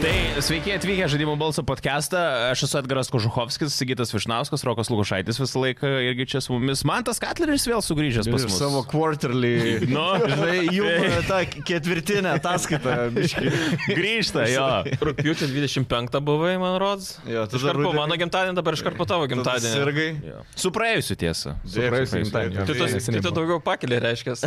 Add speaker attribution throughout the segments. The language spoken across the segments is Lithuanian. Speaker 1: Tai Sveiki atvykę į žaidimų balso podcastą. Aš esu Edgaras Kožuhovskis, Sigitas Višnauskas, Rokas Lukušaitis visą laiką irgi čia su mumis. Mantas Katleris vėl sugrįžęs pas
Speaker 2: Ir
Speaker 1: mus.
Speaker 2: savo quarterly.
Speaker 1: Nu,
Speaker 2: Žinai, jų ta ketvirtinė ataskaita. biškį.
Speaker 1: grįžta, jo.
Speaker 3: Rūpiučio 25 buvai, man rods.
Speaker 2: Jo, tada
Speaker 3: iš karto
Speaker 2: rudenį-
Speaker 3: mano gimtadienį, dabar iš karto tavo
Speaker 2: Tada
Speaker 3: gimtadienį.
Speaker 2: Sirgai.
Speaker 3: Jo.
Speaker 1: Su praėjusiu tiesa.
Speaker 2: Dėkui,
Speaker 4: praėjusiu
Speaker 2: praėjusiu
Speaker 4: gimtadieniu.
Speaker 3: Tai tu,
Speaker 2: gimtadieniu.
Speaker 3: tai
Speaker 4: seniai
Speaker 3: tu
Speaker 4: buvo.
Speaker 3: daugiau pakelį reiškia.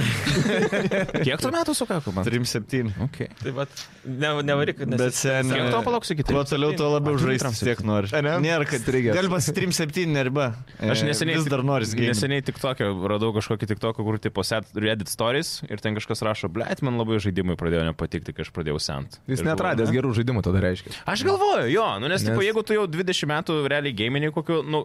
Speaker 1: Kiek tu metų sukako man?
Speaker 2: 3-7.
Speaker 1: Okay.
Speaker 3: Tai va, ne, nevaryk, nes...
Speaker 2: Bet seniai.
Speaker 1: Kiek to palauksi kitaip?
Speaker 2: Kuo toliau, tuo labiau
Speaker 1: A, tu
Speaker 2: žaisti
Speaker 1: trim
Speaker 2: tiek nori.
Speaker 4: Ane?
Speaker 2: Nėra, kad
Speaker 4: Strigęs.
Speaker 2: Gal pas 3-7 riba.
Speaker 1: Aš neseniai,
Speaker 2: E, Vis dar noriu gėsti.
Speaker 1: Neseniai tik tokia, radau kažkokį tik toką, kur tipo set Reddit stories ir ten kažkas rašo, blėt, man labai žaidimai pradėjo nepatikti, kai aš pradėjau sent.
Speaker 4: Jis
Speaker 1: Ir
Speaker 4: netradęs
Speaker 1: galvoju,
Speaker 4: gerų žaidimų tada reiškia.
Speaker 1: na. Aš galvoju, jo, nu, nes, nes... Tipo,
Speaker 4: Nes-
Speaker 1: jeigu tu jau 20 metų realiai gaminiai kokiu, nu,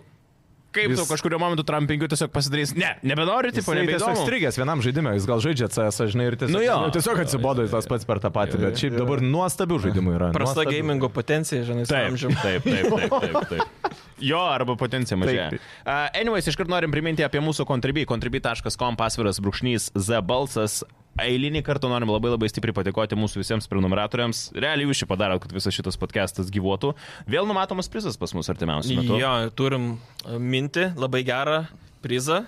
Speaker 1: kaip
Speaker 4: Jis-
Speaker 1: Jis... tu kažkurio momentu trampingiu tiesiog pasidarys, ne, nebenori, tipo,
Speaker 4: Jisai tiesiog
Speaker 1: nebeįdomu.
Speaker 4: strigęs vienam žaidimui, jis gal žaidžia CS, žinai, ir tiesiog,
Speaker 1: Nu jo.
Speaker 4: tiesiog atsibodo jis tas pats per tą patį, bet šiaip dabar nuostabių žaidimų yra.
Speaker 3: Prasta
Speaker 4: nuostabių.
Speaker 3: gamingo potencija, žinai, su
Speaker 1: Taip,
Speaker 3: amžiumi.
Speaker 1: taip, taip, taip, taip, taip. Jo, arba potencija mažėja.
Speaker 4: Taip.
Speaker 1: Uh, anyways, iškart norim priminti apie mūsų kontribį. kontribį.com pasviras brūkšnys Z balsas. Eilinį kartą norim labai labai stipriai patikoti mūsų visiems prenumeratoriams. Realiai jūs šį padarot, kad visas šitas podcastas gyvuotų. Vėl numatomas prizas pas mus artimiausiu metu.
Speaker 3: Jo, turim e, mintį, labai gerą prizą.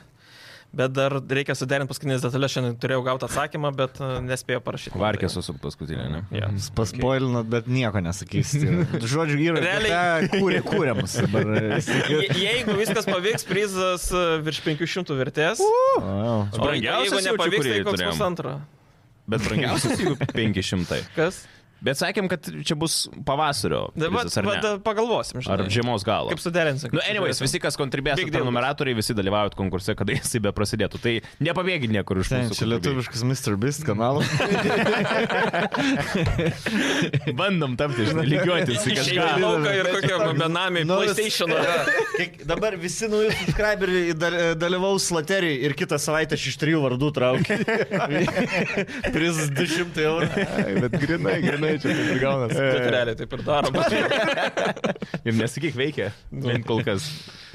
Speaker 3: Bet dar reikia suderinti paskutinės detalės, šiandien turėjau gauti atsakymą, bet e, nespėjau parašyti.
Speaker 1: Varkės su paskutinė, ne?
Speaker 3: Ja.
Speaker 2: Paspoilinot, bet nieko nesakysit. Žodžiu, yra. ta
Speaker 3: Realiai-
Speaker 2: Kūrė, kūrėmus dabar. e,
Speaker 3: Je, jeigu viskas pavyks, prizas e, virš 500 vertės.
Speaker 2: Wow.
Speaker 3: O
Speaker 1: Brangiausias
Speaker 3: jeigu
Speaker 1: jaučiu,
Speaker 3: nepavyks,
Speaker 1: kurį
Speaker 3: tai koks
Speaker 1: turėjom.
Speaker 3: pusantro.
Speaker 1: Bet brangiausias jų 500.
Speaker 3: Kas?
Speaker 1: Bet sakėm, kad čia bus pavasario.
Speaker 3: Dabar
Speaker 1: Prizas, ar, ne?
Speaker 3: pagalvosim, žinai.
Speaker 1: ar žiemos galo.
Speaker 3: Kaip suderinsim.
Speaker 1: Nu, anyways, visi, kas kontribės,
Speaker 3: Big
Speaker 1: tai
Speaker 3: deal.
Speaker 1: numeratoriai, visi dalyvaujat konkurse, kada jisai be prasidėtų. Tai nepabėgit niekur iš
Speaker 2: Ten
Speaker 1: mūsų.
Speaker 2: čia lietuviškas Mr. Beast kanalas.
Speaker 1: kontribijų. Bandom tapti, žinai, lygiuotis į
Speaker 3: Išėjai į
Speaker 1: kažką.
Speaker 3: lauką ir kokie benamiai
Speaker 2: Nu, vis-
Speaker 3: PlayStation.
Speaker 2: Kiek- Dabar visi nauji subscriberiai dal- dalyvaus slateriai ir kitą savaitę aš iš trijų vardų traukiu. Prizas 200 eurų.
Speaker 4: Ai, Bet grinai, grinai čia taip ir gaunasi.
Speaker 3: Bet Nu, tai realiai taip ir daroma.
Speaker 1: Ir nesakyk veikia. Bent kol kas.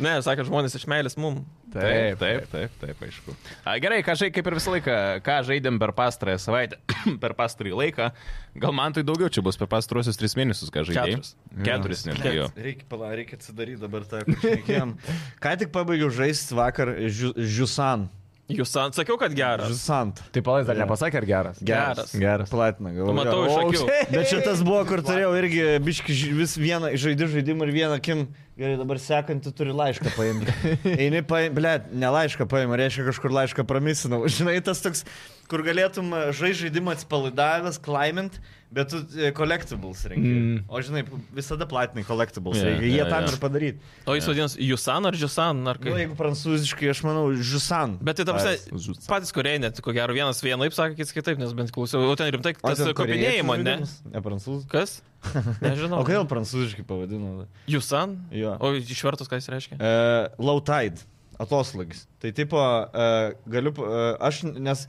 Speaker 3: Ne, sakė žmonės iš meilės mum.
Speaker 1: Taip, taip, taip, taip, aišku. A, gerai, ką žai, kaip ir visą laiką, ką žaidėm per pastarąją savaitę, per pastarąjį laiką, gal man tai daugiau čia bus per pastaruosius tris mėnesius, ką žaidėjai.
Speaker 3: Keturis.
Speaker 1: Keturis, nežinau.
Speaker 2: Reikia, pala, reikia atsidaryti dabar tą. kur šnekėjom. Ką tik pabaigiau žaisti vakar Žusan.
Speaker 3: Jūs san- sakiau, kad geras.
Speaker 2: Žusant.
Speaker 4: Tai palais dar nepasakė, ar geras?
Speaker 3: Geras.
Speaker 4: Geras.
Speaker 2: Platina, galvoju.
Speaker 3: Matau iš
Speaker 2: O,
Speaker 3: akių.
Speaker 2: štai. Bet čia tas buvo, kur turėjau irgi biški ži- vis vieną žaidimą žaidimą ir vieną kim. Gerai, dabar sekantį turi laišką paimti. Eini, paim, ble, ne laišką paimti, reiškia kažkur laišką pramisinau. Žinai, tas toks, kur galėtum žaisti žaidimą atsipalaidavęs, climbint, bet tu e, collectibles renki. Mm. O žinai, visada platinai collectibles.
Speaker 1: Jo,
Speaker 2: Yeah, reikia, jie
Speaker 1: jo,
Speaker 2: yeah, tam
Speaker 1: jo.
Speaker 2: yeah. ir padaryti.
Speaker 3: O jis vadinasi Jusan ar Jusan, ar
Speaker 2: Nu,
Speaker 3: kaip?
Speaker 2: jeigu prancūziškai, aš manau, žusan.
Speaker 3: Bet tai tamsi, patys kuriai net, ko gero, vienas vienaip sakė, kitas kitaip, nes bent klausiau, o ten rimtai tas kopinėjimo, ne? Nu.
Speaker 2: Ne prancūzų.
Speaker 3: Kas?
Speaker 2: O
Speaker 3: Nežinau.
Speaker 2: kodėl prancūziškai pavadinau?
Speaker 3: Jusan?
Speaker 2: Jo.
Speaker 3: O išvertus, ką jis reiškia?
Speaker 2: Uh, low tide, atoslūgis. Tai tipo, uh, galiu, uh, aš, nes,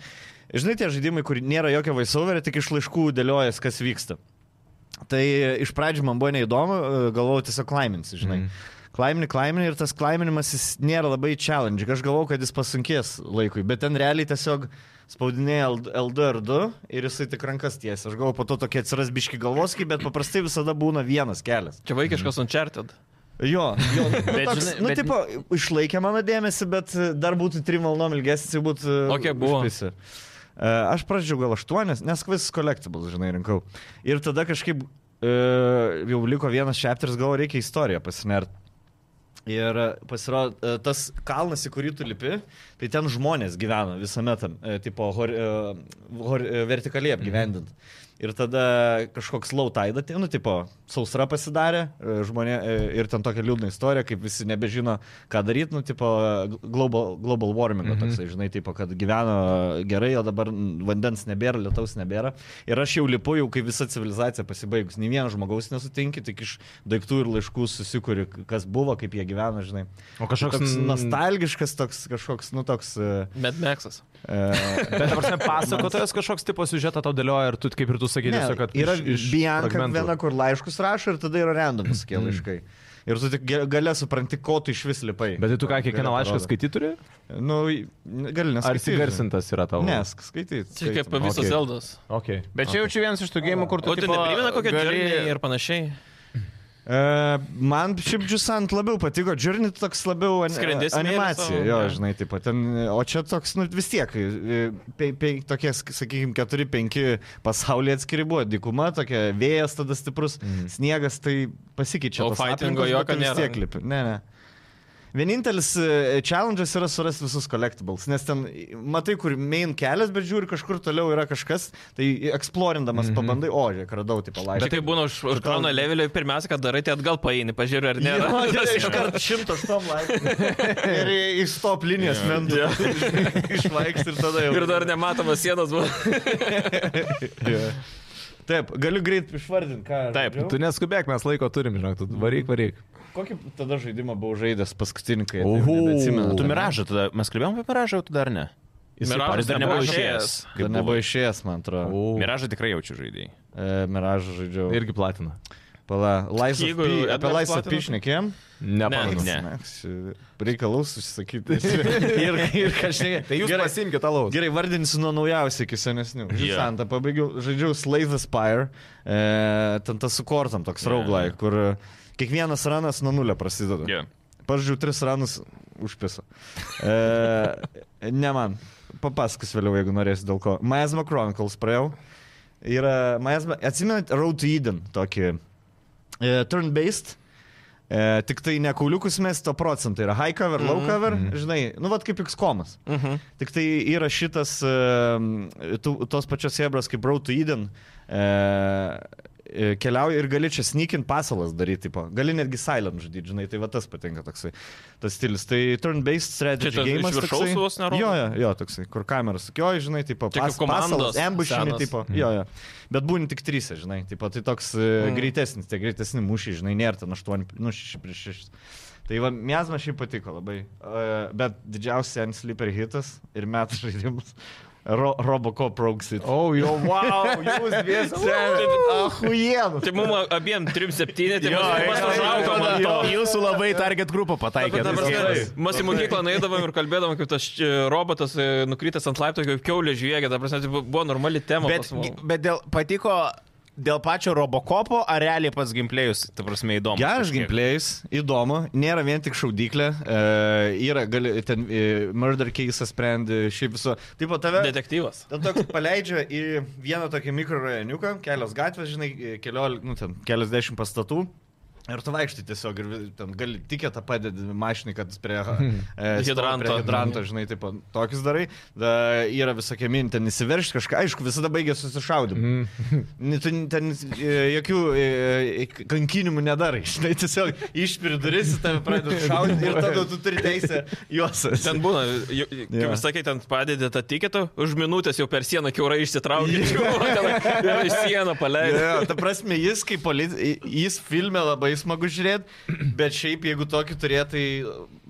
Speaker 2: žinai, tie žaidimai, kur nėra jokio vaisoverio, tik iš laiškų dėliojas, kas vyksta. Tai iš pradžių man buvo neįdomu, e, galvojau tiesiog laimins, žinai.
Speaker 1: Mhm.
Speaker 2: Mm. Klaimini, klaimini ir tas klaiminimas jis nėra labai challenge. Aš galvojau, kad jis pasunkės laikui, bet ten realiai tiesiog spaudinėja LD ir 2 ir jisai tik rankas tiesi. Aš galvojau, po to tokie atsiras biški galvoskiai, bet paprastai visada būna vienas kelias.
Speaker 3: Čia vaikiškas Uncharted.
Speaker 2: Jo, jo
Speaker 1: Bet
Speaker 2: bet, toks,
Speaker 1: žinai,
Speaker 2: nu,
Speaker 1: bet-
Speaker 2: bet... tipo, išlaikė mano dėmesį, bet e, dar būtų trim valandom ilgesnis, jeigu būtų... e,
Speaker 3: O kiek buvo?
Speaker 2: užpisi. E, Aš pradžiau gal aštuonias, nes kvis collectibles, žinai, rinkau. Ir tada kažkaip e, jau liko vienas chapteris, gal reikia istoriją pasinert. Ir e, pasirodo, e, tas kalnas, į kurį tu lipi, tai ten žmonės gyvena visame tam, e, tipo, hor, e, hor, e, vertikaliai apgyvendint. Ir tada kažkoks lautaida, tai, nu, tipo, sausra pasidarė, e, žmonė, e, ir ten tokia liūdna istorija, kaip visi nebežino, ką daryti, nu, tipo, e, global, global warming,
Speaker 4: Mhm.
Speaker 2: mm -hmm. toksai, žinai, tipo, kad gyveno gerai, o dabar mm, vandens nebėra, lietaus nebėra. Ir aš jau lipu, jau kai visa civilizacija pasibaigus, nei vieno žmogaus nesutinki, tik iš daiktų ir laiškų susikuri, kas buvo, kaip jie gyveno, žinai.
Speaker 4: O
Speaker 2: Kažkoks
Speaker 4: kažkoks
Speaker 2: nostalgiškas, toks kažkoks, nu, toks... e,
Speaker 3: Mad Maxas.
Speaker 2: e,
Speaker 4: Bet ar ne pasakotojas kažkoks tipo siužetą tau dėlioja, ar tu kaip ir tu sakai,
Speaker 2: Ne,
Speaker 4: tiesiog, kad...
Speaker 2: yra
Speaker 4: iš- iš
Speaker 2: Bianca
Speaker 4: fragmentų. Mhm.
Speaker 2: viena, kur laiškus rašo ir tada yra randomus tie laiškai. Ir tu tik ge- gale supranti, ko tu iš vis lipai.
Speaker 4: Bet tai tu ką,
Speaker 2: Gale
Speaker 4: kiekvieną laišką
Speaker 2: parodo.
Speaker 4: skaityti turi?
Speaker 2: Nu, n- gali
Speaker 4: Ar
Speaker 2: neskaityti.
Speaker 4: įsigarsintas yra tavo?
Speaker 2: Nes, skaityti.
Speaker 3: Čia kaip visos
Speaker 4: okei.
Speaker 3: Eldos.
Speaker 4: Okay.
Speaker 1: Bet čia jau čia vienas iš tų gėjimų, kur tu...
Speaker 3: O tai
Speaker 1: tipo,
Speaker 3: neprimena kokią
Speaker 1: gali-
Speaker 3: džerį ir panašiai.
Speaker 2: E, man šiaip Džusant labiau patiko, Džurnit toks labiau an,
Speaker 3: Skrendi smėliu
Speaker 2: animacija.
Speaker 3: savo,
Speaker 2: Jo,
Speaker 3: jo.
Speaker 2: žinai, taip pat. Ten, o čia toks, nu vis tiek, e, pe, pe, tokie, sakykime, 4-5 pasaulyje atskiri buvo. Dykuma, tokia vėjas tada stiprus, mm. sniegas, tai pasikeičia.
Speaker 3: Mhm. O
Speaker 2: tos
Speaker 3: fightingo
Speaker 2: aplinkos,
Speaker 3: jokio
Speaker 2: bet tu vis
Speaker 3: nėra.
Speaker 2: tiek lipi. Ne, ne. Vienintelis e, challenge'as yra surasti visus collectibles, nes ten e, matai, kur main kelias, bet žiūri, kažkur toliau yra kažkas, tai eksplorindamas mm -hmm. pabandai, o, žiūrėk, radau, tai
Speaker 3: Mhm. Bet
Speaker 2: palaikai.
Speaker 3: kai būna už, už krauno levelio, pirmiausia, kad darai, tai atgal paeini, pažiūrė, ar nėra.
Speaker 2: Jo, jo, iš karto šimtas tam laikų. Ir iš top linijos mentų. Išlaiks ir tada jau.
Speaker 3: Ir dar nematomas sienas buvo.
Speaker 2: Jo. Taip, galiu greit išvardinti, ką. aš
Speaker 1: Taip,
Speaker 2: žaidžiau.
Speaker 4: Tu neskubėk, mes laiko turim, žinok, tu varyk, varyk.
Speaker 2: Kokį tada žaidimą buvau žaidęs paskutinį, kai
Speaker 4: Oho.
Speaker 2: atsimenu.
Speaker 1: Tu miražą tada, mes kalbėjom apie miražą, o tu dar ne.
Speaker 3: Miražas
Speaker 1: ar jis dar nebuvo išėjęs.
Speaker 2: Kai nebuvo išėjęs, man atrodo.
Speaker 1: Miražą tikrai jaučiu žaidėjai.
Speaker 2: E, miražą žaidžiau. Ir
Speaker 4: Irgi platina.
Speaker 2: pala, Laisvė.
Speaker 3: Jeigu
Speaker 2: Apie
Speaker 3: Edgaras
Speaker 2: Laisvę
Speaker 3: platino, tai-
Speaker 2: pišnekėm.
Speaker 4: Nepamenu.
Speaker 1: Ne.
Speaker 2: e, Reikalus užsisakyti. ir, ir kažkaip.
Speaker 4: Tai jūs
Speaker 2: Gerai.
Speaker 4: pasimkite alaus.
Speaker 2: Gerai, vardinsiu nuo naujausių iki senesnių.
Speaker 1: Jo.
Speaker 2: Žisantą yeah. pabaigiau, žaidžiau Slay the Spire, e, ten tas su kortam toks
Speaker 1: Jo,
Speaker 2: yeah. rauglai,
Speaker 1: jo.
Speaker 2: kur e, kiekvienas ranas nuo nulio prasideda.
Speaker 1: Jo.
Speaker 2: Pažiūrėjau, tris ranus užpisa. E, ne man. Papasakos vėliau, jeigu norėsi dėl ko. Miasma Chronicles praėjau. Yra, Miasma, atsimenat, Road to Eden tokį. E, Turn-based. E, tik tai ne kauliukus mes, to procentai yra high cover, low cover, mm -hmm. žinai, nu vad kaip X-komas.
Speaker 3: Mhm.
Speaker 2: Tik tai yra šitas, e, tu, tos pačios jebras kaip Road to Eden. E, e, keliauji ir gali čia sneakint pasalas daryti, tipo. gali netgi silent žudyti, žinai, tai va tas patinka toksai, tas stilius. Tai turn-based strategy
Speaker 3: Čia tas iš
Speaker 2: game.
Speaker 3: viršaus vos nerodo?
Speaker 2: Jo, jo, jo, toksai, kur kamera sukioja, žinai, tipo,
Speaker 3: Čia kaip komandos
Speaker 2: ambušinį,
Speaker 3: senos.
Speaker 2: tipo,
Speaker 4: Mhm.
Speaker 2: jo, jo. Bet būni tik trys, žinai, tipo, tai toks mm. greitesnis, tie greitesni mūšiai, žinai, nėra ten 8, nu 6 prieš 6. Tai va, mesma šiaip patiko labai. Uh, bet didžiausias ant sleeper hitas ir metų žaidimas. Ro Robocop Roxit.
Speaker 4: O, Oh, jo, wow, jūs dviesi.
Speaker 2: Ahujienu.
Speaker 3: Tai mums abiem 3-7, tai mes
Speaker 2: jo,
Speaker 3: užaugom
Speaker 2: jo,
Speaker 3: ant
Speaker 2: jo.
Speaker 3: to.
Speaker 1: Jūsų labai target grupą pataikė.
Speaker 3: Ta
Speaker 1: tai
Speaker 3: prasme,
Speaker 1: gerai.
Speaker 3: Mes į mokyklą naidavom ir kalbėdavom, kaip tas e, robotas e, nukritęs ant laiptų, kaip kiaulė žvėgė, ta prasme, tai bu- buvo normali tema.
Speaker 1: Bet,
Speaker 3: pas mus.
Speaker 1: bet dėl, patiko dėl pačio Robocopo, ar realiai pats gimplėjus, tai prasme, įdomu.
Speaker 2: Geras gameplays, įdomu, nėra vien tik šaudyklė, e, yra, gali, ten e, murder case sprendi, šiaip viso. Taip pat tave...
Speaker 3: Detektyvas.
Speaker 2: Ten toks paleidžia į vieną tokį mikrorajoniuką, kelios gatvės, žinai, keliol, nu, ten, keliasdešimt pastatų. Ir tu vaikštai tiesiog ir vi- ten gali tikėtą padedi mašinai, kad jis prie e, stovi
Speaker 3: Hidranto.
Speaker 2: Prie hidranto, žinai, taip, tokius darai. Da, yra visokie minti, ten įsiveršti kažką, aišku, visada baigia susišaudimu.
Speaker 3: Mhm.
Speaker 2: Mm. Ten, ten e, jokių e, kankinimų nedarai, žinai, tiesiog išpiri duris, į tave pradeda šaudyti ir tada tu turi teisę juos.
Speaker 3: Ten būna, ju-
Speaker 2: Jo.
Speaker 3: kaip jūs sakėte, ten padedi tą tikėtą, už minutės jau per sieną kiaurai išsitraukia, yeah. iš sieną paleidai.
Speaker 2: Jo, jo, ta prasme, jis kaip policija, jis filme labai smagu žiūrėti, bet šiaip jeigu tokį turėtų, tai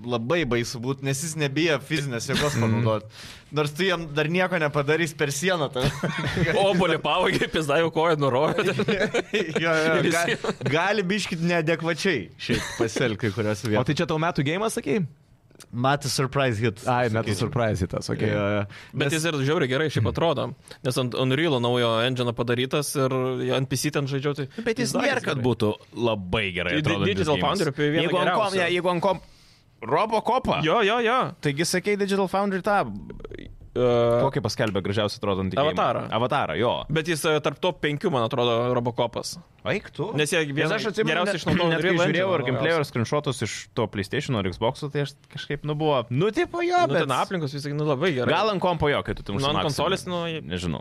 Speaker 2: labai baisu būtų, nes jis nebijo fizinės jėgos panaudoti. Nors tu jam dar nieko nepadarys per sieną. Ta.
Speaker 3: Yeah. Obolį pavogė, pizdavau koją, nurovė.
Speaker 2: jo, jo, ga, gali biškit neadekvačiai šiaip pasielgti kai kuriuose
Speaker 4: O tai
Speaker 2: vietose.
Speaker 4: čia tau metų gėjimas, sakai?
Speaker 2: Matė surprise hit.
Speaker 4: Ai, metų
Speaker 2: sakyčiau.
Speaker 4: surprise tas, okei.
Speaker 2: Jo,
Speaker 4: Okay.
Speaker 2: jo.
Speaker 3: Bet jis ir žiauriai gerai šiaip atrodo, nes ant Unreal naujo engine padarytas ir ant PC ten žaidžiau. Tai
Speaker 1: Nu, Bet jis
Speaker 3: dar
Speaker 1: nėra, kad būtų labai gerai.
Speaker 3: Di- di-
Speaker 1: atrodantis
Speaker 3: Digital
Speaker 1: geimas.
Speaker 3: Foundry apie vieną
Speaker 1: Jeigu ant kom,
Speaker 3: geriausių.
Speaker 1: ne, jeigu ant kom. Robocopą.
Speaker 3: Jo, jo, jo.
Speaker 1: Taigi sakei Digital Foundry tą.
Speaker 3: Uh,
Speaker 1: Kokį paskelbė gražiausiai atrodantį? geimą?
Speaker 3: Avatarą.
Speaker 1: Avatarą, jo.
Speaker 3: bet jis e, tarp top 5, man atrodo, Robocopas.
Speaker 1: Eik tu.
Speaker 3: Nes jie vieną
Speaker 1: aš atsimenu,
Speaker 3: geriausiai
Speaker 1: net-
Speaker 3: išnaudojo
Speaker 1: net kai
Speaker 3: Unreal
Speaker 1: žiūrėjau
Speaker 3: Engine
Speaker 1: ar gameplay,
Speaker 3: naujausią.
Speaker 1: ar screenshotus iš to PlayStation ar Xbox, tai aš kažkaip nubuvo. Nu, tipo jo,
Speaker 3: Nu,
Speaker 1: bet...
Speaker 3: ten aplinkos vis tik nu, labai gerai.
Speaker 1: Gal ant kompo jo, kai tu tam
Speaker 3: Nu, ant konsolės, nu, jie-
Speaker 1: Nežinau.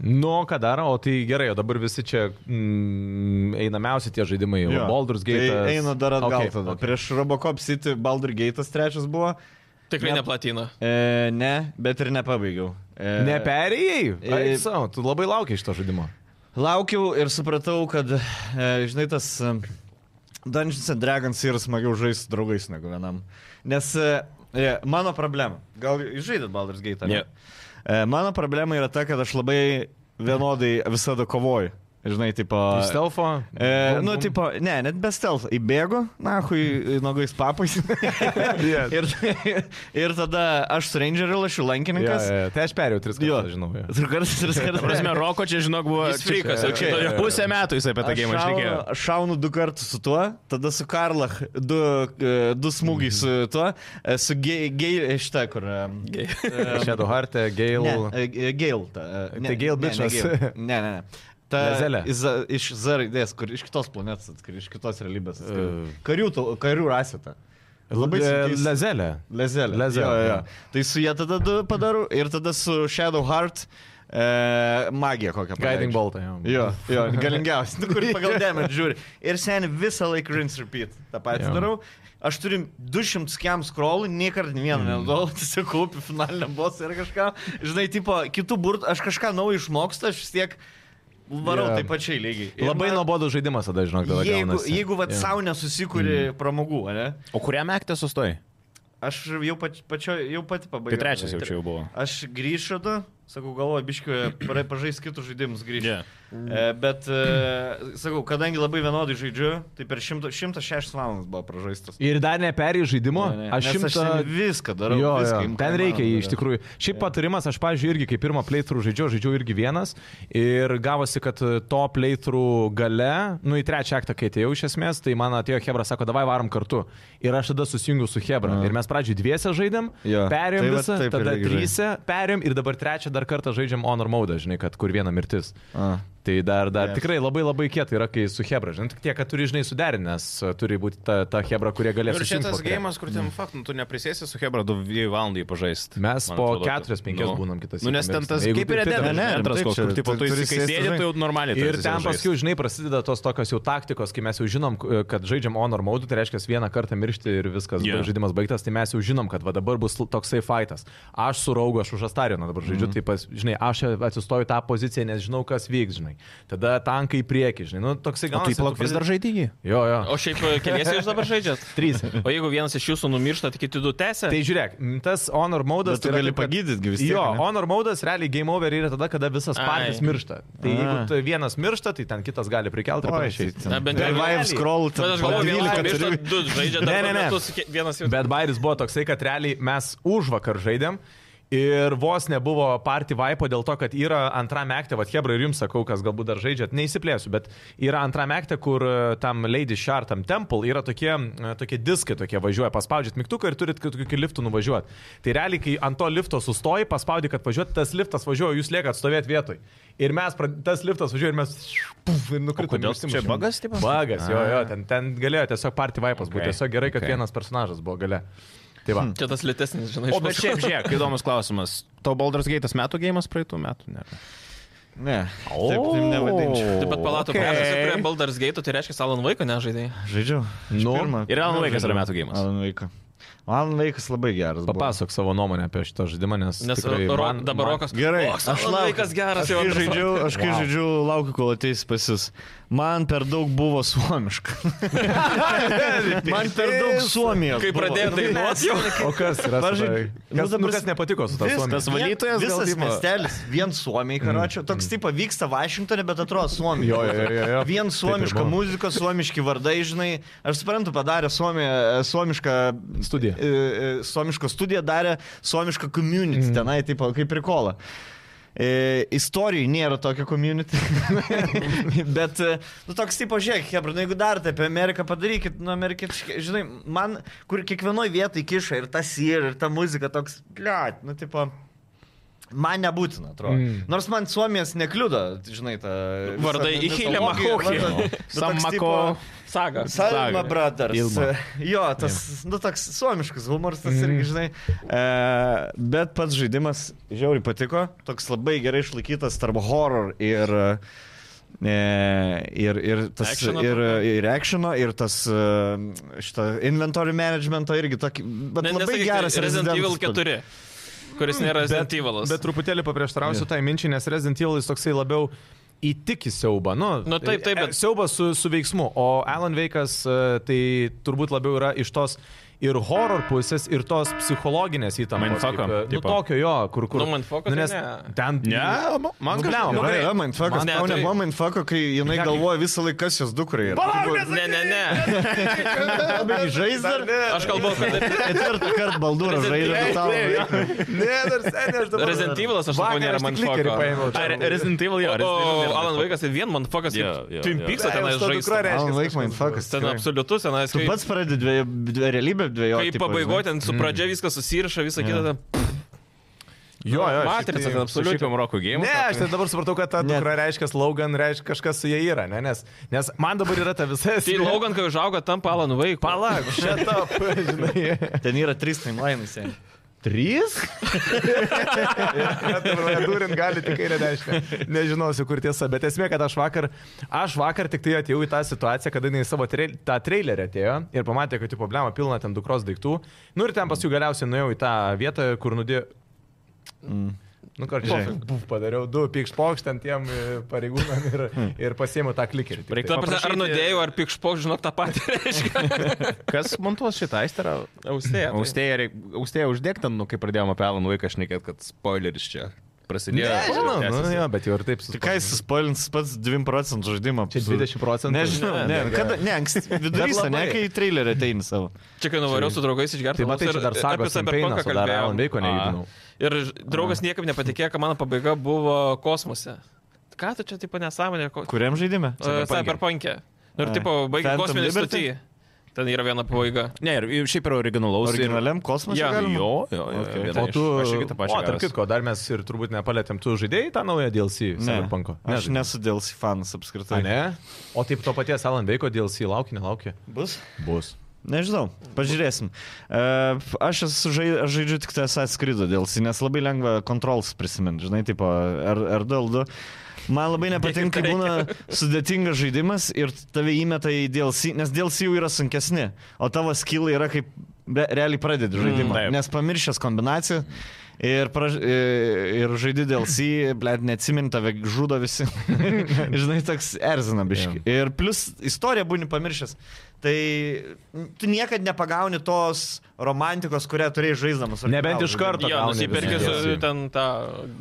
Speaker 4: Nu, ką daro, o tai gerai, o dabar visi čia mm, einamiausi tie žaidimai.
Speaker 2: Jo.
Speaker 4: Jo. Baldur's Gate.
Speaker 2: Tai eina dar atgal okay, tada. Okay.
Speaker 4: Okay.
Speaker 2: Prieš Robocop City Baldur Gate'as trečias buvo.
Speaker 3: Tikrai
Speaker 2: Ne-
Speaker 3: neplatina.
Speaker 2: E, ne, bet ir nepabaigiau. E,
Speaker 4: Neperėjai?
Speaker 2: E-
Speaker 4: Eik savo, tu labai laukiai iš to žaidimo.
Speaker 2: Laukiau ir supratau, kad, e, žinai, tas e, Dungeons and Dragons yra smagiau žaisti su draugais negu vienam. Nes e, e, mano problema, gal jūs žaidėt Baldur's Gate, ar ne?
Speaker 1: Ne.
Speaker 2: E, Mano problema yra ta, kad aš labai vienodai visada kovoju. Žinai, tipo...
Speaker 4: Iš Stelfo.
Speaker 2: E,
Speaker 4: Bum,
Speaker 2: nu,
Speaker 4: bum.
Speaker 2: tipo, ne, net be stealth. Įbėgo, na, hui, nogais papais.
Speaker 4: Yeah.
Speaker 2: ir, ir tada aš su rangeriu lašiu
Speaker 4: Yeah,
Speaker 2: lankininkas.
Speaker 4: yeah. Tai aš perėjau tris
Speaker 2: Jo.
Speaker 4: kartus, žinau. Yeah.
Speaker 2: Ir kartais ir
Speaker 1: Ta
Speaker 2: kartais.
Speaker 1: prasme, Roko čia, žinok, buvo...
Speaker 3: Jis frikas,
Speaker 1: čia-
Speaker 3: jau
Speaker 1: čia-
Speaker 3: šitoj-
Speaker 1: Pusę metų jis apie tą
Speaker 2: Aš
Speaker 1: gėjimą išnekėjo.
Speaker 2: šaunu, aš šaunu du kartus su tuo, tada su Karlach du, e, du smūgiai su
Speaker 4: Mhm.
Speaker 2: tuo, e, su Gail, ge, šitą kur. e, Gail.
Speaker 4: Shadow Heart, Gale.
Speaker 2: e, Gail.
Speaker 4: Tai Gale bičas.
Speaker 2: e, Ne, ne, ne. Ta,
Speaker 4: Lezelė.
Speaker 2: iz, iš Z raidės, kur iš kitos planetos, atskri, iš kitos realybės. atskri.
Speaker 4: E.
Speaker 2: Karių, tau- karių rasita. e, Labai sunkiai-
Speaker 4: Lezelė.
Speaker 2: Lezelė.
Speaker 4: Lezelė,
Speaker 2: Jo, jo.
Speaker 4: jo.
Speaker 2: Tai su jie tada du padarau ir tada su Shadow Heart e, magija kokią.
Speaker 4: Guiding
Speaker 2: paleidžiu.
Speaker 4: Boltą.
Speaker 2: Jo, jo, galingiausias, nu, kur pagal damage žiūri. Ir seniai visą laiką rinse repeat. Ta pati
Speaker 4: Jo.
Speaker 2: darau. Aš turiu 200 skiam scrollų, niekart nei
Speaker 4: Mm.
Speaker 2: vieno nenaudojau, tiesiog kaupiu finaliniam bosui ir kažką. Žinai, tipo, kitų burtų, aš kažką naujo išmokstu, aš vis tiek varau
Speaker 4: Jo.
Speaker 2: yeah. taip pačiai lygiai. Ir
Speaker 4: Labai nuobodus žaidimas tada, žinok, tada
Speaker 2: Jeigu,
Speaker 4: gaunasi.
Speaker 2: jeigu vad
Speaker 4: Jo.
Speaker 2: yeah. savo nesusikūri mm. pramogų, ne?
Speaker 1: O kuriam aktė sustoji?
Speaker 2: Aš jau, pač, pačio, jau pati
Speaker 1: Tai
Speaker 2: pabaigiau.
Speaker 1: trečias jau čia jau buvo.
Speaker 2: Aš grįšiu tada, sakau, galvoju, biškiu, pažais kitus žaidimus grįžti.
Speaker 1: Yeah.
Speaker 2: E, Bet, e, sakau, kadangi labai vienodai žaidžiu, tai per 100 106 valandas buvo pražaistas.
Speaker 4: Ir dar neperėjai žaidimo,
Speaker 2: Ne, ne,
Speaker 4: aš
Speaker 2: nes
Speaker 4: šimtą...
Speaker 2: ten viską darau.
Speaker 4: Jo,
Speaker 2: viską,
Speaker 4: jo,
Speaker 2: im- ką
Speaker 4: ten
Speaker 2: įmanoma
Speaker 4: reikia jį iš
Speaker 2: darau.
Speaker 4: tikrųjų. Šiaip patarimas, aš, pažiūrėjau, irgi kaip pirmą playthrough žaidžiau, žaidžiau irgi vienas ir gavosi, kad e, to playthrough gale, nu į trečią aktą, kai atėjau iš esmės, tai man atėjo Hebra, sako, davai varom kartu. Ir aš tada susijungiau su Hebra.
Speaker 2: Jo.
Speaker 4: Ir mes pradžioje dviese žaidėm,
Speaker 2: Jo.
Speaker 4: perėm
Speaker 2: Tai va
Speaker 4: tai visą,
Speaker 2: taip ir
Speaker 4: tada
Speaker 2: reikia
Speaker 4: trysse perėm ir dabar trečią dar kartą žaidžiam Honor Mode, žinai, kad kur viena mirtis.
Speaker 2: A.
Speaker 4: Tai dar, dar
Speaker 2: Taip.
Speaker 4: tikrai labai labai kietai yra, kai su Hebra, žinai, tik tiek, kad turi, žinai, suderinęs, turi būti ta, ta Hebra, kurie galės.
Speaker 1: Nu, Ir
Speaker 4: susijungt
Speaker 1: šitas
Speaker 4: vakare.
Speaker 1: gėjimas, kur ten fakt, nu, tu neprisėsi su Hebra 2 valandai pažaisti.
Speaker 4: Mm. Mes po keturias, penkias būnam kitas
Speaker 1: Nu, nes
Speaker 4: sykį
Speaker 1: ten tas,
Speaker 4: mėgstam.
Speaker 1: kaip ir
Speaker 4: Jeigu
Speaker 1: Edenas,
Speaker 4: Piterio-
Speaker 1: ne,
Speaker 2: Ne, ne,
Speaker 1: antras
Speaker 2: taip,
Speaker 1: koks,
Speaker 2: čia
Speaker 1: kur tipo,
Speaker 2: tu-
Speaker 1: tu
Speaker 2: turi sėsti,
Speaker 1: įsikaisėdi,
Speaker 2: žinai.
Speaker 1: tai jau normaliai.
Speaker 4: Ir
Speaker 1: tarsi
Speaker 4: ten
Speaker 1: žaist.
Speaker 4: paskui, žinai, prasideda tos tokios jau taktikos, kai mes jau žinom, k- kad žaidžiam honor mode, tai reiškia vieną kartą miršti ir viskas,
Speaker 1: Jo.
Speaker 4: yeah. žaidimas baigtas, tai mes jau žinom, kad va dabar bus l- toksai fightas. Aš su raugu, aš už Astariną dabar žaidžiu, mm. tai pas, žinai, aš atsistoju tą poziciją, nes žinau, kas vyks, žinai. Tada tankai į priekį, žinai, nu toksai
Speaker 1: O
Speaker 4: gal...
Speaker 1: tai plak vis dar žaidėjai.
Speaker 4: Jo, jo.
Speaker 3: O šiaip keliesi jūs dabar žaidžiat?
Speaker 4: Trys.
Speaker 3: O jeigu vienas iš jūsų numiršta, tai kiti du tęsia?
Speaker 4: Tai žiūrėk, m, tas honor tai mode...
Speaker 2: Bet tu gali pagydyti vis tiek.
Speaker 4: Jo,
Speaker 2: ne?
Speaker 4: honor mode realiai game over yra tada, kada visas
Speaker 3: Ai.
Speaker 4: partijas miršta. Tai
Speaker 2: A.
Speaker 4: jeigu tu vienas miršta, tai ten kitas gali prikelti ir
Speaker 2: Oi,
Speaker 4: panašiai.
Speaker 2: tai ten-
Speaker 3: Na, bent jau
Speaker 2: Revive
Speaker 4: realiai.
Speaker 2: scroll,
Speaker 3: Bet
Speaker 2: ten
Speaker 3: aš
Speaker 2: po
Speaker 3: galvoju, vienas
Speaker 2: 12
Speaker 3: numiršta,
Speaker 2: turi-
Speaker 3: du žaidžia, dar
Speaker 4: Ne, ne,
Speaker 3: ne,
Speaker 4: ne.
Speaker 3: ne. Metus, kie- vienas jau.
Speaker 4: Bet bairis buvo toksai, kad realiai mes už vakar žaidėm. Ir vos nebuvo party vaipo dėl to, kad yra antrame akte, va Hebra ir jums sakau, kas galbūt dar žaidžiat, neįsiplėsiu, bet yra antrame akte, kur e, tam Lady Shard, tam Temple yra tokie, e, tokie diskai, tokie važiuoja, paspaudžiat mygtuką ir turit kokių liftų nuvažiuoti. Tai realiai, kai ant to lifto sustoji, paspaudi, kad važiuoti, tas liftas važiuoja, jūs liekat stovėti vietoj. Ir mes, prad- tas liftas važiuoja ir mes... Puf, ir nukritome.
Speaker 1: kodėl? Čia bagas, tipo?
Speaker 4: Bagas, jo, jo, ten, ten galėjo tiesiog party vaipas okay.
Speaker 1: Okay,
Speaker 4: būti, tiesiog gerai, kad
Speaker 1: okay.
Speaker 4: okay. vienas personažas buvo gale. Tai va.
Speaker 3: Čia tas lėtesnis, žinai,
Speaker 1: O bet šiaip, žiūrėk, įdomus klausimas. To Baldur's Gate'as metų gėjimas praeitų metų, ne?
Speaker 3: Nu,
Speaker 2: Ne. Taip, tai nevadinčiau.
Speaker 3: Taip pat palatų okay. prie, prie Baldur's Gate, tai reiškia, Salon vaiko nežaidai.
Speaker 2: Žaidžiu.
Speaker 4: Nu.
Speaker 1: Ir Alan Wake'as yra metų gėjimas.
Speaker 2: Alan Vaikas. Alan Vaikas labai geras. buvo.
Speaker 4: Papasok savo nuomonę apie šitą žaidimą, nes...
Speaker 3: Nes
Speaker 4: tikrai
Speaker 3: ro,
Speaker 4: man-
Speaker 3: dabar
Speaker 4: man-
Speaker 3: Rokas.
Speaker 2: Gerai,
Speaker 3: O, Salon
Speaker 2: laukiu.
Speaker 3: vaikas geras
Speaker 2: Aš
Speaker 3: jau.
Speaker 2: kai žaidžiau, aš kai
Speaker 4: Wow.
Speaker 2: žaidžiau, laukiu, kol ateis pasis. Man per daug buvo suomiška. Man per daug suomijos.
Speaker 3: Kai
Speaker 2: buvo.
Speaker 3: pradėjai dainuoti jau.
Speaker 4: O kas yra?
Speaker 2: Pavyzdžiui,
Speaker 4: Pažiūrėk,
Speaker 2: nu,
Speaker 4: kas, nu,
Speaker 2: dabar-
Speaker 4: kas nepatiko su tas
Speaker 2: Viskas,
Speaker 4: suomis?
Speaker 1: tas valytojas gal
Speaker 2: visas Mm.
Speaker 1: tipo-
Speaker 2: tai miestelis, vien Suomijai, karočiui. Toks taip vyksta Vašingtonė, bet atrodo Suomija.
Speaker 4: Jo, jo, jo, jo.
Speaker 2: Vien suomiška
Speaker 4: Taip ir buvo.
Speaker 2: muzika, suomiški vardai, žinai. Aš suprantu, padarė suomiją, suomišką
Speaker 4: Studiją.
Speaker 2: e, e, Suomišką studiją darė suomišką community tenai, taip kaip prikola. E, istorijai nėra tokio community. Bet, e, nu toks tipo, žiūrėk, Hebra, nu jeigu dar tai apie Ameriką padarykit, nu amerikietiškai, žinai, man, kur kiekvienoje vietoje kiša ir tas ir, ir ta muzika toks, liat, nu tipo. Man nebūtina, atrodo. Mm.
Speaker 4: Mm.
Speaker 2: Nors man Suomijos nekliuda, žinai, ta... visa
Speaker 3: Vardai
Speaker 2: mi-
Speaker 3: Ihilė
Speaker 2: mitologija,
Speaker 3: Mahohė.
Speaker 2: vardas. Nu, toks
Speaker 1: Sammako.
Speaker 2: tipo-
Speaker 3: Saga.
Speaker 2: Salma
Speaker 1: Saga.
Speaker 2: Brothers.
Speaker 4: Ilma.
Speaker 2: Jo, tas, nu, toks suomiškas humoras, tas
Speaker 3: Mhm.
Speaker 2: irgi, žinai. E, bet pats žaidimas žiauriai patiko, toks labai gerai išlaikytas tarp horror ir... E, ir, ir tas
Speaker 3: Actiono
Speaker 2: ir, ir actiono, ir tas e, šito inventory managemento irgi tokį, bet ne, labai
Speaker 3: nesakyk, tai
Speaker 2: geras
Speaker 3: Resident Evil 4, kuris nėra Resident Evilas.
Speaker 4: Bet truputėlį paprieštarausiu tai minčiai, nes Resident Evil jis toksai labiau įtiki siaubą. Nu,
Speaker 3: Nu, taip, taip, bet-
Speaker 4: e, Siaubas su, su veiksmu, o Alan Veikas e, tai turbūt labiau yra iš tos ir horror pusės, ir tos psichologinės įtampos.
Speaker 1: Mindfucko,
Speaker 4: kaip, e, Nu,
Speaker 1: tipo.
Speaker 4: tokio jo, kur kur.
Speaker 3: Nu, mindfucko tai
Speaker 4: nes
Speaker 3: ne.
Speaker 4: ten...
Speaker 1: Ne, ma- man
Speaker 4: Nu,
Speaker 1: kažkaip-
Speaker 4: blemba.
Speaker 2: Yra,
Speaker 4: gerai.
Speaker 2: yra mindfuckas,
Speaker 3: Man- ne,
Speaker 2: tau
Speaker 3: tai-
Speaker 2: nebuvo mindfucko, kai jinai
Speaker 4: Ne, kai-
Speaker 2: galvoja visą laiką, kas jos dukrai yra.
Speaker 3: Ne, ne, ne.
Speaker 2: Labai žais dar.
Speaker 3: Aš kalbu apie
Speaker 2: Ketvirtą kartą baldūrą žaidė
Speaker 3: Resident-
Speaker 2: tau.
Speaker 4: Ne, dar seniai aš dabar...
Speaker 3: Resident Evil, aš sakau,
Speaker 4: Vakar
Speaker 3: nėra
Speaker 4: aš tik
Speaker 3: man
Speaker 4: klikerį
Speaker 3: šoko.
Speaker 4: paėmiau.
Speaker 1: A, Re- Resident Evil, jo.
Speaker 3: O,
Speaker 1: Resident Evil nėra
Speaker 3: Alan
Speaker 1: mindfucko.
Speaker 3: Vaikas ir vien man fokas,
Speaker 1: Jo, jo,
Speaker 3: kaip Twin
Speaker 1: jo.
Speaker 3: Peaksą tenai žaidžiu.
Speaker 2: Man laik mindfuckas.
Speaker 3: Ten
Speaker 2: tikrai.
Speaker 3: absoliutus, tenai
Speaker 2: Tu
Speaker 3: kaip,
Speaker 2: pats pradedi dviejų dvi, realybę dviejų.
Speaker 3: kaip pabaigoje, ten su pradžia viskas susiraša, visą kitą. ten-
Speaker 4: Jo, jo.
Speaker 3: Matrica,
Speaker 4: šiaip
Speaker 3: ten
Speaker 4: tai-
Speaker 3: absoliučiai.
Speaker 1: Šiaip jau Roku game.
Speaker 4: Ne, aš tai dabar supratau, kad ta
Speaker 2: Ne.
Speaker 4: dukra reiškia Logan, reiškia kažkas su jie yra, ne? Nes, nes man dabar yra ta visa
Speaker 3: Tai
Speaker 4: esmė.
Speaker 3: Logan, kai užauga, tampa Alan Vaikas. Palauk.
Speaker 4: Šitą, žinai.
Speaker 2: Ten yra trys timelainai seniai.
Speaker 4: Trys? Durint gali tik kairę dešinę. Nežinosiu, kur tiesa, bet esmė, kad aš vakar, aš vakar tik tai atėjau į tą situaciją, kada jinai savo trei, tą trailerį atėjo ir pamatė, kad jų problema pilna ten dukros daiktų. Nu ir ten pas jų galiausiai nuėjau į tą vietą, kur nudėjo... Nu, karčiai,
Speaker 2: Žinai.
Speaker 4: padariau du pikšpokš ten tiem e, pareigūnam ir, ir pasiėmiau tą klikerį. tik
Speaker 1: Reiktų
Speaker 4: tai.
Speaker 3: Ta prasme, Ar
Speaker 1: Paprašyti-
Speaker 3: nudėjau, ar pikšpok, žinok, tą patį reiškia.
Speaker 1: Kas montuos šitą aisterą?
Speaker 3: Austėja. tai-
Speaker 1: Austėja, reik- austėja uždėk ten, nu, kai pradėjome apie Alan Vaiką šnekėti, kad spoileris čia prasidėjo.
Speaker 4: Nežinau, nu,
Speaker 1: Tęsiasi.
Speaker 4: jo, bet jau ir taip
Speaker 2: Tai ką
Speaker 4: susitiko.
Speaker 2: jis suspolins pats 2 procentų žaidimą?
Speaker 4: Čia 20 procentų.
Speaker 2: Nežinau, ne, ne, kada, ne, anksti, vidurys,
Speaker 4: Bet
Speaker 2: ne,
Speaker 4: labai.
Speaker 2: kai trailerį ateini savo.
Speaker 3: Čia, kai nuvariau su draugais išgerti.
Speaker 4: Tai matai, čia dar sagos Sampeinas, o dar Alan nu. Veiko nejudinau.
Speaker 3: Ir ž- draugas niekam nepatikėjo, kad mano pabaiga buvo kosmose. Ką tu čia taip nesąmonė? Ko...
Speaker 2: Kuriam žaidime?
Speaker 3: E, Cyberpunk'e. Nu, ir
Speaker 2: Ai.
Speaker 3: tipo, baigė
Speaker 2: Phantom
Speaker 3: kosminį
Speaker 2: Liberty?
Speaker 3: stotį. Ten yra viena pabaiga.
Speaker 1: Ne, ir- ir šiaip yra originalaus. ir-
Speaker 2: Originaliam kosmose?
Speaker 1: Jo,
Speaker 2: galima?
Speaker 1: jo, jo. jo,
Speaker 2: Okay.
Speaker 1: viena
Speaker 4: O
Speaker 1: iš-
Speaker 4: tu,
Speaker 1: Aš irgi tą pačią.
Speaker 4: o, tarp
Speaker 1: gavęs.
Speaker 4: kitko, dar mes ir turbūt nepalėtėm, tu žaidėjai tą naują DLC, Cyberpunk'o.
Speaker 2: Aš nesu DLC fanas apskritai.
Speaker 4: Tai ne? O taip to paties Alan Veiko DLC laukia, nelaukia?
Speaker 2: Bus?
Speaker 4: Bus.
Speaker 2: Nežinau, pažiūrėsim. E, Aš esu žai, aš žaidžiu tik tai tas atskrido dėl, nes labai lengva kontrols prisiminti, žinai, tipo RDL2. Man labai nepatinka, kai būna sudėtingas žaidimas ir tave įmeta į DLC, nes DLC jau yra sunkesni, o tavo skilai yra kaip be, realiai pradedi žaidimą,
Speaker 1: taip.
Speaker 2: mm, nes pamiršęs kombinaciją. Ir, praž... i- ir žaidži DLC, blėt, neatsimint, tave žudo visi. Žinai, toks erzina biški. Yeah. Ir plus istoriją būni pamiršęs. Tai tu niekad nepagauni tos romantikos, kurią turėjai žaisdamas.
Speaker 4: Nebent iš karto.
Speaker 3: Jo,
Speaker 4: gauni
Speaker 3: nusipirkė
Speaker 4: visą DLC.
Speaker 3: su ten tą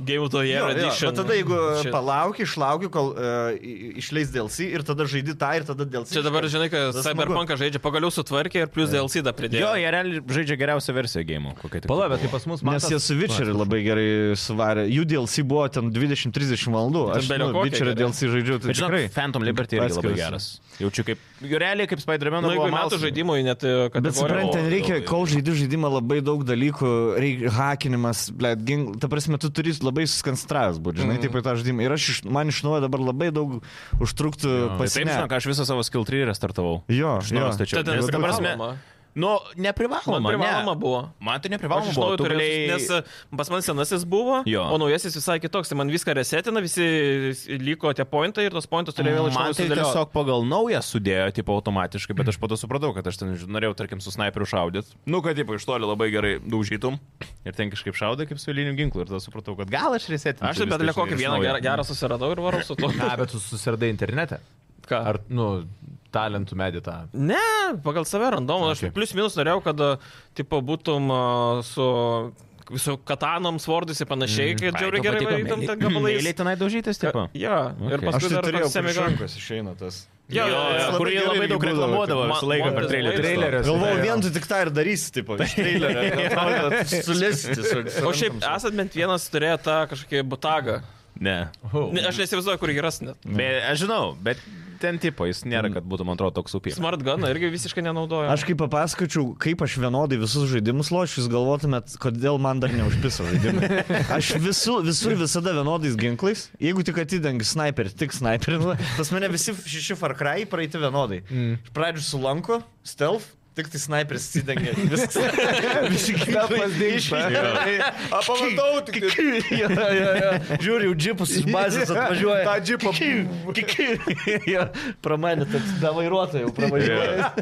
Speaker 3: Game of the Year edition.
Speaker 2: Bet tada jeigu e,
Speaker 3: Shit.
Speaker 2: palauki, išlauki, kol uh, išleis DLC ir tada žaidi tą ir tada DLC.
Speaker 3: Čia dabar, žinai, kad
Speaker 2: Tas smagu.
Speaker 3: Cyberpunk'ą žaidžia, pagaliau sutvarkė ir plus DLC dar
Speaker 1: Jo,
Speaker 3: pridėjo.
Speaker 1: jie realiai žaidžia geriausią versiją game.
Speaker 4: Pala, bet tai pas mus man.
Speaker 2: Nes
Speaker 4: tas-
Speaker 2: jie su Witcheriu labai gerai suvarė. Jų DLC buvo ten 20-30 valandų.
Speaker 3: Ten
Speaker 2: Aš
Speaker 3: bele
Speaker 2: nu,
Speaker 3: kokie
Speaker 2: Witcherio
Speaker 3: gerai.
Speaker 2: DLC žaidžiu. Tai
Speaker 1: Bet žinai,
Speaker 2: tikrai.
Speaker 1: Phantom Liberty irgi labai
Speaker 2: Atskiras.
Speaker 1: geras. Jaučiu kaip, realiai kaip Spider-Man.
Speaker 3: Na, Nu, jeigu metų žaidimui net e, kad...
Speaker 2: Bet suprant, ten reikia, kol žaidži žaidimą, labai daug dalykų, reikia hakinimas, blėt, ginkl, ta prasme, tu turi labai susikonstravęs būti, žinai, mm. taip pat tą žaidimą. Ir aš, iš- man iš naujo dabar labai daug užtruktų
Speaker 3: tai
Speaker 1: tai Taip, žinok,
Speaker 2: pasirinkti.
Speaker 1: aš visą savo skill 3 restartavau.
Speaker 2: Jo,
Speaker 1: Žinau,
Speaker 2: jo.
Speaker 1: stačiau.
Speaker 3: Čia ten
Speaker 1: Nes ta prasme,
Speaker 3: privaloma.
Speaker 1: Nu, neprivaloma.
Speaker 3: Man privaloma
Speaker 1: ne.
Speaker 3: buvo.
Speaker 1: Man tai
Speaker 3: Aš
Speaker 1: neprivaloma
Speaker 3: iš
Speaker 1: buvo.
Speaker 3: naujo
Speaker 1: Tu
Speaker 3: turėjau,
Speaker 1: galėjai-
Speaker 3: nes e, pas man senasis buvo,
Speaker 1: Jo.
Speaker 3: o naujasis visai kitoks. Tai man viską resetina, visi liko tie pointai ir tos pointus turėjau vėl iš
Speaker 1: Man
Speaker 3: naujo
Speaker 1: tai
Speaker 3: sudėlioti.
Speaker 1: tiesiog pagal naują sudėjo, tipo, automatiškai, bet aš po to supratau, kad aš ten ž- norėjau, tarkim, su snaiperiu šaudyti. Nu, kad, tipo, iš toli labai gerai daužytum ir ten kažkaip šaudai kaip su liniu ginklu ir tada supratau, kad gal aš resetinsiu.
Speaker 3: Aš tai bet
Speaker 1: viską,
Speaker 3: kokį
Speaker 1: žinai, iš
Speaker 3: vieną
Speaker 1: naujo.
Speaker 3: gerą, gerą susiradau ir varau su to.
Speaker 4: Na, bet tu susiradai internete.
Speaker 3: Ką?
Speaker 4: Ar, nu, talentų medį tą.
Speaker 3: Ne, pagal save randomą. Aš
Speaker 4: Okay.
Speaker 3: plius minus norėjau, kad e, tipo, būtum e, su visų katanom, svordais ir panašiai, kad
Speaker 1: Ai,
Speaker 3: džiaugiai
Speaker 1: tau
Speaker 3: gerai
Speaker 1: patiko
Speaker 3: varytum
Speaker 1: meiliai-
Speaker 3: ten gabalais.
Speaker 1: Meiliai tenai daužytis, Mhm. tipo.
Speaker 3: Ja, ir
Speaker 1: Okay.
Speaker 3: paskui
Speaker 2: Aš tai
Speaker 3: dar
Speaker 2: turėjau
Speaker 3: pasiėmė
Speaker 2: prieš
Speaker 3: gal-
Speaker 2: rankas išeina tas.
Speaker 3: Jo, jo,
Speaker 1: Jo,
Speaker 3: jo.
Speaker 1: jo, kurį
Speaker 2: labai gerai
Speaker 1: labai daug
Speaker 2: irgi būdavo,
Speaker 1: reklamuodavo
Speaker 3: kad
Speaker 1: visą
Speaker 3: ma-
Speaker 1: laiką per
Speaker 3: moteris
Speaker 1: trailerį.
Speaker 3: laiko.
Speaker 1: Trailerio.
Speaker 2: Galvoju, vien tu tik tą ir darysi, tipo, iš trailerio. Sulėsti.
Speaker 3: O šiaip esat bent vienas turėjo tą kažkokį butagą.
Speaker 1: Ne.
Speaker 4: Oh.
Speaker 3: Ne, Aš neįsivaizduoju, kur geras net.
Speaker 1: Bet aš žinau, bet ten tipo, jis nėra, kad būtų, man atrodo, toks upė.
Speaker 3: Smart gun irgi visiškai nenaudoju.
Speaker 2: Aš kaip papasakočiau, kaip aš vienodai visus žaidimus lošiu, jūs galvotumėt, kodėl man dar neužpiso žaidimai. Aš visų, visur visada vienodais ginklais, jeigu tik atidengiu sniperį, tik sniperį, pas mane visi šeši Far Cry praeiti vienodai. Iš pradžių su lanku, stealth. Tik tai sniperis įsidengia. Viskas. Visi
Speaker 4: Stealthas dingsta.
Speaker 2: Apamatau, tik. tai- Žiūriu, jau džipus iš bazės atvažiuoja.
Speaker 4: Tą džipą.
Speaker 2: Kiki. Pramanė, toks be vairuotojo jau pravažiuoja.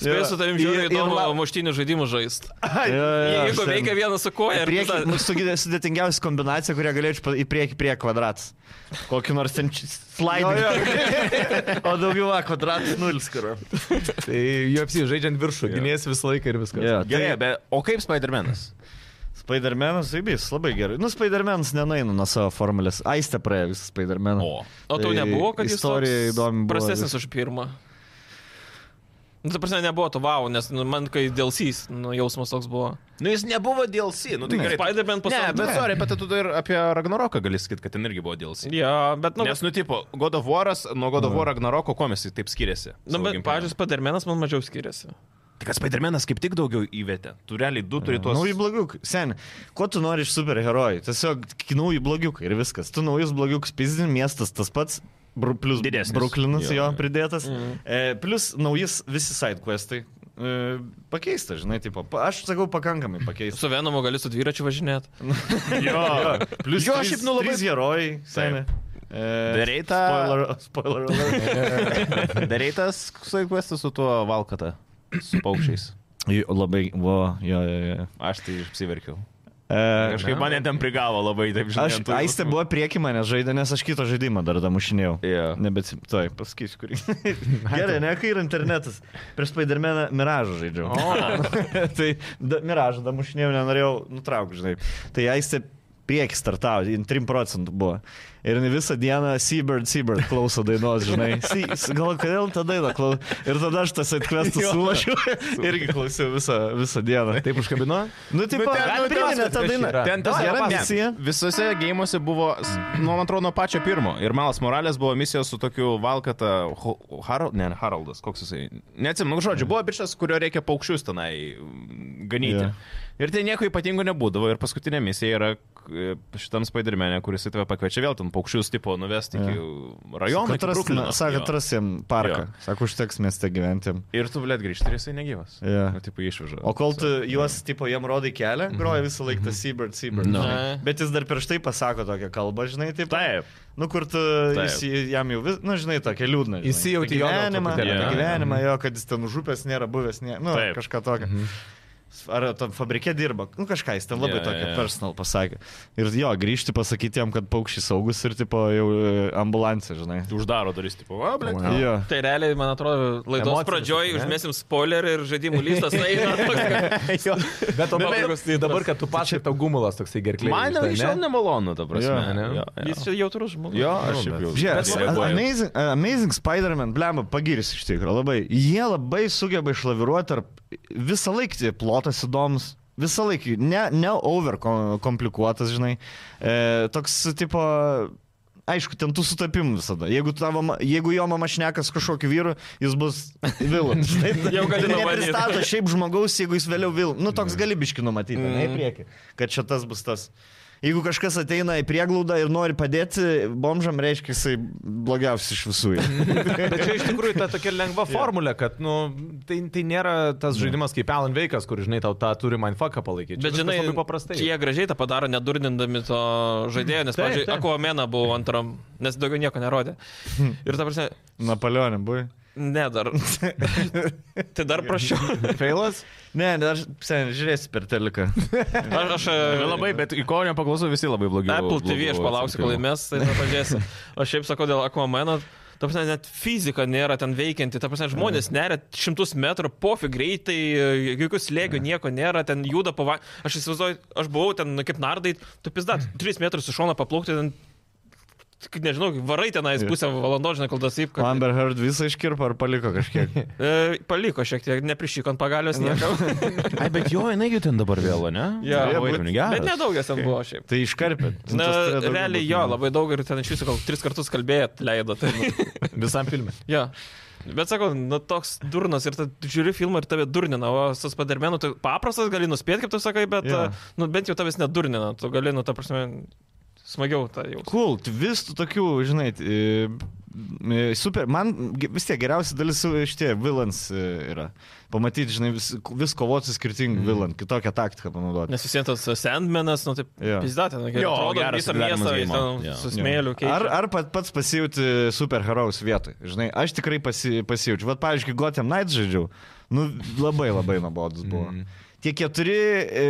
Speaker 3: Spėjau su tavim žiūrėjau
Speaker 2: Ir- ir
Speaker 3: įdomu
Speaker 2: la-
Speaker 3: muštinių žaidimų žaisti.
Speaker 2: Jo, jo,
Speaker 3: Jeigu
Speaker 2: aš ten-
Speaker 3: veikia vienas su koja ir
Speaker 2: Priekį,
Speaker 3: kita-
Speaker 2: mūsų sugydė- sudėtingiausia kombinacija, kurią galėčiau pa- į priekį prie kvadratas. Kokį nors ten slaidą. O daugiau A kvadratas. nulis, kur.
Speaker 4: Tai UFC žaidžiant viršų,
Speaker 2: Jo.
Speaker 4: ginies visą laiką ir viskas.
Speaker 2: Jo.
Speaker 1: Gerai,
Speaker 2: tai-
Speaker 1: bet o kaip Spider-Man'as?
Speaker 2: Spider-Man'as, įbys, labai gerai. Nu, Spider-Man'as nenaina nuo savo formulės. Aistė praėjo visą Spider-Man'ą.
Speaker 1: O.
Speaker 3: O tau
Speaker 2: Tai
Speaker 3: nebuvo, kad jis
Speaker 2: istorija
Speaker 3: toks
Speaker 2: įdomi buvo
Speaker 3: Prastesnis
Speaker 2: vis-
Speaker 3: už pirmą. Nu, ta prasme, nebuvo to wow, nes nu, man kai dėl sys, nu, jausmas toks buvo.
Speaker 1: Nu jis nebuvo DLC, nu tai
Speaker 2: Ne.
Speaker 1: gerai.
Speaker 3: Spider-Man
Speaker 1: Ne,
Speaker 3: pasaulyje.
Speaker 1: bet sorry, bet tu dar apie Ragnaroką gali sakyti, kad ten irgi buvo DLC.
Speaker 3: Jo, bet,
Speaker 1: Nu,
Speaker 3: nu,
Speaker 1: Nes, nu, tipo, God of War'as nuo God of War Ragnaroko komisai taip skiriasi.
Speaker 3: nu,
Speaker 1: savo
Speaker 3: bet
Speaker 1: gameplayu.
Speaker 3: pažiūrėjus, padarmenas man mažiau skiriasi.
Speaker 1: Tik kad Spider-Man'as kaip tik daugiau įvietė. Tu realiai du turi tuos...
Speaker 2: Nu, Nauji blogiukai. Sen, ko tu nori iš superherojų? Tiesiog tik nauji blogiukai ir viskas. Tu naujus blogiukus pizdin, miestas tas pats. Bru, plus
Speaker 1: Didesnis.
Speaker 2: Bruklinas
Speaker 1: Jo, Mhm.
Speaker 2: jo, jo
Speaker 1: jo.
Speaker 2: pridėtas. Mm. E, plus naujas visi sidequestai. E, pakeista, žinai, tipo, pa- aš sakau pakankamai pakeista.
Speaker 3: Su Venomu gali su dviračiu važinėti.
Speaker 1: Jo,
Speaker 2: Plus
Speaker 1: jo šiaip nu labai...
Speaker 2: Trys herojai, seniai.
Speaker 1: Darei tą-
Speaker 2: Spoiler, spoiler alert.
Speaker 1: Darai tas saikvestas su tuo valkata, su paukščiais.
Speaker 2: Jo, labai, vo, jo, jo, jo.
Speaker 1: Aš tai apsiverkiau.
Speaker 2: E,
Speaker 1: Kažkaip mane ten prigavo labai, taip žinai.
Speaker 2: Aš, Aistė buvo prieki mane žaidė, nes aš kito žaidimą dar damušinėjau.
Speaker 1: Jo.
Speaker 2: Nebet, toj, pasakysiu, kurį. Gerai, ne, kai yra internetas. Prieš Spidermeną Miražą žaidžiau. tai da, Miražą damušinėjau, nenorėjau nutraukti, žinai. Tai Aistė prieki startavo, jin 3 procentų buvo. Ir jinai visą dieną Seabird, Seabird klauso dainos, žinai. Si- s- Gal kodėl tą dainą klauso? Ir tada aš tas atkvestų
Speaker 4: Jo.
Speaker 2: suvažiu. Irgi klausiau visą, visą dieną. Tai,
Speaker 4: Taip užkabino?
Speaker 2: Nu, tai
Speaker 4: Nu, ten, nu,
Speaker 2: man
Speaker 4: ten
Speaker 2: priminė tą
Speaker 4: viskas
Speaker 2: dainą.
Speaker 4: yra.
Speaker 1: Ten tas
Speaker 2: Ai,
Speaker 1: geras
Speaker 2: papasakok.
Speaker 1: misija. Visose gėjimuose buvo, s- nu, man atrodo, nuo pačio pirmo. Ir Malas Morales buvo misijos su tokiu Valkata Ho- Harold, ne, Haroldas, koks jisai. Neatsimenu, nu, žodžiu, buvo bičias, kurio reikia paukščius tenai mm, ganyti.
Speaker 2: Jo.
Speaker 1: Yeah. Ir tai nieko ypatingo nebūdavo. Ir paskutinė misija yra k- e, šitam Spidermenė, kuris į tave pakviečia vėl ten paukščius, tipo, nuvesti yeah. iki rajono. iki Bruklino.
Speaker 2: Sako,
Speaker 1: Jo.
Speaker 2: atrasim parką.
Speaker 1: Jo.
Speaker 2: Sako, užteks mieste gyventi.
Speaker 1: Ir tu, blėt, grįžti ir jisai negyvas.
Speaker 2: Jo.
Speaker 1: Nu, tipo, išveža.
Speaker 2: O kol tu juos, tipo, jam rodai kelią, groja visą laiką tas Seabird, Seabird.
Speaker 1: Mhm. No.
Speaker 2: žinai. Bet jis dar prieš tai pasako tokią kalbą, žinai, taip.
Speaker 1: Taip.
Speaker 2: Nu, kur tu
Speaker 1: Taip.
Speaker 2: jis, jam jau vis, nu, žinai, tokia liūdna. žinai.
Speaker 4: Įsijauti
Speaker 2: Apie
Speaker 4: jo gal
Speaker 2: gyvenimą,
Speaker 4: truputėlį,
Speaker 2: apie
Speaker 1: jo.
Speaker 2: gyvenimą jo, kad jis ten užupęs nėra buvęs, nė,
Speaker 1: Mhm.
Speaker 2: nu,
Speaker 1: Taip. Mhm.
Speaker 2: kažką tokio. Ar tam fabrike dirba, nu kažką jis ten labai
Speaker 1: Jo,
Speaker 2: tokio
Speaker 1: jo.
Speaker 2: personal pasakė. Ir jo, grįžti pasakyti jam, kad paukščiai saugus ir tipo jau e, ambulansė, žinai.
Speaker 1: Uždaro duris, tipo, o, blėt.
Speaker 4: Wow.
Speaker 2: Jo.
Speaker 3: Tai realiai, man atrodo, laidos
Speaker 4: Emocinis
Speaker 3: pradžioj
Speaker 4: toks, ne?
Speaker 3: užmėsim spoilerį ir žaidimų listas. Tai yra toks,
Speaker 4: Bet o pabaigos, tai dabar, kad tu pačiai tau gumulas toksai gerklė.
Speaker 1: Man jau iš šiol nemalonu, ta prasme.
Speaker 2: Jo,
Speaker 1: ne?
Speaker 4: ne?
Speaker 1: Jo, Nu,
Speaker 3: kad
Speaker 1: jo.
Speaker 3: jis čia jautrus žmogus.
Speaker 1: Jo, aš jau jau.
Speaker 2: Žiūrėk, amazing, amazing Spider-Man, blemba, pagiris iš tikrųjų, labai. Jie labai sugeba išlaviruoti tarp visą laiką tie plotas įdomus. Visą laiką, ne, ne over kom- komplikuotas, žinai. E, toks, tipo, aišku, ten tų sutapimų visada. Jeigu, tavo, ma- jeigu jo mama šnekas kažkokiu vyru, jis bus vilas.
Speaker 3: Jau gali Mhm. numanyt.
Speaker 2: Nepristato šiaip žmogaus, jeigu jis vėliau vil. Nu, toks galibiški numatyti, mm.
Speaker 3: Mhm.
Speaker 2: ne į priekį, kad čia tas bus tas. Jeigu kažkas ateina į prieglaudą ir nori padėti, bomžam reiškia, jisai blogiausias iš visų. yra.
Speaker 4: Bet čia iš tikrųjų ta tokia lengva formulė, kad, nu, tai, tai nėra tas žaidimas kaip Alan Veikas, kur, žinai, tau tą turi mindfucką palaikyti. Čia
Speaker 3: Bet žinai,
Speaker 4: viskas labai paprastai.
Speaker 3: jie gražiai tą padaro, nedurnindami to žaidėjo, nes,
Speaker 4: Taip,
Speaker 3: pavyzdžiui,
Speaker 4: taip.
Speaker 3: Aquamena buvo antram, nes daugiau nieko nerodė. Ir ta prasme,
Speaker 2: Napoleonė, buvai.
Speaker 3: ne dar. tai dar prašiau.
Speaker 4: Failas?
Speaker 2: Ne, ne, aš sen, žiūrėsiu per teliką.
Speaker 3: Aš, aš
Speaker 1: Labai, bet į ko nepaklausau, visi labai blogi.
Speaker 3: Apple TV aš palauksiu, kol laimės, tai tada pažiūrėsiu. Aš šiaip sakau dėl Aquamena. Ta prasme, net fizika nėra ten veikianti, ta prasme, žmonės neria šimtus metrų, pofi greitai, jokių slėgių, nieko nėra, ten juda pava... Aš įsivaizduoju, aš buvau ten, nu, kaip nardai, tu pizdat, 3 metrus iš šono paplaukti, ten, tik nežinau, varai tenais pusę valandos, žinai, kol tas įpka.
Speaker 2: Amber Heard visą iškirpo ar paliko kažkiek.
Speaker 3: E, paliko šiek tiek, neprišykant pagalios nieko.
Speaker 1: Ai, bet jo, jinai jau ten dabar vėl, ne?
Speaker 3: Jo.
Speaker 1: Turėjo būt nu, geras.
Speaker 3: Bet nedaugas ten buvo šiaip.
Speaker 2: Tai iškarpė.
Speaker 3: Na, realiai jo, labai daug ir ten iš viso gal tris kartus kalbėjot, leido. Tai.
Speaker 4: Visam filmui.
Speaker 3: Jo. Bet sakau, nu toks durnas ir ta, tu žiūri filmą ir tave durnina, o su spadarmenu tai paprastas, gali nuspėti, kaip tu sakai, bet
Speaker 2: Jo.
Speaker 3: yeah. nu, bent jau tavęs nedurnina, tu gali, nu, ta prasme, smagiau tą jau.
Speaker 2: Cool, tai vis tų tokių, žinai, t- e, e, super, man ge- vis tiek geriausia dalis su- šitie vilans yra. Pamatyti, žinai, vis, vis kovoti su skirtingu mm. vilan, kitokią taktiką panaudoti.
Speaker 3: Nes visiems tas Sandmanas, nu taip,
Speaker 2: Jo.
Speaker 3: yeah. pizdatė, nu,
Speaker 1: Jo,
Speaker 3: atrodo,
Speaker 1: geras
Speaker 3: visą
Speaker 1: atidarymas
Speaker 3: miestą jis
Speaker 1: geimo.
Speaker 3: ten
Speaker 1: Jo.
Speaker 3: yeah. su smėliu keičia.
Speaker 2: Ar, ar pat, pats pasijauti superherojus vietoj? Žinai, aš tikrai pasi, pasijaučiu. Vat, pavyzdžiui, kai Gotham Knight žaidžiau, nu labai labai nuobodus buvo. Mm. Tie keturi, e,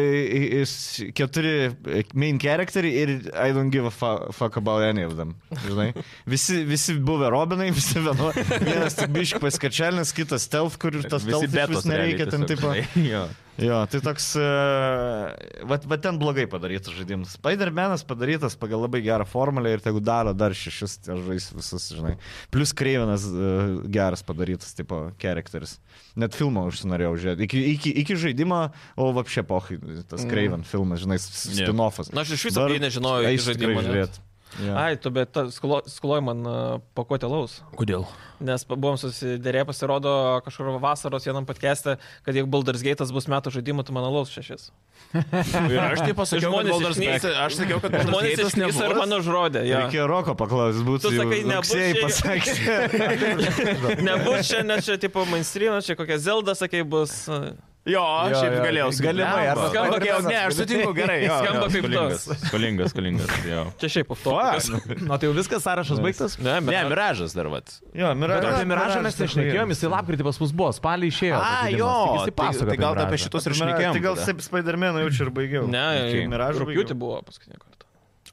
Speaker 2: e, s- keturi e, main characteriai ir I don't give a fu- fuck about any of them. Žinai? Visi, visi buvę Robinai, visi vienu. Vienas tik biškai paskačelnis, kitas stealth, kur ir tas stealth iš vis nereikia ten taip.
Speaker 1: taip.
Speaker 2: Jo, tai toks... Uh, vat, vat ten blogai padarytas žaidimas. Spider-Man'as padarytas pagal labai gerą formulę ir tegu daro dar šešis, tai aš žaisiu visus, žinai. Plus Kreivinas uh, geras padarytas, tipo, charakteris. Net filmą užsinorėjau žiūrėti. Iki, iki, iki žaidimo, o apšė pohai, tas
Speaker 3: Mm.
Speaker 2: Kreivin filmas, žinai, s- s-
Speaker 1: Jo.
Speaker 2: spin-offas.
Speaker 3: Na, aš iš viso apie jį nežinojau iki žaidimo net.
Speaker 2: Yeah.
Speaker 3: Ai, tu bet ta- skulo- skuloji man a, pakuotę laus.
Speaker 1: Kodėl?
Speaker 3: Nes pa- buvom susidėrėję, pasirodo kažkur vasaros vienam patkesti, kad jeigu Baldur's Gate'as bus metų žaidimų, tu man alaus šešis.
Speaker 1: Ir aš tai pasakiau, kad
Speaker 3: Žmonės
Speaker 1: Baldur's
Speaker 3: išnys-
Speaker 1: Gate- aš sakiau, kad
Speaker 3: Žmonės iš
Speaker 1: Baldur's
Speaker 3: Niso ir
Speaker 1: Gate'as
Speaker 3: mano žrodė.
Speaker 2: Ja. Reikėjo roko paklausti, būtų
Speaker 3: Tu sakai, nebus
Speaker 2: rugsėjį
Speaker 3: čia-
Speaker 2: pasakyti.
Speaker 3: Nebus čia, nes čia tipo mainstream, čia kokia Zelda, sakai, bus. a,
Speaker 1: Jo, aš
Speaker 2: Jo,
Speaker 1: šiaip
Speaker 2: jo,
Speaker 1: galėjau. sakyt,
Speaker 2: galimai,
Speaker 1: blemba.
Speaker 2: arba-
Speaker 1: Skamba kaip, ne, aš sutinku, gerai. jo,
Speaker 3: Skamba
Speaker 1: jo,
Speaker 3: kaip
Speaker 1: skolingas. Skolingas, skolingas, jo.
Speaker 3: Čia šiaip aptokas.
Speaker 4: Na tai jau viskas, sąrašas baigtas.
Speaker 3: Ne,
Speaker 1: Ne,
Speaker 3: bet.
Speaker 1: miražas dar vat.
Speaker 2: Jo, miražas.
Speaker 4: Bet apie Miražą mes nešnekėjom, jisai lapkritį pas mus buvo, spalį išėjo. tas
Speaker 1: A,
Speaker 4: žaidimas,
Speaker 1: jo,
Speaker 4: tik
Speaker 1: tai-
Speaker 4: jisai pasakojo.
Speaker 1: tai gal apie šitus ir šnekėjom.
Speaker 2: Tai gal
Speaker 1: tada.
Speaker 2: taip Spider-Man jau čia ir baigiau.
Speaker 3: Ne,
Speaker 1: Iki
Speaker 2: Miražo
Speaker 3: Rūpjūtį buvo paskutinį kartą.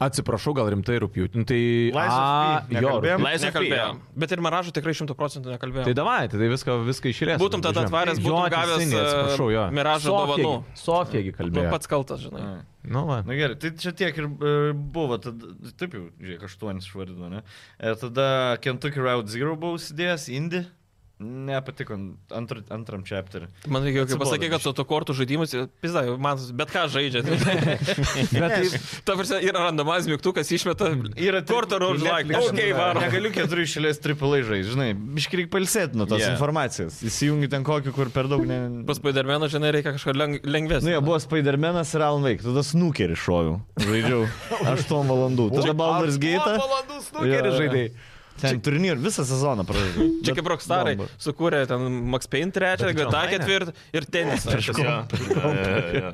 Speaker 4: Atsiprašau, gal rimtai rūpjūtį. Nu, Tai...
Speaker 2: Lies of P
Speaker 4: A, jo,
Speaker 2: nekalbėjom.
Speaker 1: Lies of P,
Speaker 3: Nekalbėjom. Bet ir maražų tikrai šimtų procentų nekalbėjom.
Speaker 4: Tai davai, tai viską, viską išėlės.
Speaker 3: Būtum tada atvaręs, būtum gavęs,
Speaker 4: Atsiprašau, jo.
Speaker 3: e, Miražo
Speaker 4: Sofijagi-
Speaker 3: dovanų.
Speaker 4: Sofijagi
Speaker 3: Nu,
Speaker 4: kalbėjo.
Speaker 3: pats kaltas, žinai.
Speaker 2: Mm.
Speaker 4: Nu, va.
Speaker 2: Na gerai, tai čia tiek ir e, buvo, tada, taip jau, žiūrėk, aštuonis išvardino, ne? Ir tada Kentucky Route Zero buvau sudėjęs, Indy, nepatiko antr, antram chapterį.
Speaker 3: Man reikia, kai
Speaker 2: Atsibodo
Speaker 3: pasakė, kad su to kortų žaidimus, pizda, man bet ką žaidžia. tai
Speaker 4: Bet tai
Speaker 3: Ta prasme, yra randomas mygtukas, išmeta
Speaker 2: Yra tri-
Speaker 3: kortų rožlaik.
Speaker 2: Netflix-
Speaker 3: Ok, varo.
Speaker 2: Negaliu keturių išėlės triple žaisti, žinai, biškai reikia palsėti nuo tos
Speaker 1: Yeah.
Speaker 2: yeah. informacijos. Įsijungi ten kokį, kur per daug ne...
Speaker 3: Pas Spidermeną, žinai, reikia kažką leng
Speaker 2: Nu,
Speaker 3: lengvesnio.
Speaker 2: jie buvo Spider-Man'as ir Alan Wake, tada snukerį šoviau, žaidžiau 8 valandų, tada Baldur's Gate.
Speaker 4: Valandų
Speaker 2: Jo,
Speaker 4: snukerį
Speaker 2: jo.
Speaker 4: žaidėjai.
Speaker 2: Ten turnyrą visą sezoną pražaidžiau.
Speaker 3: Čia kaip rockstarai
Speaker 2: Bomba.
Speaker 3: sukūrė ten Max Payne trečią,
Speaker 4: Bet tai čia
Speaker 3: GTA
Speaker 4: online?
Speaker 3: ketvirtą ir tenisą.
Speaker 1: Jo, jo, jo, jo.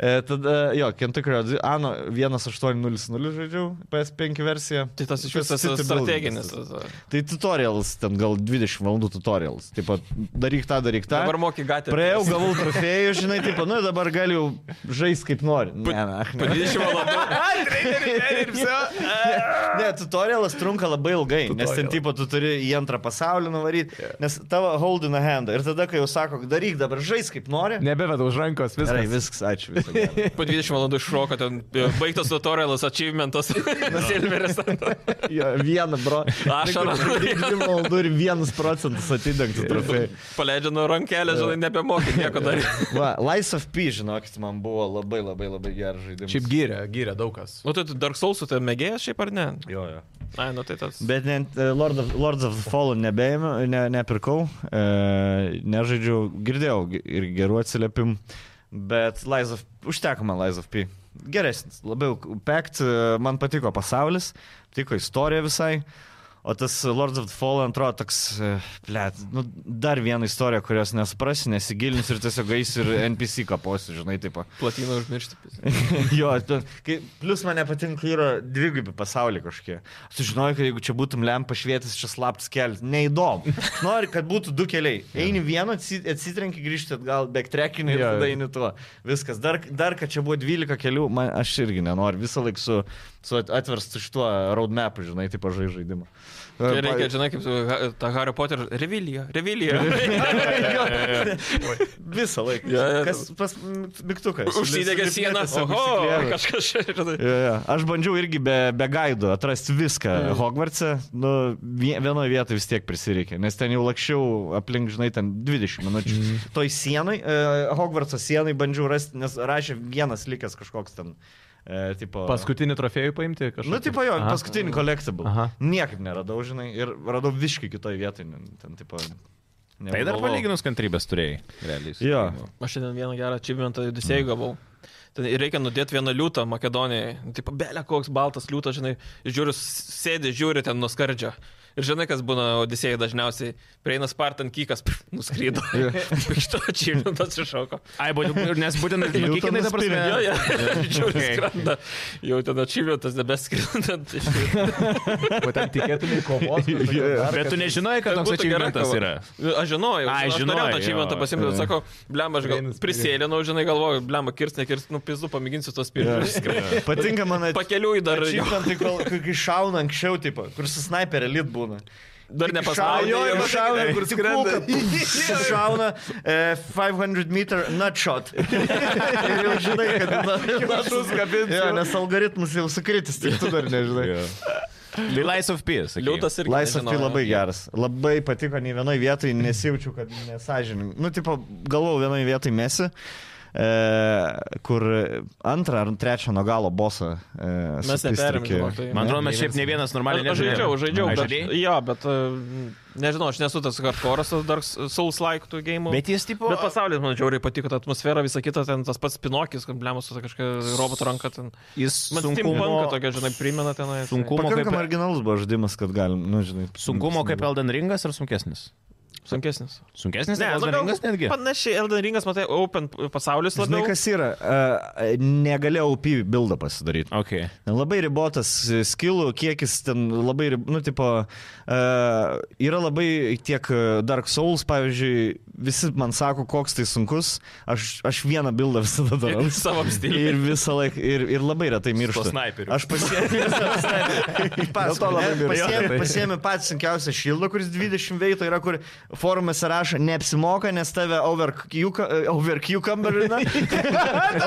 Speaker 2: E, tada, jo, Kentucky Road, Ano 1800 žaidžiau, PS5 versiją.
Speaker 3: Tai tas iš
Speaker 2: Kas
Speaker 3: viso
Speaker 2: City
Speaker 3: strateginis.
Speaker 2: Building Tai tutorials, ten gal 20 valandų tutorials. Taip pat daryk tą, daryk tą.
Speaker 3: Dabar moki gatvę.
Speaker 2: Praėjau, gavau trofėjų, žinai, taip, nu ir dabar galiu žaisti kaip nori. Ne,
Speaker 3: Po
Speaker 2: ne,
Speaker 3: 20 valandų.
Speaker 2: ne, tutorialas trunka labai ilgai, tutorial. nes ten, tipo, tu turi į antrą pasaulį nuvaryti, nes tavo holdina hand. Ir tada, kai jau sako, daryk dabar žaisti kaip nori.
Speaker 4: Nebevedau už rankos,
Speaker 2: Gerai,
Speaker 4: viskas.
Speaker 2: viskas, ačiū. Viso, gero.
Speaker 3: Po 20 valandų iššoka, ten e, baigtas tutorialas, achievementas, silveris.
Speaker 2: Jo, vieną, bro.
Speaker 3: Ašarą.
Speaker 2: Dvi valandų ir vienas procentas atidengtų trofėjų.
Speaker 3: Paleidžia nuo rankelės, žinai, nebemokė nieko daryti.
Speaker 2: Va, Lies of P, žinokit, man buvo labai labai labai geras žaidimas.
Speaker 4: Šiaip gyrė, gyrė daug kas.
Speaker 3: Nu, tai tu Dark Souls'ų tai mėgėjas šiaip ar ne?
Speaker 2: Jo, jo.
Speaker 3: Ai, nu tai tas.
Speaker 2: Bet net e, Lord of, Lords of the Fallen nebeėmiau, ne, nepirkau, e, nežaidžiau, girdėjau gi- ir gerų atsiliepimų, bet Lies of, užteko man Lies of P. Geresnis, labiau pekt, e, man patiko pasaulis, patiko istorija visai. O tas Lords of the Fallen atrodo toks, e, blėt, nu, dar viena istorija, kurios nesuprasi, nesigilins ir tiesiog eis ir NPC kaposi, žinai, taip.
Speaker 3: Platiną užmiršti.
Speaker 2: jo, tu, kai, plus man nepatinka yra dvigubi pasauliai kažkokie. Sužinojau, kad jeigu čia būtum lempa švietis, čia slaptas kelias. Neįdomu. Nori, kad būtų du keliai. Eini vienu, atsi- atsitrenki, grįžti atgal, backtrekinį ir
Speaker 4: Jo,
Speaker 2: tada
Speaker 4: jo.
Speaker 2: eini tuo. Viskas. Dar, dar kad čia buvo 12 kelių, man, aš irgi nenoriu. Visą laiką su, su at- atverstu šituo roadmapu, žinai, tai pažai žaidimą.
Speaker 3: Tai reikia, žinai, kaip su ha- ta Harry Potter. Revilija, revilija.
Speaker 2: Visą laiką.
Speaker 3: Jo, jo.
Speaker 2: Kas pas mygtukas.
Speaker 3: Užsidegė sieną. Oho, kažkas čia. žinai.
Speaker 2: Jo, jo. Aš bandžiau irgi be, be gaidų atrasti viską mm. Hogwarts'e, nu, vie- vienoj vietoje vis tiek prisireikė, nes ten jau lakščiau aplink, žinai, ten 20 minučių. Mm.
Speaker 4: Mhm.
Speaker 2: Toj sienai, uh, Hogwarts'o sienai bandžiau rasti, nes rašė vienas likęs kažkoks ten, uh, tipo...
Speaker 4: Paskutinį trofėjų paimti kažkokį.
Speaker 2: Nu, tipo jo,
Speaker 4: Aha.
Speaker 2: paskutinį collectible. Aha.
Speaker 4: Aha.
Speaker 2: Niekaip neradau, žinai, ir radau visiškai kitoje vietoje. Ten, tipo,
Speaker 1: Tai dar
Speaker 2: nepagalvojau.
Speaker 1: palyginus kantrybės turėjai. Realiai. su
Speaker 2: Jo.
Speaker 1: žaidimu.
Speaker 3: Aš šiandien vieną gerą achievementą Odisėjų gavau. Ten ir reikia nudėti vieną liūtą Makedonijai. Taip, belė koks baltas liūtas, žinai, žiūri, sėdi, žiūri ten nuskardžia. Ir žinai, kas būna Odisėjai dažniausiai. Prieina Spartan Kikas, pff, nuskrydo. Iš to Čilinas iššoko.
Speaker 1: Ai, būtent, nes būtent
Speaker 2: Jau
Speaker 1: kikinai
Speaker 2: ten
Speaker 1: ta prasme.
Speaker 2: nuspyrė,
Speaker 3: Jo, jo, žiūri,
Speaker 1: Okay.
Speaker 3: skrenda. Jau ten Čilinas nebeskrenda.
Speaker 4: Bet ten tikėtumai kovos.
Speaker 2: Jo, jo.
Speaker 1: Bet tu nežinai, kad toks achievement yra.
Speaker 3: Aš žinojau,
Speaker 1: Ai,
Speaker 3: aš
Speaker 1: žinojai,
Speaker 3: norėjau tą
Speaker 1: jo.
Speaker 3: čiliną pasimti, bet sakau, blem, aš gal
Speaker 4: Prieina,
Speaker 3: prisėlinau, žinai, galvoju, blem, kirs, nekirs, nu pizu, pamėginsiu tos pirmus.
Speaker 2: Patinka man
Speaker 3: Pakeliui dar, jo,
Speaker 2: achievement, tai kai, kai šauna anksčiau, tipo, kur su sniper elit būna.
Speaker 3: dar
Speaker 2: Šauna,
Speaker 3: nepasauliu.
Speaker 2: ir šauna, kur skrenda. Šauna e, 500 meter nut shot. ir jau žinai, kad
Speaker 4: Kibatus kabins.
Speaker 2: Ja, nes algoritmas jau sukritis, tai tu dar nežinai.
Speaker 1: Tai Lies of Peace.
Speaker 3: Liūtas ir
Speaker 2: Laisvas tai labai geras. Labai patiko, nei vienoje vietoje nesijaučiu, kad nesažininkai. Nu, tipo, galvau vienoje vietoje mesi, e, kur antrą ar trečią nuo galo bosą. E,
Speaker 3: Mes neperėmėm, žinok, tai-
Speaker 1: Man atrodo, mes šiaip ne vienas normaliai
Speaker 3: Aš žaidžiau, žaidžiau,
Speaker 1: Ai,
Speaker 3: bet,
Speaker 1: žaidei?
Speaker 3: jo, bet e, nežinau, aš nesu tas hardcore'as, tas Dark Souls-like tų gėjimų.
Speaker 1: Bet jis tipo...
Speaker 3: Bet pasaulis, man žiauriai patiko ta atmosfera, visa kita, ten tas pats Pinokis, kambliamas su ta kažkokia roboto ranka. Ten.
Speaker 1: Jis
Speaker 3: Man Steam
Speaker 1: Nu,
Speaker 3: Punk tokia, žinai, primena tenai.
Speaker 1: Sunkumo
Speaker 2: Pakankamai
Speaker 1: kaip,
Speaker 2: marginalus buvo žaidimas, kad galim, nu, žinai.
Speaker 1: sunkumo kaip Elden Ringas ar sunkesnis?
Speaker 3: Sunkesnis.
Speaker 1: Sunkesnis
Speaker 3: Ne,
Speaker 1: negu Elden
Speaker 3: labiau-
Speaker 1: Ringas netgi?
Speaker 3: Panašiai, Elden Ringas, matai, Open pasaulis
Speaker 2: Žinai,
Speaker 3: labiau.
Speaker 2: kas yra, e, negalėjau UP bildą pasidaryti.
Speaker 1: Ok.
Speaker 2: Labai ribotas e, skilų kiekis ten labai, rib- nu, tipo, e, yra labai tiek e, Dark Souls, pavyzdžiui, visi man sako, koks tai sunkus, aš, aš vieną bildą visada darau.
Speaker 3: Savo stilių.
Speaker 2: Ir visą laiką, ir, ir labai retai mirštu.
Speaker 1: snaiperiu.
Speaker 2: Aš pasiėmiau, pasiėmiau, pasiėmiau patį sunkiausią šildą, kuris 20 veito yra, kur forumose rašo, neapsimoka, nes tave overcucumberina.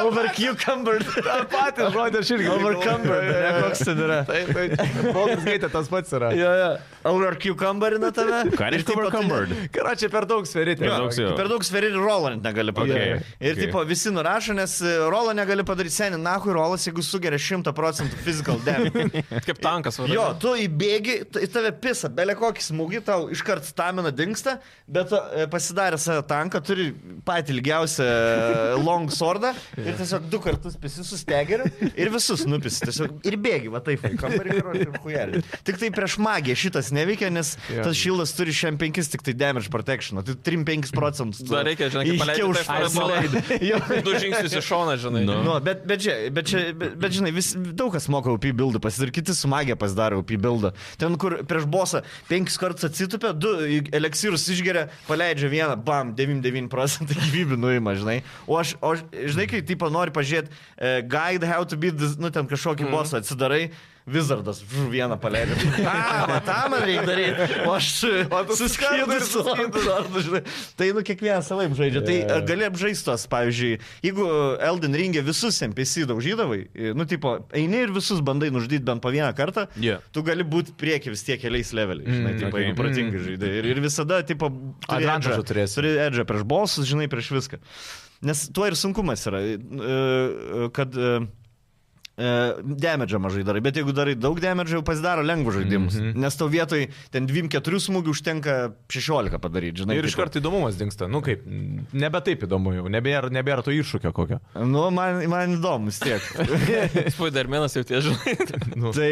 Speaker 2: Overcucumberina.
Speaker 4: Patys žodžiai aš irgi.
Speaker 2: Overcumberina, koks ten yra.
Speaker 4: Taip, taip. Baldur's Gate tas pats yra.
Speaker 2: Jo, jo. Overcucumberina tave.
Speaker 1: Ką
Speaker 2: Ir
Speaker 1: reiškia
Speaker 2: tipo, tu-
Speaker 1: overcumbered?
Speaker 4: Karai, čia per daug sveriti.
Speaker 1: Per daug sveriti. Jo.
Speaker 2: Per daug sverį Roland negali padaryti.
Speaker 1: Okay,
Speaker 2: Ir
Speaker 1: okay.
Speaker 2: tipo visi nurašo, nes Roland negali padaryti seniai, nahui Rolas, jeigu sugeria 100 procentų physical damage.
Speaker 3: Kaip tankas, vadinasi.
Speaker 2: Jo, tu įbėgi, t- į tave pisa, belė kokį smūgį, tau iškart stamina dinksta, bet tu, e, pasidarė savo tanką, turi patį ilgiausią e, long sordą ir tiesiog du kartus pisi sustegeriu ir visus nupisi. Tiesiog ir bėgi, va taip, į kambarį ir hujerį. Tik tai prieš magiją šitas neveikia, nes
Speaker 4: Jo.
Speaker 2: tas šildas turi šiam 5 tik tai damage protection, o tai 3-5 procentus. tu
Speaker 3: Dar reikia, žinai, kaip tai
Speaker 2: iškiau
Speaker 3: paleidai, taip,
Speaker 2: užšausi.
Speaker 3: paleidai.
Speaker 2: Jo.
Speaker 3: Du žingsnius į šoną, žinai.
Speaker 2: Nu, bet, bet, čia, bet, čia, bet, bet žinai, vis, daug kas moka UP buildą, pasidar kiti sumagė pasidaro UP buildą. Ten, kur prieš bosą penkis kartus atsitupia, du į- eliksyrus išgeria, paleidžia vieną, bam, 99 procentai gyvybių nuima, žinai. O aš, o aš žinai, kai tipo nori pažiūrėti, uh, guide how to beat, this, nu ten kažkokį mm. bosą atsidarai. Vizardas, žu, vieną paleidžiu. A, va, tą man reikia daryti. O aš suskaidu ir suskaidu. Tai, nu, kiekvieną savaip žaidžia. Tai ar gali apžaisti tos, pavyzdžiui, jeigu Elden Ringė visus NPC daužydavai, nu, tipo, eini ir visus bandai nužudyti bent po vieną kartą,
Speaker 1: Jo.
Speaker 2: tu gali būti prieki vis tiek keliais leveliais, žinai,
Speaker 1: Mm,
Speaker 2: tipo,
Speaker 1: okay.
Speaker 2: jeigu protingai žaidai. Ir, ir visada, tipo, turi
Speaker 4: Advantage'ą
Speaker 2: edge'ą.
Speaker 4: turėsi.
Speaker 2: Turi edžą prieš bosus, žinai, prieš viską. Nes tuo ir sunkumas yra, e, e, kad e, Demedžą mažai darai, bet jeigu darai daug demedžą, jau pasidaro lengvus žaidimus. Mm -hmm. Nes tau vietoj ten 2-4 smūgių užtenka 16 padaryti, žinai.
Speaker 4: Ir
Speaker 2: taip.
Speaker 4: iš karto įdomumas dinksta. Nu kaip, m, nebe taip įdomu jau, nebėra, nebėra to iššūkio kokio.
Speaker 2: Nu, man, man įdomu vis tiek.
Speaker 3: Spoilermenas jau tie, žinai.
Speaker 4: Nu.
Speaker 2: tai,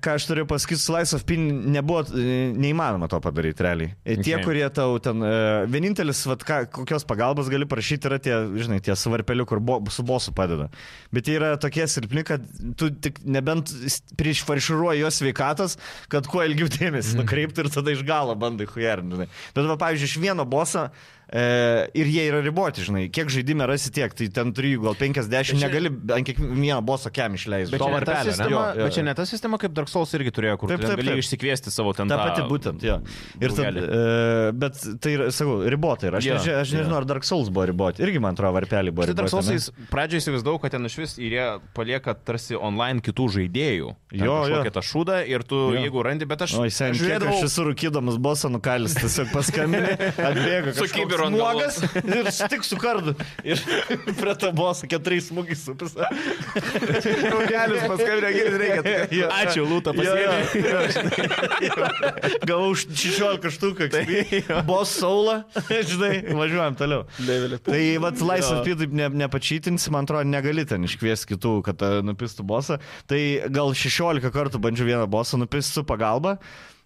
Speaker 2: ką aš turiu pasakyti, su Lies of Pin nebuvo e, neįmanoma to padaryti realiai. E, Tie,
Speaker 1: Okay.
Speaker 2: okay. kurie tau ten, e, vienintelis, vat, ką, kokios pagalbos gali prašyti, yra tie, žinai, tie svarpeliu, kur bo, su bosu padeda. Bet jie yra tokie silpni, kad tu tik nebent s- priešfarširuoji jos veikatos, kad kuo ilgiau dėmesį nukreipti ir tada iš galo bandai hujerninti. Bet, va, pavyzdžiui, iš vieno boso e, ir jie yra riboti, žinai, kiek žaidime rasi tiek, tai ten turi jų gal 50, negali ant kiekvieno boso kem išleisti.
Speaker 1: Bet
Speaker 4: To
Speaker 1: čia, ne ta
Speaker 4: varpelio, ne?
Speaker 1: sistema,
Speaker 2: Jo, jo,
Speaker 1: bet čia
Speaker 2: jo.
Speaker 1: ne ta sistema, kaip Dark Souls irgi turėjo, kur
Speaker 2: Taip,
Speaker 1: taip, taip,
Speaker 2: taip,
Speaker 1: gali
Speaker 2: taip.
Speaker 1: išsikviesti savo ten.
Speaker 2: Ta pati būtent, jo. Ir tad,
Speaker 1: Būgelį.
Speaker 2: e, bet tai, yra, sakau, ribota yra. Aš,
Speaker 1: Jo,
Speaker 2: yeah, neži, aš
Speaker 1: jo.
Speaker 2: nežinau, yeah. ar Dark Souls buvo riboti. Irgi, man atrodo, varpeliai buvo
Speaker 1: Tai Dark
Speaker 2: riboti. ne?
Speaker 1: Soulsais pradžioje įsivaizdavau, kad ten iš vis ir jie palieka tarsi online kitų žaidėjų.
Speaker 2: Jo, jo.
Speaker 1: Kokia ta šūda ir tu,
Speaker 2: Jo.
Speaker 1: jo. jeigu randi, bet aš...
Speaker 2: O, sen,
Speaker 1: aš
Speaker 2: žiūrėdavau...
Speaker 1: žiūrėdavau-
Speaker 2: kiek aš esu rūkydamas bosą nukalis, tiesiog paskambinė, atbėga
Speaker 3: Su kibiru ant
Speaker 2: nuogas ir s- tik su kardu. Ir prie to bosą keturiais smūgiais supisa.
Speaker 4: Kaukelis paskambinė, girdit, reikia.
Speaker 2: Jo.
Speaker 1: Ačiū, Lūta,
Speaker 2: Jo, jo,
Speaker 1: pasiėmė.
Speaker 2: jo, žinai. Gavau už 16 štuką, bos saulą, Tai žinai, važiuojam toliau. Tai vat laisvas pitaip ne, nepačytins, man atrodo, negali ten iškviesti kitų, kad e, nupistų bosą. Tai gal 16 kartų bandžiau vieną bosą nupistų pagalbą.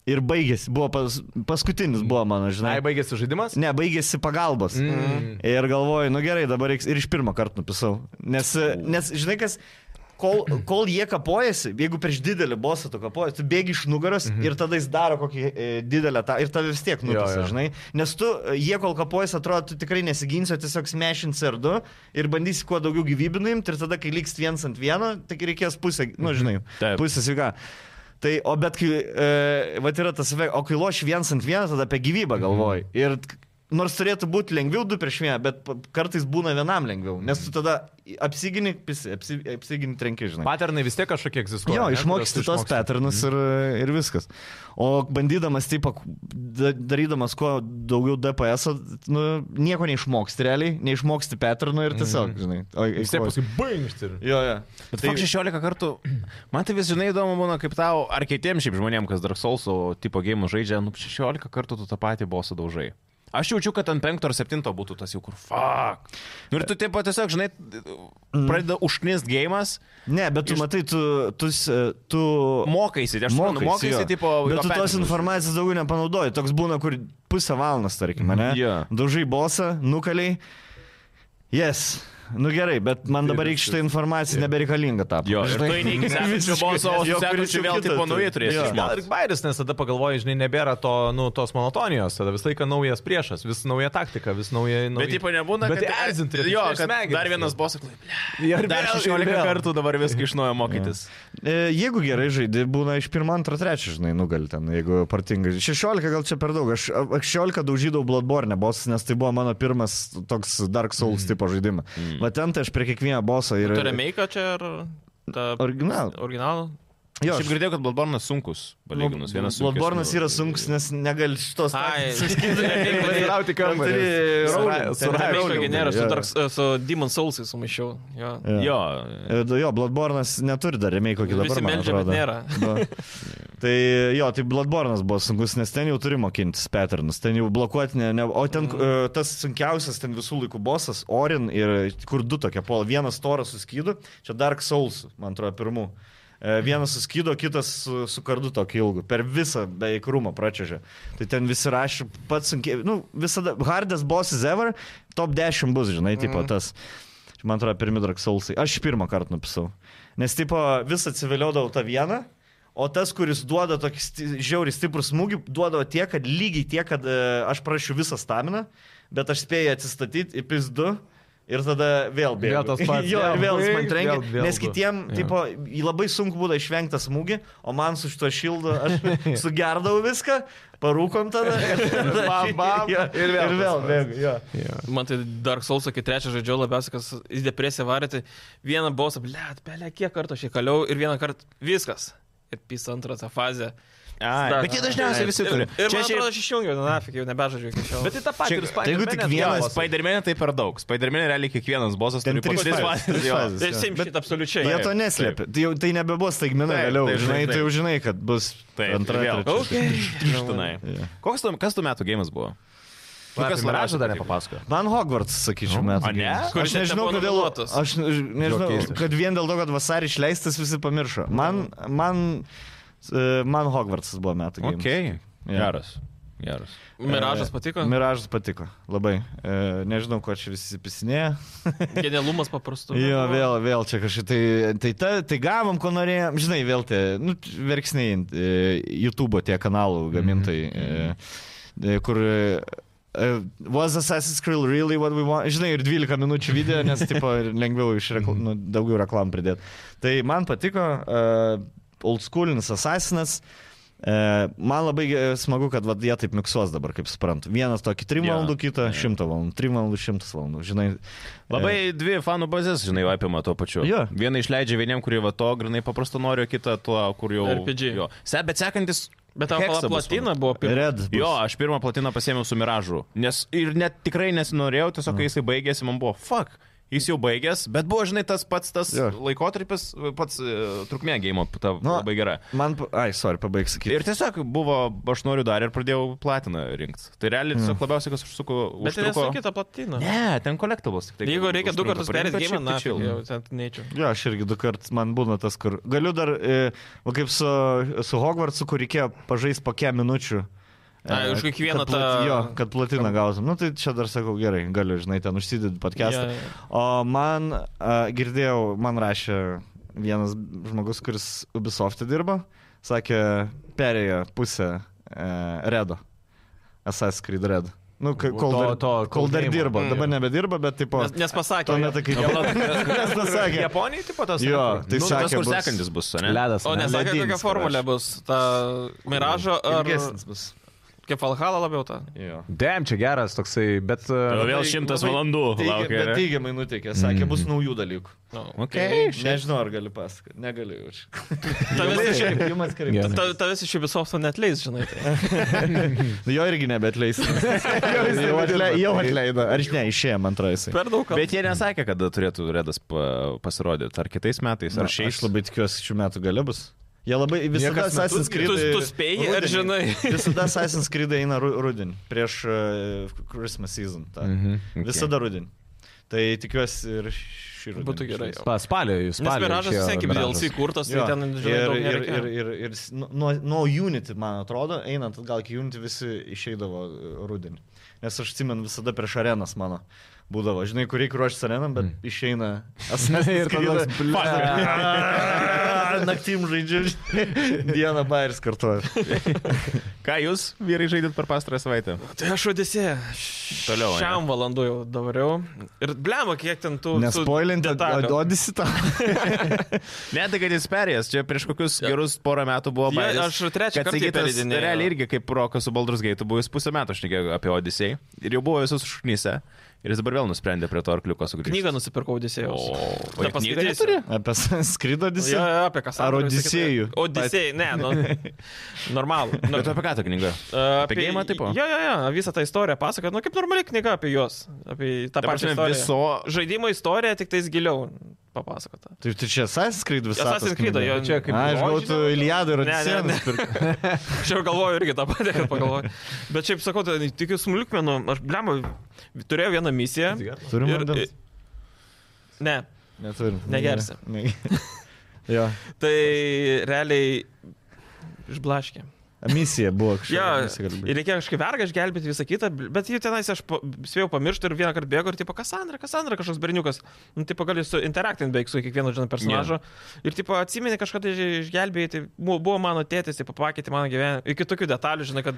Speaker 2: Ir baigėsi, buvo pas, paskutinis buvo mano, žinai.
Speaker 4: Na, baigėsi žaidimas?
Speaker 2: Ne, baigėsi pagalbos.
Speaker 4: Mm.
Speaker 2: Ir galvoju, nu gerai, dabar reiks ir iš pirmo karto nupisau. Nes, nes žinai, kas, kol, kol jie kapojasi, jeigu prieš didelį bosą tu kapojasi, tu bėgi iš nugaros mm -hmm. ir tada jis daro kokį e, didelę tą ir tave vis tiek
Speaker 4: Mhm. Jo,
Speaker 2: nupisa,
Speaker 4: jo.
Speaker 2: žinai. Nes tu, e, jie kol kapojasi, atrodo, tu tikrai nesiginsi, o tiesiog smešinsi ar du ir bandysi kuo daugiau gyvybių nuimti ir tada, kai liks viens ant vieno, tai reikės pusę, nu žinai,
Speaker 1: Taip.
Speaker 2: pusę sveika. Tai, o bet kai, e, va, yra tas, efek- o kai loši viens ant vieno, tada apie gyvybę galvoji.
Speaker 4: Mhm.
Speaker 2: Mm. Ir k- nors turėtų būti lengviau du prieš vieną, bet p- kartais būna vienam lengviau, nes tu tada i- apsigini, pisi- apsi, apsigini trenki, žinai.
Speaker 4: Paternai vis tiek kažkokie egzistuoja.
Speaker 2: Jo,
Speaker 4: ne?
Speaker 2: išmoksti tos
Speaker 4: Kuriuos tu išmoksti. Mhm.
Speaker 2: patternus ir, ir viskas. O bandydamas, taip, ak- da- darydamas kuo daugiau DPS, nu, nieko neišmoksti realiai, neišmoksti patternų ir tiesiog, žinai. O,
Speaker 4: Mhm. Vis tiek paskui baigšti.
Speaker 2: Jo, jo.
Speaker 1: Bet tai... fuck 16 kartų. Man tai vis žinai įdomu būna kaip tau, ar kitiems šiaip žmonėms, kas Dark Souls tipo gėjimų žaidžia, nu 16 kartų tu tą patį bosą daužai. Aš jaučiu, kad ant 5 ar 7 būtų tas jau kur fuck. Nu ir tu taip pat tiesiog, žinai,
Speaker 2: Mm.
Speaker 1: pradeda užknist gėjimas,
Speaker 2: Ne, bet tu
Speaker 1: Iš-
Speaker 2: matai, tu, tu, s- tu
Speaker 1: mokaisi, tai aš manau, mokaisi,
Speaker 2: jo.
Speaker 1: tipo...
Speaker 2: Bet tu tos
Speaker 1: operatorius.
Speaker 2: informacijos daugiau nepanaudoji. Toks būna, kur pusę valandos, tarkim, ne?
Speaker 1: Jo.
Speaker 2: Dužai bosą, nukaliai. Yes. Nu gerai, bet man dabar reikia šitą informaciją nebereikalinga tapo.
Speaker 1: Jo, ir tu eini iki sekančio boso, o
Speaker 2: Jo, kuris
Speaker 1: sekančio
Speaker 2: jau
Speaker 1: vėl
Speaker 2: kitą
Speaker 1: tipo nauji
Speaker 2: turi.
Speaker 1: turėsi
Speaker 2: Jo.
Speaker 1: išmokti.
Speaker 4: Gal ir bairis, nes tada pagalvoji, žinai, nebėra to, nu, tos monotonijos, tada visą laiką naujas priešas, vis nauja taktika, vis nauja...
Speaker 1: Bet tipo nebūna,
Speaker 4: bet erzinti.
Speaker 1: Jo, kad dar vienas bosas klaiplė.
Speaker 4: Ir
Speaker 1: Dar 16 kartų dabar viską iš naujo mokytis.
Speaker 2: E, Jeigu gerai žaidži, būna iš 1, 2, 3, žinai, nugali ten, jeigu partingai. 16 gal čia per daug, aš a- a- 16 daužydavau Bloodborne bosą, nes tai buvo mano pirmas toks Dark Souls mm. tipo žaidimas. Mm. Bet ten tai aš prie kiekvieno boso ir...
Speaker 3: Turime meiką čia ar... ta-
Speaker 2: Original.
Speaker 3: Originalą.
Speaker 1: Jo,
Speaker 2: Jo,
Speaker 1: aš
Speaker 2: aš-
Speaker 1: girdėjau, kad Bloodborne'as sunkus, palyginus vienas sunkus.
Speaker 2: Bloodborne'as yra sunkus, nes negali šitos...
Speaker 3: Ai,
Speaker 4: Vairauti kambarį.
Speaker 2: Turi
Speaker 4: Sura-
Speaker 2: Rowling.
Speaker 4: sura-
Speaker 2: Ten
Speaker 3: Meiką
Speaker 2: Rowling.
Speaker 3: genera su,
Speaker 2: Jo.
Speaker 3: Dark- su Demon Soulsai sumaišiau. Jo.
Speaker 2: Jo.
Speaker 1: Jo,
Speaker 2: E, Jo, Bloodborne'as neturi dar remake kokį dabar,
Speaker 3: Visi
Speaker 2: man
Speaker 3: meldžia, bet
Speaker 2: atrodo.
Speaker 3: nėra.
Speaker 2: nėra. Tai jo, tai Bloodborne'as buvo sunkus, nes ten jau turi mokintis patternus, ten jau blokuoti, ne, ne, o ten e, tas sunkiausias ten visų laikų bosas, Orin ir kur du tokie pol, vienas toras su skydu, čia Dark Souls, man atrodo, pirmų. E, Vienas suskydo, kitas su, su kardu tokį ilgų. Per visą beveik rūmą pračiažė. Tai ten visi rašė, pats sunkiai, nu, visada, hardest bosses ever, top 10 bus, žinai, mm. tipo tas. Man atrodo, pirmi Dark Soulsai. Aš pirmą kartą nupisau. Nes, tipo, vis atsiviliodavau tą vieną, o tas, kuris duoda tokį sti žiaurį stiprų smūgį, duodavo tiek, kad lygiai tiek, kad e, aš prašiau visą staminą, bet aš spėjau atsistatyti į pizdu. Ir tada vėl bėgu.
Speaker 4: Vėl tas pats,
Speaker 2: jo, ir vėl
Speaker 4: vėl
Speaker 2: jis man
Speaker 4: baigt,
Speaker 2: trenkia.
Speaker 4: vėl- vėl
Speaker 2: Nes
Speaker 4: du.
Speaker 2: kitiem,
Speaker 4: Jo.
Speaker 2: tipo, į labai sunku būdavo išvengti tą smūgį, o man su šito šildu aš sugerdavau viską, parūkom tada.
Speaker 4: Bam, bam,
Speaker 2: Jo,
Speaker 4: ir vėl
Speaker 2: Ir
Speaker 4: tas
Speaker 2: vėl
Speaker 4: pats.
Speaker 2: bėgu. jo.
Speaker 3: Man tai Dark Souls, kai trečią žaidžiau, labiausiai, kas į depresiją varė, tai vieną bosą, blėt, pelė, kiek kartų aš jį kaliau ir vieną kartą viskas. Ir pys antrą tą fazę.
Speaker 1: Ai, bet jie dažniausiai visi turi.
Speaker 3: Ir, ir man atrodo, aš išjungiau, na, nafik, jau nebežaidžiu iki šiol.
Speaker 4: Bet į tą patį ir
Speaker 2: tai jeigu tik vienas
Speaker 1: Pas Spider-Man tai per daug. Spider-Man realiai kiekvienas bosas
Speaker 2: Ten
Speaker 1: turi po
Speaker 2: trys
Speaker 1: tris
Speaker 2: fazės,
Speaker 1: fazes,
Speaker 2: trys
Speaker 1: jo.
Speaker 2: fazės.
Speaker 3: Tai Sim šit absoliučiai.
Speaker 2: Jie
Speaker 1: Taip,
Speaker 2: to neslėpė. Tai, jau, tai nebebuvo staigmena
Speaker 1: Taip,
Speaker 2: vėliau,
Speaker 1: taip,
Speaker 2: žinai,
Speaker 1: taip,
Speaker 2: tai jau
Speaker 1: taip.
Speaker 2: žinai, kad bus
Speaker 1: Taip, ir
Speaker 2: antra,
Speaker 1: vėl.
Speaker 2: trečia.
Speaker 3: Okay.
Speaker 1: Štunai. Koks tu, kas tu metų gėjimas buvo? Nu,
Speaker 4: Kas Miražą
Speaker 1: labiausiai
Speaker 4: dar
Speaker 1: patiko?
Speaker 4: nepapasakojo?
Speaker 2: Man Hogwarts, sakyčiau, metų.
Speaker 1: Nu, A ne?
Speaker 2: gėjimas. Aš
Speaker 3: Kuris net
Speaker 2: nežinau,
Speaker 3: nebuvo
Speaker 2: kodėl.
Speaker 3: nominuotas.
Speaker 2: Aš než- nežinau,
Speaker 4: Jo, keista.
Speaker 2: kad vien dėl to, kad vasarį išleistas, visi pamiršo. Man, man, e, man Hogwartsas buvo metų. gėjimas.
Speaker 1: Ok.
Speaker 2: Jo.
Speaker 1: Geras. Geras.
Speaker 3: Miražas
Speaker 2: E,
Speaker 3: patiko.
Speaker 2: Miražas patiko, labai. E, Nežinau, ko čia visi pisinėja.
Speaker 3: Genialumas paprastu.
Speaker 2: Jo, vėl, vėl čia kažkaip tai, tai, ta, tai gavom, ko norėjom, žinai, vėl tie, nu, verksniai, e, YouTube tie
Speaker 1: Mhm.
Speaker 2: kanalų gamintojai, e, e, kur... E, was Assassin's Creed really what we want? Žinai, ir 12 minučių video, nes, tipo, ir lengviau iš rekl...
Speaker 1: Mhm.
Speaker 2: nu, daugiau reklamų pridėti. Tai man patiko, uh, old schoolinis Assassinas. E, Man labai e, smagu, kad vat, jie taip miksuos dabar, kaip suprantu. Vienas tokį 3
Speaker 1: Jo.
Speaker 2: valandų, kitą 100 valandų, 3 valandų, 100 valandų. Žinai,
Speaker 1: Labai dvi fanų bazės, žinai, jau apima to pačiu.
Speaker 2: Jo.
Speaker 1: Vieną išleidžia vieniem, kurie va to, grinai paprasto nori, o kitą tuo, kur jau...
Speaker 3: RPG.
Speaker 1: Jo. Se, bet sekantis...
Speaker 3: Bet tau
Speaker 1: Heksa
Speaker 3: pala
Speaker 1: bus
Speaker 3: platina buvo pirma.
Speaker 2: Red. bus.
Speaker 1: Jo, aš
Speaker 2: Mm.
Speaker 1: pirmą platiną pasėmiau su Miražu. Nes ir net tikrai nesinorėjau, tiesiog kai jisai baigėsi, man buvo, fuck, Jis jau baigęs, bet buvo, žinai, tas pats tas
Speaker 2: Jo.
Speaker 1: laikotarpis, pats e, trukmė gėjimo, ta
Speaker 2: Nu,
Speaker 1: labai gera.
Speaker 2: Man, pa- ai, sorry, pabaig sakyti.
Speaker 1: Ir tiesiog buvo, aš noriu dar ir pradėjau platiną rinkti. Tai
Speaker 2: Mm.
Speaker 1: realiai tiesiog labiausiai, kas užsuko,
Speaker 3: Bet tai visą
Speaker 1: užtruko.
Speaker 3: kitą platiną.
Speaker 1: Ne, ten kolektables. tik tai
Speaker 3: Jeigu reikia du
Speaker 1: užtrunka
Speaker 3: kartus
Speaker 1: parinkt,
Speaker 3: perėti
Speaker 1: bet
Speaker 3: gimą,
Speaker 1: šiaip
Speaker 3: na,
Speaker 1: tai chill.
Speaker 3: jau ten neįčiau.
Speaker 2: Jo, aš irgi du kartus man būna tas, kur galiu dar, e, va kaip su, su Hogwartsu, kur reikėjo pažaisti po kiek minučių.
Speaker 3: Ai,
Speaker 2: E,
Speaker 3: už kiekvieną
Speaker 2: kad plat-
Speaker 3: tą-
Speaker 2: Jo, kad platiną gausim. Nu tai čia dar sakau, gerai, galiu, žinai, ten užsidedi podcastą.
Speaker 3: Jo, jo.
Speaker 2: O man, a, girdėjau, man rašė vienas žmogus, kuris Ubisoft'e dirba, sakė, perėjo pusę e, Redo. Assassin's Creed Red. Nu, ka- kol
Speaker 4: To-
Speaker 2: dar,
Speaker 4: to-
Speaker 2: kol dar
Speaker 4: codename.
Speaker 2: dirba,
Speaker 4: Mm.
Speaker 2: dabar nebedirba, bet taip pat.
Speaker 3: Nes, nes pasakė.
Speaker 2: Tuo metu, kai-
Speaker 3: Jau labai-
Speaker 2: Nes pasakė.
Speaker 4: Japonijai taip pat tas.
Speaker 2: Jo,
Speaker 4: yra.
Speaker 2: tai
Speaker 1: Nu,
Speaker 2: sakė,
Speaker 1: tas, kur
Speaker 2: bus-
Speaker 1: sekantis bus, ne?
Speaker 4: Ledas.
Speaker 3: O
Speaker 4: ne?
Speaker 3: nesakė, kokia
Speaker 2: Ledinis,
Speaker 3: formulė bus. Ta Miražo ar...
Speaker 2: Ilgesnis bus.
Speaker 3: Kaip Valhalla labiau ta.
Speaker 2: Jo.
Speaker 4: Dem, čia geras toksai, bet...
Speaker 1: O
Speaker 4: uh,
Speaker 1: vėl
Speaker 2: Labai-
Speaker 1: šimtas
Speaker 2: Tai labai
Speaker 1: valandų
Speaker 2: Teigia,
Speaker 1: laukia.
Speaker 2: bet
Speaker 1: ne? Mm.
Speaker 2: teigiamai nuteikė, sakė, bus naujų dalykų.
Speaker 3: No.
Speaker 1: Okay.
Speaker 2: Nežinau, ar galiu pasakoti, negaliu.
Speaker 3: Tavęs iš-
Speaker 2: Jums
Speaker 4: Gerai.
Speaker 2: kreiptas.
Speaker 3: ta- Tavęs iš Ubisofto net leis, žinai. tai.
Speaker 2: Nu, Jo irgi nebetleis. jau, atle, jau atleido. Ar iš- ne, išėjo man traisai.
Speaker 3: Per daug.
Speaker 1: Bet jie nesakė, kada turėtų Redas pa- pasirodyti. Ar kitais metais, ar šiais.
Speaker 2: Aš Nu, labai tikiuosi, šių metų gale bus. Jie labai visada
Speaker 4: Niekas metu-
Speaker 2: Assassin's Creed.
Speaker 3: Tu- tu spėji, ar
Speaker 2: rudenį.
Speaker 3: žinai?
Speaker 2: Visada Assassin's Creed eina ru- rudenį, prieš e, Christmas season. Mm
Speaker 1: Mhm,
Speaker 2: -hmm.
Speaker 1: okei.
Speaker 2: Visada rudenį. Tai tikiuosi ir šį rudenį.
Speaker 3: Būtų gerai.
Speaker 2: išleis.
Speaker 3: jo.
Speaker 4: Pa, spalio, jūs.
Speaker 3: Nes Miražas vis tiek kaip DLC kurtas,
Speaker 2: Jo.
Speaker 3: tai ten,
Speaker 2: ir,
Speaker 3: žinai,
Speaker 2: ir, ir,
Speaker 3: daug
Speaker 2: ir, ir s- nu- nuo, nuo Unity, man atrodo, einant gal iki Unity visi išeidavo e, rudenį. Nes aš atsimenu visada prieš arenas mano būdavo. Žinai, kur reikia ruoštis arenam, bet mm. išeina asmenai
Speaker 4: Ir tada toks,
Speaker 2: Naktim žaidžiu, dieną bairis kartuoju.
Speaker 1: Ką jūs, vyrai, žaidėt per pastarą savaitę?
Speaker 3: Tai aš odisė.
Speaker 1: Toliau, ane?
Speaker 3: Šiam valandu jau dariau. Ir blema, kiek ten tų... tų
Speaker 2: Nespoilinti,
Speaker 3: detalių.
Speaker 2: odisi tą.
Speaker 1: Ne, tai kad jis perėjęs, čia prieš kokius
Speaker 3: Jo.
Speaker 1: gerus porą metų buvo
Speaker 3: Jo,
Speaker 1: baigęs.
Speaker 3: aš trečią kartą jį pereidinėjau.
Speaker 1: Realiai irgi kaip Rokas su Baldur's Gate, buvo jis pusę metų šnekėjo apie Odisėjai. Ir jau buvo visus užknyse. Ir jis dabar vėl nusprendė prie to arkliuko sugrįžti.
Speaker 3: Knygą nusipirkau Odisėjaus.
Speaker 1: O, o knygą neturi?
Speaker 2: Apie skrido odisi.
Speaker 3: Jo, jo, apie ką sakė.
Speaker 2: Ar Odisėjų?
Speaker 3: Odisėjai, ne, nu. Normalu. Nu,
Speaker 1: Bet apie ką ta knyga?
Speaker 3: Apie
Speaker 1: geimą tipo?
Speaker 3: Jo, jo, jo, visą tą istoriją pasakoja, nu kaip normali knyga apie juos, apie tą
Speaker 1: Ta prasme,
Speaker 3: pačią istoriją.
Speaker 1: viso...
Speaker 3: Žaidimo istorija tik tais giliau papasakota.
Speaker 2: Tai, tai čia Assassin's Creed visą.
Speaker 3: Assassin's Creed, jo,
Speaker 4: Čia kaip
Speaker 2: Aš gautų Iliadą ir
Speaker 3: Ne, ne, ne.
Speaker 2: Odisėną.
Speaker 3: Aš jau galvoju irgi tą patį, kad pagalvoju. Bet šiaip sakau, tai tikiu smulkmenų, aš blemu, turėjau vieną misiją.
Speaker 2: Turim vandens?
Speaker 3: ne,
Speaker 2: Neturim.
Speaker 3: Negersi.
Speaker 2: Ne, ne. jo.
Speaker 3: tai realiai išblaškė.
Speaker 2: Misija buvo kažkokia.
Speaker 3: Jo,
Speaker 2: misija galbūt.
Speaker 3: ir reikėjo kažkaip vergą išgelbėti visą kitą, bet jį tenais aš pa- spėjau pamiršti ir vieną kartą bėgo ir tipo Kasandra, Kasandra kažkoks berniukas, nu tipo gali su interaktin beveik su kiekvienu žinot personažu. Ir tipo atsimeni kažkada iš- išgelbėjai, tai mu- buvo mano tėtis, tipo pakeitė mano gyvenimą, iki tokių detalių, žinai, kad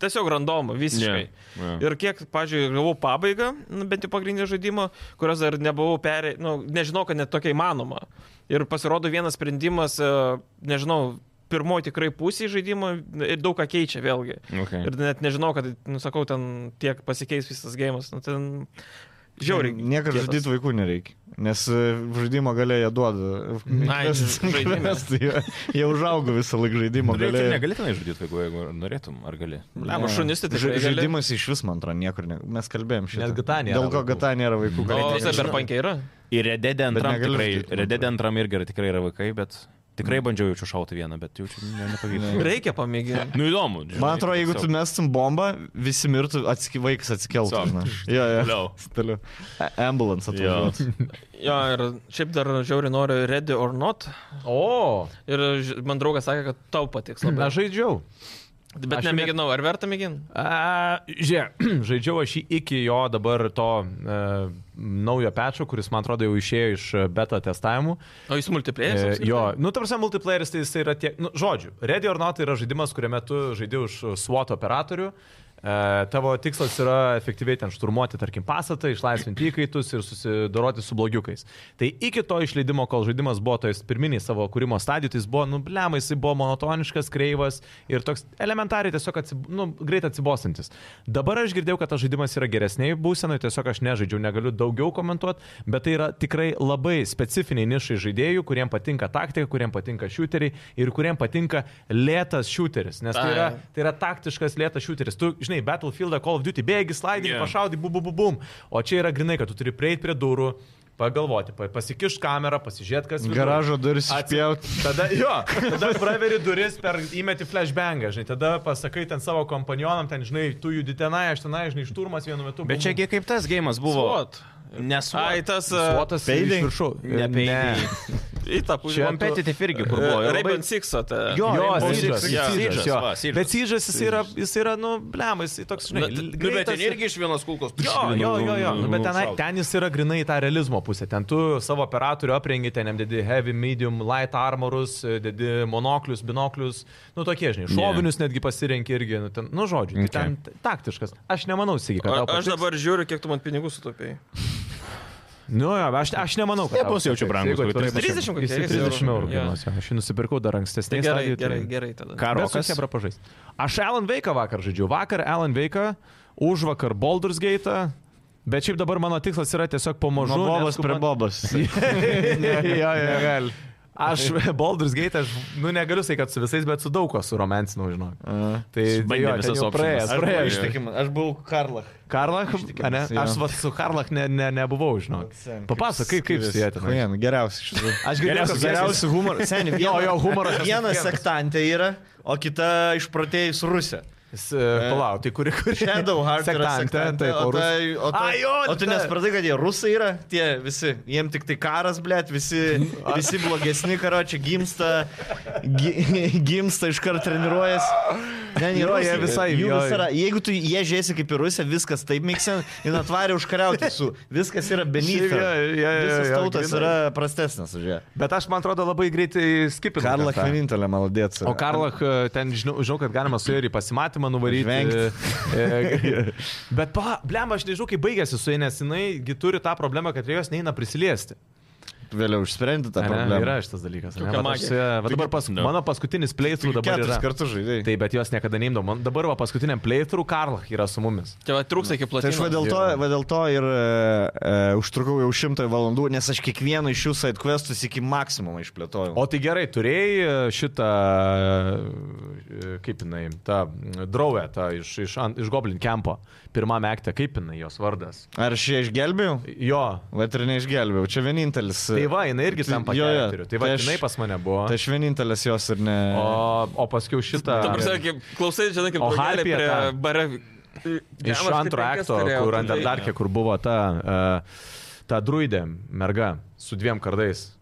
Speaker 3: tiesiog randomu visiškai. Yeah.
Speaker 1: Ne.
Speaker 3: Ir kiek, pažiūrėjau, gavau pabaigą, nu, bent jau pagrindinio žaidimo, kurios dar nebuvau perė, nu, nežinau, kad net tokia įmanoma. Ir pasirodo vienas sprendimas, e, nežinau, pirmoji tikrai pusė žaidimo ir daug ką keičia vėlgi.
Speaker 1: Okay.
Speaker 3: Ir net nežinau, kad, nu, sakau, ten tiek pasikeis visas gėjimas. Nu, ten... Žiauriai.
Speaker 2: Niekas
Speaker 3: kietas.
Speaker 2: žudyti vaikų nereikia, nes e, žaidimo gale jie duoda.
Speaker 3: Ai,
Speaker 2: Kvestas-
Speaker 3: žaidime.
Speaker 2: kvestai, jo. Jie užaugo visą laiką žaidimo gale.
Speaker 1: Negalėtum išžudyti vaikų, jeigu norėtum, ar gali?
Speaker 3: Ne, nu, šunis tai
Speaker 2: Ža-
Speaker 3: tikrai gali.
Speaker 2: Žaidimas iš vis, man atrodo, niekur. Ne... Mes kalbėjom šitą.
Speaker 4: Net GTA nėra
Speaker 2: Dėl ko
Speaker 4: vaikų.
Speaker 2: gata nėra vaikų
Speaker 3: O
Speaker 2: gale.
Speaker 1: Nežinau.
Speaker 3: Cyberpunk'e yra?
Speaker 1: Ir Red Dead
Speaker 2: Bet
Speaker 1: antram
Speaker 2: negaliu
Speaker 1: tikrai,
Speaker 2: žaisti, man
Speaker 1: Red Dead antram irgi yra, tikrai yra vaikai, bet tikrai
Speaker 4: Mm.
Speaker 1: bandžiau jaučiu šauti vieną, bet jaučiu ne, nepavyko.
Speaker 2: Ne.
Speaker 3: Reikia pamėginti.
Speaker 1: Nu įdomu. žinai,
Speaker 2: Man atrodo, jeigu tu
Speaker 1: tiesiog.
Speaker 2: mestum bombą, visi mirtų, atsiki, vaikas atsikeltų.
Speaker 1: Tiesiog.
Speaker 2: žinai. Jo, jo.
Speaker 1: Toliau.
Speaker 2: Toliau. A- Ambulance
Speaker 1: Jo.
Speaker 2: atvažiuotų.
Speaker 3: Jo, ir šiaip dar žiauriai noriu Ready or Not.
Speaker 4: O,
Speaker 3: Ir ž- man draugas sakė, kad tau patiks labai.
Speaker 4: na žaidžiau.
Speaker 3: Bet
Speaker 4: aš jau net-
Speaker 3: nemėginau, ar verta mėginti?
Speaker 4: A, Žiūrėk, žaidžiau aš jį iki jo dabar to e, naujo pečio, kuris man atrodo jau išėjo iš e, beta testavimų.
Speaker 3: O jis multiplėjas?
Speaker 4: E,
Speaker 3: apskritai?
Speaker 4: jo, nu, tarsi multiplayeris tai jis yra tiek, nu, žodžiu, Ready or Not tai yra žaidimas, kuriame tu žaidži už SWAT operatorių. E, tavo tikslas yra efektyviai ten šturmuoti, tarkim, pastatą, išlaisvinti įkaitus ir susidoroti su blogiukais. Tai iki to išleidimo, kol žaidimas buvo toje pirminiai savo kūrimo stadijoje, tai jis buvo, nu, blemai, jis buvo monotoniškas, kreivas ir toks elementariai tiesiog atsib, nu, greit atsibosantis. Dabar aš girdėjau, kad tas žaidimas yra geresnėje būsenoje, tiesiog aš nežaidžiau, negaliu daugiau komentuoti, bet tai yra tikrai labai specifiniai nišai žaidėjų, kuriems patinka taktika, kuriems patinka šūteriai ir kuriems patinka lėtas šūteris, nes tai yra,
Speaker 3: Ai.
Speaker 4: tai yra taktiškas lėtas šūteris. Tu, žinai, Battlefield, Call of Duty bėgi, slaidai,
Speaker 1: Jo.
Speaker 4: yeah. pašaudai, bum, bum, bum, bum. O čia yra grinai, kad tu turi prieiti prie durų. pagalvoti, pa- pasikišt kamerą, pasižiūrėt, kas viduj.
Speaker 2: Garažo duris
Speaker 4: Atsi-
Speaker 2: išpjaut.
Speaker 4: Tada, jo, tada praveri duris, per, įmeti flashbangą, žinai, tada pasakai ten savo kompanionam, ten, žinai, tu judi tenai, aš tenai, žinai, šturmas vienu metu.
Speaker 1: Bet
Speaker 4: bum,
Speaker 1: čiagi kaip tas gėjimas buvo.
Speaker 3: Svot.
Speaker 1: Nesu.
Speaker 3: Ai, tas... e,
Speaker 4: Svotas iš
Speaker 2: Peiding?
Speaker 4: viršaus.
Speaker 1: uh, Ne, peiding.
Speaker 3: Į tą pusę. E,
Speaker 1: Competitive irgi, kur
Speaker 4: E,
Speaker 1: buvo. ir labai-
Speaker 3: Raven Sixą.
Speaker 1: Jo,
Speaker 4: Jo,
Speaker 1: Rainbow
Speaker 4: Siege'as,
Speaker 1: Six,
Speaker 4: jo,
Speaker 1: Siege'as,
Speaker 4: Siege'as, jo.
Speaker 1: va, Siege'as.
Speaker 4: Bet Syžas jis yra, jis yra, nu, blem, jis toks, žinai,
Speaker 1: nu, Bet ten
Speaker 4: greitas ir-
Speaker 1: irgi iš vienos kulkos.
Speaker 4: Jo, jo, jo, jo. Nu, bet ten, ten jis yra grinai į tą realizmo pusę. Ten tu savo operatorių aprengi, ten jam dedi heavy, medium, light armorus, e, dedi monoklius, binoklius, nu tokie, žinai, šovinius netgi pasirenki irgi, nu, ten, nu žodžiu, okay. ten t- taktiškas. Aš nemanau, Sigi, kad tau...
Speaker 3: Aš
Speaker 4: patiks.
Speaker 3: dabar žiūriu, kiek tu man pinigų sutopėjai.
Speaker 4: Nu, jo, aš, aš nemanau, kad... tau
Speaker 1: Nebus jaučiu
Speaker 4: patiks.
Speaker 1: brangus,
Speaker 4: Jeigu
Speaker 1: kokie
Speaker 4: atvirai
Speaker 3: 30
Speaker 4: pasakysiu,
Speaker 3: kokie,
Speaker 4: jis 30 eurų
Speaker 3: jo.
Speaker 4: kainuos. jo. Aš jį nusipirkau dar
Speaker 3: Tai
Speaker 4: ankstesnį.
Speaker 3: gerai, gerai, gerai tada.
Speaker 1: Ką
Speaker 4: Karo
Speaker 1: rokas?
Speaker 4: kas Hebra pažais. Aš Alan Veiką vakar žaidžiu. Vakar Alan Veiką, už vakar Baldur's Gate. Bet šiaip dabar mano tikslas yra tiesiog pamažu.
Speaker 2: Nuo bobas prie
Speaker 4: neskubant-
Speaker 2: bobas.
Speaker 4: jo, jo, gali. Aš Baldur's Gate, aš, nu negaliu sakyti, kad su visais, bet su daug ko suromansinau, žinau. Tai, tai
Speaker 1: Bandė
Speaker 4: jo,
Speaker 1: visas
Speaker 4: visas
Speaker 1: opcijas.
Speaker 4: praėjęs.
Speaker 1: Aš
Speaker 4: praėjęs.
Speaker 2: Ištikimas, aš buvau Karlach.
Speaker 4: Karlach, ne?
Speaker 2: jo.
Speaker 4: Aš va, su Karlach ne, ne, nebuvau, žinau. Papasok, kaip, kaip su jie ten.
Speaker 2: Vien, geriausias iš visų.
Speaker 4: Aš girdėjau, kad
Speaker 2: Geriausias humoras. Seniai,
Speaker 4: Jo, jo, humoras.
Speaker 2: Viena sektantė yra, o kita išprotėjus rusė.
Speaker 4: S- Palauk, tai kuri, kuri.
Speaker 2: Shadow Heart yra sektantė,
Speaker 4: taip,
Speaker 2: o,
Speaker 4: orus.
Speaker 2: tai, o, tai,
Speaker 4: A, jo,
Speaker 2: o tu
Speaker 4: ta-
Speaker 2: nespratai, kad jie rusai yra, tie visi, jiems tik tai karas, blėt, visi, visi blogesni karo, čia gimsta, gi, gimsta iš karto treniruojasi. Ne, ne,
Speaker 4: Jo,
Speaker 2: rusai,
Speaker 4: jie visai-
Speaker 2: jų
Speaker 4: jo.
Speaker 2: vis yra. Jeigu tu jie žiesi kaip ir rusė, viskas taip miksen, jin atvarė užkariauti su, viskas yra beneath.
Speaker 4: Šiaip, jo,
Speaker 2: her.
Speaker 4: jo, jo,
Speaker 2: Visas
Speaker 4: jo,
Speaker 2: tautas
Speaker 4: grynai.
Speaker 2: yra prastesnis už ją.
Speaker 4: Bet aš, man atrodo, labai greitai skipinu.
Speaker 2: Karlach
Speaker 4: ten tą.
Speaker 2: vienintelė maladėca.
Speaker 4: O Karlach, e, ten žinau, žinau, kad galima su juo ir į pasimatymą nuvaryti.
Speaker 2: Žvengt.
Speaker 4: E, Bet, pa, blem, aš nežinau, kaip baigėsi su ja, nes jinai gi turi tą problemą, kad prie jos neina prisiliesti.
Speaker 2: Vėliau išsprendė tą
Speaker 4: Ane?
Speaker 2: problemą.
Speaker 4: Yra šitas dalykas. ane?
Speaker 3: Kokia
Speaker 4: Vat aš
Speaker 3: magija.
Speaker 4: su ja- vat dabar pas,
Speaker 1: Ne.
Speaker 4: mano paskutinis playthrough dabar
Speaker 2: Keturis
Speaker 4: yra.
Speaker 2: kartus žaidėjai.
Speaker 4: Taip, bet jos niekada neimdavo. Man- Dabar va, paskutiniam playthrough Karlach yra su mumis.
Speaker 3: Čia va, trūks iki
Speaker 2: Tai aš va
Speaker 3: platesnio.
Speaker 2: dėl to, va dėl to ir e, užtrukau jau šimtą valandų, nes aš kiekvieną iš jų side questus iki maksimumo išplėtojau.
Speaker 4: O tai gerai, turėjai e, šitą, e, kaip jinai, tą draugę tą iš, iš, an- iš Goblin Kempo, pirmame akte, kaip jinai jos vardas.
Speaker 2: Ar aš ją išgelbėjau?
Speaker 4: Jo,
Speaker 2: Vat ir neišgelbėjau, čia vienintelis.
Speaker 4: Tai va, jinai irgi
Speaker 2: Tai-
Speaker 4: tam
Speaker 2: jo, jo.
Speaker 4: pačiu. Tai va,
Speaker 2: Tai aš-
Speaker 4: jinai pas mane buvo.
Speaker 2: Tai aš vienintelis jos ir ne.
Speaker 4: O, o paskui šitą.
Speaker 3: Ta prasme, kaip klausai, žinai, kaip
Speaker 4: O
Speaker 3: draugelį
Speaker 4: Harpija
Speaker 3: prie
Speaker 4: ta.
Speaker 3: bare.
Speaker 4: Iš antro akto, kur
Speaker 3: Tai-
Speaker 4: Underdarkė, kur buvo ta, e, ta druidė merga su dviem kardais.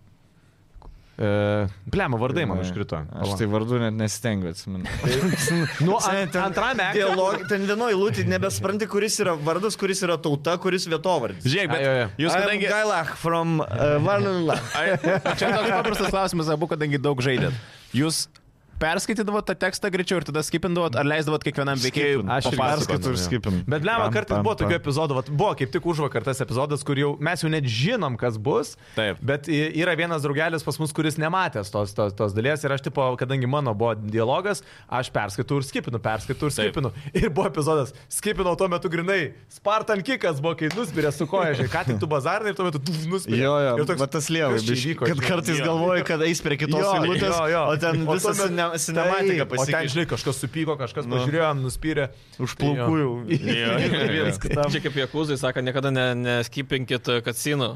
Speaker 4: Plemo vardai man iškrito.
Speaker 2: Aš tai vardu net nesistengiu atsiminti.
Speaker 4: Nu,
Speaker 2: Seniai,
Speaker 4: an,
Speaker 2: ten
Speaker 4: antrame akte.
Speaker 2: Dialog, ten vienoje lūtį nebespranti, kuris yra vardas, kuris yra tauta, kuris vietovardis.
Speaker 1: Žiūrėk,
Speaker 4: Ai, jo, jo.
Speaker 1: bet jūs kadangi...
Speaker 2: Gailach from uh, Varnula.
Speaker 1: Ai, Čia toks paprastas klausimas, abu, kadangi daug žaidėt. Jūs perskaitydavot tą tekstą greičiau ir tada skipindavot, ar leisdavot kiekvienam veikėjui?
Speaker 4: Aš irgi
Speaker 1: papasakot?
Speaker 4: perskaitau.
Speaker 2: Paskaitų ir skipim.
Speaker 4: Bet lemą kartais buvo tokių
Speaker 2: tokia
Speaker 4: epizodų, vat, buvo kaip tik už vakar tas epizodas, kur jau mes jau net žinom, kas bus.
Speaker 1: Taip.
Speaker 4: Bet i- yra vienas draugelis pas mus, kuris nematęs tos, tos, tos dalies ir aš, tipo, kadangi mano buvo dialogas, aš perskaitau ir skipinu, perskaitau ir
Speaker 1: Taip.
Speaker 4: skipinu. Ir buvo epizodas, skipinau tuo metu grinai, Spartan kikas buvo, kai nuspirė su koja, žinai, ką tik tu bazarnai ir tuo metu tu nuspirė.
Speaker 2: Jo, jo,
Speaker 4: Ir toks,
Speaker 2: va tas lievai,
Speaker 4: kas čia
Speaker 2: biškai,
Speaker 4: įvyko,
Speaker 2: kad
Speaker 4: žinai?
Speaker 2: kartais
Speaker 1: Jo.
Speaker 2: galvoju, kad eis prie kitos eilutės, o ten
Speaker 4: tuo
Speaker 2: visą
Speaker 4: metu-
Speaker 2: sinematiką
Speaker 4: taip, O ten,
Speaker 2: pasikeičia.
Speaker 4: žinai, kažkas supyko, kažkas
Speaker 2: Nu.
Speaker 4: pažiūrėjo, nuspyrė.
Speaker 2: Už plaukų jau.
Speaker 1: Jo.
Speaker 3: Čia kaip Jekuzai sako, niekada ne- neskipinkit kasinų.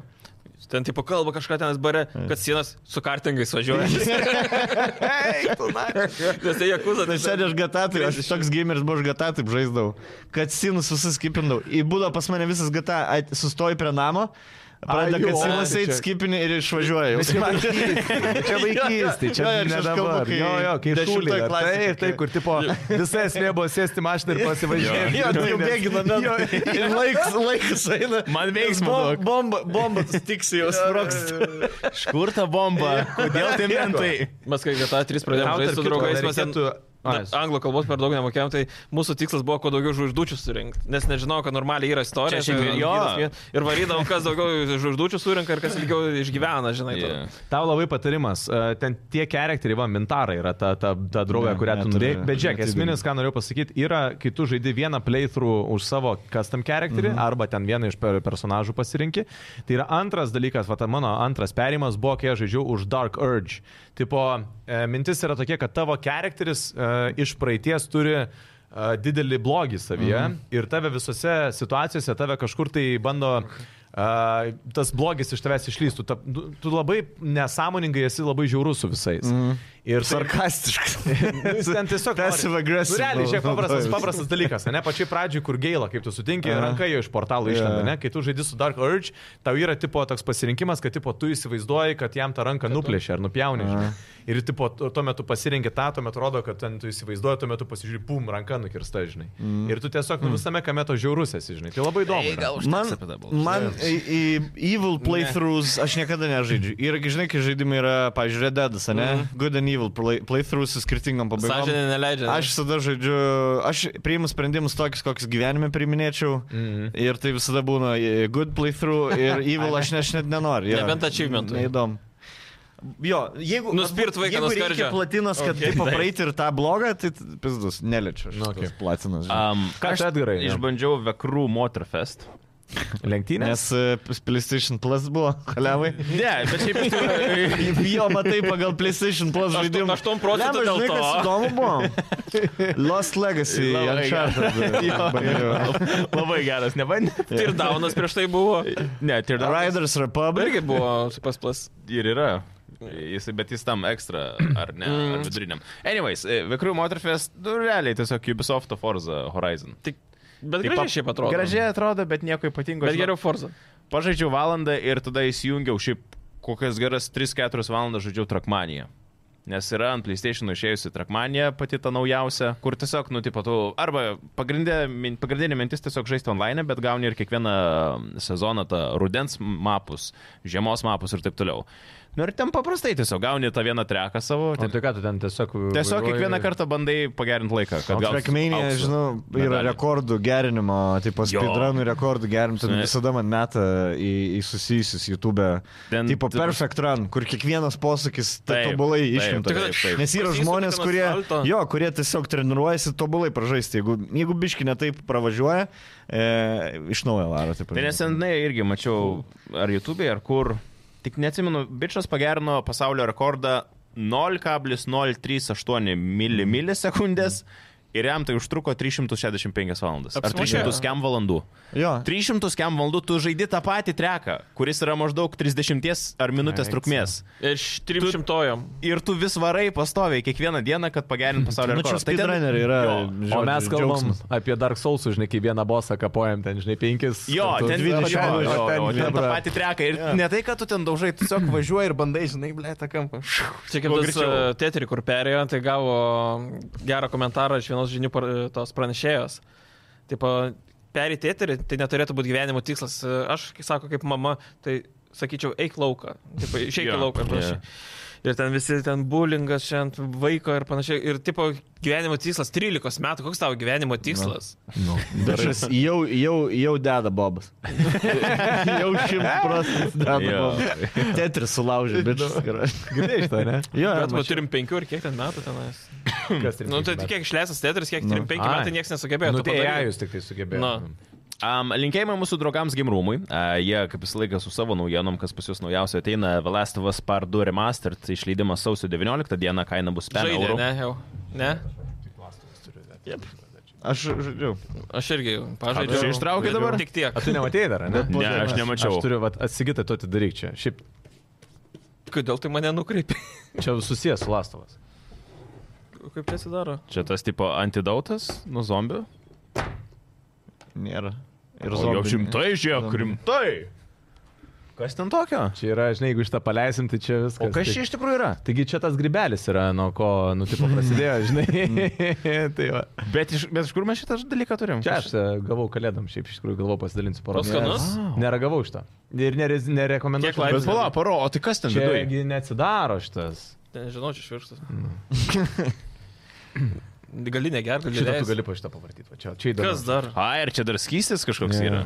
Speaker 3: Ten tipo kalba kažką ten bare, kad sienas su kartingais važiuoja. Nes tai Jekuzai.
Speaker 2: Tai sėdė aš gatatai, aš toks gameris buvo aš gatatai, žaisdavau. Kad sinus visus skipindavau. Į būdą pas mane visas gata at- sustoji prie namo. Pradeda,
Speaker 4: Ai, jo,
Speaker 2: kad sinas
Speaker 4: tai
Speaker 2: eit
Speaker 4: čia-
Speaker 2: skipinį ir išvažiuoja. jau.
Speaker 4: Čia vaikystė, čia
Speaker 2: Jo, jo, čia
Speaker 4: ne
Speaker 2: aš kalbu,
Speaker 4: dabar.
Speaker 2: kai
Speaker 4: Jo, jo, kai
Speaker 2: dešimtoj
Speaker 4: šūlė.
Speaker 2: klasėj
Speaker 4: Taip,
Speaker 2: tokie.
Speaker 4: taip, kur tipo visai esmė buvo sėsti į mašiną ir pasivažiuoti.
Speaker 2: Jo, tu jau bėgi nuo meno. Ir laikas, laikas eina.
Speaker 1: Man veiksmo
Speaker 2: Bom-
Speaker 1: daug.
Speaker 2: Bomba, bomba, stiksi jau sproksta.
Speaker 1: Iš kur ta bomba? Kodėl tie mentai?
Speaker 3: Mes kai GTA 3 pradėjome žaisti su draugais, mes ten... Na, anglų kalbos per daug nemokėjom, tai mūsų tikslas buvo kuo daugiau žvaigždučių surinkti, nes nežinau, kad normaliai yra istorija.
Speaker 1: Čia šiaip
Speaker 3: tai
Speaker 1: jo.
Speaker 3: gydas- Ir varydavom, kas daugiau žvaigždučių surinka ir kas ilgiau išgyvena, žinai. Yeah.
Speaker 4: Tau labai patarimas, e, ten tie charakteriai, va, Mintara yra ta, ta, ta draugė,
Speaker 2: Ne,
Speaker 4: kurią tu
Speaker 2: neturiu,
Speaker 4: norėjai. Bet žiūrėk,
Speaker 2: neturiu.
Speaker 4: esminis, ką norėjau pasakyti, yra, kai tu žaidži vieną playthrough už savo custom charakterį arba ten vieną iš per- personažų pasirinki. Tai yra antras dalykas, va, ta mano antras perimas buvo, kai aš žaidžiau už Dark Urge. Tipo, e, mintis yra tokia, kad tavo charakteris e, iš praeities turi e, didelį blogį savyje ir tave visose situacijose tave kažkur tai bando e, a, tas blogis iš tavęs išlystų. Ta, tu- tu labai nesąmoningai esi labai žiaurus su visais. Mm. Ir
Speaker 2: Sarkastiškas.
Speaker 4: Nu, Jis ten tiesiog nori.
Speaker 2: Passive aggressive
Speaker 4: Nu, Realiai, čia paprastas,
Speaker 2: naudojimas.
Speaker 4: paprastas dalykas, ne pačiai pradžiai, kur gaila, kaip tu sutinki,
Speaker 2: Aha.
Speaker 4: ranka jo iš portalo išlenda,
Speaker 2: Jo.
Speaker 4: ne, kai tu žaidži su Dark Urge, tau yra tipo toks pasirinkimas, kad tipo tu įsivaizduoji, kad jam tą ranką nuplėšia ar nupjauni. žinai. Ir tipo tu- tuo metu pasirinki tą, tuo metu rodo, kad ten tu įsivaizduoji, tuo metu pasižiūri, pum, ranka nukirsta, žinai. Ir tu tiesiog nu, visame kame to žiaurus esi, žinai. Tai labai įdomu. yra.
Speaker 2: Man, man į, į Evil playthroughs aš niekada nežaidžiu. Ir kai žinai, kai žaidimai yra, pavyzdžiui, Red Dead, ne?
Speaker 4: Mhm.
Speaker 2: Good and Evil play, playthroughs su skirtingom pabaigom.
Speaker 3: Sąžinė neleidžia.
Speaker 2: Aš visada žaidžiu, aš priimu sprendimus tokius, kokius gyvenime priminėčiau.
Speaker 4: Mhm.
Speaker 2: Mm. Ir tai visada būna e, good playthrough ir evil aš, ne, aš net nenoriu. jo.
Speaker 3: Nebent achievementų.
Speaker 2: Neįdomu. Jo, jeigu...
Speaker 3: Nuspirt vaiką
Speaker 2: jeigu
Speaker 3: nuo
Speaker 2: reikia
Speaker 3: skardžio.
Speaker 2: platinas, kad
Speaker 3: Okay.
Speaker 2: okay, tai papraeiti ir tą blogą, tai t- pizdus, neliečiu.
Speaker 4: Nu,
Speaker 2: Nu,
Speaker 4: okay.
Speaker 2: okay. Platinas. žinai.
Speaker 1: Um,
Speaker 4: Ką čia atgarai?
Speaker 1: Išbandžiau Vekrų Motorfest.
Speaker 4: Lenktynės?
Speaker 2: Nes e, PlayStation Plus buvo, kalevai.
Speaker 1: Ne, bet šiaip iš tikrųjų.
Speaker 2: Jo, matai, pagal PlayStation Plus
Speaker 3: Aštu-
Speaker 2: žaidimą.
Speaker 3: aštuom procentų dėl
Speaker 2: Žinai, kas
Speaker 3: to.
Speaker 2: įdomu buvo? Lost Legacy,
Speaker 1: Labai
Speaker 2: Uncharted. bandžiau.
Speaker 1: Labai geras, nebandė.
Speaker 3: Ir Daunas prieš tai buvo.
Speaker 1: Ne, Teardown
Speaker 2: Riders Republic.
Speaker 3: Irgi buvo su pasplas.
Speaker 1: ir yra. Jis, bet jis tam ekstra, ar ne, ar viduriniam. Anyways, e, Vekrų Motorfest, nu, realiai tiesiog Ubisoft Forza Horizon.
Speaker 3: Tik, bet
Speaker 1: Taip,
Speaker 3: gražiai šiaip atrodo.
Speaker 1: Gražiai atrodo, bet nieko ypatingo.
Speaker 3: Bet
Speaker 1: Žinau,
Speaker 3: geriau Forza.
Speaker 1: Pažaidžiau valandą ir tada įsijungiau šiaip kokias geras 3-4 valandas žaidžiau Trackmaniją. Nes yra ant PlayStation išėjusi Trackmanija pati ta naujausia, kur tiesiog, nu, tipo, tu, arba pagrindė, min, pagrindinė mintis tiesiog žaisti online, bet gauni ir kiekvieną sezoną tą rudens mapus, žiemos mapus ir taip toliau. Nu ir ten paprastai tiesiog gauni tą vieną treką savo. Taip,
Speaker 4: Taip, tai ką tu ten tiesiog...
Speaker 1: tiesiog
Speaker 4: vairuoji?
Speaker 1: kiekvieną kartą bandai pagerinti laiką, kad gautum
Speaker 2: Trackmania,
Speaker 1: aukso
Speaker 2: žinau, yra
Speaker 1: medalį.
Speaker 2: rekordų gerinimo, tipo
Speaker 1: Jo.
Speaker 2: speedrunų rekordų gerinimo, ten
Speaker 1: Žinai.
Speaker 2: visada man meta į, į susijusius YouTube.
Speaker 1: Ten,
Speaker 2: Tipo
Speaker 1: tipo,
Speaker 2: perfect run, kur kiekvienas posūkis ta-
Speaker 1: Taip,
Speaker 2: tobulai
Speaker 1: taip,
Speaker 2: išimtas.
Speaker 1: taip, taip.
Speaker 2: Nes yra
Speaker 3: Pasisuki
Speaker 2: žmonės,
Speaker 3: ten
Speaker 2: kurie,
Speaker 3: asfalto.
Speaker 2: jo, kurie tiesiog treniruojasi tobulai pražaisti. Jeigu, jeigu biški netaip pravažiuoja, e, iš naujo varo. Taip,
Speaker 1: Tai nesenai irgi mačiau, ar YouTube'e, ar kur. Tik neatsimenu, bičias pagerino pasaulio rekordą 0,038 mili- milisekundės ir jam tai užtruko 365 valandas. Ar
Speaker 3: Apsimokėjo.
Speaker 1: 300 kem valandų.
Speaker 2: Jo,
Speaker 1: 300 kem valandų tu žaidi tą patį treką, kuris yra maždaug 30 ar minutės trukmės.
Speaker 3: Iš 300.
Speaker 1: Ir tu vis varai pastoviai kiekvieną dieną, kad pagerintum pasaulio
Speaker 2: nu čia
Speaker 1: rekordą. Tai ten-
Speaker 2: speedrunner yra.
Speaker 1: Jo.
Speaker 4: O
Speaker 2: žodžiu,
Speaker 4: mes kalbam
Speaker 2: džiaugsmas.
Speaker 4: apie Dark Souls, žinai, kai vieną bosą kapojam, ten, žinai, penkis.
Speaker 1: Jo,
Speaker 4: kartus.
Speaker 1: ten
Speaker 2: dvidešim,
Speaker 1: 20 jo,
Speaker 2: o
Speaker 1: jo,
Speaker 2: ten
Speaker 1: jo, ten tą
Speaker 2: bebra.
Speaker 1: patį treką. Ir ne tai, kad tu ten daužai, tiesiog važiuoji ir bandai, žinai, ble, tą kampą.
Speaker 3: Čia kaip
Speaker 1: Kuo
Speaker 3: tas
Speaker 1: greičiau.
Speaker 3: e, Tetri, kur perėjo, tai gavo gerą komentarą iš vienos žinių par- e, tos pranešėjos. Taip, perėti Tetri, tai neturėtų būti gyvenimo tikslas. E, Aš, kai sako, kaip mama, tai sakyčiau, eik lauką. Taip, išeik
Speaker 1: Jo,
Speaker 3: į lauką. ir panašiai. Ir ten visi ten bulingas, šiandien vaiko ir panašiai. Ir tipo gyvenimo tikslas 13 metų. Koks tavo gyvenimo tikslas?
Speaker 4: Nu.
Speaker 2: Bičas jau, jau, jau deda bobas. jau šimtas procentų deda
Speaker 1: Jo.
Speaker 2: bobas. Tetris sulaužė, bičas.
Speaker 4: Girdėjai iš to, ne?
Speaker 2: Jo,
Speaker 3: Bet va,
Speaker 2: mačiau.
Speaker 3: turim 5 ir kiek ten metų tenais.
Speaker 4: Kas
Speaker 3: Nu, tai tik kiek išleistas Tetris, kiek 35 metai niekas nesugebėjo.
Speaker 4: Nu,
Speaker 3: to
Speaker 4: tai
Speaker 3: padaryt.
Speaker 4: jie jūs tik tai sugebėjote.
Speaker 3: Na.
Speaker 1: Um, linkėjimai mūsų draugams Gimrūmui. Uh, jie, kaip visą laiką, su savo naujienom, kas pas jūs naujausia ateina, The Last of Us Part 2 Remastered, tai išleidimas sausio 19 dieną, kaina bus 5
Speaker 3: Žaidė,
Speaker 1: eurų.
Speaker 3: ne, jau. Ne?
Speaker 2: Aš žaidžiu.
Speaker 3: Aš irgi jau
Speaker 1: A,
Speaker 3: pažaidžiau.
Speaker 1: tu čia ištraukei dabar?
Speaker 3: Tik tiek.
Speaker 4: A, tu nematėjai dar, ne?
Speaker 1: Ne, aš nemačiau.
Speaker 4: Aš turiu, vat, atsigitą, tu atidaryk čia. Šiaip,
Speaker 3: Kodėl tai mane nukreipi?
Speaker 4: čia susijęs su Lastovas.
Speaker 3: Kaip tai atsidaro?
Speaker 1: Čia tas tipo antidautas nuo zombių.
Speaker 2: Nėra.
Speaker 1: Ir
Speaker 2: Ir
Speaker 1: zombių. Jau
Speaker 2: zombiai.
Speaker 1: šimtai, žiūrėk,
Speaker 2: Zombiai.
Speaker 1: rimtai. Kas ten tokio?
Speaker 4: Čia yra, žinai, jeigu šitą paleisim, tai čia viskas.
Speaker 1: O kas
Speaker 4: Tai-
Speaker 1: čia iš tikrųjų yra?
Speaker 4: Taigi čia tas gribelis yra, nuo ko, nu, tipo, prasidėjo, žinai. tai va.
Speaker 1: Bet iš, bet iš kur mes šitą dalyką turim?
Speaker 4: Čia aš e, gavau kalėdam, šiaip iš tikrųjų galvau
Speaker 3: O
Speaker 4: pasidalinsiu poros.
Speaker 3: skanus?
Speaker 1: nu.
Speaker 4: Neragavau šitą. Ir nere- nerekomenduoju.
Speaker 3: Kiek laipsnių?
Speaker 1: Bet pala, paro, o tai kas ten
Speaker 4: Čia
Speaker 1: viduje?
Speaker 4: gi neatsidaro šitas.
Speaker 3: Nežinau, čia švirkštas.
Speaker 4: Mm.
Speaker 3: Gali negerk, gali
Speaker 4: Šitą tu
Speaker 3: leisti.
Speaker 4: gali po šitą pavartyti. Čia, čia įdomu.
Speaker 3: Kas dar?
Speaker 1: A, ir čia dar skystis kažkoks
Speaker 4: Ne.
Speaker 1: yra.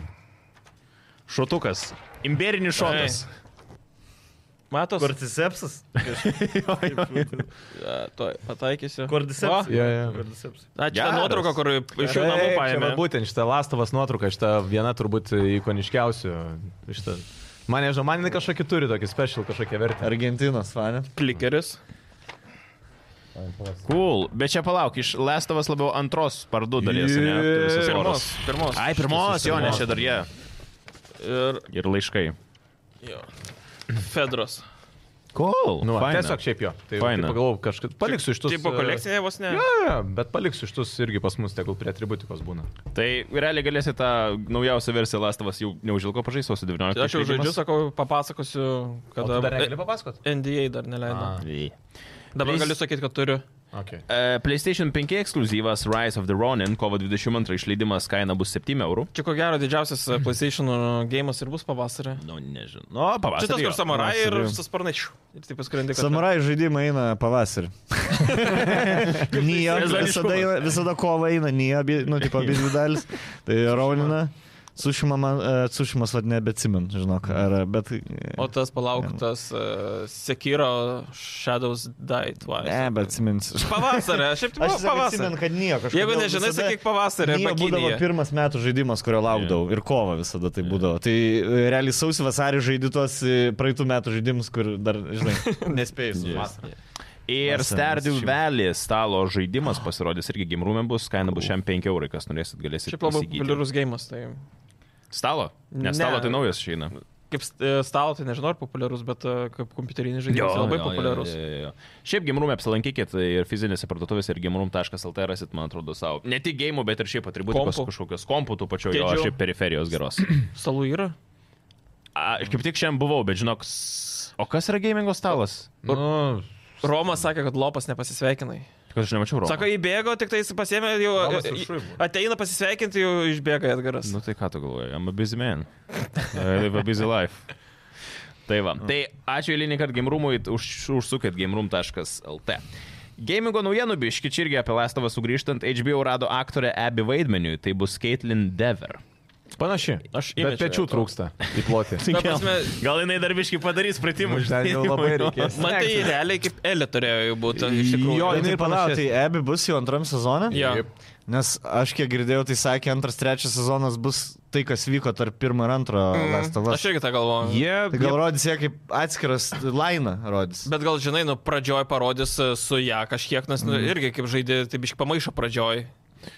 Speaker 1: Šotukas. Imberinis šotas.
Speaker 3: Matos?
Speaker 5: Kortisepsas?
Speaker 3: A, Tuoj, pataikysiu.
Speaker 5: Kortisepsas.
Speaker 4: O, jo, jo.
Speaker 5: Kortisepsas.
Speaker 3: Ačiū,
Speaker 1: Geras.
Speaker 3: nuotrauka, kur iš jų
Speaker 4: Taip,
Speaker 3: namų
Speaker 4: čia
Speaker 3: paėmė.
Speaker 4: va Būtent šitą Lastovas nuotrauką, šitą viena turbūt ikoniškiausių. Šitą... Man nežinau, man jinai kažkokį turi tokį special kažkokią vertę.
Speaker 2: Argentinos fanė.
Speaker 3: Klikeris.
Speaker 1: Cool, bet čia palauk, iš Lestovas labiau antros pardų dalies, ne? Tu visas
Speaker 4: Pirmos.
Speaker 1: poros.
Speaker 3: Pirmos.
Speaker 1: Ai, pirmos, jo, nes čia dar jie.
Speaker 3: Ir
Speaker 1: Ir laiškai.
Speaker 3: jo. Fedros.
Speaker 1: Cool.
Speaker 4: Nu, va,
Speaker 1: faina.
Speaker 4: tiesiog šiaip jo. Tai
Speaker 1: Faina.
Speaker 4: pagalvoju, kažkaip paliksiu iš tų.
Speaker 3: Tai po kolekcinė vos ne.
Speaker 4: Jo, jo, bet paliksiu iš tų irgi pas mus, tegul prie atributikos būna.
Speaker 1: Tai realiai galėsite tą naujausį versiją Lastovas jau neužilgo pažaisti, o su 19.
Speaker 3: Tai Aš jau žaidžiu, sakau, papasakosiu,
Speaker 4: O
Speaker 3: kada...
Speaker 4: tu dar negali papasakot?
Speaker 3: NDA dar neleido.
Speaker 4: A.
Speaker 1: žaidžiu.
Speaker 3: Dabar
Speaker 1: Please.
Speaker 3: galiu sakyti, kad turiu.
Speaker 4: Okay.
Speaker 1: E, PlayStation 5 ekskluzivas Rise of the Ronin, kovo 22 išleidimas kaina bus 7 eurų.
Speaker 3: Čia ko gero didžiausias e, PlayStation gėjimas ir bus pavasarį.
Speaker 1: Nu, nežinau. Nu, pavasarį.
Speaker 3: Čia tas, kur
Speaker 1: jo.
Speaker 3: samurai ir
Speaker 1: Pavasarį.
Speaker 3: su sparnaičiu. Ir taip paskrendi, kad...
Speaker 2: Samurai žaidimai eina pavasarį. Nio, visada, eina, visada kova eina, Nio, abi- nu, tipo, abi dalis. Tai Raunina. Sušima man, e, sušimas vad nebeatsimint, žinok, ar, bet...
Speaker 3: O tas palauktas uh, Sekiro Shadows Die Twice.
Speaker 2: Ne, bet atsimins.
Speaker 3: Pavasarį, aš
Speaker 2: Aš
Speaker 3: šiaip tik
Speaker 2: tiesiog atsimenu,
Speaker 3: pavasarį.
Speaker 2: kad Nio kažkas.
Speaker 3: Jeigu nežinai, sakyk
Speaker 2: Tai
Speaker 3: pavasarį arba
Speaker 2: būdavo
Speaker 3: Kiniją.
Speaker 2: pirmas metų žaidimas, kurio laukdavau. Ir kova visada tai būdavo. Tai e, realiai sausį vasarį žaidžiu tuos e, praeitų metų žaidimus, kur dar, žinai, nespėjai su vasarą.
Speaker 1: Ir
Speaker 2: Vasarą,
Speaker 1: Stardew
Speaker 2: šiaip.
Speaker 1: Valley stalo žaidimas pasirodys irgi gimrūmė bus, kaina bus šiam 5 eurai, kas norėsit galėsit.
Speaker 3: Šiaip labai
Speaker 1: įsigyti.
Speaker 3: populiarus gėjimas. Tai...
Speaker 1: Stalo? Ne,
Speaker 3: Ne.
Speaker 1: stalo tai naujas šeina.
Speaker 3: Kaip e, stalo, tai nežinau, ar populiarus, bet e, kaip kompiuterinis žaidimas tai labai populiarus.
Speaker 1: Jo, jo, jo. Šiaip gimrūmė apsilankykit tai ir fizinėse parduotuvėse ir gimrūm.lt rasit, man atrodo, savo. Ne tik gėjimų, bet ir šiaip atributikos
Speaker 3: Kompų.
Speaker 1: kažkokios komputų pačiojo, jo,
Speaker 3: Kėdžių.
Speaker 1: šiaip periferijos geros.
Speaker 3: Salų yra?
Speaker 1: A, Aš kaip tik šiandien buvau, bet žinok, s- o kas yra gamingo stalas?
Speaker 4: Nu,
Speaker 3: Roma sakė, kad Lopas nepasisveikinai.
Speaker 1: Kad aš nemačiau Romo.
Speaker 3: Sako, įbėgo, tik tai jis pasėmė, jau
Speaker 4: Romas
Speaker 3: e,
Speaker 4: viršuj
Speaker 3: e,
Speaker 4: buvo.
Speaker 3: ateina pasisveikinti, jau išbėga Edgaras.
Speaker 1: Nu tai ką tu galvoji, I'm a busy man. I live a busy life. Tai va. Tai ačiū eilinį kartą gimrumui, už, užsukit gimrum.lt. Gamingo naujienų biški, čia irgi apie Lastovą sugrįžtant, HBO rado aktorę Abby vaidmeniui, tai bus Caitlin Dever.
Speaker 4: panaši.
Speaker 3: Aš
Speaker 4: Bet
Speaker 3: imidžą
Speaker 4: pečių
Speaker 3: dėl to.
Speaker 4: trūksta į plotį.
Speaker 3: Ta prasme,
Speaker 1: Gal jinai dar biški padarys pratimų,
Speaker 4: Nu, ten jau labai reikės.
Speaker 3: man tai realiai kaip Elė turėjo jau būti, iš tikrųjų.
Speaker 4: Jo,
Speaker 2: O,
Speaker 4: jinai
Speaker 2: tai palauk, tai
Speaker 4: panašesnė.
Speaker 2: Ebi bus jau antram sezonė?
Speaker 3: Jo.
Speaker 4: Taip.
Speaker 2: Nes aš kiek girdėjau, tai sakė, antras, trečias sezonas bus tai, kas vyko tarp pirmo ir antro mm. Last of
Speaker 3: Mhm. Aš
Speaker 2: Us.
Speaker 3: irgi tą galvoju.
Speaker 4: Jie,
Speaker 2: Tai gal rodys jie kaip atskiras lainą rodys.
Speaker 3: Bet gal žinai, nu pradžioj parodys e, su ją kažkiek, nes
Speaker 4: Mhm.
Speaker 3: nu, irgi kaip žaidė, tai biškai pamaišo pradžioj.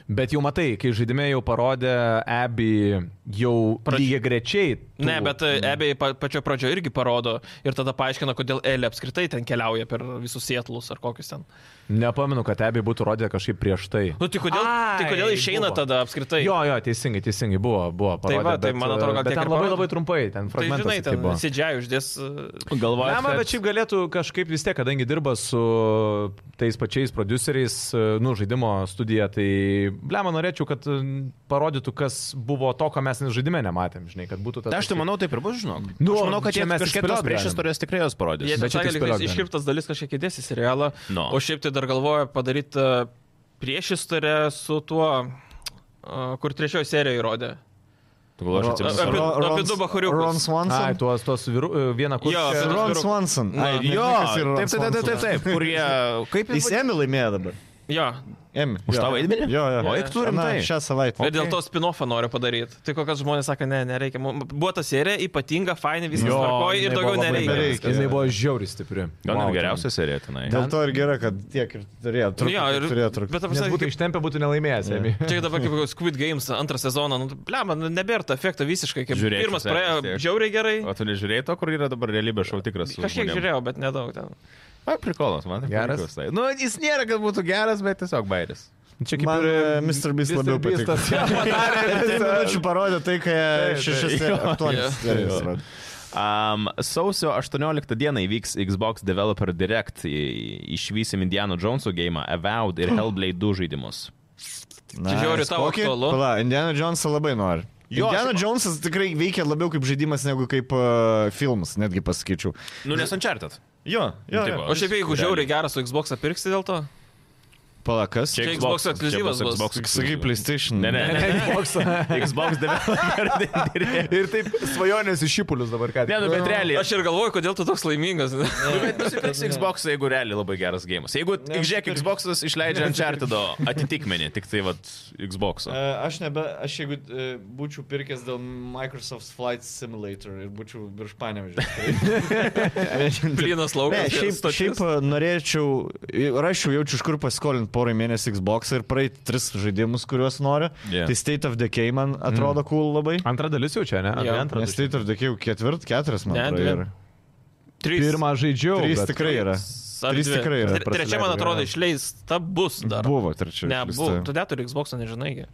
Speaker 4: Bet jau matai, kai žaidime jau parodė Abby jau
Speaker 3: Pradž-
Speaker 4: lygiai grečiai. tų-
Speaker 3: Ne, bet
Speaker 4: Mhm.
Speaker 3: Ebei pačio pradžio irgi parodo ir tada paaiškina, kodėl Elė apskritai ten keliauja per visus sietlus ar kokius ten.
Speaker 4: Nepamenu, kad Abby būtų rodę kažkaip prieš tai.
Speaker 3: Nu, tai kodėl, tai kodėl
Speaker 4: Ai,
Speaker 3: išeina
Speaker 4: buvo.
Speaker 3: tada apskritai?
Speaker 4: Jo, jo, teisingai, teisingai, buvo, buvo
Speaker 3: Tai
Speaker 4: parodė.
Speaker 3: va, tai
Speaker 4: bet,
Speaker 3: man atrodo, gal
Speaker 4: bet
Speaker 3: tiek
Speaker 4: ten
Speaker 3: ir
Speaker 4: labai
Speaker 3: parodė.
Speaker 4: labai trumpai,
Speaker 3: Tai
Speaker 4: ten fragmentas.
Speaker 3: žinai,
Speaker 4: tiktai
Speaker 3: ten
Speaker 4: buvo.
Speaker 3: sidžiai uždės. e,
Speaker 1: Galvoju,
Speaker 4: Ne, man,
Speaker 1: kad...
Speaker 4: bet šiaip galėtų kažkaip vis tiek, kadangi dirba su tais pačiais produceriais, e, nu, žaidimo studija, tai, blema, norėčiau, kad e, parodytų, kas buvo to, ko mes žaidime nematėm, žinai, kad būtų tas...
Speaker 1: Tai aš tai manau, taip ir bus, žinok.
Speaker 4: Nu,
Speaker 1: aš manau, kad
Speaker 4: čia
Speaker 1: jie
Speaker 4: mes
Speaker 1: kažkiek
Speaker 4: spėliot
Speaker 1: tos prieš istorijos tikrai jos parodys.
Speaker 3: Jie
Speaker 4: Bet
Speaker 3: bet
Speaker 4: čia
Speaker 3: sakė, lyg
Speaker 4: tik
Speaker 3: tais
Speaker 4: spėliok galim.
Speaker 3: iškirptas dalis kažkiek įdės į serialą.
Speaker 1: No.
Speaker 3: O šiaip tai dar galvoju padaryti e, priešistorę su tuo, e, kur trečioji serija įrodė.
Speaker 1: Tu galvoji, aš
Speaker 3: Apie-
Speaker 1: atsiprašau.
Speaker 2: Ro-
Speaker 3: apie
Speaker 2: Ron-
Speaker 3: du bachariukus.
Speaker 2: Ron
Speaker 4: Ai,
Speaker 2: Swanson.
Speaker 4: tuos, tuos viru, e, vieną kurį.
Speaker 3: Jo, apie
Speaker 2: Ron
Speaker 3: Ron-
Speaker 2: Swanson. Ai,
Speaker 3: Na.
Speaker 2: jo,
Speaker 1: taip, taip, taip, taip, taip. Kur jie... Kaip
Speaker 2: Jis Emi laimėjo dabar.
Speaker 3: Jo,
Speaker 2: Emi.
Speaker 1: Už
Speaker 2: jo.
Speaker 1: tą vaidmenį?
Speaker 2: Jo, jo.
Speaker 1: O eik tu
Speaker 2: Na,
Speaker 1: rimtai.
Speaker 2: Šią savaitę.
Speaker 3: Okay. Ir dėl to spin-offą noriu padaryti. Tai kokias žmonės sako, ne, nereikia. Mum Buvo ta serija ypatinga, fainai, viskas
Speaker 4: Jo,
Speaker 3: tvarkoja ir
Speaker 4: jinai
Speaker 3: daugiau
Speaker 4: buvo labai
Speaker 3: nereikia.
Speaker 4: gera.
Speaker 2: Nereikia.
Speaker 4: Jinai buvo žiauriai stipri.
Speaker 1: Gal
Speaker 4: Wow,
Speaker 1: net
Speaker 4: ten.
Speaker 1: geriausia serija tenai.
Speaker 2: Dėl to ir gerai, kad tiek ir turėjo
Speaker 3: Nu Jo,
Speaker 2: trūkti.
Speaker 3: ir,
Speaker 2: Turėjo
Speaker 3: bet
Speaker 2: trūkti.
Speaker 3: ta
Speaker 4: Nes
Speaker 3: prasme,
Speaker 4: būtų
Speaker 3: kaip,
Speaker 4: ištempę, būtų nelaimėjęs, Emi.
Speaker 3: čia dabar kaip koks Squid Games antrą sezoną, nu, blemba, nu, nebėra to efekto visiškai. Kaip,
Speaker 1: Žiūrėk,
Speaker 3: pirmas
Speaker 1: tu serijas
Speaker 3: praėjo
Speaker 1: tiek.
Speaker 3: žiauriai gerai.
Speaker 1: O tu nežiūrėjai to, kur yra dabar realybė šau tikras. su
Speaker 3: Kažkiek
Speaker 1: žmonėm?
Speaker 3: žiūrėjau, bet nedaug ten.
Speaker 1: Ai, prikolas, man tai
Speaker 4: Geras.
Speaker 1: geras. Tai. Nu, jis nėra, kad būtų geras, bet tiesiog bairis.
Speaker 4: Čia
Speaker 2: Man e, Mr. Beast labiau patiko. Tai minučių parodė tai, ką
Speaker 4: taip,
Speaker 2: šešias,
Speaker 1: jo,
Speaker 2: aštuonias. serijas rodė.
Speaker 1: Um, sausio 18 dieną įvyks Xbox Developer Direct. I- Išvysim Indiana Jones'o gėjimą, Avowed ir Hellblade 2 žaidimus.
Speaker 2: Na,
Speaker 3: žiauriai tau aktualu.
Speaker 2: Pala, Indiana Jonesą labai nori.
Speaker 1: Jo,
Speaker 2: Jo, Indiana
Speaker 1: aš-
Speaker 2: Jonesas tikrai veikia labiau kaip žaidimas negu kaip uh, filmas, netgi pasakyčiau.
Speaker 1: Nu, nesančiartat.
Speaker 2: Jo, jo.
Speaker 1: Taip,
Speaker 2: jo.
Speaker 3: O šiaip jeigu žiauriai gerą su Xbox apirksi dėl to?
Speaker 2: Pala, kas?
Speaker 3: Čia Xbox ekskliuzyvas bus.
Speaker 2: Sakai, PlayStation.
Speaker 1: Ne, ne, ne. Xbox Developer Direct.
Speaker 4: Ir taip svajonės iš šipulius dabar ką.
Speaker 1: Ne, nu, bet realiai.
Speaker 3: Aš ir galvoju, kodėl tu toks laimingas.
Speaker 1: Nu, bet nusipirks Xbox, jeigu realiai labai geras gėjimas. Jeigu, žiūrėk, Xbox išleidžia Uncharted atitikmenį, tik tai, vad, Xbox.
Speaker 2: E, Aš nebe, aš jeigu e, būčiau pirkęs dėl Microsoft Flight Simulator ir būčiau virš panėmžio.
Speaker 3: Plynas
Speaker 2: Ne,
Speaker 3: laukas.
Speaker 2: šiaip,
Speaker 3: stotis.
Speaker 2: šiaip e, norėčiau, rašiau, jaučiu, iš kur pasiskolinti porai mėnesių Xbox ir praeit tris žaidimus, kuriuos noriu.
Speaker 1: Jo.
Speaker 2: Yeah. Tai State of Decay man atrodo mm. cool labai.
Speaker 4: nu, Antra dalis jau čia, ne? Ar
Speaker 3: Jo.
Speaker 4: ne antra
Speaker 2: Nes
Speaker 4: dalis?
Speaker 2: State of Decay jau ketvirt, keturis man
Speaker 3: Ne,
Speaker 2: atrodo.
Speaker 3: dvi.
Speaker 2: yra.
Speaker 3: Trys.
Speaker 4: Pirmą žaidžiau.
Speaker 2: Trys
Speaker 4: bet-
Speaker 2: tikrai yra.
Speaker 3: ar
Speaker 2: trys
Speaker 3: dvi.
Speaker 2: tikrai yra
Speaker 3: Tre- Trečia, man
Speaker 4: prasileidę,
Speaker 3: atrodo,
Speaker 4: jo.
Speaker 3: išleista bus dar.
Speaker 2: Buvo trečia.
Speaker 3: Ne,
Speaker 2: išleista.
Speaker 3: buvo. Tu neturi Xbox, nežinai. gi.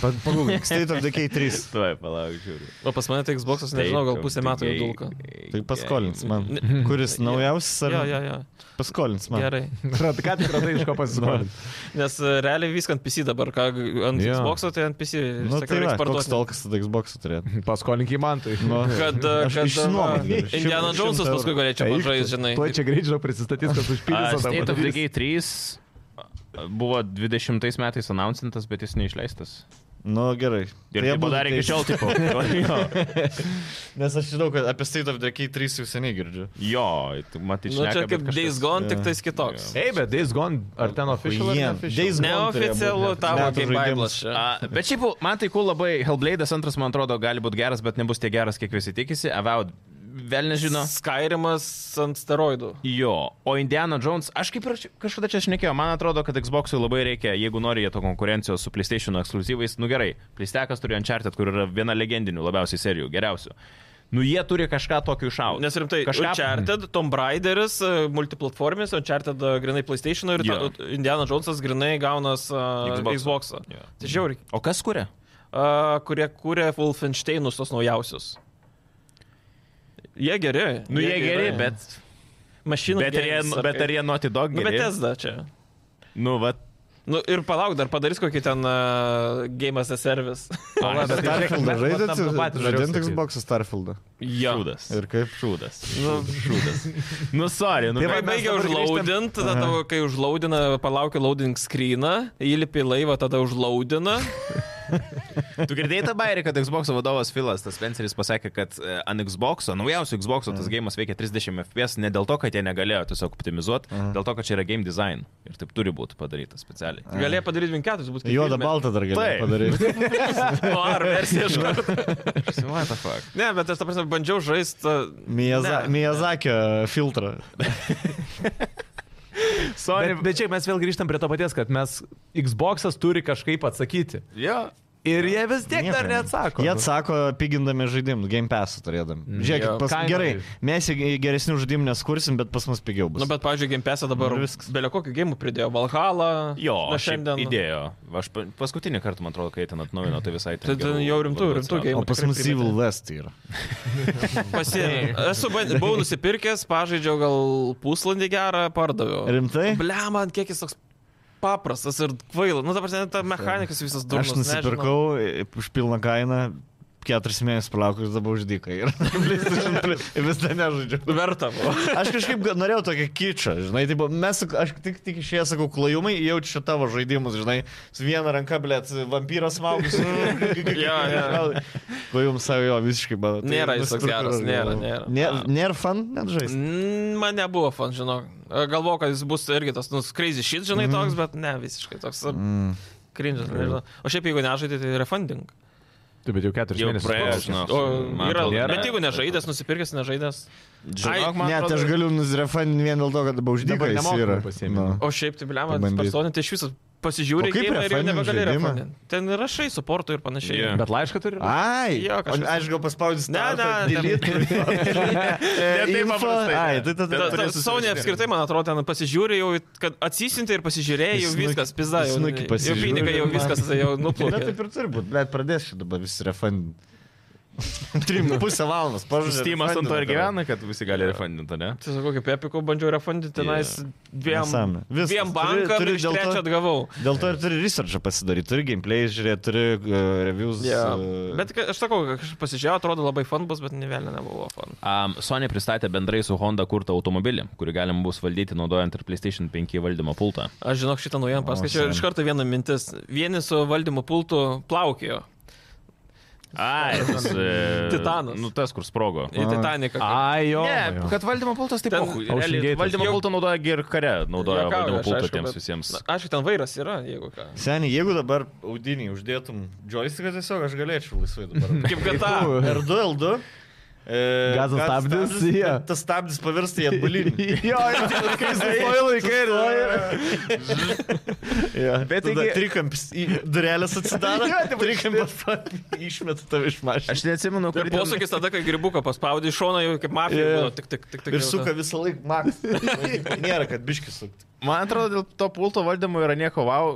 Speaker 2: Pa- Pagūgink, State of Decay 3.
Speaker 1: Tuoj, palauk, žiūriu.
Speaker 3: O pas mane tai Xbox, nežinau, gal pusę metų jau dulka.
Speaker 2: Tai paskolins man.
Speaker 3: Ne-
Speaker 2: Kuris naujausias? ar-
Speaker 3: Jo, jo, jo.
Speaker 2: Paskolins man.
Speaker 3: Gerai.
Speaker 4: Rad- Ką tik radai iš ko pasiskolinti?
Speaker 3: Nes e, realiai viską ant PC dabar, ką g- ant
Speaker 4: Jo.
Speaker 3: Xbox, tai ant PC. ir
Speaker 2: Nu,
Speaker 3: sakau,
Speaker 2: tai
Speaker 3: reiks
Speaker 2: yra,
Speaker 3: parduot.
Speaker 2: koks tolkas tada Xbox turėtų.
Speaker 4: Paskolink į man tai.
Speaker 2: Nu,
Speaker 3: Kad, e,
Speaker 2: aš
Speaker 3: kad,
Speaker 2: išsinuomot
Speaker 3: va,
Speaker 2: galiu. Šim-
Speaker 3: Indiana
Speaker 2: šimtą
Speaker 3: Jonesas
Speaker 2: eurų.
Speaker 3: paskui galėčiau
Speaker 4: Eik
Speaker 3: pažaisti, žinai.
Speaker 4: Tuo čia greit žinau prisistatys, kad užpildys tą
Speaker 1: State of
Speaker 4: patį.
Speaker 1: Decay 3 buvo 20 metais anoncintas, bet jis neišleistas.
Speaker 2: Nu, gerai.
Speaker 1: Ir
Speaker 2: Tai
Speaker 1: jie
Speaker 2: abudu
Speaker 1: padarė iki šiol,
Speaker 2: teisūs.
Speaker 1: tipo. Jo,
Speaker 2: Nes aš žinau, kad apie State of Decay 3 jau seniai girdžiu.
Speaker 1: jo tu matai,
Speaker 3: Nu, čia kaip Days Gone, tik tais kitoks.
Speaker 4: Ei, bet Days Gone, ar ten official? ar
Speaker 2: Jie-
Speaker 4: neofficial?
Speaker 2: Days Gone
Speaker 3: Neoficialu
Speaker 2: turėjo būt
Speaker 3: tavo
Speaker 2: metų
Speaker 3: kaip
Speaker 2: žaidimas.
Speaker 3: Biblas. čia.
Speaker 1: A, bet šiaip man tai cool labai, Hellblade'as antras, man atrodo, gali būti geras, bet nebus tiek geras, kiek visi tikisi. Avaud, vėl nežino.
Speaker 3: Skyrimas ant steroidų.
Speaker 1: Jo, o Indiana Jones, aš kaip ir čia- kažkada čia šnekėjau, man atrodo, kad Xbox'ui labai reikia, jeigu nori jie to konkurencijos su PlayStation ekskluzyvais, nu gerai, PlayStation turi Uncharted, kur yra viena legendinių labiausiai serijų, geriausių. Nu jie turi kažką tokio išaugti.
Speaker 3: Nes rimtai,
Speaker 1: kažką...
Speaker 3: Kažką... Uncharted, Tomb Raideris, e, multiplatformis, Uncharted e, grinai PlayStation ir
Speaker 1: Jo.
Speaker 3: yeah. Indiana Jonesas grinai gaunas uh,
Speaker 1: Xbox'ą.
Speaker 3: Xbox.
Speaker 1: Jo.
Speaker 3: Yeah. Tai žiauri,
Speaker 1: O kas kuria?
Speaker 3: uh, kurie kūrė Wolfensteinus tos naujausius. Jie geri.
Speaker 1: Nu jie geri, bet...
Speaker 3: Mašinų.
Speaker 1: Bet ar, jie, bet ar jie Naughty Dog
Speaker 3: Nu,
Speaker 1: geri?
Speaker 3: bet Tesla čia.
Speaker 1: Nu, va.
Speaker 3: Nu ir palauk, dar padarys kokį ten uh, Game as a Service.
Speaker 1: Ai, bet tai
Speaker 2: Starfieldą
Speaker 4: Mes
Speaker 2: žaidėt?
Speaker 4: matom tą patį
Speaker 2: Žaidėt
Speaker 4: žodžiu
Speaker 2: Xbox Starfieldą.
Speaker 1: Šūdas.
Speaker 2: Ir kaip?
Speaker 1: Šūdas.
Speaker 3: nu,
Speaker 1: Šūdas. Nu, sorry, nu. bet-
Speaker 4: Tai va,
Speaker 3: Kai
Speaker 4: mes
Speaker 3: baigia
Speaker 4: dabar
Speaker 3: užlaudint, tada tavo, kai užlaudina, palaukia loading screeną, įlipi į laivą, tada užlaudina.
Speaker 1: Tu girdėjai tą bairį, kad Xbox vadovas Filas, tas Spenceris pasakė, kad e, ant Xbox, naujausio Xbox
Speaker 3: Mm.
Speaker 1: tas gėjimas veikia 30 FPS ne dėl to, kad jie negalėjo tiesiog optimizuoti,
Speaker 3: Mm.
Speaker 1: dėl to, kad čia yra game design ir taip turi būti padaryta specialiai.
Speaker 3: Galėjai padaryti 24, būtų
Speaker 2: Juoda balta dar
Speaker 1: Taip.
Speaker 2: galėjo padaryti.
Speaker 3: O, ar versija iš karto.
Speaker 1: What the fuck?
Speaker 3: Ne, bet aš, ta prasme, bandžiau nu, žaisti.
Speaker 2: Miyaza-
Speaker 3: Ne.
Speaker 2: Miyazakio filtrą.
Speaker 1: Sorry.
Speaker 4: Bet, bet čia mes vėl grįžtam prie to paties, kad mes Xbox'as turi kažkaip atsakyti.
Speaker 1: Jo.
Speaker 4: Ir jie vis tiek dar neatsako.
Speaker 2: Jie atsako pigindami žaidimus, Game Pass
Speaker 3: Mm,
Speaker 2: turėdami.
Speaker 4: jo.
Speaker 2: Žiūrėkit, pas,
Speaker 4: Kaina
Speaker 2: gerai,
Speaker 4: ir-
Speaker 2: mes į- geresnių žaidimų neskursim, bet pas mus pigiau bus.
Speaker 3: Na, tai- bet, pavyzdžiui, GamePesą dabar
Speaker 2: Ir viskas.
Speaker 3: belio kokį gėjimų pridėjo. Valhalla.
Speaker 1: Jo,
Speaker 3: na,
Speaker 1: šiandien
Speaker 3: šiandien.
Speaker 1: idėjo. Aš pa- paskutinį kartą, man atrodo, kai jie ten atnaujino, tai visai
Speaker 3: Tai ten jau rimtų-
Speaker 1: labiau
Speaker 3: rimtų
Speaker 1: atsirado.
Speaker 3: game.
Speaker 2: O pas
Speaker 3: tikrai
Speaker 2: mus
Speaker 3: primetė.
Speaker 2: Evil West yra.
Speaker 3: Pasiėmė. Esu, ban- buvau nusipirkęs, pažaidžiau gal puslandį gerą, pardaviau.
Speaker 2: Rimtai?
Speaker 3: Ble, man kiek jis toks paprastas ir kvailas. Nu, dabar ta mechanikas visas durnas.
Speaker 2: Aš nusipirkau e, už pilną kainą. Keturis mėnesius palaukiu ir dabar uždykai. Ir PlayStation turiu. Ir vis dar nežaidžiu.
Speaker 3: nežinau. Verta buvo.
Speaker 2: Aš kažkaip ga- norėjau tokį kičą, žinai, tai buvo, mes, aš tik, tik išėjęs sakau, klajumai, jaučiu čia tavo žaidimus, žinai, su viena ranka, blėt, vampyras maugus.
Speaker 3: Jo, jo.
Speaker 2: Klajumas savo jo visiškai, tai man.
Speaker 3: Nėra jis toks geras, nėra, nėra.
Speaker 2: Nėra, nėra fan, net žaisti.
Speaker 3: Mm, Man nebuvo fan, žinok. Galvoju, kad jis bus irgi tas, nu, crazy
Speaker 2: Mhm.
Speaker 3: shit, žinai, toks, bet ne, visiškai toks. Mm. Krindžas, nežinau. O šiaip jeigu nežaidai, tai refunding.
Speaker 4: Taip, bet jau keturis
Speaker 1: Jau
Speaker 4: mėnesius.
Speaker 1: praėjo,
Speaker 4: klausia.
Speaker 1: žinau.
Speaker 3: O,
Speaker 1: Man
Speaker 3: yra,
Speaker 1: atrodo,
Speaker 3: bet jeigu nežaidęs, nusipirkęs nežaidęs. Ai,
Speaker 1: Žinok, man
Speaker 2: Net
Speaker 1: atrodo-
Speaker 2: aš galiu nuzrefan vien dėl to, kad dabar
Speaker 4: Dabar
Speaker 2: uždykai jis
Speaker 4: nemokamai
Speaker 2: yra.
Speaker 4: pasiėmė.
Speaker 2: Nu.
Speaker 3: O šiaip, tai bliam,
Speaker 2: Pabandyt.
Speaker 3: personinti iš viso pasižiūri
Speaker 2: O kaip
Speaker 3: geimą ir jau
Speaker 2: refunding
Speaker 3: nebegali
Speaker 2: žaidimą?
Speaker 3: refunding. Ten rašai suporto ir panašiai.
Speaker 1: Jo.
Speaker 4: Bet laišką turi?
Speaker 2: Ai,
Speaker 3: Jo,
Speaker 2: o
Speaker 3: kažkas-
Speaker 2: aš gal paspaudžiu.
Speaker 3: Ne,
Speaker 2: startą,
Speaker 3: ne, ne.
Speaker 2: delete.
Speaker 1: Ne taip
Speaker 2: Info.
Speaker 1: paprastai, ne.
Speaker 2: Ai, tai
Speaker 3: Ta-
Speaker 2: tada
Speaker 3: ta- Sony apskritai, man atrodo, ten pasižiūri jau, kad atsisinti ir pasižiūrėjai, jau
Speaker 2: Snuki-
Speaker 3: viskas, pizda, jau,
Speaker 2: snuki
Speaker 3: jau
Speaker 2: pasižiūri,
Speaker 3: pinigai, jau
Speaker 2: man.
Speaker 3: viskas, tai
Speaker 2: Na
Speaker 3: jau
Speaker 2: tai
Speaker 3: nuplaukė.
Speaker 2: taip ir turi būti, bet pradės čia dabar visi refund. Trim pusę valandos, pažiūrėjau.
Speaker 1: Steamas ant to ir gyvena, kad visi gali refundinti, ne?
Speaker 3: Tai sakau, kaip epiku bandžiau refundinti tenais dviem,
Speaker 2: Nesąmonė. Viskas.
Speaker 3: dviem
Speaker 2: Turi-
Speaker 3: bankam
Speaker 2: turi
Speaker 3: ir iš
Speaker 2: dėl to-
Speaker 3: trečio atgavau.
Speaker 2: Dėl to ir turi researchą pasidaryti, turi gameplay žiūrėti, turi uh, reviews.
Speaker 3: Yeah.
Speaker 2: e,
Speaker 3: Bet ka- aš sakau, kad aš pasižiūrėjau, atrodo labai fan bus, bet ne vėl nebuvo fan.
Speaker 1: Um, Sony pristatė bendrai su Honda kurtą automobilį, kurį galima bus valdyti naudojant ir PlayStation 5 valdymo pultą.
Speaker 3: Aš žinok šitą naujieną paskaičiau ir
Speaker 2: sen.
Speaker 3: iš karto viena mintis. Vieni su valdymo pultu plaukėjo
Speaker 1: Ai, tas. e,
Speaker 3: Titanas.
Speaker 1: Nu, tas, kur sprogo.
Speaker 3: į Titaniką. kaip-
Speaker 4: Ai, jo.
Speaker 1: Ne,
Speaker 4: jo.
Speaker 1: kad valdymo pultas taip
Speaker 3: Ten-
Speaker 1: pat.
Speaker 4: Ocean Gate'as.
Speaker 1: Valdymo
Speaker 3: Jau-
Speaker 1: pultą naudoja gi ir kare, naudoja
Speaker 3: Juokauju,
Speaker 1: valdymo
Speaker 3: aš
Speaker 1: pultą
Speaker 3: aišku,
Speaker 1: tiems
Speaker 3: bet-
Speaker 1: visiems.
Speaker 3: Na, Aišku, ten vairas yra, jeigu ką.
Speaker 2: Seniai, jeigu dabar audinį uždėtum joysticką tiesiog, aš galėčiau laisvai dabar.
Speaker 3: Kaip gata.
Speaker 2: R2L2. E,
Speaker 5: Gazo
Speaker 2: gazas
Speaker 5: stabdis, jo.
Speaker 2: Tas stabdis pavirsta į atbulinį.
Speaker 5: Jo, kai
Speaker 2: sustoja
Speaker 3: tai
Speaker 5: laikai ir
Speaker 2: ja,
Speaker 4: Bet
Speaker 2: bet tada
Speaker 4: taigi-
Speaker 2: trikampis, į- durelės atsidaro, trikampis pat- išmeta tave iš mašinos.
Speaker 1: Aš neatsimenu, kur
Speaker 3: Ir Tai posūkis tada, kai gribuką paspaudai iš šono, jau kaip mafija.
Speaker 2: Jo.
Speaker 3: Yeah. Tik, tik, tik, tik,
Speaker 2: Ir
Speaker 3: jau
Speaker 2: suka
Speaker 3: ta-
Speaker 2: visą laiką maks. Nėra, kad biškis sukti.
Speaker 1: Man atrodo, dėl to pulto valdymo yra nieko wow,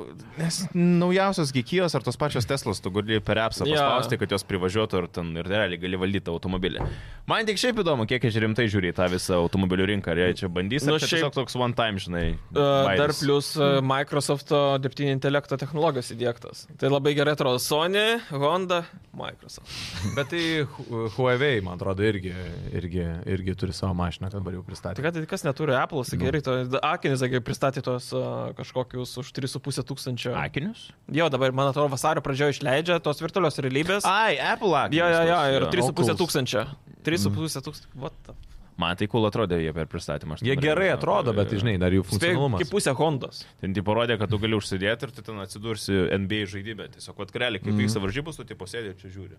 Speaker 1: nes naujausios gikijos ar tos pačios Teslos, tu gali per apsą
Speaker 3: Jo.
Speaker 1: paspausti, kad jos privažiuotų ir ten ir realiai gali valdyti tą automobilį. Man tik šiaip įdomu, kiek jie rimtai žiūri į tą visą automobilių rinką, ar jie čia bandys,
Speaker 3: Nu,
Speaker 1: ar čia
Speaker 3: šiaip-
Speaker 1: tiesiog toks one time, žinai.
Speaker 3: E, Dar
Speaker 1: vaidas.
Speaker 3: plus e, Microsofto dirbtinio intelekto technologijos įdėktas. Tai labai gerai atrodo Sony, Honda, Microsoft.
Speaker 4: Bet tai Hu- Huawei, man atrodo, irgi, irgi, irgi turi savo mašiną, kad dabar jau pristatė.
Speaker 3: Tai kad kas neturi Apple,
Speaker 4: Nu.
Speaker 3: tai gerai, to akinis, kai pristatė tos e, kažkokius už 3,5 tūkstančio.
Speaker 1: Akinius?
Speaker 3: Jo, dabar, man atrodo, vasario pradžioje išleidžia tos virtualios realybės.
Speaker 1: Ai, Apple akinius.
Speaker 3: Jo, jo, jo,
Speaker 1: tuos,
Speaker 3: ir
Speaker 1: jo.
Speaker 3: 3,5
Speaker 4: e, Oculus. Mm.
Speaker 3: tūkstančio. 3,5 tūkstančio. What the f-
Speaker 1: Man tai cool atrodė jie per pristatymą. aš
Speaker 4: Jie
Speaker 1: dabar
Speaker 4: gerai
Speaker 1: nežinau. e,
Speaker 4: atrodo, bet, žinai, dar jų
Speaker 3: Spėju,
Speaker 4: funkcionalumas.
Speaker 3: kaip pusė Hondos.
Speaker 1: Ten tai parodė, kad tu gali užsidėti ir tu ten atsidursi NBA žaidime. Tiesiog atkreli, kaip
Speaker 4: Mhm.
Speaker 1: vyksta varžybos, tu tai posėdė ir čia žiūri.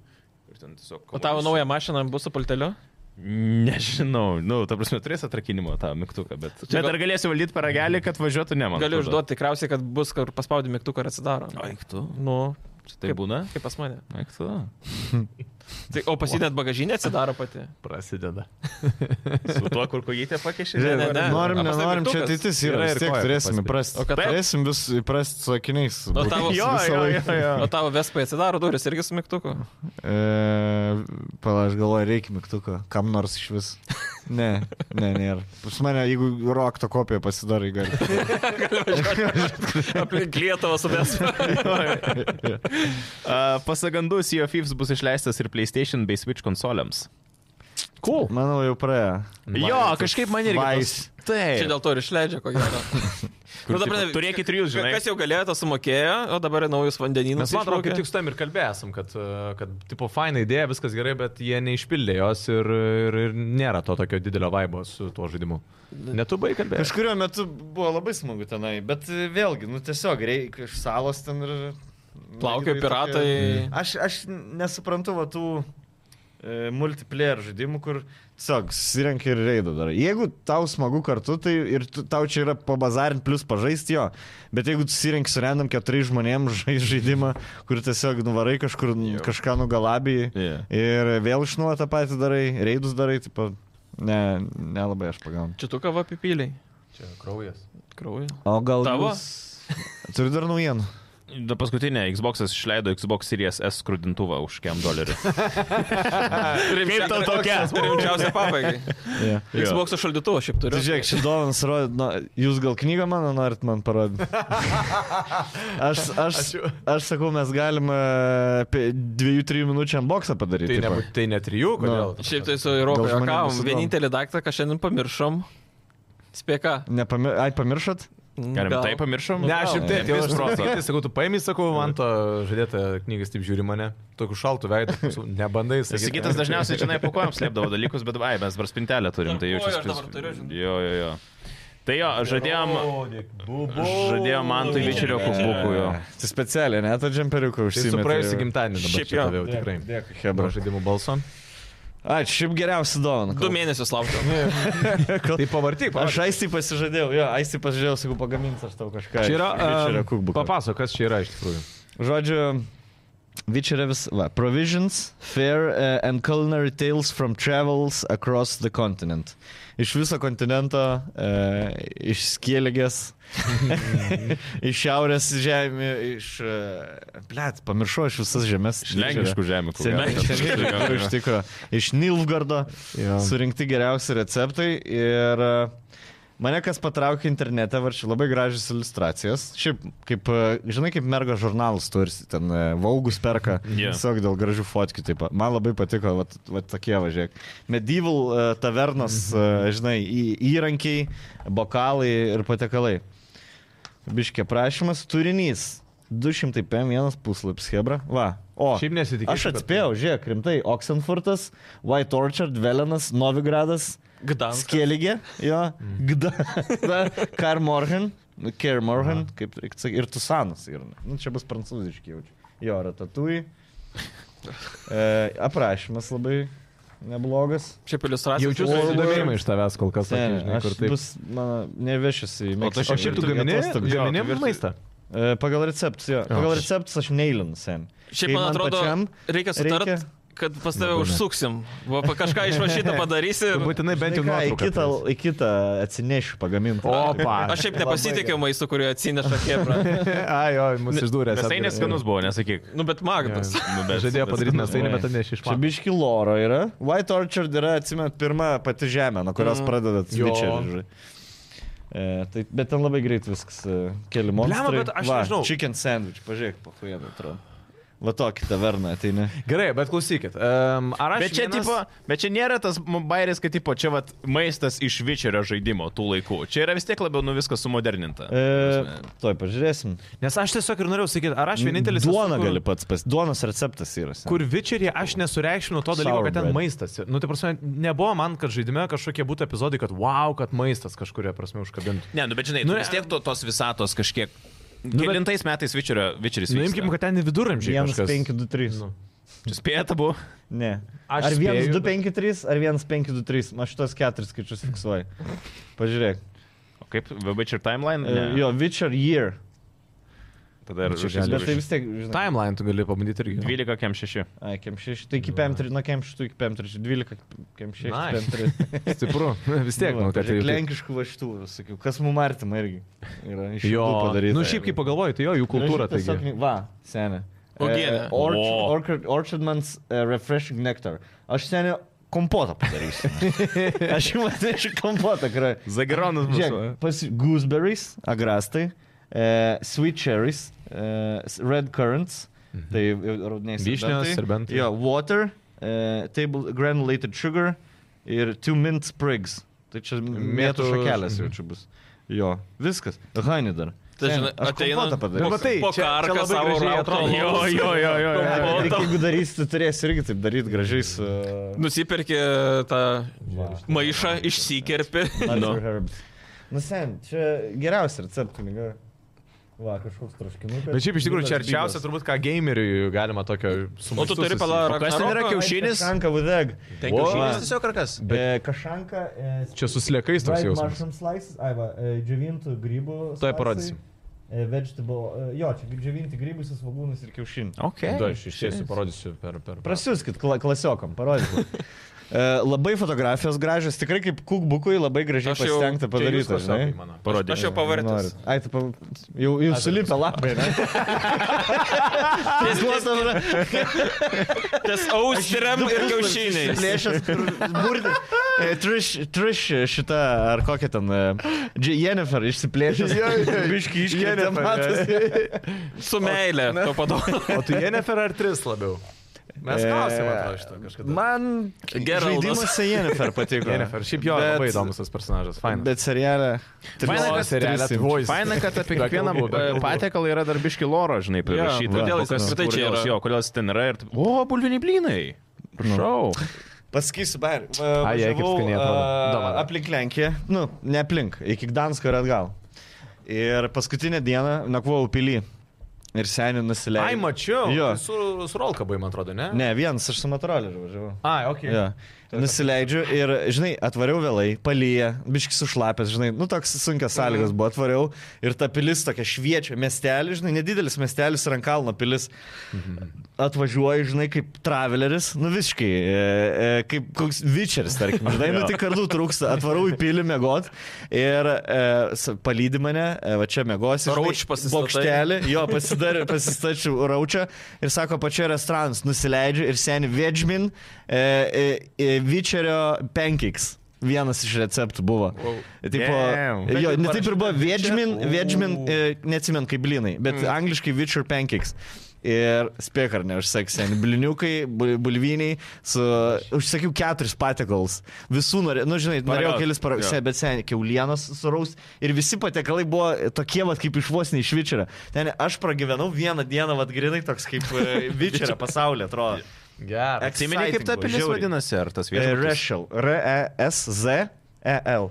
Speaker 1: Ir ten tiesiog...
Speaker 3: O tavo
Speaker 1: kamuolys-
Speaker 3: nauja mašina bus su palteliu?
Speaker 1: Nežinau, nu, ta prasme, turės atrakinimo tą mygtuką, bet...
Speaker 3: Čia
Speaker 1: bet
Speaker 3: gal-
Speaker 1: ar galėsiu valdyti paragelį, kad važiuotų ne man?
Speaker 3: Galiu užduoti tikriausiai, kad bus, kur paspaudi mygtuką ir atsidaro.
Speaker 1: Aik tu.
Speaker 3: Nu,
Speaker 1: Tai
Speaker 3: Kaip-
Speaker 1: būna?
Speaker 3: kaip pas mane.
Speaker 1: Aik tu.
Speaker 3: Tai, o pasidėt bagažinė atsidaro pati.
Speaker 4: prasideda.
Speaker 1: Su tuo, kur kojytė pakešė?
Speaker 3: Ne, ne, ne.
Speaker 2: Norim,
Speaker 3: Paskui
Speaker 2: nenorim, čia
Speaker 3: tai mygtukas.
Speaker 2: ateitis yra
Speaker 4: Yra
Speaker 2: ir
Speaker 4: ir
Speaker 2: tiek
Speaker 4: koja
Speaker 2: turėsim
Speaker 4: paspirti.
Speaker 2: įprasti.
Speaker 3: O kad-
Speaker 2: Turėsim vis įprasti su akiniais.
Speaker 3: O tavo-
Speaker 2: Jo,
Speaker 3: Jo,
Speaker 2: jo, jo, jo.
Speaker 3: O tavo vespai atsidaro duris irgi su mygtuku.
Speaker 2: E, Pala, aš galvoju, reikia mygtuko, kam nors iš vis. Ne, ne, nėra. Pas mane, jeigu rokto kopiją pasidarai, gali.
Speaker 3: Aplink Lietuvą su vespai.
Speaker 1: Pasagandų Sea of Thieves bus išleistas ir PlayStation bei Switch konsoliams.
Speaker 4: Cool.
Speaker 2: Manau, jau praėjo.
Speaker 1: Jo, kažkaip man irgi. tas-
Speaker 3: Čia
Speaker 1: Taip.
Speaker 3: dėl to ir išleidžia, ko gero.
Speaker 1: Kur,
Speaker 3: Nu, ta
Speaker 1: tipo,
Speaker 3: prasme,
Speaker 1: Turėkit ir jūs, žinai.
Speaker 3: Kas jau galėjo, tas sumokėjo, o dabar yra naujus vandenynus.
Speaker 4: Mes, man atrodo, kaip
Speaker 3: išplaukė.
Speaker 4: tik su tam ir kalbėsim, kad, e, kad, tipo, faina idėja, viskas gerai, bet jie neišpildė jos ir, ir, ir nėra to tokio didelio vaibo su tuo žaidimu. Netubai kalbėjai.
Speaker 2: Kažkurio metu buvo labai smagu tenai, bet e, vėlgi, nu tiesiog reikia iš salos ten ir...
Speaker 3: Plaukioja
Speaker 2: Tokia-
Speaker 3: piratai. Mm.
Speaker 2: Aš, aš nesuprantu va, tų e, multiplayer žaidimų, kur tiesiog susirenki ir reidą darai. Jeigu tau smagu kartu, tai ir tu, tau čia yra pabazarint plus pažaisti jo, bet jeigu tu susirenki su random keturiais žmonėms žai, žaidimą, kur tiesiog nuvarai kažkur n- kažką nugalabijai
Speaker 1: Jo.
Speaker 2: ir vėl iš nuo tą patį darai, reidus darai, tai pa... Ne, nelabai aš pagaunu.
Speaker 3: Čia tu kava pipiliai.
Speaker 4: Čia kraujas.
Speaker 3: Kraujo.
Speaker 2: O gal
Speaker 3: Tavo?
Speaker 2: Turiu dar naujienų.
Speaker 1: Da, paskutinė Xbox išleido Xbox Series S skrudintuvą už kiam dolerių.
Speaker 3: Kaip tau tokia? Rimčiausia pabaigai.
Speaker 2: Yeah.
Speaker 3: Xbox šaldytuvo šiaip
Speaker 2: Tai
Speaker 3: turiu.
Speaker 2: žiūrėk, šį dovaną rodė, nu, jūs gal knygą mano norit man parodyti. Aš, aš, aš sakau, mes galime e, apie 2-3 minučių unboxą
Speaker 4: Tai,
Speaker 2: padaryti.
Speaker 4: ne,
Speaker 2: tipo.
Speaker 4: tai ne trijų, kodėl?
Speaker 2: Nu.
Speaker 3: Šiaip tai su Europą
Speaker 2: Gal žmonėm
Speaker 3: juokavom.
Speaker 2: bus įdomu.
Speaker 3: Vienintelį daiktą, ką šiandien pamiršom. Spėka.
Speaker 2: Nepami... Ai, pamiršot?
Speaker 1: Galim tai pamiršom?
Speaker 4: Ne,
Speaker 3: gal.
Speaker 4: aš šiaip taip, jau aš
Speaker 1: Vis proto.
Speaker 4: sakyti, sakau, tu paimi, sakau, man to žadėta knygas taip žiūri mane, tokiu šaltų veidu, su- nebandai sakyti.
Speaker 1: Sigitas dažniausiai čia nepakojam slėpdavo dalykus, bet ai, mes dabar spintelę turim, tai
Speaker 3: Dar koją
Speaker 1: jaučiuosi.
Speaker 3: aš dabar turiu, žinai.
Speaker 1: Jo, jo, jo. Tai jo, žadėjom, žadėjom man tai bičiulio kubukų jo.
Speaker 2: Tai specialiai, net tą džemperiuką
Speaker 4: Tai su
Speaker 2: užsiimė.
Speaker 4: praėjusiu gimtadieniu dabar
Speaker 3: Šiaip
Speaker 4: čia
Speaker 3: jo.
Speaker 4: tave jau tikrai.
Speaker 2: Dėkui,
Speaker 4: Bro
Speaker 2: Hebra.
Speaker 4: žaidimų balso.
Speaker 2: Ačiū, šiaip geriausi dovaną.
Speaker 3: Du mėnesius laukiu.
Speaker 4: Tai pavartyk,
Speaker 2: Aš
Speaker 4: pavartyk.
Speaker 2: aistį pasižadėjau, jo, aistį pasižadėjau, sakau, pagaminsiu aš tau kažką.
Speaker 4: Čia yra,
Speaker 2: Čia yra
Speaker 4: em,
Speaker 2: kukbukas.
Speaker 4: papasakok, kas čia yra iš tikrųjų.
Speaker 2: Žodžiu, Vičerevis, va, Provisions, Fair uh, and Culinary Tales from Travels Across the Continent. Iš viso kontinento, uh, iš skėlėgės, iš šiaurės žemė, iš... Uh, Blet, pamiršau aš visas žemės.
Speaker 1: Iš lenkiškų žemė, kur
Speaker 2: Seniai, iš tikro, iš Nilfgardo surinkti geriausi receptai ir e, mane kas patraukė internete, va čia labai gražios iliustracijos. Šiaip, kaip, e, žinai, kaip merga žurnalas turi, ten e, vaugus perka,
Speaker 1: Jo.
Speaker 2: yeah. tiesiog dėl gražių fotkių, taip, man labai patiko, va, va tokie važiuok. Medieval e, tavernos, e, žinai, į- įrankiai, bokalai ir patiekalai. Biškė prašymas, turinys. 200 PM1 puslapis, Hebra. Va. O,
Speaker 4: Šiaip nesitikėjau,
Speaker 2: Aš
Speaker 4: kad-
Speaker 2: atspėjau, žiūrėk, rimtai. Oxenfurtas, White Orchard, Velenas, Novigradas,
Speaker 3: Gdans.
Speaker 2: Skeligė, jo,
Speaker 4: Mm.
Speaker 2: Gda, Karmorhen, Kermorhen, kaip reik sakyt, ir Tusanas. Ir, nu, čia bus prancūziški jaučiu. Jo, Ratatui. E, aprašymas labai
Speaker 5: neblogas.
Speaker 3: Šiaip iliustracija.
Speaker 4: Jaučiu susidomėjimą iš tavęs kol kas, sakė, žinai, kur
Speaker 5: tai
Speaker 4: taip.
Speaker 5: bus, mano, nevešis
Speaker 1: O
Speaker 5: į
Speaker 1: tu
Speaker 5: Meksiką.
Speaker 4: O tai šiaip tu
Speaker 1: Virtuvėj
Speaker 4: gamini,
Speaker 5: atostogų. Jo,
Speaker 4: gamini
Speaker 1: tu virtuvėj.
Speaker 4: maistą.
Speaker 5: E, Pagal receptus, jo. Pagal receptus aš neilinu sen.
Speaker 3: Šiaip
Speaker 5: Kai
Speaker 3: man
Speaker 5: man
Speaker 3: atrodo,
Speaker 5: pačiam
Speaker 3: reikia sutart,
Speaker 5: reikia-
Speaker 3: kad pas tave užsuksim. Va, pa- kažką išrašytą padarysi.
Speaker 4: Tu būtinai bent jau
Speaker 5: Žinai ką, į
Speaker 4: nuotrauką.
Speaker 5: kitą,
Speaker 4: atvesi.
Speaker 5: į kitą atsinešiu pagamintą.
Speaker 4: Opa.
Speaker 3: Aš šiaip nepasitikiu maistu, kurį atsineša Kebra.
Speaker 4: Ai, jo, mūsų išdūrė.
Speaker 1: Visai tai neskanus buvo, nesakyk.
Speaker 3: Nu, bet magnas.
Speaker 1: Nu, bet-
Speaker 4: Žadėjo padaryti mes tai,
Speaker 5: Oi.
Speaker 4: bet ne iš
Speaker 5: Čia
Speaker 4: išmano.
Speaker 5: biški loro yra. White Orchard yra, atsimint, pirma pati žemė, nuo kurios
Speaker 3: Mm.
Speaker 5: mm. pradedat
Speaker 4: Jo.
Speaker 5: svičerį. E, tai, bet ten labai greit viskas e, keli monstrai.
Speaker 4: bet aš
Speaker 5: Va,
Speaker 4: nežinau.
Speaker 5: Chicken sandwich, pažiūrėk, pahuėdė, atrodo. Va tokį taverną ateini.
Speaker 4: Gerai, bet klausykit. Um, ar aš...
Speaker 1: Bet čia,
Speaker 4: vienas...
Speaker 1: tipo, bet čia nėra tas m- bairis, kad tipo, čia vat, maistas iš Vičerio žaidimo tų laikų. Čia yra vis tiek labiau nu viskas sumoderninta.
Speaker 5: E, toj pažiūrėsim.
Speaker 4: Nes aš tiesiog ir norėjau sakyti, ar aš vienintelis... esu,
Speaker 5: Duona
Speaker 4: kur-
Speaker 5: gali pats pas. Duonos receptas yra. sen.
Speaker 4: Kur vičerį aš nesureikšminu to dalyko, kad ten
Speaker 5: Sauerbraad.
Speaker 4: maistas. Nu, tai prasme, nebuvo man, kad žaidime kažkokie būtų epizodai, kad wow, kad maistas kažkuria prasme užkabintų.
Speaker 1: Ne, nu bet žinai,
Speaker 4: Nu,
Speaker 1: nu,
Speaker 4: ne-
Speaker 1: vis tiek to, tos visatos kažkiek.
Speaker 4: bet- Nu,
Speaker 1: Kelintais metais Vičerio, Vičeris.
Speaker 4: Nuimkim, kad ten viduramžiai.
Speaker 5: 1,
Speaker 4: kažkas.
Speaker 5: 5, 2, 3.
Speaker 4: Nu.
Speaker 1: spėta buvo.
Speaker 5: Ne.
Speaker 4: Aš
Speaker 5: Ar 1,
Speaker 4: spėju,
Speaker 5: 2,
Speaker 4: bet-
Speaker 5: 5, 3, ar 1, 5, 2, 3. Aš šitos keturis skaičius fiksuoju. Pažiūrėk.
Speaker 1: O kaip Witcher timeline?
Speaker 5: E,
Speaker 1: Ne.
Speaker 5: jo, Witcher Year.
Speaker 1: Tada ir
Speaker 4: Čia
Speaker 1: šis
Speaker 4: gali-
Speaker 5: Bet tai vis tiek, žinai.
Speaker 4: Timeline tu gali pabandyti irgi.
Speaker 1: 12 kem 6.
Speaker 5: Ai, KM6, tai iki PM3, nuo KM6 iki PM3, 12
Speaker 4: Nice.
Speaker 5: KM6, PM3.
Speaker 4: Stipru. Vis tiek, nu, kad
Speaker 5: ir
Speaker 4: jau taip.
Speaker 5: tai lenkiškų vaštų, sakiau, kas mum artima irgi. Yra iš
Speaker 4: Jo,
Speaker 5: šitų padaryta.
Speaker 4: nu šiaip kaip pagalvoju, tai jo, jų kultūra.
Speaker 5: Graži tiesiog
Speaker 4: Taigi.
Speaker 5: kny- Va, senė.
Speaker 2: e,
Speaker 3: Uogienė.
Speaker 1: O.
Speaker 5: Orchardman's orchard, orchard uh, Refreshing Nectar. Aš senė kompotą padarysiu. Aš jums atnešiu kompotą, kurio.
Speaker 1: Zagironas
Speaker 5: Žiūrėk, pas gooseberries, agrastai, uh, sweet cherries, uh, red currants, tai jau raudoniai
Speaker 4: Mhm. Vyšnios, serbentai.
Speaker 5: Jo, water, uh, table granulated sugar ir two mint sprigs. Tai čia mėtų
Speaker 4: Mėtų-
Speaker 5: šakelės jau
Speaker 4: Mhm.
Speaker 5: čia bus. Jo, viskas. Hani dar.
Speaker 3: Tai
Speaker 5: Sen,
Speaker 3: žinai,
Speaker 5: aš
Speaker 3: ateina-
Speaker 5: kompotą
Speaker 2: Nu,
Speaker 4: Bet
Speaker 1: Nu,
Speaker 5: padarysiu.
Speaker 1: tai,
Speaker 4: matai,
Speaker 3: Po
Speaker 4: čia- čia
Speaker 3: karką
Speaker 4: labai
Speaker 3: savo
Speaker 4: gražiai
Speaker 3: rauto
Speaker 4: atrodo.
Speaker 3: Jo, jo, jo, jo,
Speaker 2: E,
Speaker 3: jo.
Speaker 5: Ne,
Speaker 3: kompotą.
Speaker 5: reikia, Jeigu darysi, tu turėsi irgi taip e, daryti gražiai su...
Speaker 3: Nusipirki tą maišą, išsikerpi.
Speaker 5: Nu. nu sen, čia geriausia receptų knyga. Va, kažkoks troškimas.
Speaker 4: Bet šiaip iš tikrųjų čia arčiausia turbūt ką gameriui galima tokio
Speaker 3: O tu
Speaker 4: sumokėti.
Speaker 3: turi palarą.
Speaker 1: kas ten yra kiaušinių? kiaušinis?
Speaker 5: Kašanka with egg.
Speaker 1: Ten
Speaker 4: Wow.
Speaker 1: kiaušinis tiesiog ar kas?
Speaker 5: Bet... E, kašanka. E,
Speaker 4: Čia susliekais toks
Speaker 5: dried
Speaker 4: jausmas.
Speaker 5: mushroom slices. Ai, va, e, džiovintų grybų.
Speaker 4: Tuoj
Speaker 5: slicai,
Speaker 4: parodysim.
Speaker 5: E, vegetable. E, jo, čia džiovinti grybai su svagūnais ir kiaušiniu.
Speaker 1: Ok.
Speaker 4: Tuoj aš išėsiu, parodysiu per... per.
Speaker 5: Prasiuskit kla klasiokam, parodykit. E, labai fotografijos gražios, tikrai kaip kukbukui labai gražiai
Speaker 3: Aš jau-
Speaker 4: Čia
Speaker 5: pasitengta
Speaker 4: jūs
Speaker 5: padaryta, žinai.
Speaker 4: klasiokai mano.
Speaker 1: Parodė.
Speaker 3: Aš jau pavartęs.
Speaker 5: Norit. Ai, tai pa... jau, jau sulipę lapai, ne?
Speaker 3: Ties- ties- Ties austriam ir
Speaker 2: Tai
Speaker 3: kiaušiniais.
Speaker 5: Lėšas, burdi. Trish, trish šita, ar kokia ten. e, Dž- Jennifer išsiplėšęs. Biški iškėlė
Speaker 4: Jennifer,
Speaker 5: matas.
Speaker 3: Su meilė. To padovanoju.
Speaker 4: O tu Tai Jennifer ar tris labiau? Mes
Speaker 5: E,
Speaker 4: klausėme atrodo šito kažkada.
Speaker 5: Man
Speaker 3: Geraldas.
Speaker 5: žaidimuose Jennifer patiko.
Speaker 4: Jennifer, šiaip jo
Speaker 5: Bet-
Speaker 4: labai įdomus tas personažas. Fain.
Speaker 5: Bet seriale.
Speaker 1: Faina, kad
Speaker 4: seriale
Speaker 5: tris-
Speaker 4: Voice.
Speaker 1: Faina, kad apie
Speaker 4: Be
Speaker 1: kiekvieną
Speaker 4: kalbų, be
Speaker 1: e,
Speaker 4: kalbų.
Speaker 1: patiekalą yra dar biški loro, žinai, prirašyta.
Speaker 3: Jo, kodėl
Speaker 1: Kol
Speaker 3: jis
Speaker 1: kas-
Speaker 3: apskritai čia
Speaker 1: kodėl jis-
Speaker 3: yra?
Speaker 1: Jo, kodėl jis ten yra ir... taip- O, bulviniai blynai. Prašau.
Speaker 5: Pasakysiu, Bair.
Speaker 4: Ai, jai, kaip skaniai atrodo. Dovana.
Speaker 5: Aplink Lenkiją, nu, ne aplink, iki Gdansko ir atgal. Ir paskutinę dieną nakvojau pily. Ir seniai nusileidau.
Speaker 4: Ai, mačiau.
Speaker 5: Jo.
Speaker 4: Su, su rolka buvai, man atrodo, ne?
Speaker 5: Ne, vienas, aš su matroleriu važiavau.
Speaker 4: Ai, ok.
Speaker 5: Jo. Nusileidžiu ir, žinai, atvariau vėlai, palyja, biškis sušlapęs, žinai, nu toks sunkias sąlygas buvo, atvariau ir ta pilis tokia šviečia, miestelis, žinai, nedidelis miestelis ir ant kalno pilis. Atvažiuoji, žinai, kaip traveleris, nu visiškai, e, e, kaip koks vičeris, tarkim, žinai, nu tik kardu trūksta, atvarau į pilį mėgot ir e, s- palydi mane, e, va čia mėgosi,
Speaker 3: Rauč pasistatai.
Speaker 5: bokštelį, jo pasidarė, pasistačiau raučą ir sako, pačia restoranas, nusileidžiu ir seni Vedžmin, e, e, e, Vičerio pancakes. Vienas iš receptų buvo. Wow. Tipo,
Speaker 1: Damn.
Speaker 5: jo,
Speaker 4: Bet
Speaker 5: ne taip ir buvo
Speaker 4: parašyta
Speaker 5: Vedžmin,
Speaker 4: čia?
Speaker 5: Vedžmin,
Speaker 4: Ooh.
Speaker 5: e, neatsimenu kaip blinai, bet mm. angliškai Witcher pancakes. Ir spėk ar ne, užsakiau, bliniukai, bul- bulviniai, su, užsakiau keturis patiekalus. Visų norėjau, nu žinai, norėjau
Speaker 1: Paragaut,
Speaker 5: kelis
Speaker 1: jo.
Speaker 5: paraukse, bet seniai, keulienos suraus. Ir visi patiekalai buvo tokie, vat, kaip iš vos ne iš Vičerio. Ten aš pragyvenau vieną dieną, vat, grinai toks kaip e, Vičerio pasaulio, atrodo.
Speaker 4: Gerai.
Speaker 1: Atsimeni, kaip ta
Speaker 5: Exciting buvo,
Speaker 1: pilis
Speaker 5: žiauriai.
Speaker 1: vadinasi, ar tas
Speaker 5: E,
Speaker 1: viešas?
Speaker 5: Rešel, R-E-S-Z-E-L.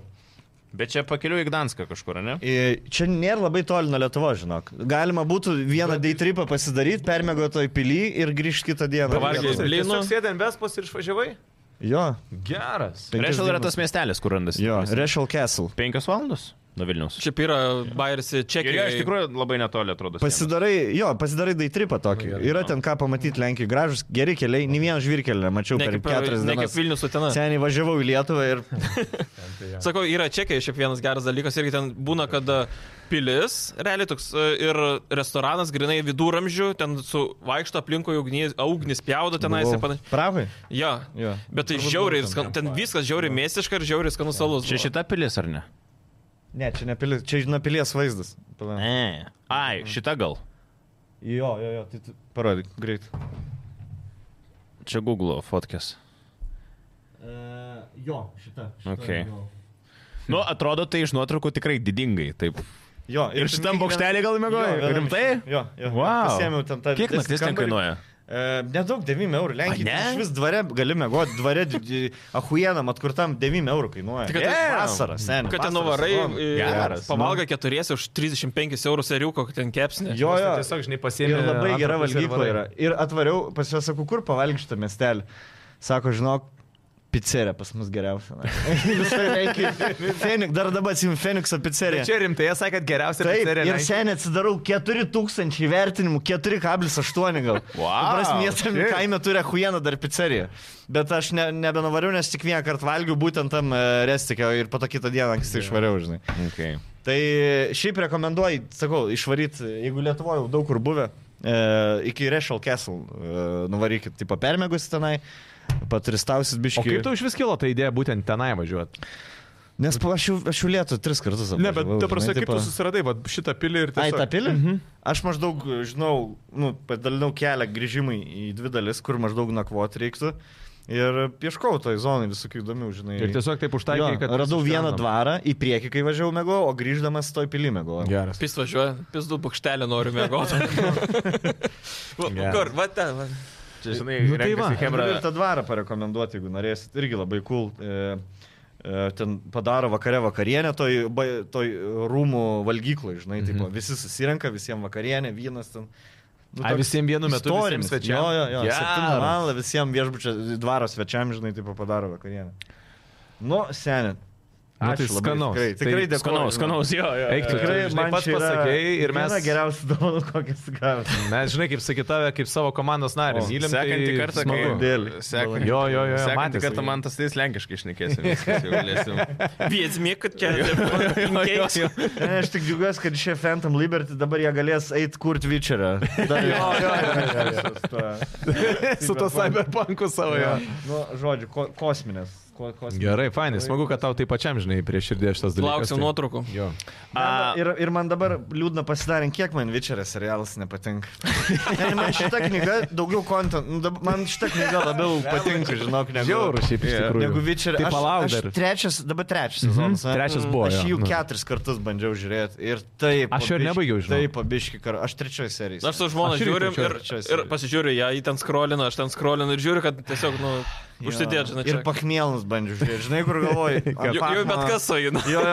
Speaker 1: Bet čia pakeliu į Gdanską kažkur, ne?
Speaker 5: I- E, Čia nėra labai toli nuo Lietuvo, žinok. Galima būtų vieną day tripą pasidaryti, permėgoti toj pily ir grįžti kitą dieną.
Speaker 3: Pavargęs.
Speaker 5: Vienas.
Speaker 3: blynų.
Speaker 4: Tiesiog sėdėm Vespos ir išvažiavai?
Speaker 5: Jo,
Speaker 4: Geras.
Speaker 5: penkias
Speaker 1: Rešel yra
Speaker 5: dienas.
Speaker 1: tas miestelis, kur randasi.
Speaker 5: Jo, Rešel Castle.
Speaker 1: Penkios valandos nuo Vilnius.
Speaker 3: Šiaip yra Bairis
Speaker 1: Ir jo,
Speaker 3: Čekija.
Speaker 1: iš tikrųjų labai netoli atrodo. siena.
Speaker 5: Pasidarai, jo, pasidarai daitripą tokį.
Speaker 4: gerai,
Speaker 5: Yra ten ką pamatyti Lenkijai. Gražus, geri keliai, nei vieno žvirkelio, mačiau
Speaker 3: Ne
Speaker 5: per
Speaker 3: kaip, e,
Speaker 5: keturias
Speaker 3: ne kaip
Speaker 5: dienas.
Speaker 3: Vilnius Utena.
Speaker 5: Seniai važiavau į Lietuvą ir...
Speaker 3: Sakau, yra čekiai, šiaip vienas geras dalykas, irgi ten būna, kad e, pilis, realiai toks, e, ir restoranas, grinai viduramžių, ten su vaikšto aplinkui ugnis, ugnis pjaudo tenais ir
Speaker 5: Buvau.
Speaker 3: panašiai.
Speaker 5: Prahui?
Speaker 3: Jo.
Speaker 5: Jo.
Speaker 3: Bet tai žiauriai, ir skan, ten viskas žiauriai mėsiška ir žiauriai skanus salus.
Speaker 1: Čia šita pilis ar ne?
Speaker 5: Ne, čia ne pilis, čia žinai pilies vaizdas. Pala-
Speaker 1: Ne. Ai, šita gal.
Speaker 5: Jo, jo, jo, tai tu... Parodyk, greit.
Speaker 1: Čia Google fotkės.
Speaker 5: Jo, šita.
Speaker 1: šita Okei. jo. Nu, atrodo tai iš nuotraukų tikrai didingai. Taip.
Speaker 5: Jo,
Speaker 1: Ir šitam bokštelį gal
Speaker 5: Jo,
Speaker 1: įmėgoji?
Speaker 5: vienam
Speaker 1: Rimtai?
Speaker 5: iš- Jo, jo.
Speaker 1: Wow.
Speaker 5: Pasiėmiau ten tą
Speaker 1: Kiek
Speaker 5: didesnį
Speaker 1: naktis ten
Speaker 5: kambarį.
Speaker 1: kainuoja?
Speaker 5: E, Nedaug 9 eurų. Lenkijoje
Speaker 1: ne?
Speaker 5: ne? vis dvare gali mėgoti, dvare ahuienam atkurtam 9 eurų kainuoja.
Speaker 3: Tai kad-
Speaker 5: yeah. vasara, seniai.
Speaker 3: Kad ten nuvarai, e,
Speaker 1: Geras.
Speaker 5: nu.
Speaker 3: pavalgai keturiesi už 35 eurų seriuko, kad ten kepsnė.
Speaker 5: Jo, jo.
Speaker 4: Tiesiog, žinai,
Speaker 5: Ir
Speaker 4: pasiemi.
Speaker 5: labai
Speaker 4: antrą
Speaker 5: gera
Speaker 4: pusę ir
Speaker 5: valgykla
Speaker 4: varai.
Speaker 5: yra. Ir atvariau, pas juos sakau, kur pavalgyti šitą miestelį. Sako, žinok, pizzerija pas mus geriausia. na. Visai reikia. Fenik, dar dabar atsim Fenikso
Speaker 4: Bet
Speaker 5: pizzeriją.
Speaker 4: čia rimtai, jie sakė, kad geriausia
Speaker 5: Taip,
Speaker 4: pizzerija
Speaker 5: ir
Speaker 4: Lenkijoj.
Speaker 5: seniai atsidarau 4000 vertinimų, 4,8 gal.
Speaker 1: Wow,
Speaker 5: Miestam
Speaker 4: shit.
Speaker 5: kaime turi Huieną dar pizzeriją. Bet aš ne, nebenuvariau, nes tik vieną kartą valgiau būtent tam e, restikio ir po to kitą dieną anksti išvariau, žinai.
Speaker 1: Okay.
Speaker 5: Tai šiaip rekomenduoju, sakau, išvaryti, jeigu Lietuvoje jau daug kur buvę, e, iki Rešel Castle e, nuvarykit, tipo permėgus tenai, patristausit
Speaker 4: O
Speaker 5: biškiai.
Speaker 4: kaip tu iš vis kilo ta idėja būtent tenai važiuoti?
Speaker 5: Nes pa- aš jau, aš jau lietu tris kartus
Speaker 4: Ne, bet
Speaker 5: apvažiavau,
Speaker 4: tu prasai,
Speaker 5: žinai,
Speaker 4: kaip
Speaker 5: tipo-
Speaker 4: tu susiradai vat, šitą pilį ir
Speaker 5: Ai,
Speaker 4: tiesiog...
Speaker 5: tą pilį?
Speaker 4: Mhm.
Speaker 5: Aš maždaug, žinau, nu, padalinau kelią grįžimui į dvi dalis, kur maždaug nakvoti reiktų. Ir ieškau toj zonai visokių įdomių, žinai.
Speaker 4: Ir tiesiog taip
Speaker 5: jo,
Speaker 4: užtaikė, kad...
Speaker 5: radau vieną
Speaker 4: susirandam.
Speaker 5: dvarą, į priekį, kai važiavau mėgo, o grįždamas toj pilį mėgo.
Speaker 4: Geras.
Speaker 3: Pis važiuoja, pis du bokštelį noriu mėgoti.
Speaker 4: Geras.
Speaker 3: Kur, va ten. va.
Speaker 1: Čia, žinai,
Speaker 4: Nu,
Speaker 1: nu,
Speaker 4: tai
Speaker 1: tai
Speaker 4: va.
Speaker 1: Hebra.
Speaker 5: Galiu ir tą dvarą parekomenduoti, jeigu norėsit. Irgi labai cool. E, e, ten padaro vakare vakarienę toj, ba- toj rūmų valgykloj,
Speaker 4: Mhm.
Speaker 5: žinai, mm -hmm. visi susirenka, visiems vakarienė, vynas ten. Nu,
Speaker 4: Ai,
Speaker 5: toks
Speaker 4: visiems vienu metu
Speaker 5: istorinis.
Speaker 4: visiems svečiam.
Speaker 5: Jo, jo, jo.
Speaker 4: Geras.
Speaker 5: Septintą valandą visiems viešbučio dvaro svečiam, žinai, tai padaro vakarienę. Nu, senė.
Speaker 4: Nu, tai
Speaker 5: Ačiū labai,
Speaker 4: skanaus.
Speaker 5: Tikrai,
Speaker 4: Tai
Speaker 5: tikrai dėkoju.
Speaker 1: Skanaus, skanaus, jo, jo.
Speaker 4: Eik tu,
Speaker 1: jo.
Speaker 5: Tikrai
Speaker 4: Žinai,
Speaker 5: man
Speaker 4: pats
Speaker 5: čia yra
Speaker 4: pasakei ir
Speaker 5: viena
Speaker 4: mes-
Speaker 5: Geriausias dovanas, kokias gavau.
Speaker 4: Mes, žinai, kaip sakyt tave, kaip savo komandos narį.
Speaker 5: O,
Speaker 4: Mylim, tai
Speaker 1: Sekantį kartą, kai...
Speaker 4: smagu.
Speaker 5: Dėl.
Speaker 1: Sekantį-
Speaker 4: Jo, jo, jo,
Speaker 1: Sekantį
Speaker 4: matėsi.
Speaker 1: kartą man tas tais lenkiškai išnekėsim. viskas jau galėsim.
Speaker 3: Viedzmė, kad čia. Pancakes.
Speaker 5: Ne, aš tik džiugiuosi, kad šie Phantom Liberty dabar jie galės eiti kurti Witcherą. Dar jo, jo, jo, jo.
Speaker 4: Su to cyberpunku savo.
Speaker 5: jo.
Speaker 4: jo.
Speaker 5: Nu, žodžiu, ko, kosminės. Ko, kosminės.
Speaker 4: Gerai, fainai, smagu, kad tau tai pačiam, žinai, prie širdį šitas dalykas. tai.
Speaker 3: Lauksim nuotraukų.
Speaker 4: Jo.
Speaker 5: Man, ir, ir man dabar liūdna pasidarė, kiek man Witcheras serialas nepatinka. Ne, man šita knyga daugiau kontent, nu, dab- man šita knyga labiau patinka, žinok, negu...
Speaker 4: Žiauru šiaip iš
Speaker 1: Jo.
Speaker 4: tikrųjų.
Speaker 5: Negu Witcher.
Speaker 4: Tai
Speaker 5: Aš-
Speaker 4: palauk
Speaker 5: aš
Speaker 4: dar.
Speaker 5: Trečias, dabar trečias sezonas. ne?
Speaker 4: Mhm. trečias buvo,
Speaker 5: Aš
Speaker 4: jo,
Speaker 5: jų
Speaker 4: nu.
Speaker 5: keturis kartus bandžiau žiūrėti. Ir taip.
Speaker 4: Aš jo ir
Speaker 5: po biškį-
Speaker 4: nebaigiau, žinok.
Speaker 5: Taip, pabiški kar. Aš trečioje serijoje.
Speaker 3: Aš su žmona
Speaker 4: Aš irgi
Speaker 3: žiūriu ir,
Speaker 5: trečioj
Speaker 3: ir
Speaker 5: serijoj.
Speaker 3: pasižiūriu ją, jį ten skrolinu, aš ten skrolinu ir žiūriu, kad tiesiog, nu, užsidėt, žinai, čia.
Speaker 5: Ir pakmėlus bandžiu žiūrėti, žinai, kur galvoju.
Speaker 3: Jau, jau bet kas sojina.
Speaker 5: Jo,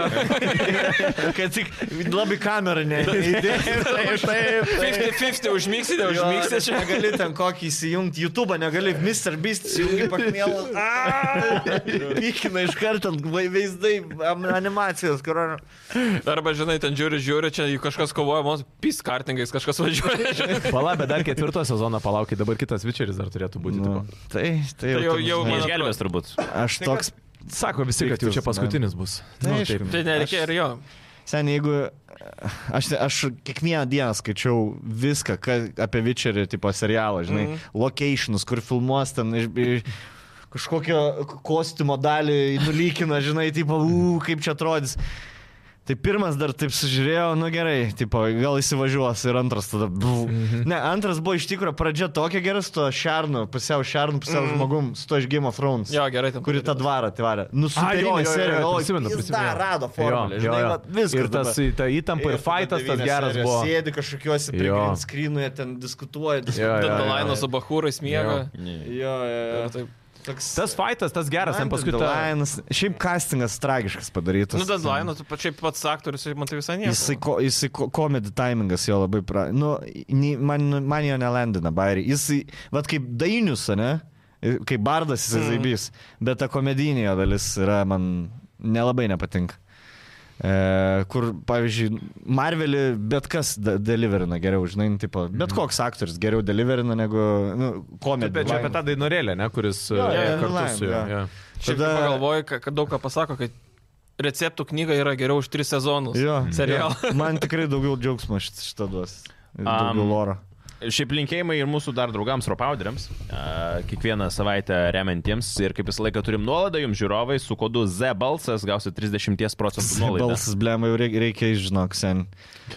Speaker 5: jo. Kad tik labai kamerą neįdėti. Taip, taip.
Speaker 3: 50-50 užmygsi, neužmygsi čia.
Speaker 5: Negali ten kokį įsijungti, YouTube negali, Mr. Beast įsijungti pakmėlus. Pykina iš karto, vaizdai, am- animacijos, kur...
Speaker 3: Arba, žinai, ten žiūri, žiūri, čia juk kažkas kovoja, mums pis kartingais kažkas važiuoja. žinai.
Speaker 4: Pala, bet dar ketvirto sezono palaukit, dabar kitas Vičeris dar turėtų būti.
Speaker 5: Nu,
Speaker 4: tipo.
Speaker 5: tai, tai
Speaker 3: Tai jau-
Speaker 5: ten,
Speaker 3: jau
Speaker 5: žinai,
Speaker 3: man-
Speaker 1: Išgelbės turbūt.
Speaker 5: Aš toks...
Speaker 4: Sako visi, kad jau čia
Speaker 5: Piktis,
Speaker 4: paskutinis bus.
Speaker 5: Tai
Speaker 4: Nu,
Speaker 5: aišku.
Speaker 3: Tai nereikia ir jo.
Speaker 5: Sen, jeigu... Aš, aš kiekvieną dieną skaičiau viską ka, apie Witcherį, tipo serialą, žinai, mm. locations, kur filmuos ten iš... iš Kažkokio kostiumo dalį nulykina, žinai, tipo, u, kaip čia atrodys. Tai pirmas dar taip sužiūrėjau, nu gerai, tipo, gal įsivažiuos ir antras tada. Buv. Ne, antras buvo iš tikrųjų pradžia tokia gera su to šarnu, pusiau šarnu, pusiau žmogum, su to iš Game of Thrones
Speaker 3: Jo, gerai, ten.
Speaker 5: kuri tą dvarą atvarė.
Speaker 4: jo,
Speaker 5: Nu, Nusipirko
Speaker 4: jo, jo,
Speaker 5: seriją, galvoju,
Speaker 4: prisimenu,
Speaker 5: jis
Speaker 4: prisimenu.
Speaker 5: Dar rado formulę, žinai, va, viskas.
Speaker 4: Ir tas,
Speaker 5: dabar.
Speaker 4: ta įtampa, ir
Speaker 5: tada
Speaker 4: fightas tas
Speaker 5: devynios
Speaker 4: geras
Speaker 5: serijos
Speaker 4: buvo.
Speaker 5: Sėdi kažkokiuose
Speaker 4: Jo.
Speaker 5: priekrinskrynuoje, ten diskutuoja, diskutuoja.
Speaker 4: jo, jo.
Speaker 3: Dandelainas su bahūrais miega.
Speaker 5: Jo, jo,
Speaker 3: Ir
Speaker 5: jo.
Speaker 3: taip.
Speaker 5: Toks...
Speaker 4: Tas fightas, tas geras, ten paskui ta...
Speaker 5: Lainas. Šiaip castingas tragiškas padarytas.
Speaker 3: Nu, Dandelainas, pačiai pats aktorius, šiaip man tai visai
Speaker 5: Jisai,
Speaker 3: nieko.
Speaker 5: ko, jisai ko, komedi timingas jo labai pra... Nu, nei- man, man jo nelendina, Bairį. Jisai, vad kaip dainius, ne?
Speaker 2: Kai bardas jis mm. zaibys, bet ta komedinė jo dalis yra man nelabai nepatinka. E, kur, pavyzdžiui, Marvelį bet kas da- deliverina geriau, žinai, nu, tipo, bet koks aktorius geriau deliverina negu nu, komedija.
Speaker 4: Bet čia apie tą dainorėlę, ne, kuris jo, jo,
Speaker 2: jo,
Speaker 4: kartu
Speaker 2: Laim,
Speaker 4: su juo.
Speaker 2: jo.
Speaker 4: Jo.
Speaker 3: Šiaip
Speaker 2: Tada-
Speaker 3: tada... pagalvoju, ka- kad daug ką pasako, kad receptų knyga yra geriau už tris sezonus.
Speaker 2: Jo,
Speaker 3: Serialą.
Speaker 2: jo. Man tikrai daugiau džiaugsmo šit- šitą duos. Ir Daugiau
Speaker 1: Am.
Speaker 2: um, loro.
Speaker 1: Šiaip linkėjimai ir mūsų dar draugams ropauderiams, a, kiekvieną savaitę remiantiems ir kaip visą laiką turim nuolaidą, jums žiūrovai su kodu Z balsas gausi 30 procentų nuolaidą.
Speaker 2: Balsas, blemai, jau reikia, reikia išžinok, sen.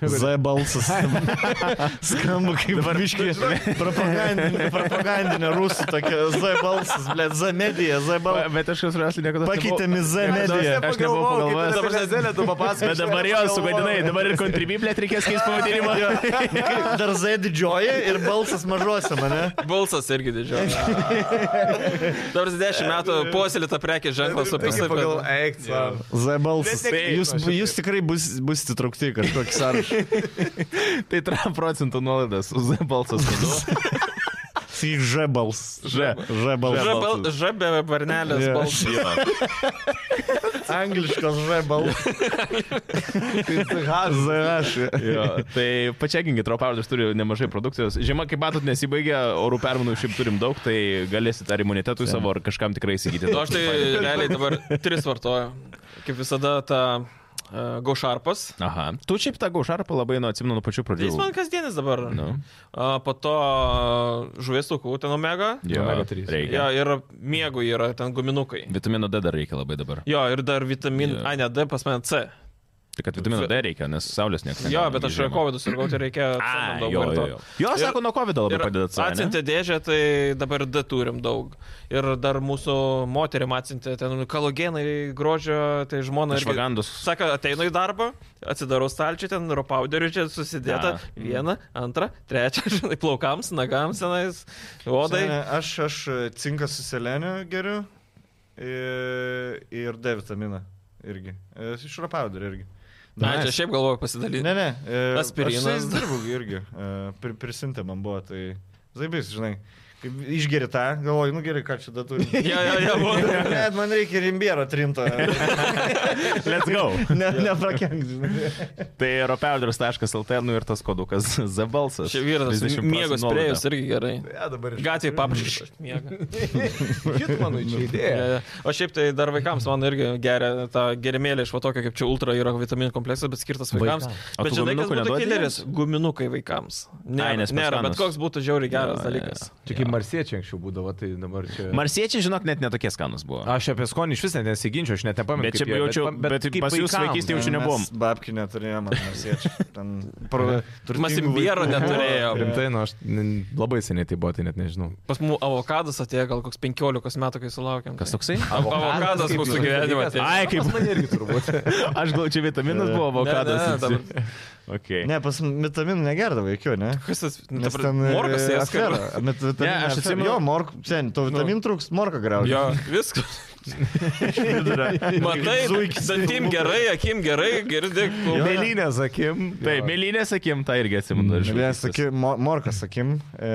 Speaker 2: Z balsas. Skamba kaip varmiškis. Propagandinė, propagandinė rusų tokia Z balsas, blem, Z medija, Z balsas.
Speaker 1: Bet aš esu rasli niekada.
Speaker 2: Pakeitėme Z mediją.
Speaker 1: Aš nebuvau pagalvojęs.
Speaker 4: Dabar Zelė, tu papasakok.
Speaker 1: Bet dabar jau sugadinai, dabar ir kontribiblėt reikės keisti pavadinimą.
Speaker 2: Jo. Kaip Dar Z didžioji ir balsas mažuose mane.
Speaker 3: Balsas irgi didžiausias. Dar 10 metų puoselėta prekė ženklas apie save.
Speaker 4: Pagal Eiksa.
Speaker 2: Z balsas.
Speaker 4: Bet ne-
Speaker 2: Jūs, jūs tikrai bus- busite traukti į kažkokį sąrašą.
Speaker 1: Tai 3 procentų nuolaidas už Z balsas. kodu.
Speaker 2: Į Ž balsas.
Speaker 1: Ž.
Speaker 2: Ž balsas.
Speaker 1: balsas.
Speaker 3: Žabė varnelės
Speaker 2: Jo.
Speaker 3: balsas.
Speaker 2: Angliškas Ž balsas. Z aš.
Speaker 1: Jo, tai pačiakinkit, Ropauders turi nemažai produkcijos. Žiema, kaip matot, nesibaigia, orų permanų šiaip turim daug, tai galėsit ar imunitetui savo, ar kažkam tikrai įsigyti.
Speaker 3: Nu, aš tai realiai dabar tris vartoju. Kaip visada, ta uh, Gaušarpas.
Speaker 1: Aha. Tu šiaip tą gaušarpą labai, nu, atsimenu nuo pačių
Speaker 3: Tai
Speaker 1: pradžių.
Speaker 3: jis man kasdienis dabar.
Speaker 1: Nu.
Speaker 3: Uh, po to uh, žuvies laukų ten omega.
Speaker 1: Jo,
Speaker 4: Omega trys.
Speaker 1: reikia.
Speaker 3: Jo, ir miego yra ten guminukai.
Speaker 1: Vitamino D dar reikia labai dabar.
Speaker 3: Jo, ir dar vitamin,
Speaker 1: Jo.
Speaker 3: yeah. a ne D, pas mane C.
Speaker 1: Tik kad vitamino D reikia, nes saulės niekas.
Speaker 3: Jo, bet aš
Speaker 1: negauna į žiemą.
Speaker 3: COVID sirgau, tai reikia
Speaker 1: A,
Speaker 3: C man
Speaker 1: jo,
Speaker 3: daug
Speaker 1: jo,
Speaker 3: vartot.
Speaker 1: jo. jo
Speaker 3: Ir-
Speaker 1: sako, nuo COVID labai
Speaker 3: Ir
Speaker 1: padeda atsiminti.
Speaker 3: atsintė dėžę, tai dabar D turim daug. Ir dar mūsų moterim atsintė ten kalogenai grožio, tai žmona. irgi-
Speaker 1: Švagandos.
Speaker 3: Sako, ateinu į darbą, atsidarau stalčių, ten ropauderių čia susidėta.
Speaker 1: A.
Speaker 3: Vieną, antrą, trečią, žinai, plaukams, nagams, senais,
Speaker 2: Sene,
Speaker 3: odai.
Speaker 2: Aš, aš e, cinką su seleniu geriu i- ir D vitaminą irgi. E, Iš rapauderio irgi.
Speaker 3: Na, čia šiaip galvoju pasidalinti.
Speaker 2: Ne, ne. e, Aš
Speaker 3: Aspirinas.
Speaker 2: su jais dirbu irgi. e, pri- Prisimta man buvo, tai zaibys, žinai. Kaip Išgeri tą, galvoju, nu gerai, ką čia dar turiu.
Speaker 3: Jo, jo, jo, buvo.
Speaker 2: Net man reikia rimbiero trimto.
Speaker 1: Let's go.
Speaker 2: Ne, neprakenk, žinai.
Speaker 1: tai ropauders.lt, nu ir tas kodukas Z balsas.
Speaker 3: Čia vyras,
Speaker 1: 30
Speaker 3: miegas
Speaker 1: procentų
Speaker 3: prieus irgi gerai.
Speaker 4: Ja, dabar iš
Speaker 3: Gatvėje paprašyš. Miega.
Speaker 4: Hitmanui čia idėja.
Speaker 3: Jo, jo. O šiaip tai dar vaikams man irgi geria tą gerimėlį iš va tokio, kaip čia ultra yra vitaminų kompleksas, bet skirtas vaikams.
Speaker 1: Vaikams. O
Speaker 3: Bet
Speaker 1: tu
Speaker 3: žinai, kas
Speaker 1: guminukų
Speaker 3: būtų
Speaker 1: neduodi
Speaker 3: kileris? Guminukai vaikams.
Speaker 1: Ai, nes pas
Speaker 3: Nėra, nėra bet
Speaker 1: manus.
Speaker 3: koks būtų žiauriai geras
Speaker 1: Jo,
Speaker 3: dalykas.
Speaker 1: jo,
Speaker 4: Čia kaip marsiečiai anksčiau būdavo, tai dabar čia...
Speaker 1: Marsiečiai, žinok, net netokie skanus buvo.
Speaker 4: Aš apie skonį iš vis net nesiginčiu, aš net nepamenu.
Speaker 1: Bet
Speaker 4: kaip
Speaker 1: čia
Speaker 4: jie-
Speaker 1: jaučiu-
Speaker 4: pam-
Speaker 1: bet
Speaker 4: kaip
Speaker 1: pas jus
Speaker 4: vaikam.
Speaker 1: vaikystėj jaučiu-
Speaker 2: Mes
Speaker 1: nebuvom.
Speaker 2: Babkių neturėjom, mes jie.
Speaker 3: Mes imbiero neturėjom.
Speaker 4: Rimtai, nu aš n- labai seniai tai buvo, tai net nežinau.
Speaker 3: Pas mūsų avokadas atėjo gal koks 15 metų, kai sulaukėm. Tai
Speaker 1: Kas toksai?
Speaker 3: Avokadas
Speaker 4: kaip
Speaker 3: mūsų
Speaker 4: jūs-
Speaker 3: gyvenime atėjo.
Speaker 1: Ai, kaip
Speaker 4: Man irgi turbūt.
Speaker 1: Aš gal čia vitaminas buvo,
Speaker 3: Ne, ne,
Speaker 1: avokadas.
Speaker 3: dabar-
Speaker 1: Okay.
Speaker 2: Ne, pas vitaminų negerdavo, jokių, ne?
Speaker 3: Kas tas? ta
Speaker 2: Nes
Speaker 3: pra-
Speaker 2: ten
Speaker 3: Nu, Morkas
Speaker 2: e,
Speaker 3: ir
Speaker 2: afera.
Speaker 3: skara.
Speaker 2: Bet vitaminų
Speaker 1: Ne, aš
Speaker 2: afera.
Speaker 1: atsimenu-
Speaker 2: Jo, mork, sen, to vitamin trūks, morką graužia.
Speaker 3: Jo, viskas. Matai,
Speaker 2: zuikis.
Speaker 3: dantim gerai, akim gerai, girdi.
Speaker 4: Mėlynė, sakim.
Speaker 1: Taip, mėlynė, sakim, tą irgi atsimenu. iš
Speaker 2: Ne,
Speaker 1: vaikystės.
Speaker 2: saky, mo, morka, sakim, e,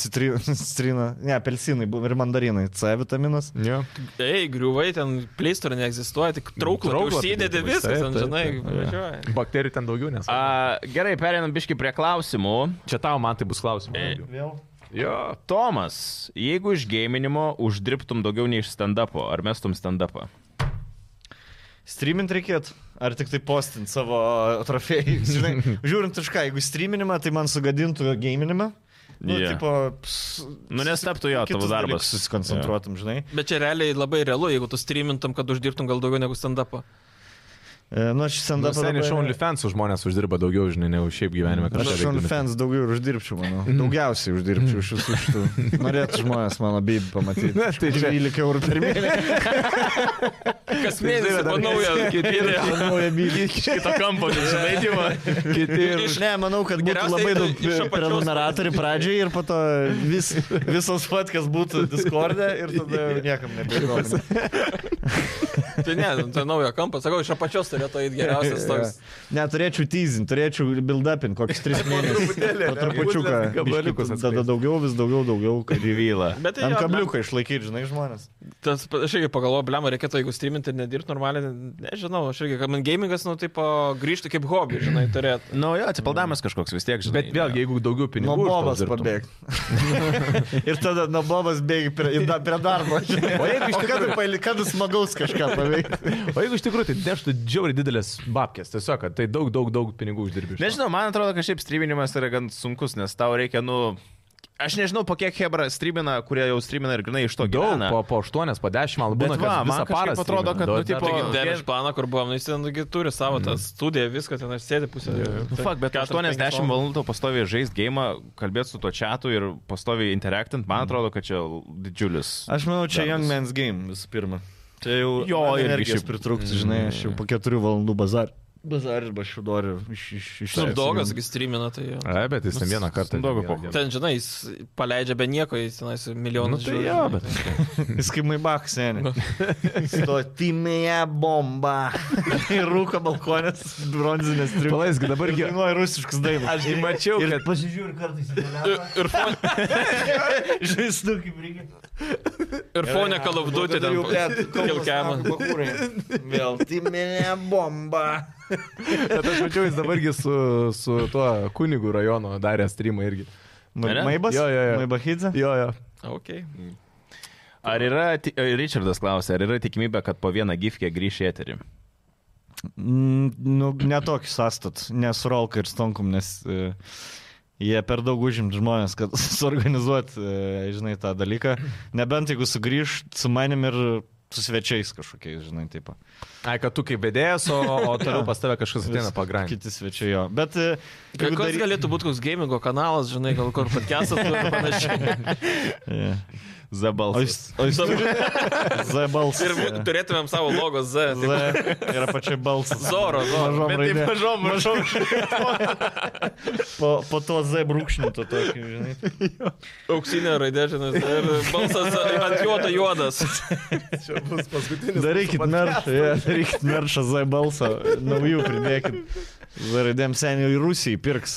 Speaker 2: citri, citrina, ne, apelsinai buvo ir mandarinai, C vitaminas.
Speaker 4: Jo.
Speaker 3: Ei, griuvai, ten pleistorė neegzistuoja, tik trauklą
Speaker 4: Trauklapį
Speaker 3: užsidedi
Speaker 4: tik
Speaker 3: viskas,
Speaker 4: taip,
Speaker 3: ten,
Speaker 4: taip,
Speaker 3: žinai,
Speaker 4: taip.
Speaker 3: važiuoja.
Speaker 4: Bakterijų ten daugiau nes.
Speaker 1: A, gerai, perinam biški prie klausimų.
Speaker 4: Čia tau man tai bus klausimas. daugiau.
Speaker 2: Vėl.
Speaker 4: Jo.
Speaker 1: Tomas, jeigu iš gėminimo uždirbtum daugiau nei iš stand-upo, ar mestum stand-upą?
Speaker 2: Streamint reikėtų, ar tik tai postint savo trofėjus, žinai. Žiūrint iš ką, jeigu streaminimą, tai man sugadintų gėminimą. Nu,
Speaker 1: Jo.
Speaker 2: yeah. tipo, ps,
Speaker 1: Nu, nestaptų jo
Speaker 2: kitus
Speaker 1: tavo darbas.
Speaker 2: dalykus Susikoncentruotum, yeah. žinai.
Speaker 3: Bet čia realiai labai realu, jeigu tu streamintum, kad uždirbtum gal daugiau negu stand-upą.
Speaker 2: E, nu, aš stand
Speaker 4: Nu,
Speaker 2: up.
Speaker 4: Seniai iš OnlyFans žmonės uždirba daugiau, žinai, negu šiaip gyvenime
Speaker 2: Aš
Speaker 4: kažką.
Speaker 2: iš
Speaker 4: veikdami.
Speaker 2: OnlyFans daugiau ir uždirbčiau, manau. Daugiausiai uždirbčiau iš visų šitų. Norėtų žmonės mano bibį pamatyti.
Speaker 4: Na, tai čia-
Speaker 2: 12 eurų per mėnesį.
Speaker 3: Kas mėnesį po naują idėją.
Speaker 2: Nauja bibį.
Speaker 1: Kito kampo, žinai, dievo.
Speaker 4: Kiti ir
Speaker 3: Iš-
Speaker 2: Ne, manau, kad būtų
Speaker 3: Geriausiai
Speaker 2: labai
Speaker 3: tai
Speaker 2: daug
Speaker 3: iš apačios
Speaker 2: prenumeratorių pradžiai ir po to vis, visos fotkas būtų Discord'e ir tada jau niekam nebėra.
Speaker 3: Tai ne, nu, tai naujo kampas. Sakau, iš apačios turėtų eiti geriausias toks.
Speaker 2: Neturėčiau teasing, turėčiau build upin kokius 3 mėnesius.
Speaker 4: Truputėlį,
Speaker 2: Po
Speaker 4: ne?
Speaker 2: trupučiuką.
Speaker 4: Būtent
Speaker 2: biškį,
Speaker 4: Gabaliukus
Speaker 2: Tada
Speaker 4: atskleidžia.
Speaker 2: daugiau, vis daugiau, daugiau. kad-
Speaker 1: Gyvyla.
Speaker 3: Bet tai
Speaker 2: Ant
Speaker 3: jo,
Speaker 2: kabliuką išlaikyti, žinai, žmonės.
Speaker 3: Tas, aš irgi pagalvojau, blem, reikėtų, jeigu streaminti ir nedirbti normaliai, nežinau, aš irgi, kad man gamingas, nu, taip, grįžti kaip hobį, žinai, turėtų.
Speaker 1: Na, jo, atsipaldavimas kažkoks vis tiek, žinai.
Speaker 4: Bet vėlgi, jeigu daugiau
Speaker 2: Nuo
Speaker 4: pinigų. už to
Speaker 2: bobas
Speaker 4: uždirbtum.
Speaker 2: pabėg. ir tada nuo bobas bėgi prie, į da- prie darbo. O
Speaker 4: jeigu iš tikrųjų-
Speaker 2: kad tu smagaus kažką paveikti?
Speaker 4: O jeigu iš tikrųjų tai deštų džiauriai didelės babkės, tiesiog, kad tai daug, daug, daug pinigų uždirbi. iš to.
Speaker 1: Nežinau, man atrodo, kad šiaip streaminimas yra gan sunkus, nes tau reikia, nu... Aš nežinau, po kiek Hebra streamina, kurie jau streamina ir grinai iš to
Speaker 4: daug,
Speaker 1: gyvena.
Speaker 4: po, po 8, po 10, man
Speaker 1: Bet va,
Speaker 4: būna, kad
Speaker 1: man
Speaker 4: visą
Speaker 1: kažkaip
Speaker 4: parą. tai
Speaker 1: atrodo,
Speaker 4: streamina.
Speaker 1: kad, nu,
Speaker 4: Daug-
Speaker 1: tipo,
Speaker 4: Taigi,
Speaker 1: Vien-
Speaker 3: Demiš planą, kur buvom, nu, jis ten gi turi savo tą studiją, viską ten aš sėdė pusę.
Speaker 1: Nu, Fuck, bet 80 valandų tau pastoviai žaisti game, kalbėti su tuo čatu ir pastoviai interaktant, man atrodo, kad čia didžiulis.
Speaker 2: Aš manau, čia
Speaker 1: Darbas.
Speaker 2: Young Man's Game visų pirma. Mm. Čia jau
Speaker 1: Jo,
Speaker 2: man
Speaker 1: irgi
Speaker 2: energijos
Speaker 1: šiaip-
Speaker 2: pritrūkti, žinai, aš jau po keturių valandų bazar. Bazar ir bašiudoriu.
Speaker 3: Snubdogas, kai streamina, tai jo.
Speaker 4: Ai, bet jis ten
Speaker 1: Nu,
Speaker 4: vieną kartą.
Speaker 1: Snoop Doggo
Speaker 4: vieną
Speaker 1: pochą.
Speaker 4: dieną.
Speaker 3: Ten, žinai, jis paleidžia be nieko, jis tenais
Speaker 4: Nu,
Speaker 3: milijonus
Speaker 4: tai jo, bet.
Speaker 2: Jis kaip maibach seniai. Stotimėje bomba. Ir rūko balkonės bronzinės triukšmas.
Speaker 4: Palaisk, dabar
Speaker 2: Ir
Speaker 4: gi-
Speaker 2: dainuoja rusiškas dainas.
Speaker 4: Aš gi mačiau,
Speaker 2: ir
Speaker 4: kad-
Speaker 2: pasižiūriu kartais. į telefoną,
Speaker 3: Ir, fon,
Speaker 2: Žinai, nu kaip reikia.
Speaker 3: ir fonė kalabdutė ten. Kilkiamą.
Speaker 2: Vėl timinė bomba.
Speaker 4: Bet aš mačiau, jis dabargi su, su tuo kunigų rajono darė streamą irgi.
Speaker 1: Ne?
Speaker 2: Maibas?
Speaker 4: Jo, jo, jo.
Speaker 2: Maibahidze?
Speaker 4: Jo, jo.
Speaker 3: Okay.
Speaker 1: Ar yra, ti- e, Richardas klausė, ar yra tikimybė, kad po vieną gifkę grįš į eterį?
Speaker 2: Mm, Nu, netokį sastat, nes Rolka ir Stonkum, nes e, jie per daug užimt žmonės, kad suorganizuot, e, žinai, tą dalyką. Nebent jeigu sugrįž su manim ir su svečiais kažkokiais, žinai, taip.
Speaker 4: Ai, kad tu kaip vedėjas, o, o toliau pas tave kažkas ateina
Speaker 2: Vis-
Speaker 4: pagrindinti.
Speaker 2: Kiti svečiai jo. Bet e,
Speaker 3: Koks
Speaker 2: jeigu
Speaker 3: dary...
Speaker 2: dary-
Speaker 3: galėtų būti koks gamingo kanalas, žinai, gal kur podcastas ar panašiai.
Speaker 2: Jo. E, O jis,
Speaker 1: Zabalsas.
Speaker 2: o jis Z balsas. e,
Speaker 3: Ir tai- bū- turėtumėm savo logo Z.
Speaker 2: Z yra pačiai balsas.
Speaker 3: Zoro, Zoro.
Speaker 2: Mažom
Speaker 3: Bet
Speaker 2: raidėm.
Speaker 3: taip mažom, mažom.
Speaker 2: Po, po to Z brūkšnį to tokį, žinai.
Speaker 3: Auksinė raidė, žinai. Ir balsas ant juodo juodas.
Speaker 4: Čia bus paskutinis.
Speaker 2: Darykit meršą, jo, darykit meršą Z balsą, naujų pridėkit. Z raidėm seniai Rusijai pirks.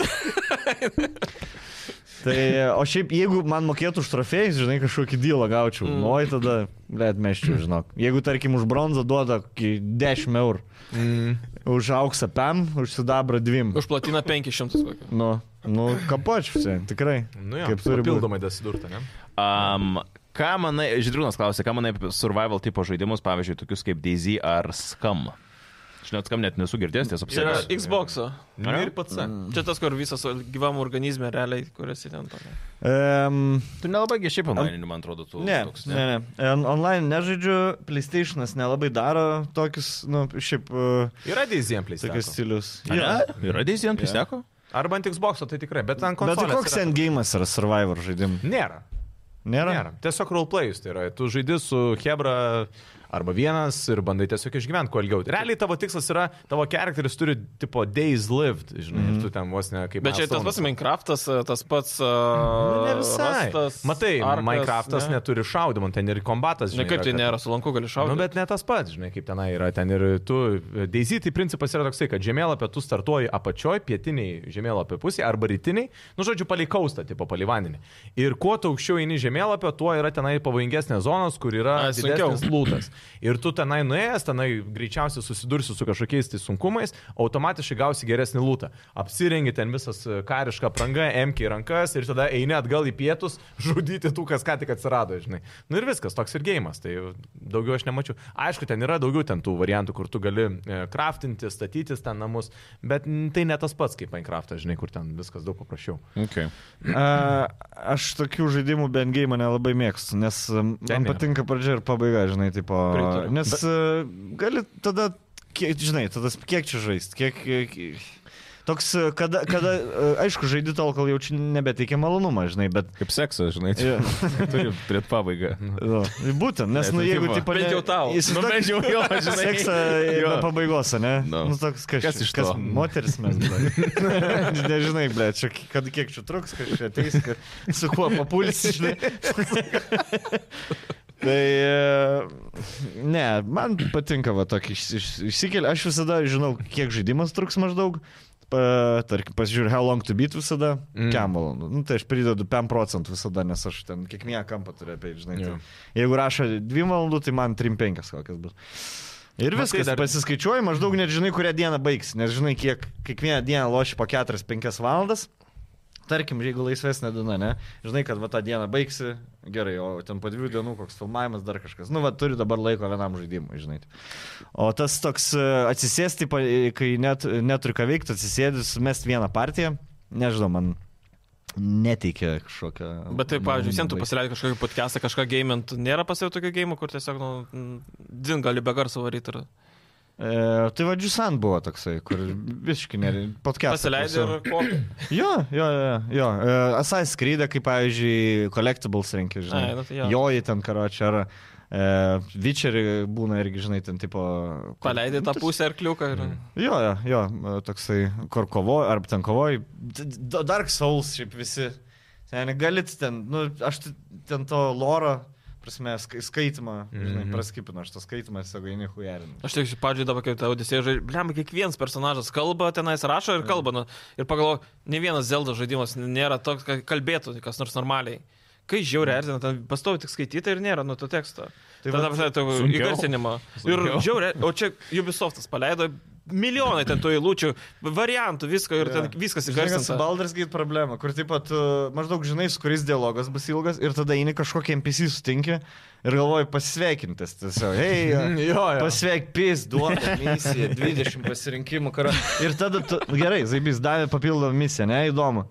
Speaker 2: Tai, o šiaip, jeigu man mokėtų už trofėjus, žinai, kažkokį dylą gaučiau, mm. oi tada, bet meščiau, žinok. Jeigu, tarkim, už bronzą duoda kokį 10 eurų,
Speaker 4: Mm.
Speaker 2: už auksą 5, už sidabrą 2.
Speaker 3: Už platiną 500 kokį.
Speaker 2: Nu, nu kapočiu, sen, tikrai.
Speaker 4: Nu, jo,
Speaker 2: Kaip turi būt.
Speaker 4: papildomai dasidurta, ne?
Speaker 1: Um, ką manai, Židrūnas klausė, ką manai apie survival tipo žaidimus, pavyzdžiui, tokius kaip DayZ ar Scam? Žinot, Scam net nesu girdėjęs, tiesą
Speaker 3: Čia yra
Speaker 1: pasakius.
Speaker 3: Xbox'o. Mm.
Speaker 1: Ar-
Speaker 4: Nu Ir pats.
Speaker 3: Čia tas, kur visas gyvam organizme realiai, kuris ten tokia.
Speaker 2: Um,
Speaker 1: Tu nelabai gi šiaip online, man atrodo, tu
Speaker 2: Ne,
Speaker 1: toks.
Speaker 2: ne, ne. En- Online nežaidžiu, PlayStation'as nelabai daro tokius, nu, šiaip, uh,
Speaker 4: Yra dizemplis.
Speaker 2: tokius stilius.
Speaker 1: Yra, yra DayZ ant pisteko?
Speaker 4: Arba ant Xbox'o, tai tikrai, bet ant
Speaker 2: Bet tai
Speaker 4: konsolės.
Speaker 2: koks
Speaker 4: yra-
Speaker 2: endgame'as yra Survivor žaidimas?
Speaker 4: Nėra.
Speaker 2: Nėra?
Speaker 4: Nėra. Tiesiog roleplayus tai yra. Tu žaidži su Hebra arba vienas ir bandai tiesiog išgyventi kuo ilgiau. Realiai tavo tikslas yra, tavo charakteris turi tipo days lived, žinai,
Speaker 2: Mhm.
Speaker 4: mm. ir tu ten vos ne kaip...
Speaker 3: Bet čia tas pats
Speaker 4: milestone'us.
Speaker 3: Minecraftas, e, tas pats...
Speaker 4: Nu, Ne visai. Matai, Arkas, Minecraftas ne? neturi šaudimo, ten ir kombatas.
Speaker 3: Ne
Speaker 4: žinai,
Speaker 3: kaip
Speaker 4: yra,
Speaker 3: tai
Speaker 4: kad-
Speaker 3: nėra, su lanku gali
Speaker 4: Nu,
Speaker 3: šaudyti.
Speaker 4: bet ne tas pats, žinai, kaip tenai yra. Ten ir tu, Daisy, tai principas yra toksai, kad žemėlapį tu startuoji apačioj, pietiniai žemėlapio pusėje arba rytiniai, nu, žodžiu, palikaustą, tipo palivaninį. Ir kuo tu aukščiau eini žemėlapio, tuo yra tenai pavojingesnės zonos, kur yra
Speaker 3: Ai, sunkiau.
Speaker 4: didesnis lūtas. Ir tu tenai nuėjęs, tenai greičiausiai susidursi su kažkokiais tai sunkumais, automatiškai gausi geresnį lūtą. Apsirengi ten visas e, karišką prangą, emki į rankas ir tada eini atgal į pietus, žudyti tų, kas ką tik atsirado, žinai. Na nu ir viskas, toks ir gėjimas, tai daugiau aš nemačiau. Aišku, ten yra daugiau ten tų variantų, kur tu gali e, kraftinti, statytis ten namus, bet n, tai ne tas pats kaip Minecraftas, žinai, kur ten viskas daug paprasčiau.
Speaker 1: Okay.
Speaker 2: A, aš tokių žaidimų be endgame'o nelabai mėgstu, nes um,
Speaker 4: Ten
Speaker 2: man
Speaker 4: nėra.
Speaker 2: patinka pradžia ir pabaiga, žinai, tipo.
Speaker 3: Pritariu.
Speaker 2: Nes Bet... gali tada, kiek, žinai, tada kiek čia žaisti, kiek... kiek... Toks, e, kada, kada, e, aišku, žaidži tol, kol jaučiu nebeteikia malonumą, žinai, bet
Speaker 1: Kaip seksas, žinai,
Speaker 2: čia
Speaker 1: turi turėti pabaigą.
Speaker 2: Jo, e, būtent, nes, nu,
Speaker 1: Net
Speaker 2: jeigu
Speaker 1: tipo,
Speaker 2: taip pat...
Speaker 3: bent jau tau.
Speaker 2: Jis
Speaker 1: Nu, bent jau jo, žinai.
Speaker 2: Seksą
Speaker 1: Jo.
Speaker 2: be pabaigos, ne?
Speaker 1: No.
Speaker 2: Nu, toks kažkas.
Speaker 1: Kas iš
Speaker 2: kas,
Speaker 1: to?
Speaker 2: Moteris mes dabar. Nežinai, ble, čia kad kiek čia truks, kas čia ateis, kad, su kuo papulsi, žinai. Tai e, ne, man patinka va tokį išsikelį. Aš visada žinau, kiek žaidimas truks maždaug. Pa- Tarkim, pasižiūrėjau, how long to beat visada, mm.
Speaker 4: Mm.
Speaker 2: kiam valandų. Nu, tai aš pridedu 5 procentų visada, nes aš ten kiekvieną kampą turiu apie, žinai.
Speaker 4: Jo.
Speaker 2: Tai, jeigu rašo 2 valandų, tai man 3-5 kokias bus.
Speaker 3: tai
Speaker 2: Ir
Speaker 4: Matai,
Speaker 2: viskas, dar...
Speaker 4: dar-
Speaker 2: pasiskaičiuoji, maždaug net žinai, kurią dieną baigs, nes žinai, kiek kiekvieną dieną loši po 4-5 valandas. Tarkim, jeigu laisvesnė diena, ne, žinai, kad va tą dieną baigsi, gerai, o ten po dviejų dienų koks filmavimas, dar kažkas. Nu, va, turi dabar laiko vienam žaidimui, žinai. O tas toks e, atsisėsti, pa- kai net, neturi ką veikti, atsisėdis, mest vieną partiją, nežinau, man neteikia kažkokio.
Speaker 3: Bet tai, pavyzdžiui, visiems tu
Speaker 4: Mm.
Speaker 2: baisiai.
Speaker 3: pasileidai kažkokį podcastą, kažką gamint. Nėra pas jau tokio game, kur tiesiog, nu, mm, dzin gali be garso varyti. Ir...
Speaker 2: E, tai vadžiu, San buvo toksai, kur visiškai neri. Podcast.
Speaker 3: Pasileidai ir kokį.
Speaker 2: Jo, jo, jo. jo. E, Asai skrydė, kaip, pavyzdžiui, collectibles rinkė, žinai.
Speaker 3: Ai, nu tai jo.
Speaker 2: Joji ten karočią, ar e, Vičerį būna irgi, žinai, ten tipo... kur-
Speaker 3: Paleidai tą pusę arkliuką ir...
Speaker 4: Mm.
Speaker 2: Jo, jo, jo, e, toksai, kur kovoji, ar ten kovoji. D- d- Dark Souls šiaip visi. Ten galit ten, nu, aš t- ten to loro, prasme, sk- skaitimą, žinai,
Speaker 4: Mhm.
Speaker 2: praskipinu, aš to skaitimą tiesiog eini hujerinu.
Speaker 3: Aš tik, pavyzdžiui, dabar kaip ta Odisėja žaidžia, blem, kiekvienas personažas kalba, tenais rašo ir
Speaker 4: Mm.
Speaker 3: kalba. Nu, ir pagalvoju, ne vienas Zelda žaidimas nėra toks, kad kalbėtų kas nors normaliai. Kai
Speaker 4: Mm.
Speaker 3: žiauriai erzina, ten pastovi tik skaityti ir nėra nuo to teksto. Tai tada pažiūrėjau
Speaker 4: sunkiau.
Speaker 3: įgarsinimą. Ir
Speaker 4: Sunkiau.
Speaker 3: žiauriai, o čia Ubisoftas paleido milijonai ten tų eilučių, variantų, visko ir ten
Speaker 2: Žinai,
Speaker 3: viskas
Speaker 2: su
Speaker 3: įgarsinta.
Speaker 2: Baldur's Gate problema, kur taip pat maždaug žinai, su kuris dialogas bus ilgas ir tada eini kažkokį NPC sutinki ir galvoji pasveikintas tiesiog.
Speaker 4: Mm,
Speaker 2: Hei,
Speaker 4: Jo, jo.
Speaker 2: pasveik, pis, duota misija, 20 pasirinkimų karo. Ir tada, tu, gerai, Zaibys davė papildomą misiją, ne, įdomu.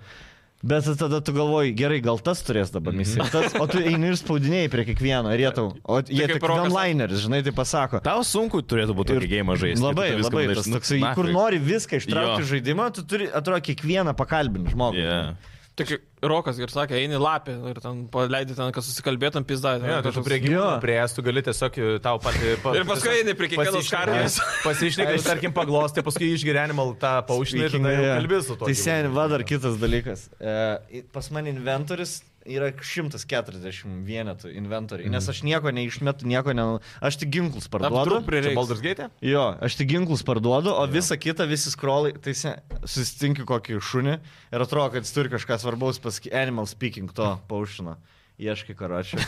Speaker 2: Bet tada tu galvoji, gerai, gal tas turės dabar
Speaker 3: Mhm.
Speaker 2: misiją. Tas, o tu eini ir spaudinėjai prie kiekvieno, ir jie tau. O jie
Speaker 3: kaip
Speaker 2: tik
Speaker 3: rokas.
Speaker 2: onlineris, žinai, tai pasako.
Speaker 1: Tau sunku turėtų būti tokį gėjimą žaisti.
Speaker 2: Labai,
Speaker 1: kai tu viską
Speaker 2: labai
Speaker 1: manai,
Speaker 2: tas
Speaker 1: nu,
Speaker 2: toksai, kur
Speaker 1: nachui.
Speaker 2: nori viską ištraukti
Speaker 1: Jo.
Speaker 2: iš žaidimo, tu turi, atrodo, kiekvieną pakalbinti žmogų.
Speaker 1: Yeah.
Speaker 3: Tik Rokas ir sakė, eini lapė ir ten paleidai ten, kad susikalbėtum pizdą.
Speaker 4: Ne, tai tu prie
Speaker 2: Jo.
Speaker 4: gyvūnų prieėjęs, tu gali tiesiog e, tau pati... Pa,
Speaker 3: Ir paskui eini prie kiekvienos karvės.
Speaker 4: Pasišnekai, tarkim, paglosti, paskui išgyvenimą tą paušinį ir tada jau
Speaker 2: Speaking,
Speaker 4: kalbi su to.
Speaker 2: Tai seniai, va dar kitas dalykas. E, i- Pas mane inventorius yra 140 vienetų inventoriai,
Speaker 4: Mhm.
Speaker 2: nes aš nieko neišmetu, nieko ne... Aš tik ginklus parduodu.
Speaker 3: Aptrūk prie-
Speaker 4: Čia Baldur's Gate?
Speaker 2: Jo, aš tik ginklus parduodu, o visa kita, visi skrolai, tai se, susitinkiu kokį šunį ir atrodo, kad jis turi kažką svarbaus pasakyti. Animal speaking to paušino. Ieškai karočią.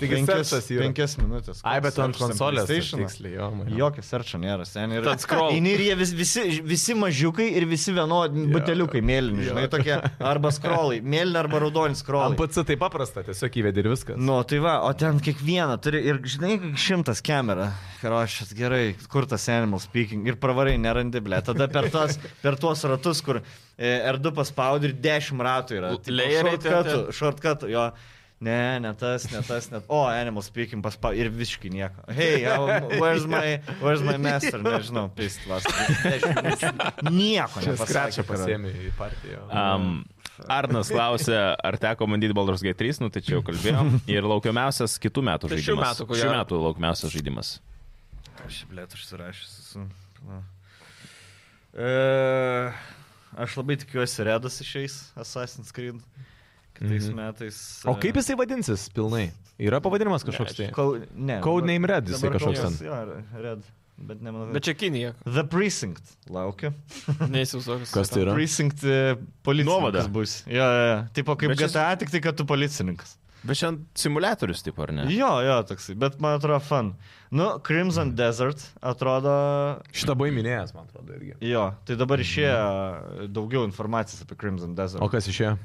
Speaker 4: Taigi searchas yra.
Speaker 2: penkias minutės.
Speaker 4: Ai, bet tu ant
Speaker 2: Searchas
Speaker 4: konsolės.
Speaker 2: PlayStation.
Speaker 4: Tiksliai, jo, man.
Speaker 2: Jokio serčio nėra, seniai.
Speaker 3: Tad scroll.
Speaker 2: Eini ir jie vis, visi, visi mažiukai ir visi vienodi buteliukai mėlyni, žinai, tokie. Arba scrollai, mėlyni arba raudoni scrollai.
Speaker 4: APC tai paprasta, tiesiog įvedi ir viskas.
Speaker 2: Nu, tai va, o ten kiekvieną turi ir, žinai, šimtas kamera. Karošas, gerai, kur tas animal speaking ir pravarai nerandi, ble. Tada per, tas, per tuos ratus, kur e, R2 paspaudi ir dešimt ratų yra. Tipo,
Speaker 3: Layeriai ten,
Speaker 2: Shortcutų, shortcutų, jo. Ne, ne tas, ne tas, ne. O, animal speaking paspaudi ir visiškai nieko. Hey, how- where's my, where's my master? Nežinau, pistlas. Nieko. nepasakė,
Speaker 4: Čia skračia
Speaker 2: karo.
Speaker 4: pasiemi į partiją.
Speaker 1: Um, Arnas klausė, ar teko bandyti Baldur's Gate 3, nu tai čia jau kalbėjom. Ir laukiamiausias kitų metų
Speaker 3: Tai šių
Speaker 1: žaidimas.
Speaker 3: metų, ko
Speaker 1: šių
Speaker 3: gero.
Speaker 1: metų laukiamiausias žaidimas.
Speaker 2: Aš, blėt, užsirašęs esu. Pala. E, aš labai tikiuosi, Redas išeis Assassin's Creed kitais
Speaker 4: Mhm.
Speaker 2: metais.
Speaker 4: O kaip jisai vadinsis pilnai? Yra pavadinimas kažkoks tai?
Speaker 2: Kol, ne,
Speaker 4: Codename
Speaker 2: dabar-
Speaker 4: Red jisai
Speaker 2: dabar
Speaker 4: kažkoks
Speaker 2: kol kas,
Speaker 4: ten.
Speaker 2: Jo, Re- Red, bet nemanau.
Speaker 3: Bet čia Kinija,
Speaker 2: The Precinct laukia.
Speaker 3: neįsivaizduoju.
Speaker 4: Kas tai yra?
Speaker 2: Precinct e, policininkas
Speaker 1: Nuovada.
Speaker 2: bus. Jo, jo, jo. Tipo kaip
Speaker 1: Bet čia-
Speaker 2: GTA, tik tai, kad tu policininkas.
Speaker 1: Bet šiandien simulatorius, taip ar ne?
Speaker 2: Jo, jo, toksai, bet man atrodo fan. Nu, Crimson Desert atrodo
Speaker 4: Šitą buvai minėjęs, man atrodo, irgi.
Speaker 2: Jo, tai dabar išėjo daugiau informacijos apie Crimson Desert.
Speaker 4: O kas išėjo?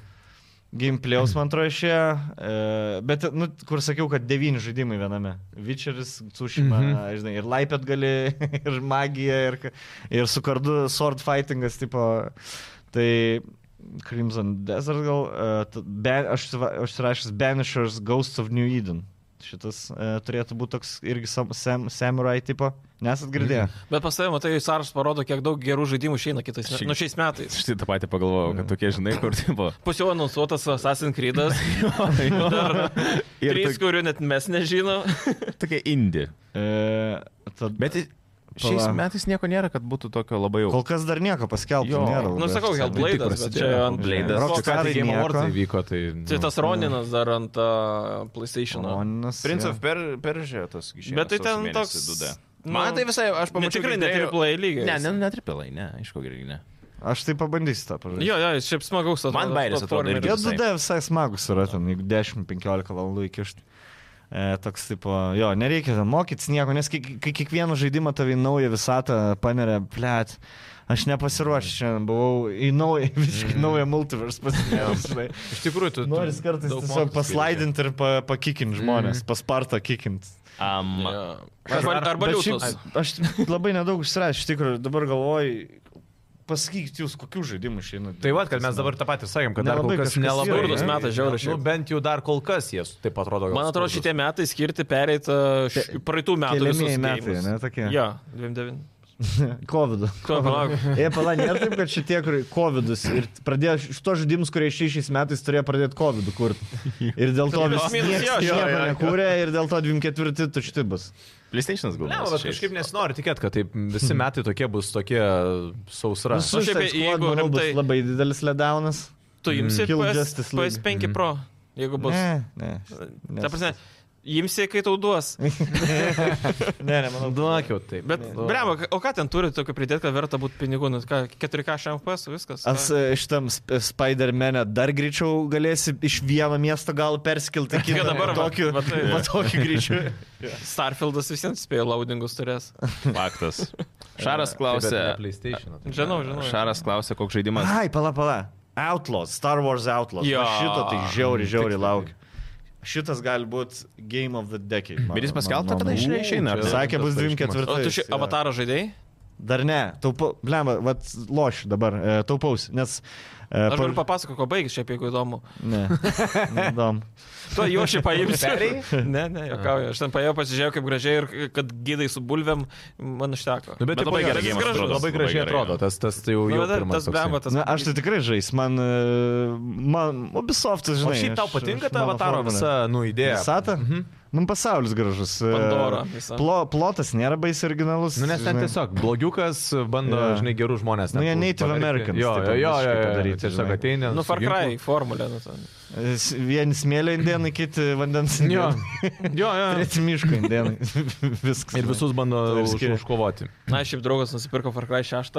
Speaker 2: Gameplayaus, man atrodo, išėjo. e, Bet, nu, kur sakiau, kad devyni žaidimai viename. Witcheris, Tsushima, mm
Speaker 4: Mhm.
Speaker 2: -hmm. žinai, ir laipėt gali, ir magija, ir, ka- ir su kardu sword fightingas, tipo. Tai Crimson Desert gal. e, t- Ba- Aš va- užsirašęs Banishers Ghosts of New Eden. Šitas e, turėtų būti toks irgi sam, sam, samurai tipo. Nesat girdėję?
Speaker 1: Mhm.
Speaker 3: Bet pas tavim, tai sąrašas parodo, kiek daug gerų žaidimų išeina kitais metais.
Speaker 1: Šiaip-
Speaker 3: Nu, šiais metais.
Speaker 1: Štai tai tą patį pagalvojau, kad tokie, žinai, kur tai buvo.
Speaker 3: Pusiau anonsuotas Assassin's Creed'as. Dar
Speaker 1: Ir
Speaker 3: trys,
Speaker 1: tok-
Speaker 3: kurių net mes nežinom.
Speaker 1: tokie indi.
Speaker 2: E, tad...
Speaker 1: Bet Šiais
Speaker 2: Pala.
Speaker 1: metais nieko nėra, kad būtų tokio labai jau.
Speaker 2: Kol kas dar nieko paskelbto
Speaker 1: Jo.
Speaker 2: nėra.
Speaker 3: Nu,
Speaker 2: labai.
Speaker 3: sakau,
Speaker 4: Tik
Speaker 3: Hellblade, bet
Speaker 4: prasidėjo.
Speaker 3: čia ant
Speaker 1: Blade'as.
Speaker 3: Koks
Speaker 2: Rockstar
Speaker 3: ten
Speaker 2: Karai
Speaker 4: Game
Speaker 2: nieko.
Speaker 4: Awardsai vyko, tai...
Speaker 3: Tai tas Roninas dar ant uh, PlayStation.
Speaker 2: Ronis,
Speaker 1: Prince
Speaker 2: jo.
Speaker 1: of Per- Persia tas išėjo.
Speaker 3: Bet tai
Speaker 1: sausio
Speaker 3: ten
Speaker 1: mėnesį
Speaker 3: toks.
Speaker 1: 2D.
Speaker 3: nu,
Speaker 1: Man tai visai, aš
Speaker 3: ne
Speaker 1: pamačiau.
Speaker 3: Tikrai
Speaker 1: kaip
Speaker 3: ne
Speaker 1: trailerį-
Speaker 3: triplai lygiai.
Speaker 1: Ne, ne, netripilai, ne, aišku, gerai, ne.
Speaker 2: Aš tai pabandysiu tą pažaisti.
Speaker 3: Jo, jo, jis šiaip smagaus atrodo.
Speaker 1: Man bairis atrodo
Speaker 3: platformeris.
Speaker 1: irgi.
Speaker 2: Jo,
Speaker 1: visai.
Speaker 2: 2D visai smagus yra ten, jeigu 10-15 valandų įkišti. E, toks tipo, jo, nereikia ten mokytis nieko, nes kai, kai kiekvieną žaidimą tavai naują visatą paneria, plėt, aš nepasiruošęs, šiandien buvau į naują, visiškai naują multiverse pasirinkę.
Speaker 4: Iš tikrųjų, tu... tu
Speaker 2: Noris kartais
Speaker 4: daug
Speaker 2: tiesiog
Speaker 4: mokytis
Speaker 2: paslaidinti ir pa, pakikinti žmonės, paspartą kikinti.
Speaker 1: Um,
Speaker 3: Jo. Arba,
Speaker 4: Ar-
Speaker 3: arba
Speaker 2: Bet
Speaker 3: liūtas.
Speaker 2: šiaip Aš labai nedaug užsirašiau, iš tikrųjų, dabar galvoju, pasakykit jūs, kokių žaidimų šiandien.
Speaker 4: Tai va, kad mes dabar tą patį sakėm, kad dar kol
Speaker 2: Nelabai
Speaker 4: kas
Speaker 2: kažkas
Speaker 4: nelabai.
Speaker 2: yra,
Speaker 4: ne?
Speaker 3: Skurdus metas, žiauriai
Speaker 4: Nu,
Speaker 3: šiaip.
Speaker 4: bent jau dar kol kas jie taip atrodo. gal
Speaker 3: Man atrodo,
Speaker 4: skurdus.
Speaker 3: šitie metai skirti pereit uh, š-
Speaker 2: Ke-
Speaker 3: praeitų metų visus
Speaker 2: Keliamieji metai,
Speaker 3: geimus.
Speaker 2: ne tokie.
Speaker 3: Jo, 29.
Speaker 2: COVID.
Speaker 3: Ko, palauk.
Speaker 2: Jie pala, nėra taip, kad šitie, kur COVID-us ir pradėjo šito žaidimus, kurie šiais metais turėjo pradėti COVID kurti. Ir dėl to
Speaker 3: Plius
Speaker 2: vis
Speaker 3: minus,
Speaker 2: niekas
Speaker 3: jo, jo,
Speaker 2: nieko
Speaker 3: jo, jo.
Speaker 2: nekūrė ir dėl to 24 tuštibas.
Speaker 1: PlayStation'as
Speaker 4: Ne,
Speaker 1: galbūt.
Speaker 4: bet kažkaip nesinori tikėti, kad taip visi metai tokie bus tokie sausra.
Speaker 3: Nu, šiaip, jeigu
Speaker 2: bus
Speaker 3: rimtai-
Speaker 2: labai didelis ledaunas.
Speaker 3: Tu imsi
Speaker 2: Kill
Speaker 3: PS,
Speaker 2: Justice League.
Speaker 3: PS5 Pro, jeigu bus.
Speaker 2: Ne, ne.
Speaker 3: Ta prasme, imsi, kai tau duos.
Speaker 2: ne, ne, manau.
Speaker 4: Duokiau taip. Nu,
Speaker 3: Bet, bremo, o ką ten turi tokio pridėti, kad verta būti pinigų? Nu, ką, 4K šampas, viskas.
Speaker 2: Aš e, šitam Sp- Spider-Man'e dar greičiau galėsi iš vieno miesto gal perskilti į kitą.
Speaker 3: Tokia dabar, va,
Speaker 2: tokiu,
Speaker 3: va tai-
Speaker 2: va tokiu greičiu.
Speaker 3: Starfieldas visiems spėjo laudingus turės.
Speaker 1: Faktas. Šaras
Speaker 4: tai
Speaker 1: klausė.
Speaker 3: Žinau, žinau.
Speaker 1: Šaras klausė, koks žaidimas.
Speaker 2: Ai, pala, pala. Outlaws, Star Wars Outlaws.
Speaker 3: Jo.
Speaker 2: Jo. Šito tai žiauri, žiauri laukiu. Šitas gali būti Game of the Decade. mano-
Speaker 1: Bet jis paskelbta,
Speaker 2: mano-
Speaker 1: kada išeina- išeina. ar ne?
Speaker 2: Sakė, bus
Speaker 1: Tas pareiškimas.
Speaker 2: 24.
Speaker 3: O tu šį
Speaker 2: jo.
Speaker 3: avatarą žaidėjai?
Speaker 2: Dar ne, taupau, blemba, vat lošiu dabar, e, taupaus, nes... E,
Speaker 3: Aš galiu papasakoti, ko baigsi, šiaip jeigu įdomu.
Speaker 2: Ne, neįdomu.
Speaker 3: Tu jo šį paimsi.
Speaker 4: Perėjai?
Speaker 3: Ne, ne, jokauju. Aš ten paėjau, pasižiūrėjau, kaip gražiai ir kad gydai su bulvėm, man užteko.
Speaker 4: Nu,
Speaker 1: Bet
Speaker 4: bet taip,
Speaker 1: labai
Speaker 4: labai,
Speaker 1: gerai
Speaker 4: gerai,
Speaker 1: geimas atrodo,
Speaker 4: labai
Speaker 1: labai
Speaker 4: gražiai
Speaker 1: gerai,
Speaker 4: atrodo,
Speaker 1: jo.
Speaker 4: tas, tas tai jau,
Speaker 3: Nu,
Speaker 4: jau
Speaker 3: bet dar
Speaker 4: pirmas
Speaker 3: tas
Speaker 4: toksai.
Speaker 3: blemo, tas...
Speaker 2: Na, aš tai tikrai žais, man... e, man Ubisoftas,
Speaker 4: O
Speaker 2: žinai.
Speaker 4: šiaip tau
Speaker 2: aš-
Speaker 4: patinka
Speaker 2: aš
Speaker 4: ta
Speaker 2: mano
Speaker 4: avataro
Speaker 2: formulė.
Speaker 4: visa, nu, idėja.
Speaker 2: Visata? Mhm. Man pasaulis gražus. e,
Speaker 3: Pandora visa.
Speaker 2: Plo, plotas nėra baisiai originalus.
Speaker 4: Nu, nes ten
Speaker 2: žinai.
Speaker 4: tiesiog blogiukas bando,
Speaker 2: Jo.
Speaker 4: žinai, gerų žmonės.
Speaker 2: Nu,
Speaker 4: ten
Speaker 2: jie Native
Speaker 4: pavergti.
Speaker 2: Americans
Speaker 4: Jo,
Speaker 2: taip
Speaker 4: jo, jo,
Speaker 2: visiškai
Speaker 4: jo, jo,
Speaker 2: padaryti,
Speaker 4: tiesiog
Speaker 2: žinai.
Speaker 4: ateina.
Speaker 3: Nu,
Speaker 4: su
Speaker 3: Far
Speaker 4: ginklu.
Speaker 3: Cry formulė. Nu, ten.
Speaker 2: S- Vieni smėlio indienai, kiti vandens
Speaker 4: Jo,
Speaker 2: indienai.
Speaker 4: jo, jo.
Speaker 2: Treti miško indienai. Viskas.
Speaker 4: Ir visus bando
Speaker 2: Tai ir
Speaker 4: už-
Speaker 2: skiria.
Speaker 4: užkovoti.
Speaker 3: Na, šiaip draugas nusipirko Far Cry 6.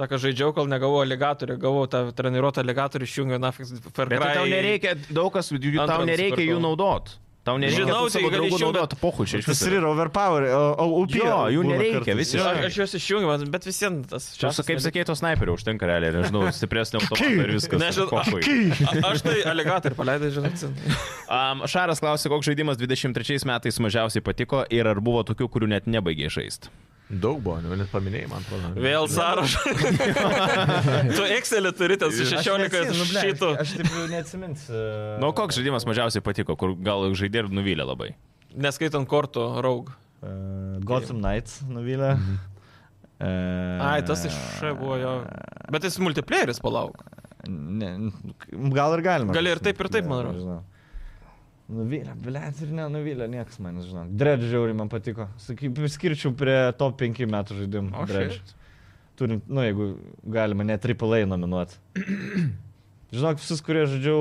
Speaker 3: Sako, žaidžiau, kol negavau aligatorių, gavau tą treniruotą aligatorių, išjungiau nafiks Far Cry.
Speaker 1: Bet tai tau nereikia, daug kas, jų- tau
Speaker 3: Antrą
Speaker 1: nereikia
Speaker 3: nusipirkau.
Speaker 1: jų naudot. Tau nereikia
Speaker 3: Žinau,
Speaker 1: tų
Speaker 3: tai
Speaker 1: savo
Speaker 3: gali
Speaker 1: draugų
Speaker 3: išjungt,
Speaker 1: naudot pohučiai.
Speaker 2: Tas ir yra overpower, o, o upė.
Speaker 1: Jo, jų
Speaker 2: būna
Speaker 1: nereikia
Speaker 2: kartais.
Speaker 1: visiškai.
Speaker 3: Jo, aš, aš juos išjungiau, bet- bet vis vien tas
Speaker 1: Čia,
Speaker 3: šeštas
Speaker 1: kaip
Speaker 3: nebe-
Speaker 1: sakėjai, to sniperio užtenka realiai, nežinau, stipresnio automobilio ir viskas.
Speaker 3: Nežinau,
Speaker 1: Pochui.
Speaker 3: A- Aš tai aligatorių paleidai, žinai. atsimenu.
Speaker 1: Um, Šaras klausė, koks žaidimas 23 metais mažiausiai patiko ir ar buvo tokių, kurių net nebaigė žaisti.
Speaker 4: Daug buvo, nu, net paminėjai, man atrodo.
Speaker 3: Vėl sąrašą. tu Excelį turi ten su
Speaker 2: Aš
Speaker 3: 16
Speaker 2: neatsimenu, ble,
Speaker 3: šitų.
Speaker 2: Aš taip jau neatsiminsiu.
Speaker 1: Na, nu, koks žaidimas mažiausiai patiko, kur gal žaidė ir nuvylė labai.
Speaker 3: Neskaitant kortų, raug.
Speaker 2: Uh, Gotham Knights nuvylė. Uh,
Speaker 3: Ai, tas iš Š buvo jo. Bet jis multiplayeris, palauk.
Speaker 2: Ne, n- gal ir galima.
Speaker 3: Gali ir taip, ir taip, man atrodo.
Speaker 2: atrodo. Nuvylė, blėt, ir nenuvylė, niekas man, žinok. Dredge žiauri man patiko. Sakyk, priskirčiau prie top 5 metų žaidimų.
Speaker 3: O,
Speaker 2: Dredge.
Speaker 3: shit.
Speaker 2: Turint, nu, jeigu galima, net AAA nominuoti. Žinok, visus, kurie žaidžiau.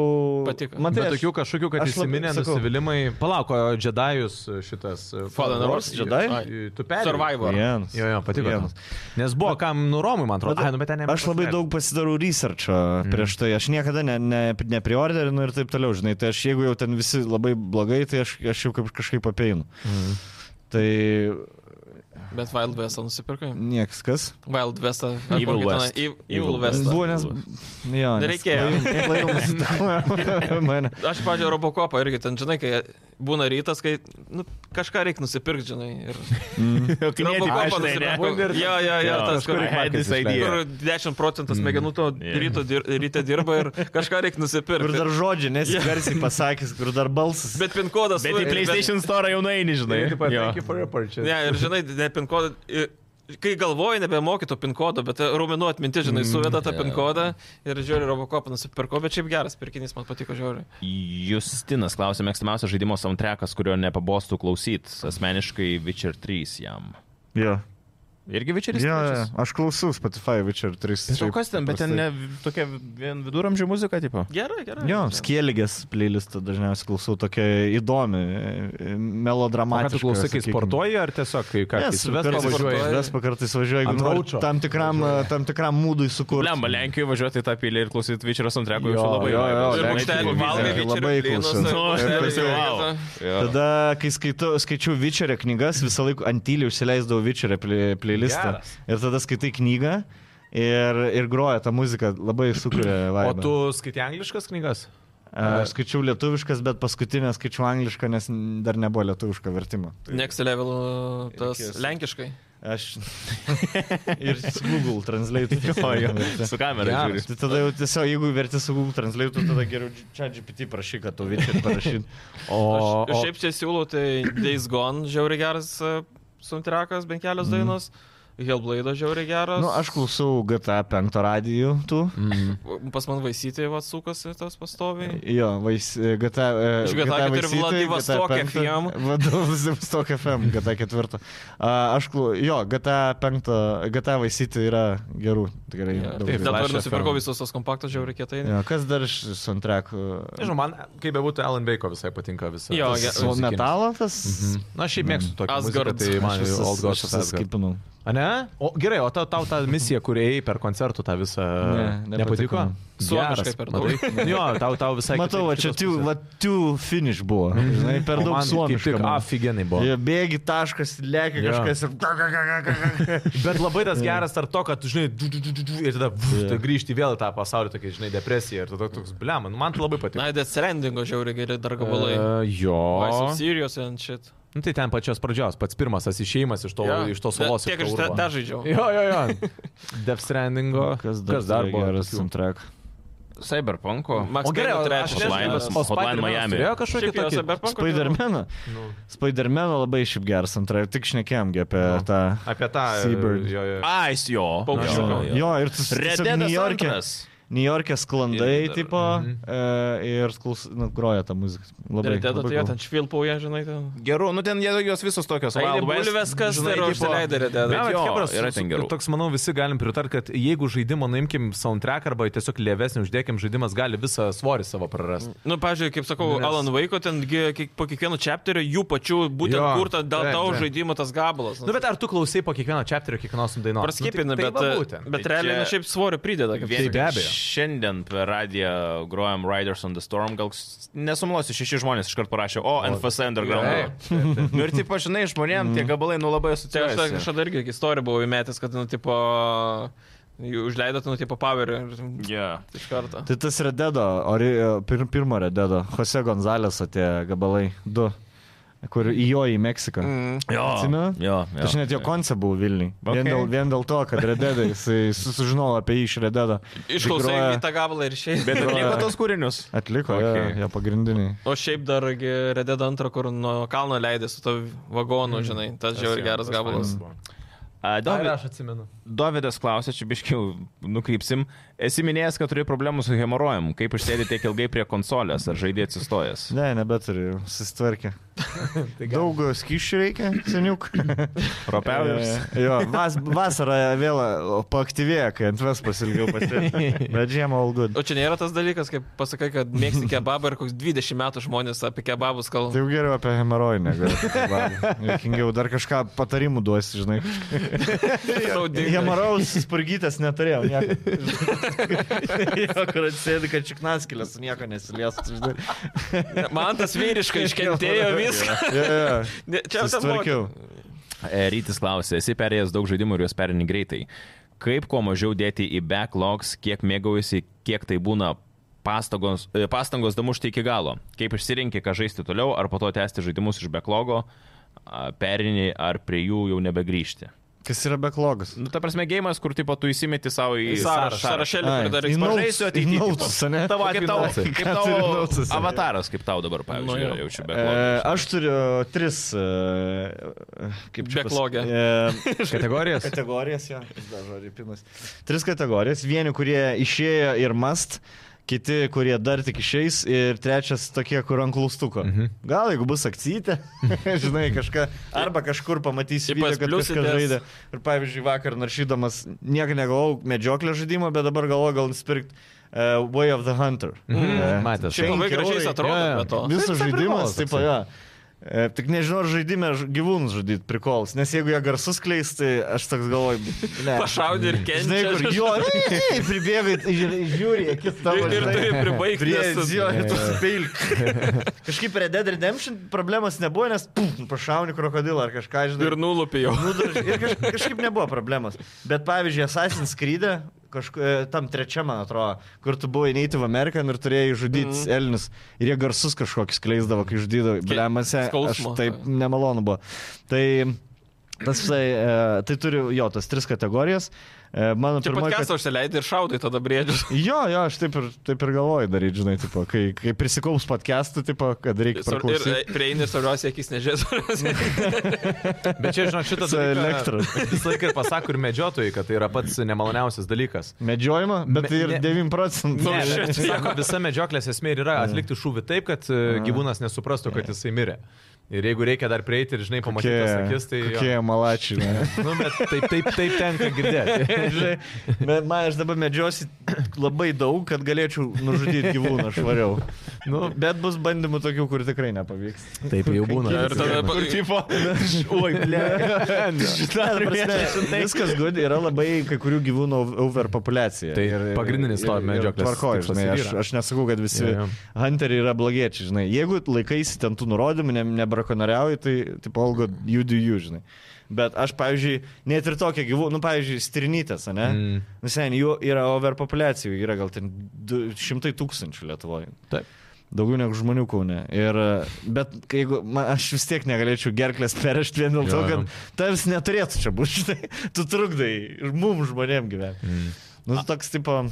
Speaker 3: Patiko.
Speaker 2: Man
Speaker 4: Bet
Speaker 2: tai
Speaker 4: tokių kažkokių, kad
Speaker 2: aš labai-
Speaker 4: įsiminė
Speaker 2: sakau-
Speaker 4: nusivylimai. Palauk, o Jedajus šitas. e,
Speaker 3: Fallen
Speaker 2: Wars, Jedi?
Speaker 4: Tu perėjai.
Speaker 3: Survivor.
Speaker 2: Vienas.
Speaker 4: Jo, jo, patiko.
Speaker 2: Vienas.
Speaker 4: tas. Nes buvo, kam nuromui, man atrodo.
Speaker 2: Bet-
Speaker 4: Ai, nu, bet ten
Speaker 2: Aš labai daug pasidarau researcho mm. prieš tai, aš niekada ne, ne, nepriorderinu ir taip toliau, žinai, tai aš jeigu jau ten visi labai blogai, tai aš, aš jau kaip kažkaip apeinu.
Speaker 4: Mhm.
Speaker 2: Tai
Speaker 3: Bet Wild Westą nusipirkai.
Speaker 2: niekas kas.
Speaker 3: Wild Westą. ar
Speaker 1: Evil
Speaker 3: kokį tenai-
Speaker 1: West.
Speaker 3: Ev-
Speaker 1: Evil
Speaker 3: Evil
Speaker 1: West.
Speaker 3: Westą.
Speaker 2: Buvo, nes... Jo, nes
Speaker 3: Nereikėjo.
Speaker 2: klaidomis- Mane.
Speaker 3: Aš, pažiūrėjau, Robocopą irgi ten, žinai, kai būna rytas, kai nu, kažką reikia nusipirkti, žinai. Ir... Robocopą nusipirkau. Jo, jo, jo, tas, kur,
Speaker 1: I had this idea.
Speaker 3: kur 10 procentų smegenų to
Speaker 1: Yeah.
Speaker 3: ryto, dir- ryte dirba ir kažką reikia
Speaker 2: Kur
Speaker 3: nusipirkti.
Speaker 2: dar žodžiai, nes jis garsiai pasakys, kur dar balsas.
Speaker 3: Bet pin kodas.
Speaker 1: Bet į
Speaker 3: ir-
Speaker 1: PlayStation Store jau nueini, žinai. Jo.
Speaker 3: Ne,
Speaker 4: daug.
Speaker 3: ir žinai, ne pin kodą. ir Kai galvoji, nebemokyto pin kodo, bet rumenų atminti, žinai, suveda tą pin kodą ir žiūri, Robocopą nusipirko, bet šiaip geras pirkinys, man patiko žiūri.
Speaker 1: Justinas klausė, mėgstamiausias žaidimo soundtrackas, kurio nepabostų klausyt. Asmeniškai Witcher 3 jam.
Speaker 2: Jo.
Speaker 1: Irgi Vičeris.
Speaker 2: Jo, jo, aš klausau Spotify Witcher 3.
Speaker 1: Tiesiog
Speaker 2: šiaip
Speaker 1: kas ten, bet ten
Speaker 2: paprastai.
Speaker 1: ne tokia vien viduramžių muzika, tipo.
Speaker 3: Gerai, gerai.
Speaker 2: Jo, skėlygės playlistą dažniausiai klausau tokia įdomi, e,
Speaker 4: O ką tu
Speaker 2: melodramatiška.
Speaker 4: klausai, kai
Speaker 2: sakykim.
Speaker 4: sportuoji, ar tiesiog kai ką? tai
Speaker 2: Nes
Speaker 4: Kai
Speaker 2: kartais
Speaker 3: važiuoji.
Speaker 2: važiuoju, vespa kartais važiuoju, jeigu
Speaker 4: Ant
Speaker 2: noriu
Speaker 4: raučio
Speaker 2: tam tikram, e, tam tikram mūdui sukurti.
Speaker 1: Lemba, Lenkijoje važiuoti į tą pilį ir klausyti Vičerio soundtrackų jau
Speaker 4: Jo,
Speaker 1: labai.
Speaker 2: jo, jo,
Speaker 1: vibas.
Speaker 3: Ir
Speaker 2: Lenkijoje
Speaker 3: mokštelį
Speaker 2: televizija.
Speaker 3: valgai,
Speaker 2: Labai
Speaker 3: vyčerių blynus,
Speaker 2: klausau.
Speaker 3: ir
Speaker 1: Nu, aš
Speaker 3: mokštelį
Speaker 1: tarsi, vau.
Speaker 3: blynus.
Speaker 1: Jo.
Speaker 2: Tada, kai skaitu, skaičiau Vičerio knygas, visą laiką antylį užsileisdavau Vičerio play, playlistą.
Speaker 4: Geras.
Speaker 2: Ir tada skaitai knygą E, ir, ir groja tą muziką, labai sukuria
Speaker 4: O
Speaker 2: vaibą.
Speaker 4: tu skaitai angliškas knygas?
Speaker 2: Aš skaičiau lietuviškas, bet paskutinę skaičiau anglišką, nes n- dar nebuvo lietuviško vertimo.
Speaker 3: Next level uh, tas
Speaker 2: Reikės.
Speaker 3: lenkiškai.
Speaker 2: Aš. ir su Google Translate.
Speaker 1: Jo, jo. Su kamera
Speaker 4: Geras.
Speaker 1: žiūri.
Speaker 2: Tai tada jau tiesiog, jeigu verti su Google Translate, tu tada geriau čia GPT prašy, kad tu Vičerį parašyt.
Speaker 4: O,
Speaker 3: Aš
Speaker 4: o
Speaker 3: šiaip čia siūlau, tai Days Gone žiauri geras uh, soundtrackas, bent
Speaker 4: Mhm.
Speaker 3: kelios dainos. Hellblade žiauri geras.
Speaker 2: Nu, aš klausau GTA 5 radijų, tu.
Speaker 3: Pas man vaisyti atsukasi tas pastoviai.
Speaker 2: Jo, vais, e, GTA. e,
Speaker 3: Iš GTA
Speaker 2: GTA
Speaker 3: keturi
Speaker 2: Vice City,
Speaker 3: Vladivostok
Speaker 2: GTA penktą-
Speaker 3: FM.
Speaker 2: Vladivostok FM, GTA 4. Aš, klau- jo, GTA 5, GTA Vaisyti yra gerų, tikrai.
Speaker 3: Ja,
Speaker 2: daug
Speaker 4: taip,
Speaker 2: gerų.
Speaker 3: Dabar
Speaker 4: Flash
Speaker 3: nusipirkau
Speaker 4: FM.
Speaker 3: visus tos kompaktos žiauri kietai.
Speaker 2: Jo, kas dar iš soundtrackų?
Speaker 4: Nežinau, man, kaip bebūtų, Alan Bako visai patinka visą.
Speaker 3: Jo, ge-
Speaker 2: Su metalo tas.
Speaker 4: Mhm. Na, šiaip mėgstu tokį.
Speaker 3: Asgard.
Speaker 4: Asgard. Tai man
Speaker 2: Aš visas-
Speaker 4: Old
Speaker 2: aš
Speaker 4: Gods
Speaker 2: visas
Speaker 4: Asgard.
Speaker 2: skipinau.
Speaker 4: A, Ne? O gerai, o tau, tau ta misija, kur ėjai per koncertų tą visą...
Speaker 2: Ne, nepatiko
Speaker 4: nepatiko?
Speaker 2: man.
Speaker 4: Geras,
Speaker 3: Suomiškai per daug.
Speaker 4: matai? Jo, tau, tau visai...
Speaker 2: Matau, va
Speaker 4: kitaip
Speaker 2: čia
Speaker 4: šitos
Speaker 2: tiu,
Speaker 4: pusės.
Speaker 2: va tiu finish buvo. Žinai, per daug
Speaker 4: Mhm. Man kaip
Speaker 2: suomiškai.
Speaker 4: Tik
Speaker 2: man.
Speaker 4: aфиgenai buvo.
Speaker 2: Jo, Bėgi taškas, lėkia
Speaker 4: Jo.
Speaker 2: kažkas ir...
Speaker 4: Bet labai tas geras tarp to, kad, tu, žinai, du, du, du, du, du, ir tada vf, tai grįžti vėl į tą pasaulį, tokia, žinai, depresija ir tada toks, blem, nu, man tai labai patiko.
Speaker 3: Na, Death Strandingo žiauri geri dar gabalai.
Speaker 4: E, jo.
Speaker 3: Vice of Sirius and shit.
Speaker 4: Nu, tai ten pačios pradžios, pats pirmas tas išėjimas iš to,
Speaker 3: Jo.
Speaker 4: yeah. iš tos
Speaker 3: Bet
Speaker 4: salos.
Speaker 3: Tiek aš
Speaker 4: iš to
Speaker 3: te-
Speaker 4: urvo.
Speaker 3: te žaidžiau.
Speaker 4: Jo, jo, jo. Death Strandingo.
Speaker 2: Kas dar,
Speaker 4: Kas dar buvo?
Speaker 2: geras
Speaker 4: tokių?
Speaker 2: soundtrack?
Speaker 1: Cyberpunko.
Speaker 3: Max
Speaker 4: O gerai, o
Speaker 3: Payne
Speaker 4: aš
Speaker 3: trečias.
Speaker 1: nežinau,
Speaker 4: nežinau,
Speaker 1: Hotline-
Speaker 4: o Spider-Man
Speaker 1: Hotline Miami.
Speaker 4: Turėjo
Speaker 3: Šiaip
Speaker 4: kažkokį
Speaker 3: jau
Speaker 4: tokį...
Speaker 3: Cyberpunk-
Speaker 2: Spidermeną.
Speaker 4: Nu,
Speaker 2: Spidermeną labai šiaip geras antrajai, tik šnekėjomgi apie
Speaker 4: Jo.
Speaker 2: tą.
Speaker 4: apie tą... e,
Speaker 2: Seabird.
Speaker 4: Jo, jo.
Speaker 1: Ais jo.
Speaker 3: Paukščiuką.
Speaker 1: Nu. Jo, jo.
Speaker 2: Jo, ir tu
Speaker 1: Red
Speaker 2: tiesiog
Speaker 1: Dead
Speaker 2: New York'e.
Speaker 1: antras.
Speaker 2: New York'e sklandai,
Speaker 1: Irgi dar-
Speaker 2: tipo, e, ir klaus, nu, groja tą muziką. Labai,
Speaker 3: Ir tada
Speaker 2: labai
Speaker 3: tai jie
Speaker 2: cool.
Speaker 3: ten švilpauja, žinai, ten.
Speaker 1: Gerų, nu ten jie- jos visos tokios.
Speaker 3: Aidi
Speaker 1: Wild West,
Speaker 3: bulves, kas
Speaker 1: žinai,
Speaker 3: dar
Speaker 1: tipo-
Speaker 3: užsileidę Red
Speaker 1: Bet
Speaker 3: Dead.
Speaker 4: Ne, bet
Speaker 1: jo,
Speaker 4: chebros,
Speaker 1: yra
Speaker 4: su-
Speaker 1: ten
Speaker 4: su-
Speaker 1: gerų.
Speaker 4: Toks, manau, visi galim pritarti, kad jeigu žaidimo nuimkim soundtrack arba tiesiog lėvesnį uždėkim, žaidimas gali visą svorį savo prarasti.
Speaker 3: Nu, pažiūrėjau, kaip sakau,
Speaker 4: Nu, nes-
Speaker 3: Nes... Alan Vaiko, ten gi- kiek- po kiekvieno čepterio jų pačių būtent
Speaker 4: Jo,
Speaker 3: kurta dėl
Speaker 4: taip,
Speaker 3: tavo
Speaker 4: taip.
Speaker 3: žaidimo tas gabalas.
Speaker 4: Nu, bet ar tu klausai po kiekvieno čepterio, kiekvienos dainos?
Speaker 3: Praskipina,
Speaker 4: nu, tai,
Speaker 3: bet,
Speaker 4: tai va būtent.
Speaker 3: bet
Speaker 1: Tai čia-
Speaker 3: realiai nu, šiaip svorio prideda. Kaip...
Speaker 1: Vien
Speaker 4: Taip, be
Speaker 1: tik
Speaker 4: abejo.
Speaker 1: Šiandien per radiją grojam Riders on the Storm, gal s- nesumlosiu, šeši žmonės iškart parašė, o NFS Underground.
Speaker 4: Taip,
Speaker 1: Nu ir taip, žinai, žmonėm tie gabalai nu labai
Speaker 3: Čia Tai aš
Speaker 1: asociuojasi.
Speaker 3: kažkada irgi istoriją buvau įmetęs, kad, nu, tipo, jų užleidot, nu, tipo, paverį
Speaker 1: Yeah.
Speaker 3: iš karto.
Speaker 2: Tai tas Rededo, ori, e, pir, pirmo Rededo, Jose Gonzalės atėjo gabalai, du, kur įjojo į Meksiką. Mm.
Speaker 1: Jo.
Speaker 2: Atsimenu?
Speaker 1: Jo. jo.
Speaker 2: Aš net jo konce buvau Vilniui. Okay. Vien,
Speaker 1: Okay.
Speaker 2: dėl, vien dėl to, kad Rededai, jisai susižinojau apie jį iš Rededo.
Speaker 3: Išklausai
Speaker 2: groja-
Speaker 3: į tą gabalą ir išėjai.
Speaker 1: Bet atliko tos kūrinius.
Speaker 2: Atliko, okay.
Speaker 1: Okay.
Speaker 2: jo, jo pagrindiniai.
Speaker 3: O šiaip dar redėd antrą, kur nuo kalno leidai su to
Speaker 4: Mm,
Speaker 3: vagonu, žinai, tas žiauri geras gabalas.
Speaker 1: A,
Speaker 4: Dar
Speaker 1: Dovid,
Speaker 4: aš atsimenu.
Speaker 1: Dovidas klausė, čia biškiau nukrypsim. Esi minėjęs, kad turi problemų su hemorojum. Kaip išsėdė tiek ilgai prie konsolės, ar žaidė atsistojęs?
Speaker 2: Ne, nebeturiu, susitvarkė. Daug skyšių reikia, seniuk.
Speaker 1: Propelis.
Speaker 2: E, Jo, vas, vasarą vėl paaktyvėja, kai ant ves pasilgiau pati. Bet žiemą all good.
Speaker 3: O čia nėra tas dalykas, kaip pasakai, kad mėgsti kebabą ir koks 20 metų žmonės apie kebabus
Speaker 2: Tai
Speaker 3: kalba.
Speaker 2: jau geriau apie hemerojų negu. Jokingiau, dar kažką patarimų duosi, žinai.
Speaker 3: Naudinga.
Speaker 2: Hemorojaus spurgytės neturėjau. Nieko. jo, kur atsėdi, kad čiknaskilės nieko nesiliestų, žinai.
Speaker 3: Man tas vyriškai iškentėjo viską.
Speaker 2: Jo, jo.
Speaker 3: Ne, Čia tas buvo.
Speaker 2: Susitvarkiau.
Speaker 1: E, Rytis klausė, esi perėjęs daug žaidimų ir juos perini greitai. Kaip kuo mažiau dėti į backlogs, kiek mėgaujasi, kiek tai būna pastangos, e, pastangos damušti iki galo. Kaip išsirinkti, ką žaisti toliau, ar po to tęsti žaidimus iš backlogo, a, perini, ar prie jų jau nebegrįžti.
Speaker 2: Kas yra beklogas?
Speaker 1: Nu, ta prasme, gėjimas, kur tipo tu įsimeti savo į
Speaker 3: Sarašėlį, kur dar
Speaker 2: Ai, į
Speaker 3: eksponuoja.
Speaker 1: Pažaisiu
Speaker 2: nauts-
Speaker 1: ateity,
Speaker 2: į
Speaker 1: tipo.
Speaker 2: nauts, ane?
Speaker 1: Tavo kaip tavo,
Speaker 2: Ką
Speaker 1: kaip
Speaker 2: turi
Speaker 1: tavo
Speaker 2: nautuose?
Speaker 1: avataras, kaip tau dabar, pavyzdžiui,
Speaker 3: Nu, jo.
Speaker 1: nu, jaučiu
Speaker 2: E,
Speaker 1: backlogo.
Speaker 2: aš turiu tris, e, kaip čia. pas-
Speaker 3: Backloge.
Speaker 2: E,
Speaker 4: Kategorijas?
Speaker 2: kategorijas, jo, vis dar žodžiu, pinas. Tris kategorijas. Vieni, kurie išėjo ir must. kiti, kurie dar tik išeis, ir trečias tokie, kur ant klaustuko.
Speaker 4: Mm.
Speaker 2: Mhm. Gal jeigu bus akcytė, žinai, kažką, arba kažkur pamatysi,
Speaker 3: Ypač
Speaker 2: video, kad kažkas
Speaker 3: pliusitės.
Speaker 2: žaidė. Ir pavyzdžiui, vakar naršydamas, nieko negalvojau medžioklio žaidimo, bet dabar galvoju, gal nusipirkti uh, Way of the Hunter.
Speaker 4: Mm.
Speaker 2: E,
Speaker 4: Matęs.
Speaker 3: Šiaip Mhm. labai
Speaker 2: Penki
Speaker 3: gražiai jis
Speaker 2: eurai.
Speaker 3: atrodo
Speaker 4: Jo, jo.
Speaker 3: be to.
Speaker 2: Visas
Speaker 4: Tai čia
Speaker 2: žaidimas,
Speaker 4: prikolas
Speaker 2: taip,
Speaker 4: toksai.
Speaker 2: jo. E, Tik nežinau, ar žaidime ž- gyvūnus žudyti prikols, nes jeigu jie garsus kleisti, tai aš toks galvoju, ne.
Speaker 3: tai Pašaudė ir
Speaker 2: Žinai,
Speaker 3: kenčia.
Speaker 2: kur jo, ei, pribėgai, tai žiūri- žiūri, akis tavo.
Speaker 3: Ir, tai ir
Speaker 2: žinai.
Speaker 3: turi pribaigti.
Speaker 2: Prie
Speaker 3: nes-
Speaker 2: zio ir tu spilk. Kažkaip prie Dead Redemption problemos nebuvo, nes puf, pašauni krokodilą ar kažką, žinai.
Speaker 3: Ir nulupėjau.
Speaker 2: nudaž- ir kaž, kažkaip nebuvo problemos. Bet pavyzdžiui, Assassin's Creed, kažku, e, tam trečiam, man atrodo, kur tu buvai Native American ir turėjai žudyti
Speaker 3: Mhm.
Speaker 2: mm. Elnius. Ir jie garsus kažkokius kleisdavo, kai žudydavo.
Speaker 3: Ke-
Speaker 2: Blemose, aš
Speaker 3: skausmo.
Speaker 2: taip nemalonu buvo. Tai, tas, tai, tai turi, jo, tas tris kategorijas. E, Mano
Speaker 3: Čia
Speaker 2: pirmoji
Speaker 3: podcastą užsileidai ir šaudai tada briedžius.
Speaker 2: Jo, jo, aš taip ir, taip ir galvoju daryti, žinai, tipo, kai, kai prisikaups podcastų, tipo, kad reikia
Speaker 3: Ir
Speaker 2: perklausyti
Speaker 3: e, prieini svarbiausia, akis nežės.
Speaker 4: Bet čia, žinok, šitą
Speaker 2: su elektra.
Speaker 4: Visą laiką ir pasako ir medžiotojai, kad tai yra pats nemaloniausias dalykas.
Speaker 2: Medžiojimą, bet
Speaker 4: Me-
Speaker 2: tai ir
Speaker 4: ne-
Speaker 2: 9 procentų.
Speaker 3: Ne,
Speaker 4: Ne,
Speaker 3: bet-
Speaker 4: bet sako, visa medžioklės esmė ir yra atlikti šūvį taip, kad e, gyvūnas nesuprastų, kad jisai mirė. Ir jeigu reikia dar prieiti ir, žinai, pamatyti tas akis, tai... jo.
Speaker 2: kokie malačiai. ne.
Speaker 4: Nu, bet taip, taip, taip tenka girdėti.
Speaker 2: Žinai, bet man aš dabar medžiosiu labai daug, kad galėčiau nužudyti gyvūną švariau. Nu, bet bus bandymų tokių, kur tikrai nepavyks.
Speaker 4: Taip jau būna.
Speaker 3: Ir tada
Speaker 4: tipo, oi, ble.
Speaker 2: Ne, ta prasme, viskas good, yra labai kai kurių gyvūnų ov- overpopulacija.
Speaker 4: Tai pagrindinis to medžioklės
Speaker 2: Tvarkoju,
Speaker 4: tikslas
Speaker 2: žinai,
Speaker 4: ir
Speaker 2: aš,
Speaker 4: yra.
Speaker 2: aš nesakau, kad visi
Speaker 4: Jo, jo.
Speaker 2: hunteriai yra blogiečiai, žinai. Jeigu laikaisi ten tų nurodymų, ne- nebrakonieriauji, tai tipo algo you do you, žinai. Bet aš, pavyzdžiui, net ir tokie gyvūnai, nu, pavyzdžiui, stirnytės, ne? Mm.
Speaker 4: Mm.
Speaker 2: Nu, sen, jų yra overpopulacija, jų yra gal ten du- šimtai tūkstančių Lietuvoje.
Speaker 4: Taip.
Speaker 2: Daugiau negu žmonių kaune. Ir, bet kai jeigu, man, aš vis tiek negalėčiau gerklės perėšti vien dėl to,
Speaker 4: Jo, jo.
Speaker 2: kad tavęs neturėtų čia būti, žinai, tu trukdai ir mum žmonėm gyventi.
Speaker 4: Mm. Ah.
Speaker 2: Nu, tu toks tipo...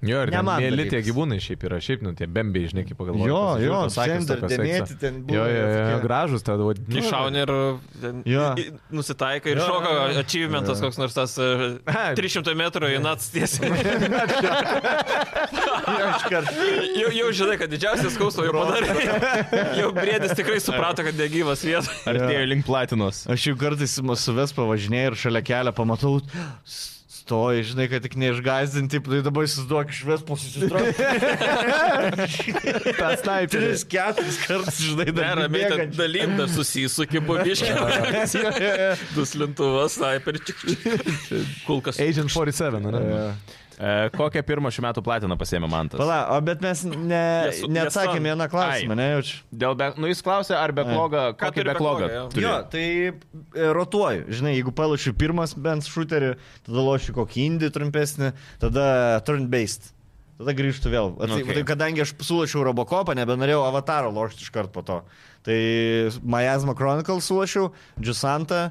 Speaker 4: Jo, ir
Speaker 2: Ne man
Speaker 4: mėly tie
Speaker 2: dalykas.
Speaker 4: gyvūnai šiaip yra, šiaip, nu, tie bembiai, žinai, kaip pagalvoju.
Speaker 2: Jo,
Speaker 4: pasižiūri,
Speaker 2: jo,
Speaker 4: tos akys
Speaker 2: gender
Speaker 4: tokios seksa.
Speaker 2: dėmėti ten būna
Speaker 4: Jo, jo, jo,
Speaker 2: tokie.
Speaker 4: gražus tada.
Speaker 3: Iššauni ir ten
Speaker 2: Nu, Jo.
Speaker 3: i- nusitaikai ir
Speaker 2: Jo,
Speaker 3: šoka.
Speaker 2: jo, jo.
Speaker 3: Achievementas koks nors tas e,
Speaker 4: Ai.
Speaker 3: 300 metrų į nats tiesiai.
Speaker 2: Aš kartu.
Speaker 3: Jau, jau žinai, kad didžiausias skausmas jau padarė. Jau briedis tikrai suprato, kad negyvas vietas.
Speaker 1: Artėjo link platinos.
Speaker 2: Aš jau kartais ma- su ves pavažinėjau ir šalia kelio pamatau, s- stoji, žinai, kad tik neišgazdinti, tai dabar įsivaizduok iš ves pasitraukti.
Speaker 4: tas
Speaker 2: Tris, keturis kartus, žinai,
Speaker 3: Ne,
Speaker 2: dar
Speaker 3: ramiai ten
Speaker 2: bėgančių.
Speaker 3: dalim dar susisuki, buviškiai.
Speaker 2: Jo, jo, jo.
Speaker 3: Duslintuvas, sniper, čik, čik. kulkas.
Speaker 4: Agent 47, ne?
Speaker 2: Jo.
Speaker 1: E, kokią pirmą šių metų platiną pasėmė man tas?
Speaker 2: Pala, o bet mes ne,
Speaker 3: Nesu-
Speaker 2: neatsakėme
Speaker 3: nesu-
Speaker 2: vieną klausimą, nejaučiu.
Speaker 1: Dėl be... Nu, jis klausė, ar beklogą,
Speaker 3: Ką
Speaker 1: kokį
Speaker 3: turi
Speaker 1: beklogą.
Speaker 3: backlogą, jo.
Speaker 1: turi?
Speaker 2: Jo, tai e, rotuoju. Žinai, jeigu palašiu pirmas bent šūterį, tada lošiu kokį indį trumpesnį, tada turn-based. Tada grįžtų vėl. O Tai,
Speaker 1: Okay.
Speaker 2: okay. tai kadangi aš sulašiau Robocopą, nebenorėjau Avataro lošti iš karto po to. Tai Miasma Chronicles sulašiau, Jusanta.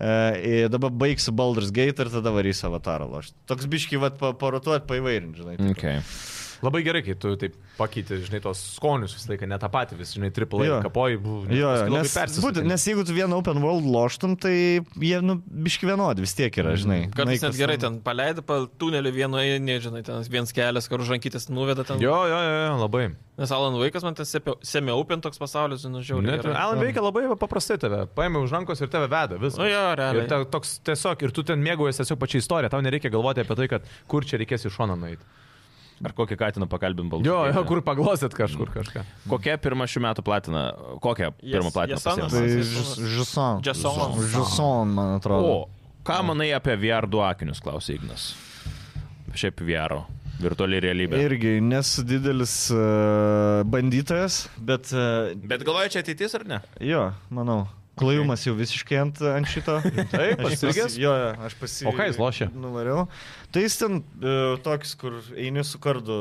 Speaker 2: E, ir dabar baigsiu Baldur's Gate ir tada varysiu Avatarą lošti. Toks biški, va, parotuot, paivairinti, žinai. taip.
Speaker 1: Okay.
Speaker 4: Labai gerai, kai tu taip pakeiti, žinai, tos skonius visą laiką, ne tą patį, vis, žinai, triple
Speaker 2: Jo.
Speaker 4: A, kapoji, buvo.
Speaker 2: Jo, jo, nes, būtent, nes jeigu tu vieną open world loštum, tai jie, nu, biški vienodi vis tiek yra, žinai.
Speaker 3: Kartais net
Speaker 2: Naikas
Speaker 3: gerai
Speaker 2: ten-
Speaker 3: ten paleidai, pa tunelį vienoje, nežinai, ten vienas kelias, kur žankytis nuveda ten.
Speaker 4: Jo, jo, jo, jo, labai.
Speaker 3: Nes Alan Vaikas man ten semia upin toks pasaulis, nu, žiauriai.
Speaker 4: Net,
Speaker 3: gerai.
Speaker 4: Alan veikia labai va, paprastai tave, paėmė už rankos ir tave veda visą.
Speaker 3: Nu jo, realiai.
Speaker 4: ir ta, toks tiesiog, ir tu ten mėgaujies tiesiog pačią istoriją, tau nereikia galvoti apie tai, kad kur čia reikės iš šono nueiti.
Speaker 1: Ar kokį katiną pakalbim baldą?
Speaker 4: Jo, jo, kur paglosit kažkur kažką.
Speaker 1: Kokia pirma šių metų platina? Kokią
Speaker 3: Yes-
Speaker 1: pirmą platiną
Speaker 3: Yesanas.
Speaker 1: pasėmė?
Speaker 2: Tai
Speaker 3: Jis-
Speaker 2: Žuson.
Speaker 3: Jason.
Speaker 2: Žuson, man atrodo.
Speaker 1: O, ką manai apie VR du akinius, klausė Ignas. Šiaip VR, virtuali realybė. Ir...
Speaker 2: Irgi nesu didelis uh, bandytojas, bet uh,
Speaker 1: Bet galvoju, čia ateitis ar ne?
Speaker 2: jo, manau. Klajumas jau visiškai ant, ant šito.
Speaker 4: Taip,
Speaker 2: Aš
Speaker 4: pasirgęs.
Speaker 2: pasi- Jo, jo, aš pasirinkiau.
Speaker 4: O ką jis lošia?
Speaker 2: Nuvariau. Tai jis ten uh, toks, kur eini su kardu.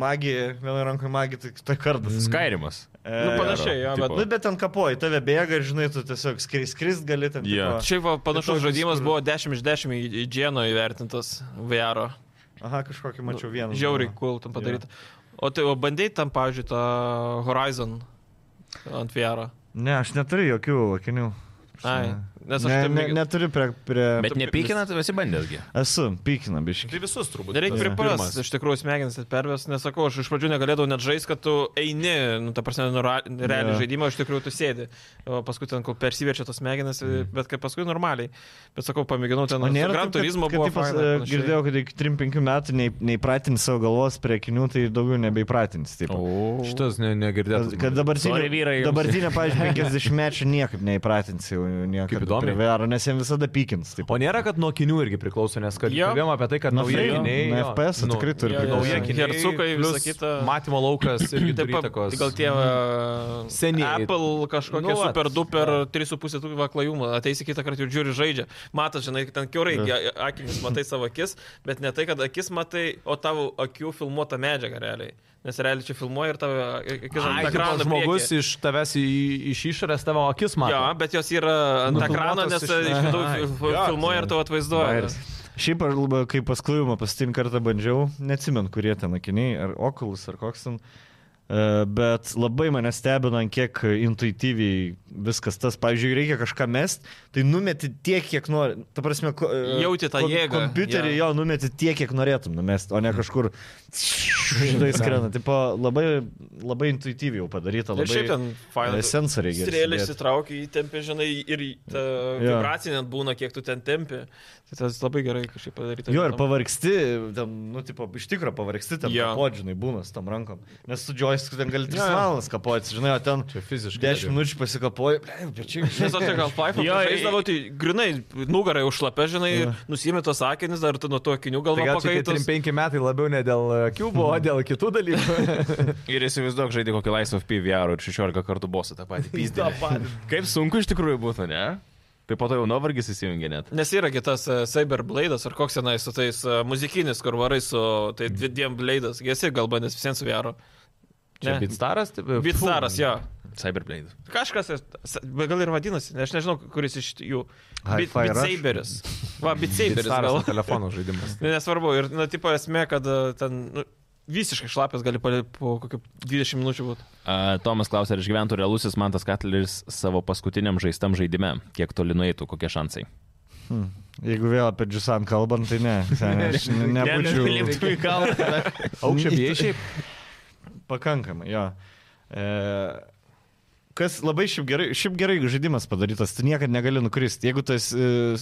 Speaker 2: Magija, vienoje rankoje magija, tai ta
Speaker 4: Mhm.
Speaker 2: kardas. E,
Speaker 1: Skairimas.
Speaker 3: Nu, panašiai, jo,
Speaker 1: tipo.
Speaker 3: bet
Speaker 2: Nu, bet ten kapoji, tave bėga ir žinai, tu tiesiog skrist, skrist gali ten.
Speaker 1: Jo.
Speaker 2: tipo-
Speaker 3: Šiaip va, panašus
Speaker 2: Toks,
Speaker 3: žaidimas
Speaker 2: kur-
Speaker 3: buvo 10 iš 10 į- į Džieno įvertintas VR. -o.
Speaker 2: Aha, kažkokį mačiau vieną.
Speaker 3: Žiauriai cool tam padaryta. O tai o bandėjai tam, pavyzdžiui, tą Horizon ant VR. -o?
Speaker 2: Ne, aš neturiu jokių akinių.
Speaker 3: Ai. Nes aš
Speaker 2: Ne,
Speaker 3: taip
Speaker 2: ne,
Speaker 3: ne,
Speaker 2: neturiu prie... prie...
Speaker 1: Bet nepykinat, visi bandėsgi.
Speaker 2: Esu, pykina biški.
Speaker 4: Tai visus turbūt.
Speaker 3: Nereikia
Speaker 4: tas
Speaker 3: priprast,
Speaker 4: pirmas.
Speaker 3: iš tikrųjų smegenis atpervės, nesakau, aš iš pradžių negalėdavau net žaisti, kad tu eini, nu, ta prasme, nu, ra- realiai
Speaker 2: Jo.
Speaker 3: žaidimą, iš tikrųjų tu sėdi, o paskui ten, kol persiverčia tas smegenis, bet kaip paskui normaliai. Bet sakau, pamėginau ten,
Speaker 2: Mhm. O nėra
Speaker 3: Gran
Speaker 2: taip, kad-
Speaker 3: turizmo
Speaker 2: kad
Speaker 3: buvo.
Speaker 2: taip pas-
Speaker 3: faina ir panašiai.
Speaker 2: Girdėjau, kad iki 3-5 metų nei- neįpratins savo galvos prie akinių, tai daugiau nebeįpratins. Taip.
Speaker 4: Šitas ne,
Speaker 2: Kad,
Speaker 4: negirdėtas.
Speaker 2: kad dabartinė,
Speaker 1: Sorry, vyrai, jums.
Speaker 2: dabartinė pavyzdžiui, 50 mečių niekaip neįpratins jau niekaip
Speaker 4: Kaip įdomiai.
Speaker 2: prie VR, nes jiems visada pykins. Taip.
Speaker 4: O nėra, kad nuo kinių irgi priklauso, nes kad
Speaker 3: Jo.
Speaker 4: kalbėjom apie tai, kad
Speaker 2: Nuo
Speaker 4: nauji
Speaker 2: frame,
Speaker 4: akiniai.
Speaker 2: nuo
Speaker 4: jo,
Speaker 2: FPS tikrai turi
Speaker 3: jo, jo,
Speaker 4: Nauji
Speaker 3: jo.
Speaker 4: akiniai,
Speaker 3: Hercukai,
Speaker 4: plus
Speaker 3: visa kita.
Speaker 4: Matymo laukas irgi
Speaker 3: Taip,
Speaker 4: turi įtakos. Mhm.
Speaker 3: gal tie va,
Speaker 4: Seniai.
Speaker 3: Apple kažkokie
Speaker 4: Nu,
Speaker 3: nu,
Speaker 4: vat.
Speaker 3: super duper 3,5 tūkstančio klajumo, ateisi kitą kartą ir žiūri žaidžia. Matai, žinai, ten kiaurai ge- akinius matai savo akis, bet ne tai, kad akis matai, o tavo akių filmuota medžiaga realiai. Nes realiai čia filmuoja ir tavo akis
Speaker 4: Ai,
Speaker 3: ant
Speaker 4: tipo,
Speaker 3: ekrano.
Speaker 4: žmogus
Speaker 3: priekyje.
Speaker 4: iš tavęs į, iš išorės tavo akis mato.
Speaker 3: Jo, bet jos yra ant ekrano,
Speaker 4: Nufilmuotos
Speaker 3: nes
Speaker 4: iš-
Speaker 3: e, iš
Speaker 4: Ai,
Speaker 3: vidaus
Speaker 4: jo.
Speaker 3: filmuoja ir tavo atvaizduoja.
Speaker 2: Vairas. Šiaip aš labai, kai pasklaivimą pastin kartą bandžiau, neatsimenu, kurie ten akiniai, ar okulus, ar koks ten. e, Bet labai mane stebina, ant kiek intuityviai viskas tas, pavyzdžiui, reikia kažką mest, tai numeti tiek, kiek nori. Ta prasme, ko- e,
Speaker 3: Jauti tą
Speaker 2: kom-
Speaker 3: jėgą, Mhm.
Speaker 2: Kompiuterį
Speaker 3: jo.
Speaker 2: jo numeti tiek, kiek norėtum numesti, o ne kažkur žinai skrenda. Tipo, labai, labai intuityviai jau padaryta,
Speaker 3: Ir
Speaker 2: labai
Speaker 3: šiaip ten faina.
Speaker 2: sensoriai
Speaker 3: Strėlė
Speaker 2: gerai.
Speaker 3: įsitraukia, įtempi, žinai, ir ta
Speaker 2: Jo.
Speaker 3: vibracija net būna, kiek tu ten tempi. Tai tas labai gerai kažkaip padaryta.
Speaker 4: nu.
Speaker 2: Jo, ir pavargsti, ten, nu, tipo, iš tikro pavargsti, ten
Speaker 3: Jo.
Speaker 2: yeah. kapodžinai būna su tom rankom. Nes su joystiku ten gali 3 yeah. valandas kapoti, žinai, o ten
Speaker 4: Čia fiziškai.
Speaker 2: 10 minučių pasikapoji, nu, blei, pečiai.
Speaker 3: Nes aš gal Fife
Speaker 1: Jo,
Speaker 3: žaisdavau, tai grinai nugarai užlapė, žinai, ir nusimė tos akinis, dar tu nuo to akinių
Speaker 4: Tai
Speaker 3: galva
Speaker 4: gal čia
Speaker 3: pakaitas.
Speaker 4: 35 metai labiau ne dėl akių buvo, o dėl kitų dalykų.
Speaker 1: Ir įsivaizduok, žaidė kokį Lies of PVR ir 16 kartų bosą tą patį. Pyzdį. Kaip sunku iš tikrųjų būtų, ne? Tai po to jau nuovargis įsijungia net.
Speaker 3: Nes yra kitas Cyberblade'as ar koks tenai su tais e, muzikinis, kur varai su tai dviem blade'as. Jesi gal bandęs visiems su vėru.
Speaker 4: Čia Bitstaras? taip, e,
Speaker 3: Bitstaras,
Speaker 4: fū.
Speaker 3: jo.
Speaker 1: Cyberblade.
Speaker 3: Kažkas, e, s- bet gal ir vadinasi, ne, aš nežinau, kuris iš jų.
Speaker 2: Hi-Fi
Speaker 3: Bit- Bit
Speaker 2: Rush?
Speaker 3: Saberis. Va, Bit Saberis
Speaker 4: Bitstaras
Speaker 3: gal.
Speaker 4: ant telefono žaidimas.
Speaker 3: Ne, Nu, Nesvarbu, ir, na, tipo esmė, kad e, ten nu, visiškai šlapės gali pali- po kokių 20 minučių būti.
Speaker 1: A, Tomas klausė, ar išgyventų realusis Mantas Katleris savo paskutiniam žaistam žaidime, kiek toli nueitų, kokie šansai.
Speaker 2: Jeigu vėl apie Džusan kalbant, tai ne. Seni, aš ne- nebūčiau
Speaker 1: į kalną.
Speaker 4: Aukščiai viešiai.
Speaker 2: pakankamai, jo. E, kas labai šiaip gerai, šiaip gerai jeigu žaidimas padarytas, tu niekada negali nukristi. Jeigu tu esi e,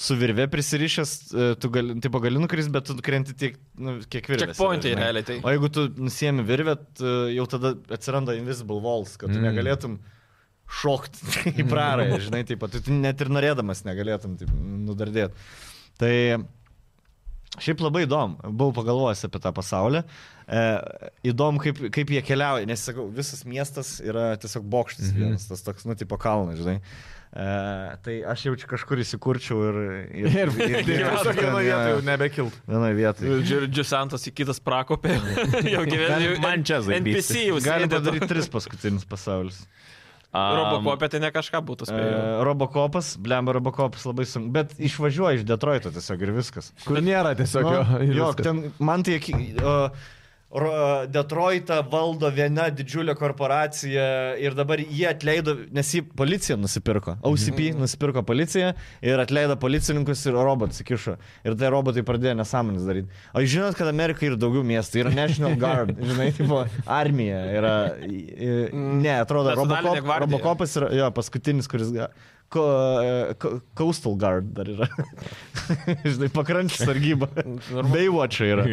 Speaker 2: su virve prisirišęs, e, tu gali, tipo, gali nukristi, bet tu krenti tiek, nu, kiek virvė.
Speaker 3: Checkpointai realiai tai.
Speaker 2: O jeigu tu nusiemi virvę, t- jau tada atsiranda invisible walls, kad tu
Speaker 4: Mm.
Speaker 2: mm. negalėtum šokti į prarąją, žinai, taip pat, tu net ir norėdamas negalėtum taip, nudardėti. Tai šiaip labai įdomu, buvau pagalvojęs apie tą pasaulį, e, įdomu, kaip, kaip jie keliauja, nes, sakau, visas miestas yra tiesiog bokštas
Speaker 4: Mhm.
Speaker 2: vienas, tas toks, nu, tipo kalnas, žinai. E, tai aš jau čia kažkur įsikurčiau ir...
Speaker 4: Ir vienoje vietoje jau nebekiltų.
Speaker 2: Vienoje vietoje.
Speaker 3: Džiusantas į kitas prakopė. jau gyvenime.
Speaker 1: Man čia zaibys.
Speaker 3: NPC jau
Speaker 2: Galima
Speaker 3: sėdi.
Speaker 2: padaryti tris paskutinius pasaulius.
Speaker 3: Robokopė tai ne kažką būtų spėjęs.
Speaker 2: E, Robocopas, blemba Robocopas labai sunku, bet išvažiuoja iš Detroito tiesiog ir viskas.
Speaker 4: Kur nėra tiesiog
Speaker 2: Nu,
Speaker 4: jo. ir
Speaker 2: jo,
Speaker 4: viskas.
Speaker 2: ten man tai... aki- o, ro- Detroitą valdo viena didžiulė korporacija ir dabar jie atleido, nes jį policija nusipirko.
Speaker 4: Mhm.
Speaker 2: OCP nusipirko policiją ir atleido policininkus ir robotus įkišo. Ir tai robotai pradėjo nesąmonės daryti. O jūs žinot, kad Amerikai yra daugiau miestų, yra National Guard, žinai, tipo, armija yra... i- i- Ne, atrodo,
Speaker 3: Nacionalinė
Speaker 2: Robocop,
Speaker 3: gvardija.
Speaker 2: Robocopas yra jo, paskutinis, kuris... Ga... Ko, e, ko- coastal Guard dar yra. Žinai, pakrančių sargyba. Baywatch yra.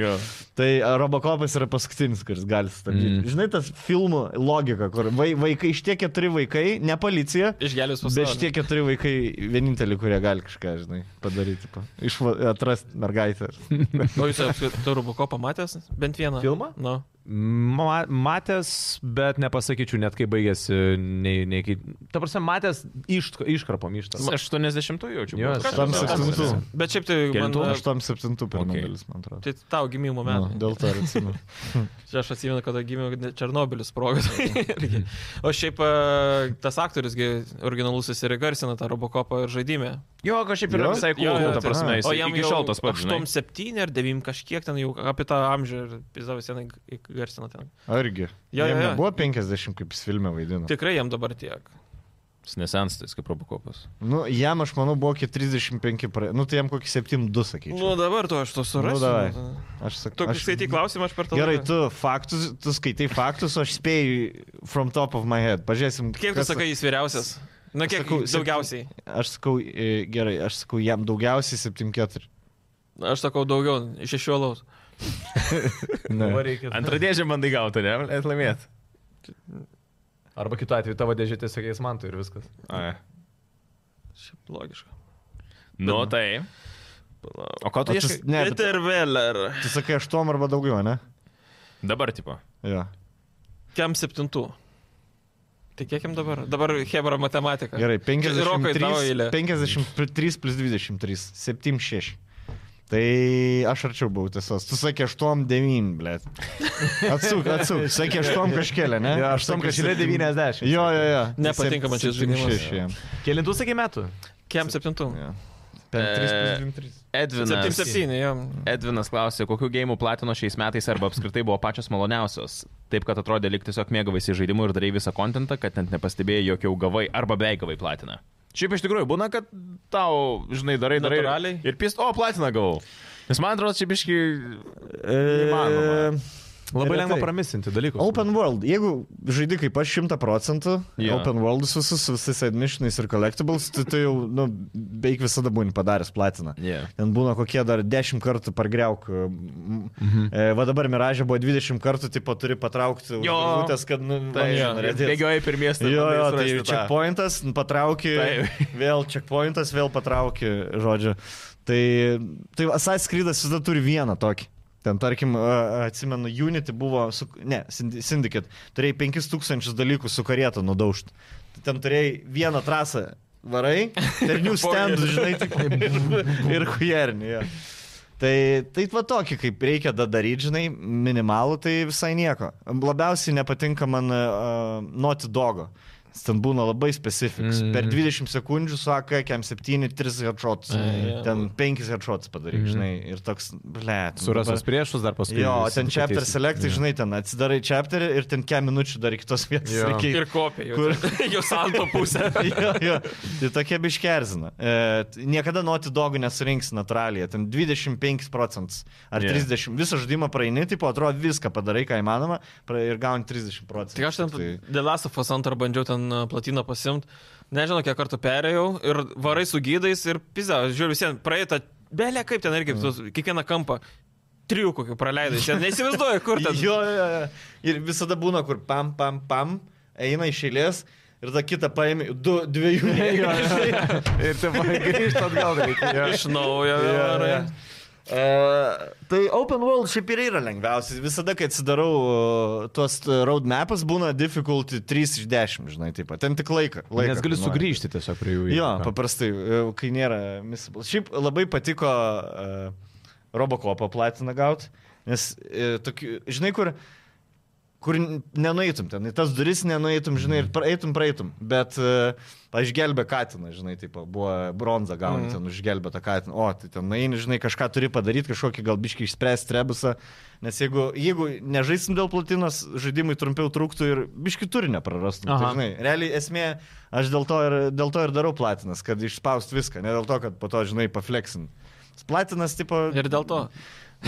Speaker 2: Tai e, Robocopas yra paskutinis, kuris gali stabdyti.
Speaker 3: Mhm.
Speaker 4: Mm.
Speaker 2: Mm. Žinai, tas filmų logika, kur vai, vaikai, šitie keturi vaikai, ne policija,
Speaker 3: Išgelbės
Speaker 2: bet
Speaker 3: pasaulį.
Speaker 2: šitie keturi vaikai vieninteliai, kurie gali kažką, žinai, padaryti, atrasti mergaitę.
Speaker 3: O jūs apskritai Robokopą matęs? Bent vieną.
Speaker 4: Filmą?
Speaker 3: Nu.
Speaker 4: Ma- Matęs, bet nepasakyčiau net kaip baigėsi, nei, nei kaip. Ta prasme, matęs iš, iškarpom iš tas.
Speaker 1: 80-ųjų jaučiu.
Speaker 4: Jo,
Speaker 1: būtų.
Speaker 2: Tam septintų.
Speaker 3: Bet šiaip tai man...
Speaker 1: Kelintų?
Speaker 3: e,
Speaker 2: Aštuom septintų per
Speaker 1: Okei.
Speaker 2: okay. nulis, man atrodo.
Speaker 3: Tai tau gimimo
Speaker 2: Nu,
Speaker 3: metai.
Speaker 2: dėl to ir atsimenu.
Speaker 3: Čia aš atsimenu, kada gimė Černobilis sprogas. Irgi. o šiaip e, tas aktorius originalusis ir įgarsina tą Robocopą ir žaidimę.
Speaker 1: Jo, kažkaip yra
Speaker 2: Jo?
Speaker 1: visai
Speaker 3: Jo,
Speaker 1: cool,
Speaker 3: jo,
Speaker 1: ta
Speaker 3: tai-
Speaker 1: prasme. jis Iki šiol tas pats, žinai.
Speaker 3: 7 ar 9 kažkiek ten jau apie tą amžių ir pizdavo senai įgarsina ten.
Speaker 2: Argi.
Speaker 3: Jo, jo, jo.
Speaker 2: Buvo 50, kaip jis filme vaidino.
Speaker 3: Tikrai jam dabar tiek.
Speaker 1: Jis nesensta, jis kaip robokopas.
Speaker 2: Nu, jam, aš manau, buvo iki 35, pra... nu tai jam kokį 7-2, sakyčiau.
Speaker 3: Nu dabar tu aš to
Speaker 2: Nu, davai.
Speaker 3: surasiu.
Speaker 2: aš sakau.
Speaker 3: Tu skaitai klausimą, aš per tą
Speaker 2: Gerai,
Speaker 3: laiką-
Speaker 2: tu faktus, tu skaitai faktus, o aš spėju from top of my head. Pažiūrėsim.
Speaker 3: Kiek tu
Speaker 2: kas-
Speaker 3: sakai, jis vyriausias? Na kiek
Speaker 2: sakau, septyn-
Speaker 3: daugiausiai?
Speaker 2: Aš sakau, e, gerai, aš sakau, jam daugiausiai 7-4.
Speaker 3: Aš sakau daugiau, iš šešiolaus.
Speaker 4: Dabar reikia.
Speaker 1: Antrą dėžę bandai gauti, ne? Atlamėt.
Speaker 4: Arba kitu atveju tavo dėžė tiesiog eis man tu ir viskas.
Speaker 3: Šiaip logiška.
Speaker 1: Nu tai. O ko
Speaker 2: O
Speaker 1: tu
Speaker 2: tu-
Speaker 1: ieškai?
Speaker 2: Ne, bet-
Speaker 3: Peter Veller.
Speaker 2: Tu sakai 8 arba daugiau, ne?
Speaker 1: Dabar, tipo.
Speaker 2: Jo.
Speaker 3: Kiam septintų? Tai kiek jam dabar? Dabar Hebra matematika.
Speaker 2: Gerai,
Speaker 3: Rokai,
Speaker 2: 53,
Speaker 3: tavo eilė.
Speaker 2: 53 plus 23, 7-6. Tai aš arčiau buvau tiesos. Tu sakė 8-9, blė. Atsuk, atsuk. Sakė 8 kažkėlė, ne?
Speaker 4: Jo,
Speaker 2: Aš
Speaker 4: aštuom
Speaker 2: sakiau
Speaker 4: kažkėlė
Speaker 2: 7.
Speaker 4: 90.
Speaker 2: Jo, jo, jo.
Speaker 3: Nepatinka man šis žaidimas.
Speaker 2: 7-6 jam.
Speaker 4: Kelintų sakė metų?
Speaker 3: Kiam septintų?
Speaker 2: Jo. Ten 3
Speaker 1: E,
Speaker 2: plus 23.
Speaker 3: Septim
Speaker 1: Edvinas.
Speaker 3: septyni, jo.
Speaker 1: Edvinas klausė, kokiu gėjimu platino šiais metais arba apskritai buvo pačios maloniausios. Taip, kad atrodė, lyg tiesiog mėgavaisi žaidimu ir darai visą kontentą, kad net nepastebėjai, jog jau gavai arba beveik gavai platiną. Šiaip iš tikrųjų būna, kad tau, žinai, darai, darai.
Speaker 3: Natūraliai.
Speaker 1: Ir pist, o platiną gavau. Nes man atrodo, čia biški... Neįmanoma.
Speaker 4: Labai lengva
Speaker 2: Retai.
Speaker 4: pramisinti dalykus.
Speaker 2: Open World, jeigu žaidai kaip aš 100 procentų,
Speaker 1: Jo.
Speaker 2: yeah. Open World visus, su visais admissionais ir collectibles, tai tu jau nu, beveik visada būni padaręs platiną.
Speaker 1: Yeah.
Speaker 2: Ten būna kokie dar 10 kartų pargriauk. Mhm. E, va dabar Miražė buvo 20 kartų, tai turi patraukti
Speaker 1: Jo.
Speaker 2: žinutės, kad... Nu,
Speaker 1: Tai
Speaker 2: vamzdžiai norėdės.
Speaker 1: bėgioji per miestą.
Speaker 2: Jo, jo,
Speaker 1: bandai
Speaker 2: tai
Speaker 1: surasti tą.
Speaker 2: checkpointas, patrauki,
Speaker 1: Taip.
Speaker 2: Tai vėl checkpointas, vėl patrauki, žodžiu. Tai, tai Assassin's Creed'as visada turi vieną tokį. Ten, tarkim, a, atsimenu, Unity buvo, su, ne, Syndi- Syndicate, turėjai 5000 dalykų su karieta nudaužti. Tai Ten turėjai vieną trasą varai, ternių standų, žinai, taip, ir hujerni. Jo. Tai, tai va tokį, kaip reikia da daryti, žinai, minimalų, tai visai nieko. Labiausiai nepatinka man uh, Naughty Dogo. Jis Ten būna labai specifiks. Mm. Per 20 sekundžių su AK-7, 3 headshots.
Speaker 3: Ai,
Speaker 2: Ten 5 headshots padaryk, mm. žinai. Ir toks, ble.
Speaker 4: Surasos priešus dar paskui.
Speaker 2: Jo, o
Speaker 4: visi
Speaker 2: ten
Speaker 4: kiti
Speaker 2: chapter
Speaker 4: teisai.
Speaker 2: select, tai, žinai, ten atsidarai chapter ir ten kiek minučių dar iki tos vietos
Speaker 4: Jo.
Speaker 2: reikia
Speaker 3: Ir kopija.
Speaker 2: Kur?
Speaker 3: Jau santo pusė.
Speaker 2: jo, jo. Tai tokie biškerzina. E, t- niekada nuoti dogų nesurinks natūraliai. Ten 25 procentus ar
Speaker 1: Jo.
Speaker 2: yeah. 30. Visą žaidimą praeini, tai po atrodo viską padarai, ką įmanoma, pra- ir gauni 30 procentų.
Speaker 3: Tik Tai aš ten The Last of Us antrą bandžiau ten uh, platiną pasimti. Nežinau, kiek kartų perėjau ir varai su gydais ir pizza. Žiūrėjau, visiems praeitą, belė kaip ten irgi,
Speaker 2: Mm.
Speaker 3: tu kiekvieną kampą. Trijų kokių praleidai. Čia Neįsivaizduoju, kur ten.
Speaker 2: Jo, jo, jo. Ir visada būna, kur pam, pam, pam, eina iš eilės. Ir tą kitą paėmė, du, dviejų.
Speaker 4: Jo, jo, jo. Ir taip grįžti atgal reikia. jo.
Speaker 3: Iš naujo.
Speaker 2: Jo,
Speaker 3: Yeah,
Speaker 2: jo.
Speaker 3: yeah.
Speaker 2: E, tai open world šiaip ir yra lengviausias. Visada, kai atsidarau e, tuos e, roadmapas, būna difficulty 3 iš 10, žinai, taip pat. Ten tik laiką. laiką
Speaker 4: Nes galiu
Speaker 2: kainuoja.
Speaker 4: sugrįžti tiesiog prie jų.
Speaker 2: Jo, paprastai, e, kai nėra misible. Šiaip labai patiko uh, Robocopą platiną gauti, nes, uh, tokiu, žinai, kur, kur nenueitum ten, į tas duris nenueitum, žinai, ir praeitum, praeitum. Bet, uh, aš gelbė Katiną, žinai, taip, buvo bronza gauni mm. ten užgelbėtą Katiną. O, tai ten, na, žinai, kažką turi padaryti, kažkokį gal biškį išspręsti trebusą. Nes jeigu, jeigu nežaisim dėl platinos, žaidimai trumpiau truktų ir biški turinio prarastum. Tai,
Speaker 4: Aha.
Speaker 2: žinai, realiai esmė, aš dėl to, ir, dėl to ir darau platinas, kad išspaust viską, ne dėl to, kad po to, žinai, pafleksin. Platinas, tipo...
Speaker 3: Ir dėl to.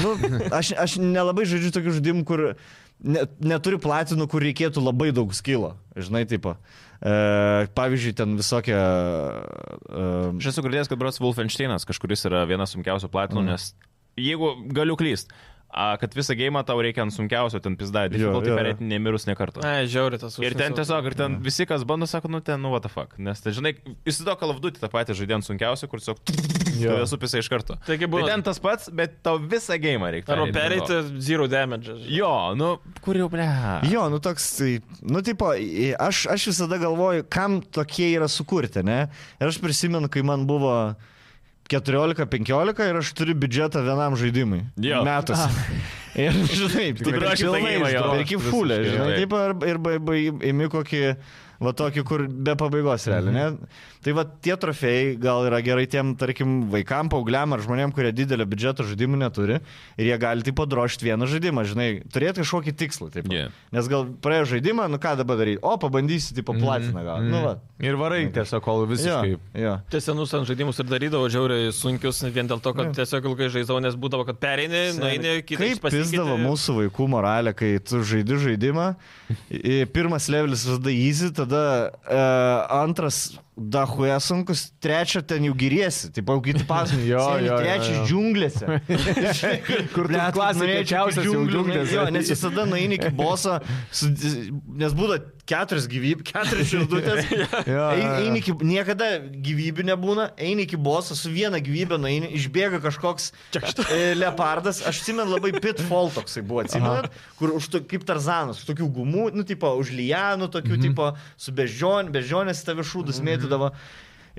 Speaker 2: Nu, aš, aš nelabai žaidžiu tokių žaidimų, kur ne, neturiu platinų, kur reikėtų labai daug skilo, žinai, tipo. E, pavyzdžiui, ten visokie... E,
Speaker 1: Aš esu girdėjęs, kad Bros Wolfensteinas kažkuris yra vienas sunkiausių platinų, mm. nes jeigu galiu klyst, a, kad visą gėjimą tau reikia ant sunkiausio, ten tai pizda,
Speaker 2: Jo,
Speaker 1: difficulty
Speaker 2: jo, jo.
Speaker 1: perėti nemirus nekartu.
Speaker 3: Ai, žiauri tas.
Speaker 1: Ir ten
Speaker 3: užsienio-
Speaker 1: tiesiog, ir ten visi, kas bando, sako, nu ten, nu what the fuck. Nes, tai, žinai, įsido kalavdutį tą patį žaidėjant sunkiausią, kur tiesiog tave supisa iš karto.
Speaker 3: Taigi
Speaker 1: Tai
Speaker 3: būna-
Speaker 1: ten tas pats, bet tau visą gėjimą reikia.
Speaker 3: Arba pereiti zero damage.
Speaker 1: Jo, nu, kur jau, ble.
Speaker 2: Jo, nu toks, tai, nu tipo, i- aš, aš visada galvoju, kam tokie yra sukurti, ne? Ir aš prisimenu, kai man buvo 14-15 ir aš turiu biudžetą vienam žaidimui.
Speaker 1: Jo. Ah.
Speaker 2: Metus. Ir, žinai, tai
Speaker 1: Tikrai šitą
Speaker 2: pilnai
Speaker 1: gyvą, jo.
Speaker 2: išduoda, iki fulę,
Speaker 1: Visiškai,
Speaker 2: žinai,
Speaker 1: taip.
Speaker 2: taip, ar- ir imi kokį va tokį, kur be pabaigos realiai. Ne? Tai va tie trofėjai gal yra gerai tiem, tarkim, vaikam, paaugliam ar žmonėm, kurie didelio biudžeto žaidimų neturi ir jie gali taip padrošti vieną žaidimą, žinai, turėti kažkokį tikslą. Taip,
Speaker 1: Jo.
Speaker 2: Nes gal praėjo žaidimą, nu ką dabar daryti, o pabandysi, tipo, platiną gal. Mm. Nu, va.
Speaker 4: Ir varai tiesiog, kol
Speaker 2: Jo,
Speaker 4: visiškai
Speaker 2: jo.
Speaker 3: Tai senus ant žaidimus ir darydavo žiauriai sunkius, vien dėl to, kad tiesiog ilgai žaidžiau, nes būdavo, kad pereini, nueini, kitai
Speaker 2: Kaip pizdavo mūsų vaikų moralę, kai tu žaidi žaidimą. I- Pirmas levelis visada easy, tada e, antras dahuje sunkus, trečio ten jau tai giriesi, taip jau kiti pasakojai.
Speaker 4: Jo, jo, jo,
Speaker 2: trečias
Speaker 4: jo.
Speaker 2: džiunglėse.
Speaker 4: Kur tu
Speaker 2: Blet,
Speaker 4: klasėj
Speaker 2: norėčiau
Speaker 4: kiečiausias
Speaker 2: iki
Speaker 4: jau
Speaker 2: džiunglių,
Speaker 4: džiunglės.
Speaker 2: Jo, nes visada naini iki boso, su, nes būna keturias gyvybės, keturias širdutės.
Speaker 4: jo,
Speaker 2: Ein-
Speaker 4: jo.
Speaker 2: Eini iki, niekada gyvybių nebūna, eini iki boso, su viena gyvybė naini, išbėga kažkoks e, leopardas, aš atsimenu labai pitfall toksai buvo, atsimenu, kur už to, kaip tarzanas, su tokių gumų, nu, tipo, už lijanų, tokių,
Speaker 4: Mhm.
Speaker 2: tipo, su bežion, bežionės tavi šūdus mėtydavo.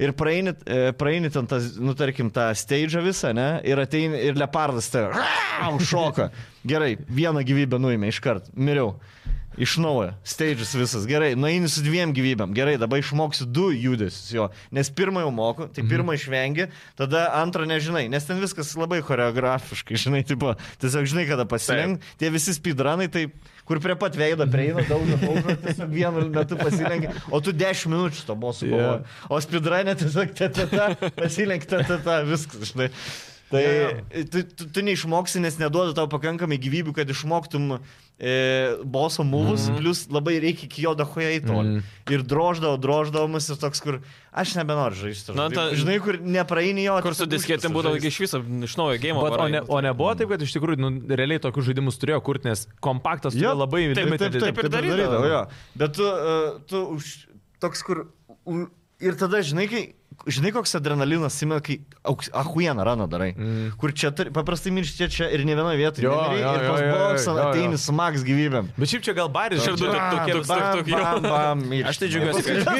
Speaker 2: Ir praeini, e, praeini ten, tas, nu, tarkim, tą steidžą visą, ne? Ir ateini, ir leopardas tave. Au, šoka. Gerai, vieną gyvybę nuėmė iškart. Miriau. Iš naujo. Steidžas visas. Gerai, nueini su dviem gyvybėm. Gerai, dabar išmoksiu du judesius jo. Nes pirmą jau moku,
Speaker 5: Mhm.
Speaker 2: tai pirmą išvengi, tada antrą nežinai. Nes ten viskas labai choreografiškai, žinai, tipo, tiesiog žinai, kada pasilenk. Tie visi speedranai, tai kur prie pat veido prieina, daug daužo, tiesiog vienu metu pasilenkia, o tu 10 minučių to buvo sugalvoję.
Speaker 4: Jo.
Speaker 2: Yeah. O spidranė tiesiog teta, pasilenk teta, viskas, žinai. Tai tu, tu, tu neišmoksi, nes neduoda tau pakankamai gyvybių, kad išmoktum e, boso mūvus,
Speaker 3: Mhm.
Speaker 2: mm. plus labai reikia iki jo dahoje į tolį. Mm. Ir droždavo, droždavomas ir toks, kur aš nebenoriu žaisti.
Speaker 3: Na, ta-
Speaker 2: žinai, kur nepraeini jo.
Speaker 3: Kur su
Speaker 2: tiesiog
Speaker 3: disketėm
Speaker 2: užkasas
Speaker 3: būdavo
Speaker 2: žaisti.
Speaker 3: iš viso iš naujo game.
Speaker 4: Bet, o, ne, o nebuvo taip, kad iš tikrųjų nu, realiai tokius žaidimus turėjo kurti, nes kompaktas turėjo
Speaker 2: Jo,
Speaker 4: labai
Speaker 2: Taip, taip, taip,
Speaker 4: limited-
Speaker 2: taip, taip ir darydavo. darydavo jo. Bet tu, uh, tu už, toks, kur... U, ir tada, žinai, kai, žinai koks adrenalinas įmė, kai auks- ah, ahuieną raną darai. Mm. Kur čia turi, paprastai miršti čia ir ne vienoje vietoje.
Speaker 4: Jo,
Speaker 2: nemirei,
Speaker 4: jo,
Speaker 2: ir
Speaker 4: jo,
Speaker 2: pas
Speaker 4: jo, jo,
Speaker 2: boksą
Speaker 4: jo, jo.
Speaker 2: ateini su Max gyvybėm.
Speaker 4: Bet šiaip čia gal baris
Speaker 3: Šiaip du-
Speaker 4: žaidžia.
Speaker 3: tuk, tuk, tuk, tuk, jo.
Speaker 2: bam, bam, miršti.
Speaker 5: Aš tai džiaugiuosi, kad,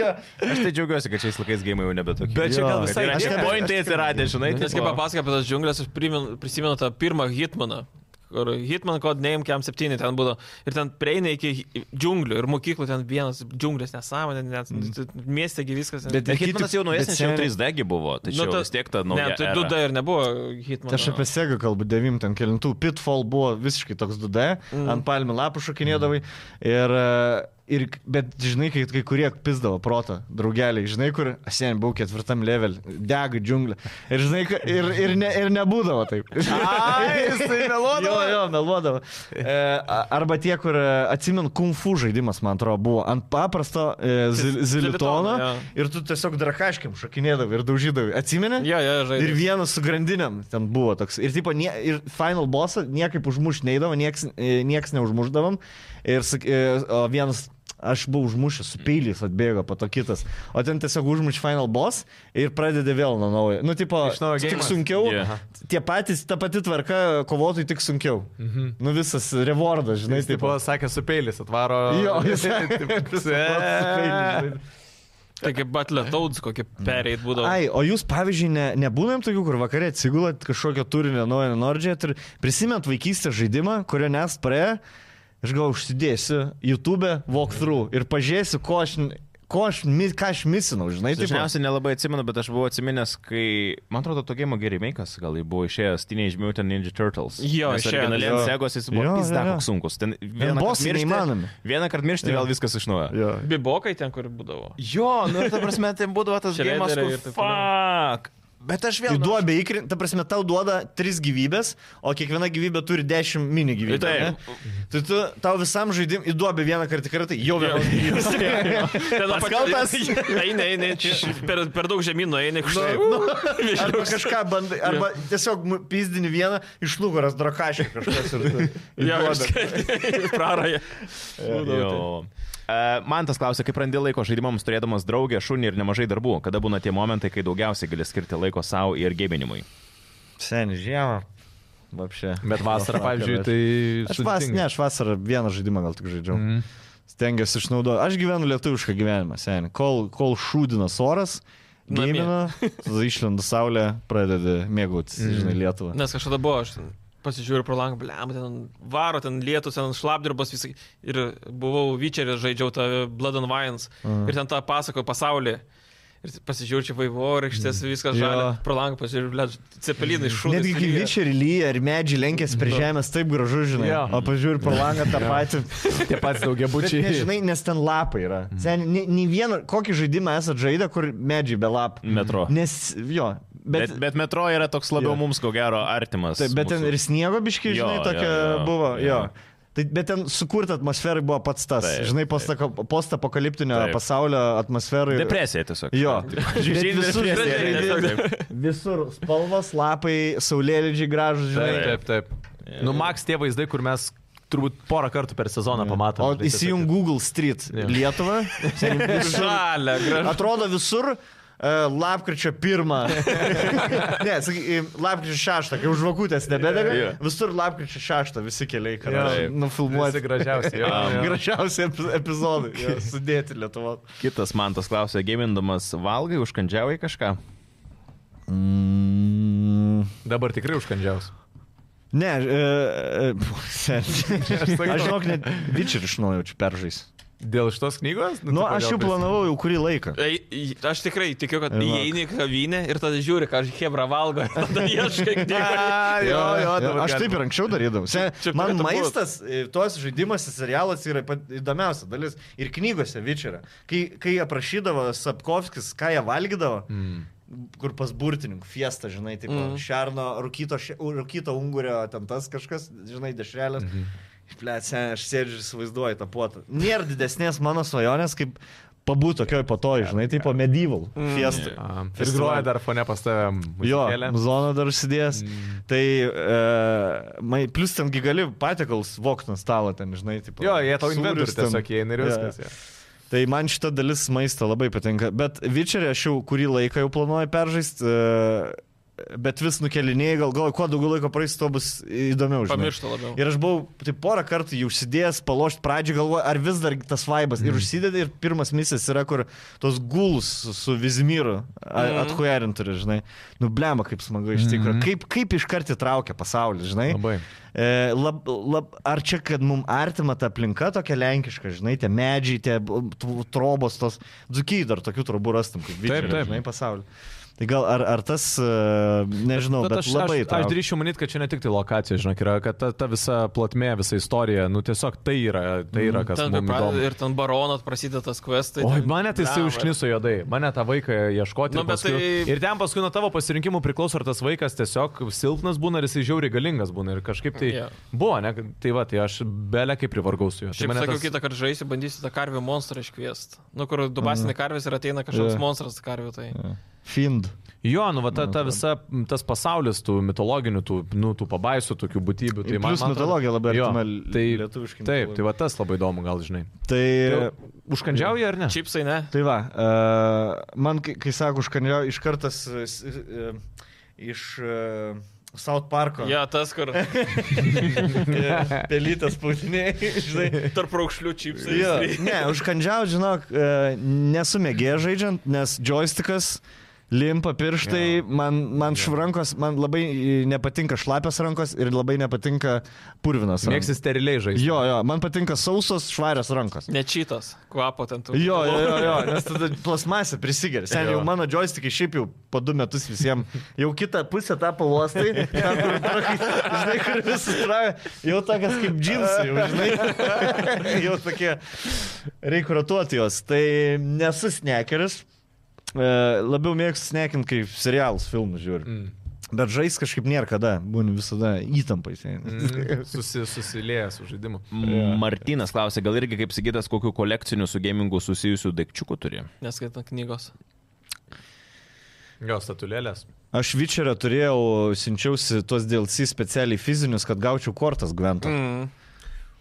Speaker 2: Jo.
Speaker 5: aš tai džiaugiuosi, kad šiais laikais gėjimai jau nebetokie.
Speaker 4: Bet čia gal
Speaker 2: Jo,
Speaker 4: visai
Speaker 2: kad
Speaker 5: Aš
Speaker 2: aš
Speaker 5: tie
Speaker 2: ne-
Speaker 5: pointai atsiradę, žinai.
Speaker 3: Nes
Speaker 5: tipo-
Speaker 3: kaip papasakoja apie tas džiunglės, aš primin, prisimenu tą pirmą Hitmaną. Kur Hitman Code Name Cam 7 ten būdavo. Ir ten prieina iki džiunglių. Ir mokyklų ten vienas džiunglės nesąmonė, net mm. miestė gi viskas.
Speaker 2: Bet
Speaker 5: Bet Hitmanas jau
Speaker 2: bet
Speaker 5: naujesnis, čia jau
Speaker 2: seniai-
Speaker 5: 3D gi buvo, tai čia
Speaker 3: Nu,
Speaker 5: jau
Speaker 3: ta-
Speaker 5: vis tiek ta
Speaker 3: Ne,
Speaker 5: nauja.
Speaker 3: tai
Speaker 5: era.
Speaker 3: 2D ir nebuvo Hitman.
Speaker 2: Aš apie Sega kalbu, 99, Pitfall buvo visiškai toks 2D, mm. ant palmių lapų šokinėdavai. Ir, e, ir, bet žinai, kai, kai kurie pizdavo protą, draugeliai, žinai, kur asien buvau ketvirtam level, dega džiunglė. Ir, žinai, ka- ir, ir, ne, ir nebūdavo taip. Ai, jisai meluodavo. jo, jo, meluodavo. E, a- arba tie, kur e, atsimenu, kung fu žaidimas, man atrodo, buvo ant paprasto e, zil,
Speaker 3: zilitono,
Speaker 2: zilitono.
Speaker 3: jo.
Speaker 2: Ir tu tiesiog drakaškiam šokinėdavai ir daužydavai. Atsimeni?
Speaker 3: Jo, jo,
Speaker 2: Ir
Speaker 3: žaidžiu.
Speaker 2: vienas su grandinėm ten buvo toks. Ir, tipo, nie, ir final bossą niekaip užmušti neįdavo, nieks, e, nieks neužmuždavom. Ir sak- e, o vienas, aš buvau užmušęs, su peiliais atbėgo, po to kitas. O ten tiesiog užmuš final boss ir pradedi vėl nuo naujo. Nu, tipo,
Speaker 4: Iš naujo
Speaker 2: tik
Speaker 4: geimas.
Speaker 2: sunkiau.
Speaker 5: Jo.
Speaker 2: Yeah. Tie patys, ta pati tvarka kovotojai tik sunkiau. Mhm. Nu, visas rewardas, žinai,
Speaker 4: Jis taip
Speaker 2: tipo.
Speaker 4: pasakė, su peilis atvaro.
Speaker 2: Jo, jis-
Speaker 4: Taip, su
Speaker 2: peiliu,
Speaker 4: peiliu.
Speaker 3: Tai kaip Butler Tauds, kokie pereit būdavo.
Speaker 2: Mm. Ai, o jūs, pavyzdžiui, ne, nebūnėm tokių, kur vakarė atsigulat kažkokio turinio naujo Nordžiat ir prisimint vaikystę žaidimą, kurio nes praėjo, aš gal užsidėsiu YouTube walkthrough ir pažiūrėsiu, ko aš, ko aš, mi- ką aš misinau, žinai, taip.
Speaker 1: Dažniausiai nelabai atsimenu, bet aš buvau atsiminęs, kai, man atrodo, to game gerimėkas gal jį buvo išėjęs Teenage Mutant Ninja Turtles.
Speaker 3: Jo,
Speaker 1: Nes
Speaker 3: išėjo,
Speaker 1: originaliai ant
Speaker 2: jo.
Speaker 1: Segos jis
Speaker 2: Jo,
Speaker 1: buvo pizda
Speaker 2: jo, jo.
Speaker 1: koks sunkus. Ten vieną
Speaker 2: bossai
Speaker 1: kartą
Speaker 2: neįmanomi.
Speaker 1: miršti, vieną kartą miršti vėl viskas iš naujo.
Speaker 2: Jo.
Speaker 3: Bibokai ten, kur būdavo.
Speaker 1: Jo, nu ir ta prasme, tai būdavo tas
Speaker 3: Shrederiai
Speaker 1: gėjimas, kur
Speaker 3: ir taip
Speaker 1: fuck. Bet aš
Speaker 2: Tai
Speaker 1: vėl... nu,
Speaker 2: duobė įkrenta, ta prasme, tau duoda 3 gyvybės, o kiekviena gyvybė turi 10 mini gyvybės.
Speaker 1: Taip.
Speaker 2: Tai tu, tau visam žaidimui įduobė vieną kartą tikrai, tai jau vėl.
Speaker 3: Ten
Speaker 2: kaltas.
Speaker 3: Eina, eina, čia per, per daug žemynų eina. Štai,
Speaker 2: Nu, Arba kažką bandai, arba tiesiog mu- pizdini vieną iš nugaras drakašį kažkas ir tu.
Speaker 3: Ja,
Speaker 2: įduoda.
Speaker 3: išskaitai prarąją.
Speaker 1: Jo. E, Man tas klausia, kaip randi laiko žaidimams turėdamas draugę, šunį ir nemažai darbų, kada būna tie momentai, kai daugiausiai gali skirti laiko savo ir gėminimui.
Speaker 2: Seniai žiemą. Vapšė.
Speaker 4: Bet vasarą, pavyzdžiui, tai...
Speaker 2: Aš, vas, ne, aš vasarą vieną žaidimą gal tik žaidžiau. Mm. Stengiuosi išnaudoti. Aš gyvenu lietuvišką gyvenimą, seniai. Kol, kol šūdinas oras,
Speaker 3: Namie.
Speaker 2: gamina, tada išlenda saulė, pradedi mėgautis, mm. žinai, Lietuvą.
Speaker 3: Nes kažkada buvo, aš pasižiūriu pro langą, blem, ten varo, ten lietus, ten šlapdirbos, visai. Ir buvau Vyčeris, žaidžiau tą Blood and Vines.
Speaker 4: Mhm.
Speaker 3: Mm. Ir ten tą pasakoju pasaulį. Ir pasižiūriu, čia vaivorykštės,
Speaker 4: Mm,
Speaker 3: viskas
Speaker 5: Jo.
Speaker 3: žalia. Pro langą pasižiūriu, blem, cepelinai šūnai.
Speaker 5: Netgi gyvyčiai ir lyja, ir medžiai lenkės prie žemės, taip gražu, žinai.
Speaker 4: Jo.
Speaker 5: O pažiūrė pro langą tą patį.
Speaker 4: Tie patys
Speaker 5: Bet
Speaker 4: daugiabučiai.
Speaker 5: nežinai, nes ten lapai yra. Sen, nei, nei vieną, kokį žaidimą esat žaidę, kur medžiai be lapų.
Speaker 1: Metro.
Speaker 2: Mm.
Speaker 5: Nes jo, bet,
Speaker 1: Bet, bet metro yra toks labiau
Speaker 5: Jo.
Speaker 1: mums, ko gero, artimas.
Speaker 5: Taip, bet ten
Speaker 1: mūsų.
Speaker 5: ir sniego biški,
Speaker 1: Jo,
Speaker 5: žinai,
Speaker 1: jo,
Speaker 5: tokia
Speaker 1: jo,
Speaker 5: buvo.
Speaker 1: jo.
Speaker 5: Jo. Tai, bet ten sukurta atmosfera buvo pats tas,
Speaker 1: Taip,
Speaker 5: taip, žinai, postako- postapokaliptinio
Speaker 1: Taip.
Speaker 5: post pasaulio atmosfera. ir-
Speaker 1: Depresija tiesiog.
Speaker 5: Jo,
Speaker 1: Žiūrėk,
Speaker 5: Bet visur, žaidi- visur spalvos, lapai, saulėlydžiai gražus, žinai.
Speaker 4: Taip, taip, taip. Nu, Max tie vaizdai, kur mes turbūt porą kartų per sezoną
Speaker 5: Mm. O
Speaker 4: pamatome. Tai
Speaker 5: įsijung Google Street
Speaker 4: Jo.
Speaker 5: Lietuvą. Sen visur-
Speaker 3: Žalia, gražu.
Speaker 5: Atrodo visur. e, Lapkričio pirmą. ne, sakyk, e, lapkričio šeštą, kai už vakutės nebedega.
Speaker 1: Jo.
Speaker 5: Visur lapkričio šeštą visi keliai,
Speaker 4: Jo.
Speaker 5: kada
Speaker 4: Visi
Speaker 5: nufilmuoti.
Speaker 4: gražiausi. Jo, jo.
Speaker 5: Gražiausi ep- epizodai jo, sudėti Lietuvo.
Speaker 1: Kitas man tas klausė, gėmindamas, valgai, užkandžiavai kažką?
Speaker 4: Dabar tikrai užkandžiaus.
Speaker 5: Mm, Ne, e, e, sen- aš žinok, net Vičer iš naujo čia peržais.
Speaker 4: Dėl šitos knygos? tai
Speaker 5: Nu,
Speaker 4: kodėl
Speaker 5: aš jau
Speaker 4: prisimeni?
Speaker 5: planavau jau kurį laiką.
Speaker 3: Ei, į- Aš tikrai tikiu, kad
Speaker 5: Žinok.
Speaker 3: įeini į kavinę ir tada žiūri, ką Hebra valgo. ir Tada ieškai knygų.
Speaker 4: A, jo, jo, dabar
Speaker 5: aš taip ir anksčiau darydavau. Se,
Speaker 3: Čia
Speaker 5: man
Speaker 3: turėtų būt.
Speaker 5: maistas, e, tos žaidimuose serialas yra pat įdomiausia dalis. Ir knygose Vičerio. Kai, kai aprašydavo Sapkovskis, ką jie valgydavo, mm. kur pas burtininkų fiesta, žinai, taip, mm. šerno, rūkyto, še- u- rūkyto ungurio, ten tas kažkas, žinai, dešrelės. Mm -hmm. Pliat, sen, aš sėdžiu ir įsivaizduoju tą puotą. Nėra didesnės mano svajonės, kaip pabūti tokioj patoj, žinai, taip po medieval fiestai. Mm.
Speaker 4: A, Ir groja dar fone pas tave.
Speaker 5: Jo,
Speaker 4: muzikėlę.
Speaker 5: zoną dar užsidėjęs. Mm. Tai, e, mai, plus ten gi gali patiekalus vokti ant stalo, ten, žinai, taip.
Speaker 4: Jo, jie tau inventorių tiesiog įeina ir
Speaker 5: Jo,
Speaker 4: viskas.
Speaker 5: jo.
Speaker 4: jo.
Speaker 5: Tai man šita dalis maisto labai patinka. Bet Vičerį aš jau kurį laiką jau planuoju peržaisti, e, bet vis nukelinėjai, gal galvoju, kuo daugiau laiko praeis, tuo bus įdomiau. žinai.
Speaker 3: Pamiršta labiau.
Speaker 5: Ir aš buvau tai porą kartų jau užsidėjęs, palošti pradžią, galvoju, ar vis dar tas vaibas.
Speaker 4: Mhm.
Speaker 5: Mm. Ir užsidedi, ir pirmas misijas yra, kur tos gulus su- su Vizmiru
Speaker 3: Mhm.
Speaker 5: mm. atkuerint turi, žinai. Nu, blema, kaip smagu iš tikrųjų. Mm. Kaip, kaip iš karto traukia pasaulis, žinai.
Speaker 4: Mhm. Labai.
Speaker 5: E, lab, lab, ar čia, kad mums artima ta aplinka tokia lenkiška, žinai, tie medžiai, tie b- t- trobos, tos dzukiai dar tokių trobų rastum, kaip
Speaker 4: Taip,
Speaker 5: Vizmiru,
Speaker 4: taip.
Speaker 5: žinai, pasaulį. Tai gal ar, ar tas, e, nežinau, bet,
Speaker 4: Nu,
Speaker 5: bet
Speaker 4: aš,
Speaker 5: labai
Speaker 4: aš, aš
Speaker 5: traukia.
Speaker 4: drįšiu manyti, kad čia ne tik tai lokacija, žinok, yra, kad ta, ta visa plotmė, visa istorija, nu tiesiog tai yra, tai yra kas
Speaker 3: Ten, kai
Speaker 4: mums
Speaker 3: pradeda
Speaker 4: įdomu.
Speaker 3: ir ten baronat prasideda tas questai.
Speaker 4: Oi,
Speaker 3: ten-
Speaker 4: mane tai jisai
Speaker 3: Blemba.
Speaker 4: užkniso jodai, mane tą vaiką ieškoti.
Speaker 3: Nu,
Speaker 4: ir
Speaker 3: bet
Speaker 4: paskui,
Speaker 3: tai-
Speaker 4: Ir ten paskui nuo tavo pasirinkimų priklauso, ar tas vaikas tiesiog silpnas būna, ar jisai žiauriai galingas būna. Ir kažkaip tai
Speaker 3: Jo.
Speaker 4: yeah. buvo, ne? Tai va, tai aš belė kaip privargau su juo. Tai
Speaker 3: Šiaip
Speaker 4: mane
Speaker 3: sakiau,
Speaker 4: tas-
Speaker 3: kitą kartą žaisiu, bandysiu tą karvių monstrą iškviesti. Nu, kur dubasinė karvės ir ateina kažkoks
Speaker 5: Mhm. Jo.
Speaker 3: monstras karvių. Tai.
Speaker 5: Find.
Speaker 4: Jo, nu, va, ta, ta visa, m, tas pasaulis tų mitologinių, tų, nu, tų pabaisų, tokių būtybių. tai
Speaker 5: Ir plius
Speaker 4: atrodo-
Speaker 5: mitologija labai
Speaker 4: Jo,
Speaker 5: artima l-
Speaker 4: tai,
Speaker 5: lietuviškai
Speaker 4: Taip,
Speaker 5: mitologijai.
Speaker 4: tai va tas labai įdomu, gal žinai.
Speaker 5: Tai...
Speaker 4: Užkandžiauja ar ne?
Speaker 3: Čipsai, ne?
Speaker 5: Tai va, uh, man, kai, kai sako, užkandžiau iš kartas uh, iš uh, South Parko.
Speaker 3: Ja, tas, kur
Speaker 5: Yeah. Pelytas spaudiniai, žinai.
Speaker 3: tarp raukšlių čipsai.
Speaker 5: Jo, ne, užkandžiau, žinok, uh, nesumėgė žaidžiant, nes joystickas limpa pirštai, yeah. man, man yeah. šrankos, man labai e, nepatinka šlapios rankos ir labai nepatinka purvinas.
Speaker 4: Mėgsi
Speaker 5: rankos.
Speaker 4: steriliai žaisti.
Speaker 5: Jo, jo, man patinka sausos, švarios rankos.
Speaker 3: Ne čitas, kvapo ten tu.
Speaker 5: Jo, jo, jo, jo, nes tada plasmasė prisigeria. Sen jau mano joystickai šiaip jau po du metus visiems. Jau kitą pusę tą pavostai. Žinai, kur visi travė. Jau tokias kaip džinsai, jau, žinai. Jau tokie. Reikia ratuoti juos. Tai nesu snekeris. E, Labiau mėgstu snekint, kai serialus, filmus žiūriu.
Speaker 4: Mm.
Speaker 5: Bet žais kažkaip nėra kada. Būni visada įtampai.
Speaker 4: Mm, Susi, susilėjęs su žaidimu.
Speaker 5: Mm.
Speaker 1: Martinas klausė, gal irgi kaip sakytas, kokiu kolekciniu su gamingu susijusiu daikčiuku turi?
Speaker 3: Neskaitant knygos.
Speaker 4: Jo, statulėlės.
Speaker 5: Aš Vičerą turėjau, siunčiausi tuos DLC specialiai fizinius, kad gaučiau kortas Gvento.
Speaker 3: Mm.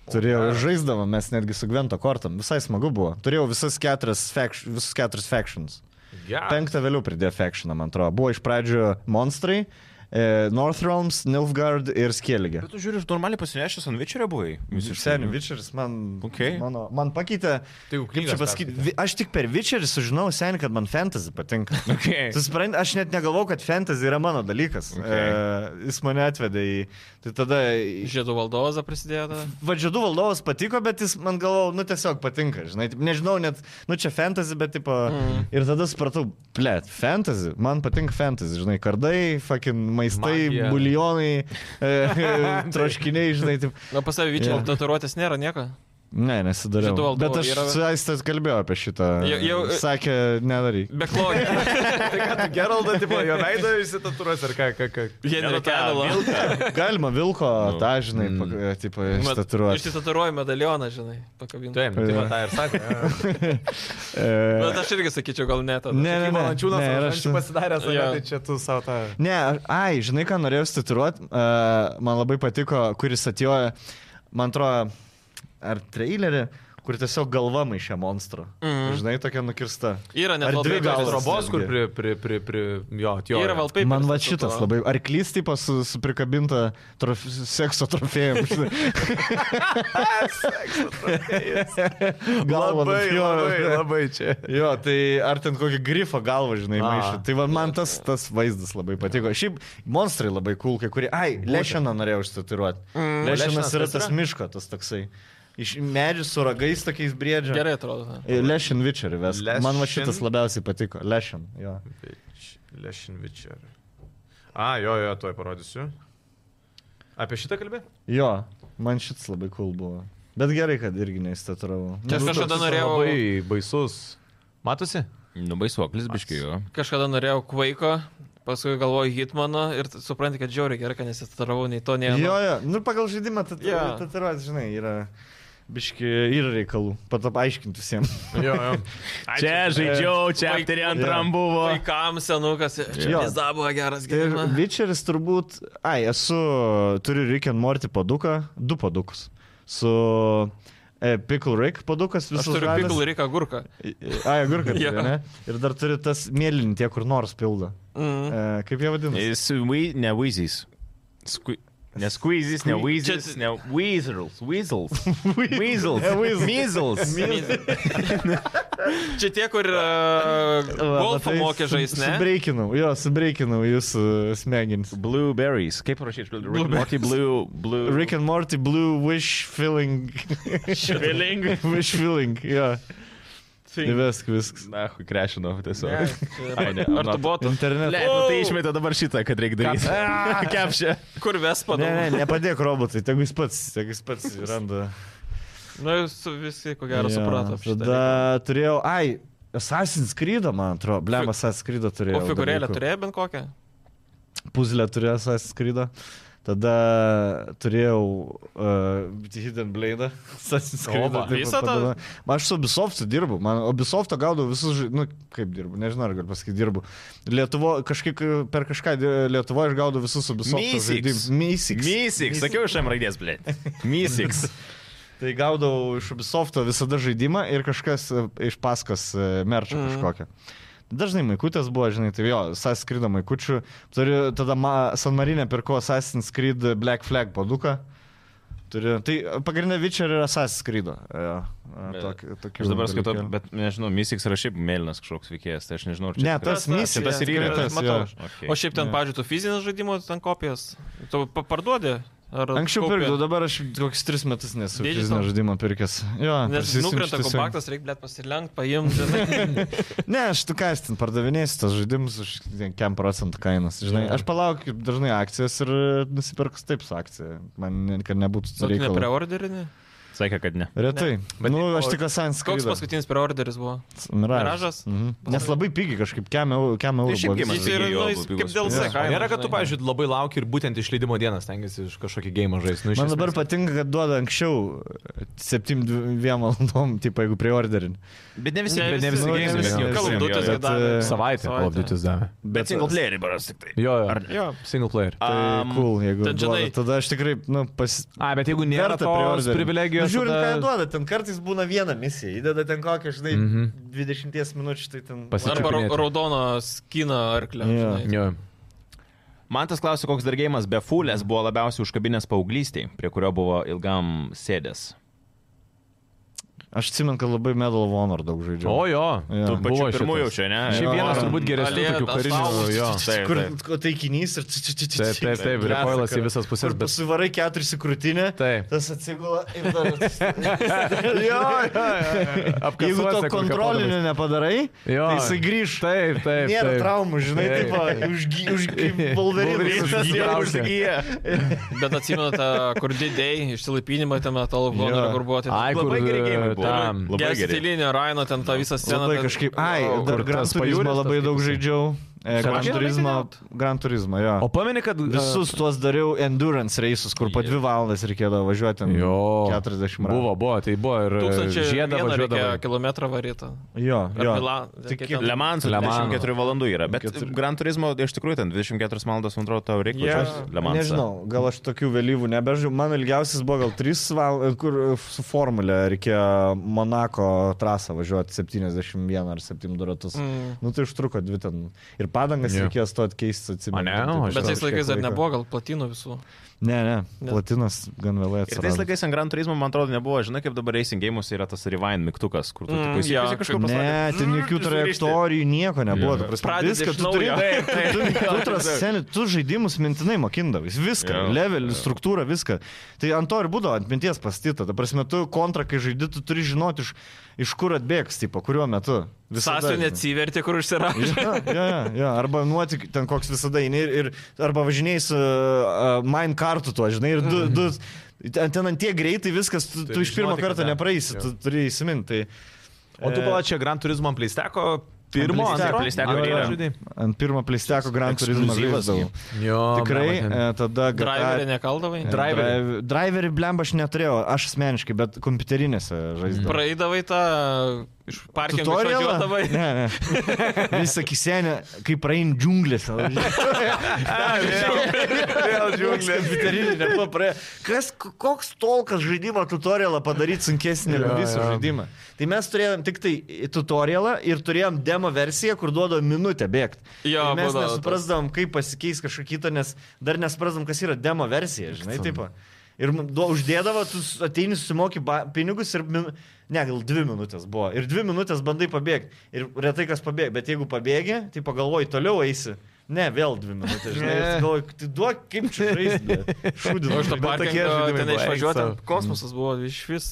Speaker 5: Turėjau ir žaisdavą, mes netgi su Gvento kortam. Visai smagu buvo. Turėjau visas keturias, fact, visus keturis factions.
Speaker 4: Ja.
Speaker 5: Penktą vėliau pridėjo factioną, man atrodo. Buvo iš pradžio monstrai, e, North Realms, Nilfgaard ir Skellige.
Speaker 6: Bet tu žiūri, normaliai pasinešęs ant vičerio buvai.
Speaker 5: Seniai, Witcheris man,
Speaker 6: Okei.
Speaker 5: mano, man pakeitė.
Speaker 4: Tai jau
Speaker 5: Kaip
Speaker 4: knygas
Speaker 5: čia pasakyti, vi- aš tik per Witcherį sužinojau seniai, kad man fantasy patinka.
Speaker 6: Okay.
Speaker 5: Susprant, aš net negalvau, kad fantasy yra mano dalykas.
Speaker 6: Okay.
Speaker 5: E, jis mane atvedė į... Tai tada... į-
Speaker 3: Žiedų valdovas prasidėjo. tada.
Speaker 5: Vadžiadų valdovas patiko, bet jis man galvau, nu tiesiog patinka, žinai, taip, nežinau net, nu čia fantasy, bet tipo... Mm. Ir tada supratau, ble, fantasy, man patinka fantasy, žinai, kardai, fucking maistai,
Speaker 4: Magija.
Speaker 5: buljonai, e, troškiniai, žinai, taip.
Speaker 3: Na, pas savį vyčio
Speaker 5: Jo.
Speaker 3: tatuiruotės nėra nieko.
Speaker 5: Ne, nesidariau.
Speaker 3: Žiedų valdovo
Speaker 5: Bet aš
Speaker 3: yra-
Speaker 5: su Aistas kalbėjau apie šitą.
Speaker 3: Jau- jau-
Speaker 5: Sakė, nedaryk.
Speaker 3: Beklogė.
Speaker 4: Tai ką, tu Geraldą, tipo, jo veidą įsitatūros ar ką, ką, ką.
Speaker 3: Henry Cavill.
Speaker 5: Galima vilko,
Speaker 6: Nu.
Speaker 5: tą, žinai, mm. tipo,
Speaker 3: Nu,
Speaker 5: staturuoti.
Speaker 3: Išsitatuiruoju medalioną, žinai, pakabinti.
Speaker 4: Taip, tai va tą ir sakė.
Speaker 3: Bet aš irgi sakyčiau, gal net.
Speaker 5: Ne, ne, ne,
Speaker 4: Valančiūnas,
Speaker 5: ne, ir aš
Speaker 4: aš čia pasidaręs,
Speaker 3: Jo.
Speaker 4: tai čia tu savo tą...
Speaker 5: Ne, aš- ai, žinai, ką norėjau statiruoti, uh, man labai patiko, kuris atėjo, man atrodo, ar trailerį, kur tiesiog galva maišė monstro. Mm.
Speaker 3: Mhm.
Speaker 5: Žinai, tokia nukirsta.
Speaker 3: Yra net
Speaker 5: Ar dvi
Speaker 3: wallpaperis.
Speaker 5: galas?
Speaker 4: Tai Robos, kur pri, pri, pri, pri, jo, jo.
Speaker 3: Yra valpai.
Speaker 5: Man va šitas labai. Arklys tipo su, su prikabinta trof, sekso trofėjim. žinai. Galva
Speaker 4: Labai,
Speaker 5: ant jo.
Speaker 4: labai, labai čia.
Speaker 5: Jo, tai ar ten kokį grifą galvą, žinai,
Speaker 4: A.
Speaker 5: maišė. Tai va, man tas, tas vaizdas labai patiko. Šiaip monstrai labai kulkai, kurie... Ai, lešeną norėjau išstatiruoti. Mm, Lešenas
Speaker 4: Lešinas
Speaker 5: yra
Speaker 4: kas
Speaker 5: tas
Speaker 4: yra?
Speaker 5: miško, tas toksai. Iš medžių su ragais tokiais briedžiais.
Speaker 3: Gerai atrodo.
Speaker 5: Lešin Witcher, ves. Man va
Speaker 4: Lešin?
Speaker 5: šitas labiausiai patiko. Lešin, jo.
Speaker 4: Lešinvičer. A, jo, jo, tuoj parodysiu. Apie šitą kalbė?
Speaker 5: Jo, man šitas labai cool buvo. Bet gerai, kad irgi neįstatiravau.
Speaker 3: Čia aš kažkada norėjau,
Speaker 4: Labai baisus. Matosi?
Speaker 6: Nu, baisuoklis biškiai jo.
Speaker 3: kažkada norėjau Quake'o, paskui galvoju Hitmano ir t- supranti, kad džiaugiu gerai, kad nesitaravau nei to, nei... ano.
Speaker 5: Jo, jo, nu pagal žaidimą
Speaker 3: Jo.
Speaker 5: tatuiruotas, žinai, yra biški ir reikalų. Patap aiškinti visiems.
Speaker 4: Jo, jo.
Speaker 1: Čia žaidžiau, čia aptarė antram buvo.
Speaker 3: Vaikams senukas,
Speaker 5: Jo.
Speaker 3: jis dar buvo geras
Speaker 5: Ir
Speaker 3: gyvenimas.
Speaker 5: Witcheris turbūt, ai, esu, turiu Rick and Morty paduką, du padukus. Su e, Pickle Rick padukas visą
Speaker 3: Aš turiu Pikul ir Rika Gurką.
Speaker 5: Ai, agurka,
Speaker 3: Jo.
Speaker 5: ja. ne? Ir dar turiu tas mėlynį tie, kur nors pildo.
Speaker 3: Mhm.
Speaker 5: E, kaip jie vadinasi?
Speaker 1: Jis wee- ne Weezys. Ne Squeezys, ne Weezys,
Speaker 3: Čia-
Speaker 1: ne Weasels. Weasels. Weasels.
Speaker 5: Ne, weasels.
Speaker 1: Weasels.
Speaker 3: Čia tie, kur uh,
Speaker 5: Va,
Speaker 3: golfą
Speaker 5: matai,
Speaker 3: mokė
Speaker 5: su-
Speaker 3: žaisti, ne?
Speaker 5: Subreikinau, jo, subreikinau jūsų smegenis.
Speaker 1: Blueberries. Kaip parašyti? Rick and Morty Blue. Blue.
Speaker 5: Rick and Morty Blue Wish Filling.
Speaker 3: Švilingai.
Speaker 5: wish Filling, jo. Tai viskas, viskas.
Speaker 1: Na, krešinau
Speaker 3: Ne,
Speaker 1: tiesiog.
Speaker 3: čia-
Speaker 1: Ai, ne,
Speaker 3: Ar tu
Speaker 1: not-
Speaker 3: botų?
Speaker 5: Internet.
Speaker 1: Ne, nu tai išmetė dabar šitą, kad reikia daryti. Kepšė.
Speaker 3: Kur ves
Speaker 5: Ne, ne,
Speaker 3: padomė?
Speaker 5: nepadėk robotui, tegu jis pats, tegu jis pats randa.
Speaker 3: Na, Nu, jūs visi, ko gero,
Speaker 5: Jo,
Speaker 3: suprato.
Speaker 5: Tada turėjau, ai, Assassin's Creed, man atrodo, blem,
Speaker 3: Fi-
Speaker 5: Assassin's Creed turėjau.
Speaker 3: O figūrėlę
Speaker 5: dalykų.
Speaker 3: turėjo bent kokią?
Speaker 5: Puzlę turėjau Assassin's Creed. Tada turėjau uh, Hidden Blade. Assassin's Creed.
Speaker 3: Oba.
Speaker 5: taip
Speaker 3: Visą tą?
Speaker 5: padovanojo. Man- Aš su Ubisoftu dirbu, man Ubisofto gaudau visus, žai- nu kaip dirbu, nežinau ar galiu pasakyti dirbu. Lietuvo, kažkaip per kažką di- Lietuvoje aš gaudau visus Ubisofto
Speaker 1: Mysiks.
Speaker 5: žaidimus. Mysiks.
Speaker 1: Mysiks, sakiau iš M raidės, blė. Mysiks.
Speaker 5: Tai gaudavau iš Ubisofto visada žaidimą ir kažkas e, iš paskos merčio mm. kažkokią. Dažnai maikutės buvo, žinai, tai jo, Assassin's Creed maikučių. Turiu tada ma, San Marinę pirko Assassin's Creed Black Flag paduką. Turiu, tai pagrindinė Witcher yra Assassin's Creed. e,
Speaker 1: Aš
Speaker 5: Aš
Speaker 1: dabar skaitau, bet nežinau, Mysiks yra šiaip mėlynas kažkoks veikėjas, tai aš nežinau, ar čia.
Speaker 5: Ne,
Speaker 1: tikrai-
Speaker 5: tas
Speaker 3: tas-
Speaker 5: misija.
Speaker 3: tas ir yra, tas matau.
Speaker 1: Okay.
Speaker 3: O šiaip ten,
Speaker 5: Ne.
Speaker 3: pažiūrėjau, tu fizinės žaidimo ten kopijas. Tu pa- parduodi? Ar
Speaker 5: Anksčiau
Speaker 3: kaupi?
Speaker 5: pirkdavau, dabar aš kokius tris metus nesu
Speaker 3: Digital?
Speaker 5: fizinio žaidimo pirkęs. Jo,
Speaker 3: Nes
Speaker 5: prisiimsiu
Speaker 3: nukrenta
Speaker 5: tiesiog.
Speaker 3: kompaktas, reikia blėt pasilenkti, paimti.
Speaker 5: Ne, aš tu ką, aš ten pardavinėsiu tos žaidimus už ten kiem procentų kainos. Žinai, aš palaukiu dažnai akcijas ir e, nusipirkus taip su akcija. Man ne, kad nebūtų
Speaker 3: Sakykime,
Speaker 5: reikalo.
Speaker 3: preorderinį.
Speaker 1: Sakė, kad ne.
Speaker 5: Retai. Bet nu, aš
Speaker 4: o-
Speaker 5: tik Asans.
Speaker 3: Koks paskutinis preorderis buvo? Miražas?
Speaker 5: Mhm. Nes labai pigiai kažkaip, kem eurų. Kem eurų
Speaker 1: Tai šiaip
Speaker 5: buvo
Speaker 1: gėmas.
Speaker 5: visas.
Speaker 3: Jis yra,
Speaker 1: jo,
Speaker 3: nu, jis
Speaker 1: buvo
Speaker 3: kaip
Speaker 1: pigus.
Speaker 3: dėl
Speaker 5: Jo.
Speaker 3: seka.
Speaker 4: Nėra, kad tu, pavyzdžiui, labai lauki ir būtent išleidimo dieną stengiasi iš kažkokį gėjimą žaisti. Nu, iš
Speaker 5: Man dabar
Speaker 4: esmės.
Speaker 5: patinka, kad duoda anksčiau 7-2 valandom, tipo jeigu priorderin.
Speaker 1: Bet ne
Speaker 3: Ne
Speaker 1: bet
Speaker 3: visi,
Speaker 5: ne visi,
Speaker 1: bet jo,
Speaker 5: Call of
Speaker 1: jo,
Speaker 3: Duty's
Speaker 1: jo.
Speaker 5: bet, e,
Speaker 4: savaitę. Call of Duty's davė.
Speaker 1: Bet single player baras tik tai.
Speaker 4: Jo, jo.
Speaker 1: Ar
Speaker 4: jo. Single player.
Speaker 5: Tai
Speaker 1: Am,
Speaker 5: um, cool, jeigu
Speaker 3: ten,
Speaker 5: duoda,
Speaker 3: žinai-
Speaker 5: tada aš tikrai, nu, pas...
Speaker 4: A, bet jeigu nėra
Speaker 5: verta
Speaker 4: tos
Speaker 5: priorderint.
Speaker 4: privilegijos.
Speaker 5: Nu, Žiūrint, ką jie
Speaker 4: tada-
Speaker 5: duoda, ten kartais būna viena misija, įdeda ten kokią, žinai,
Speaker 4: Mhm.
Speaker 5: 20 minučių, tai ten...
Speaker 4: Pasi-
Speaker 3: Arba
Speaker 4: Čiupinėti.
Speaker 3: raudono skino arklio.
Speaker 5: Jo.
Speaker 3: žinai.
Speaker 4: Jo.
Speaker 1: Man tas klausė, koks dar gėjimas be fulės buvo labiausiai užkabinęs paauglystiai, prie kurio buvo ilgam sėdęs.
Speaker 2: Aš atsimenu, kad labai Medal of Honor daug žaidžiau.
Speaker 4: O jo,
Speaker 2: Jo.
Speaker 4: tu
Speaker 2: Tų
Speaker 1: Pačiu
Speaker 4: buvo
Speaker 1: pirmųjų
Speaker 4: šitas.
Speaker 1: čia, ne?
Speaker 4: Šiaip vienas
Speaker 2: Jo.
Speaker 4: turbūt geresnių
Speaker 3: Alienas,
Speaker 4: tokių karinių.
Speaker 3: Saulus.
Speaker 4: Jo.
Speaker 1: Taip,
Speaker 2: Kur
Speaker 1: taip.
Speaker 2: ko taikinys ir... Taip,
Speaker 4: Taip, taip, taip, repoilas į visas pusės,
Speaker 2: Kur
Speaker 4: bet...
Speaker 2: pasivarai keturis į krūtinę,
Speaker 4: Taip.
Speaker 2: tas atsigula ir dar...
Speaker 4: Jo, jo, jo.
Speaker 2: Jeigu to
Speaker 4: Apkasuose kur
Speaker 2: kontrolinio
Speaker 4: kapodamas.
Speaker 2: nepadarai,
Speaker 4: Jo.
Speaker 2: tai jisai grįž.
Speaker 4: Taip, taip.
Speaker 2: Nėra
Speaker 4: taip.
Speaker 2: traumų, žinai,
Speaker 4: Taip.
Speaker 2: taip, va, užgy, užgy,
Speaker 4: Wolverine'as
Speaker 2: Wolverine'as
Speaker 4: užgyja.
Speaker 2: jau
Speaker 4: Traukė.
Speaker 2: užgyja.
Speaker 3: Bet atsimenu tą, kur didėjai, išsilaipinimą ten metalo
Speaker 2: Jo.
Speaker 3: voną, kur buvo ten.
Speaker 4: Ai, kur
Speaker 1: Labai geri gėjimai buvo.
Speaker 4: tam.
Speaker 1: Labai
Speaker 3: Geras
Speaker 1: geri.
Speaker 3: stilinio Raino, ten tą visą sceną.
Speaker 2: Labai
Speaker 3: ten-
Speaker 2: kažkaip. Ai,
Speaker 3: Wow.
Speaker 2: dar
Speaker 4: kur
Speaker 2: Gran
Speaker 4: tas
Speaker 2: Turismo
Speaker 4: pajūris
Speaker 2: labai
Speaker 4: tas
Speaker 2: daug
Speaker 4: kaip jisai.
Speaker 2: žaidžiau. E, Gran
Speaker 4: Čia
Speaker 2: Turismo, Gran Turismo, jo.
Speaker 4: O pameni, kad e,
Speaker 2: Visus tuos dariau endurance reisus, kur po dvi valandas reikėdavo važiuoti. ten
Speaker 4: Jo.
Speaker 2: 40 metų.
Speaker 4: Buvo, buvo, tai buvo ir e, žiedą
Speaker 3: 1001
Speaker 4: važiuodavo.
Speaker 3: reikia kilometrą varytą.
Speaker 2: Jo,
Speaker 3: Ar
Speaker 2: jo.
Speaker 3: Milan.
Speaker 2: Tik
Speaker 3: kiek ten-
Speaker 1: Le Mans
Speaker 4: Le Mans.
Speaker 1: 24 valandų yra, bet
Speaker 2: Keturi.
Speaker 1: Gran Turismo iš tikrųjų ten 24 valandas, man atrodo, tau reikia
Speaker 3: Jo.
Speaker 1: važiuoti Le Mans.
Speaker 2: Nežinau, gal aš tokių vėlyvų nebežaidžiu. Mano ilgiausias buvo gal 3 valandas, kur e, su formulė reikėjo Monako trasą važiuoti 71 ar 72 ratus. Mm.
Speaker 3: Mm.
Speaker 2: Nu tai užtruko dvi ten. Ir padangas
Speaker 4: Jo.
Speaker 2: yeah. reikėjo stoti keisti, atsimenu.
Speaker 4: O ne?
Speaker 2: Ten
Speaker 4: O,
Speaker 2: taip
Speaker 3: Bet
Speaker 2: toliau
Speaker 3: tais laikais dar
Speaker 2: kažkiek laiko.
Speaker 3: nebuvo gal platinų visų.
Speaker 2: Ne, ne,
Speaker 3: Ne.
Speaker 2: platinas gan vėlai
Speaker 1: Ir tais
Speaker 2: atsirado.
Speaker 1: laikais ant Gran Turismo, man atrodo, nebuvo, žinai, kaip dabar racing gėjimuose yra tas rewind mygtukas, kur tu
Speaker 3: Mm,
Speaker 1: mm,
Speaker 3: jo,
Speaker 1: ja, kažkur
Speaker 3: kaip-
Speaker 2: Ne, ten jokių
Speaker 1: surišti.
Speaker 2: trajektorijų, nieko nebuvo. ta prasme,
Speaker 3: Pradedi
Speaker 2: Viską
Speaker 3: iš
Speaker 2: tu turi.
Speaker 3: naujo.
Speaker 2: Tu, tu, tras- seni, tu žaidimus mintinai mokindavai. Viską.
Speaker 1: Jo.
Speaker 2: Levelį, struktūrą, viską. Tai ant to ir būdavo ant minties pastyta. Ta prasme, tu kontra, kai žaidži, tu turi žinoti, iš, iš kur atbėgs, tipo, kuriuo metu.
Speaker 3: Sąsių
Speaker 2: žinai.
Speaker 3: neatsiverti, kur užsirašė.
Speaker 2: Jo, jo, jo. Arba nuotik ten koks visada eini ir, ir arba važiniai su uh, minecartu tuo, žinai, ir du, du, ten, ten ant tie greitai viskas, tu, tu iš pirmo
Speaker 4: Mhm. žinoti,
Speaker 2: karto
Speaker 4: kad ten-
Speaker 2: nepraeisi, tu turi Tai įsiminti.
Speaker 4: O tu pala čia Gran Turismo pleisteko pirmo,
Speaker 2: Ant
Speaker 4: antro.
Speaker 1: Playsteko
Speaker 4: Antro
Speaker 1: yra.
Speaker 4: žaidei?
Speaker 2: Ant pirmo plėsteko Grand Turismo
Speaker 1: Ekskliuzyvas
Speaker 2: žaisdavau.
Speaker 4: Jo.
Speaker 2: Tikrai,
Speaker 4: blemba,
Speaker 2: e, tada GTA-
Speaker 3: Driverį nekaldavai.
Speaker 2: e, drive-
Speaker 4: Driverį.
Speaker 2: Driverį blemba aš neturėjau, aš asmeniškai, bet kompiuterinėse žaisdavau.
Speaker 3: Praeidavai tą iš parkingo
Speaker 2: Tutorialą?
Speaker 3: išvažiuodavai.
Speaker 2: Ne, ne. Visą kisenę, kai praein džiunglėse. Vėl džiunglės. Kompiuterinė nebuvo praėję. Kas, koks tolkas žaidimo tutorialą padaryti sunkesnį
Speaker 4: Jo,
Speaker 2: negu visą
Speaker 4: jo.
Speaker 2: žaidimą? Tai mes turėjom tik tai tutorialą ir turėjom demo versiją, kur duodo minutę bėgti.
Speaker 3: Jo,
Speaker 2: Ir mes
Speaker 3: būdavo tas.
Speaker 2: nesuprasdavom, kaip pasikeis kažkokia kita, nes dar nesuprasdavom, kas yra demo versija, žinai, taip. Ir mum duo- uždėdavo, tu s- ateini, susimoki ba- pinigus ir, min... ne, gal dvi minutės buvo. Ir dvi minutės bandai pabėgti. Ir retai kas pabėga, bet jeigu pabėgi, tai pagalvoji, toliau eisi. Ne, vėl dvi minutės. Žinai, ir tu galvoji, tai duok, kaip čia žaisti.
Speaker 3: O iš to
Speaker 2: Šūdinu.
Speaker 4: tokie
Speaker 3: parkingo
Speaker 4: žaidimai
Speaker 3: ten
Speaker 4: buvo,
Speaker 3: išvažiuoti.
Speaker 4: eik sau.
Speaker 3: Kosmosas buvo iš vis.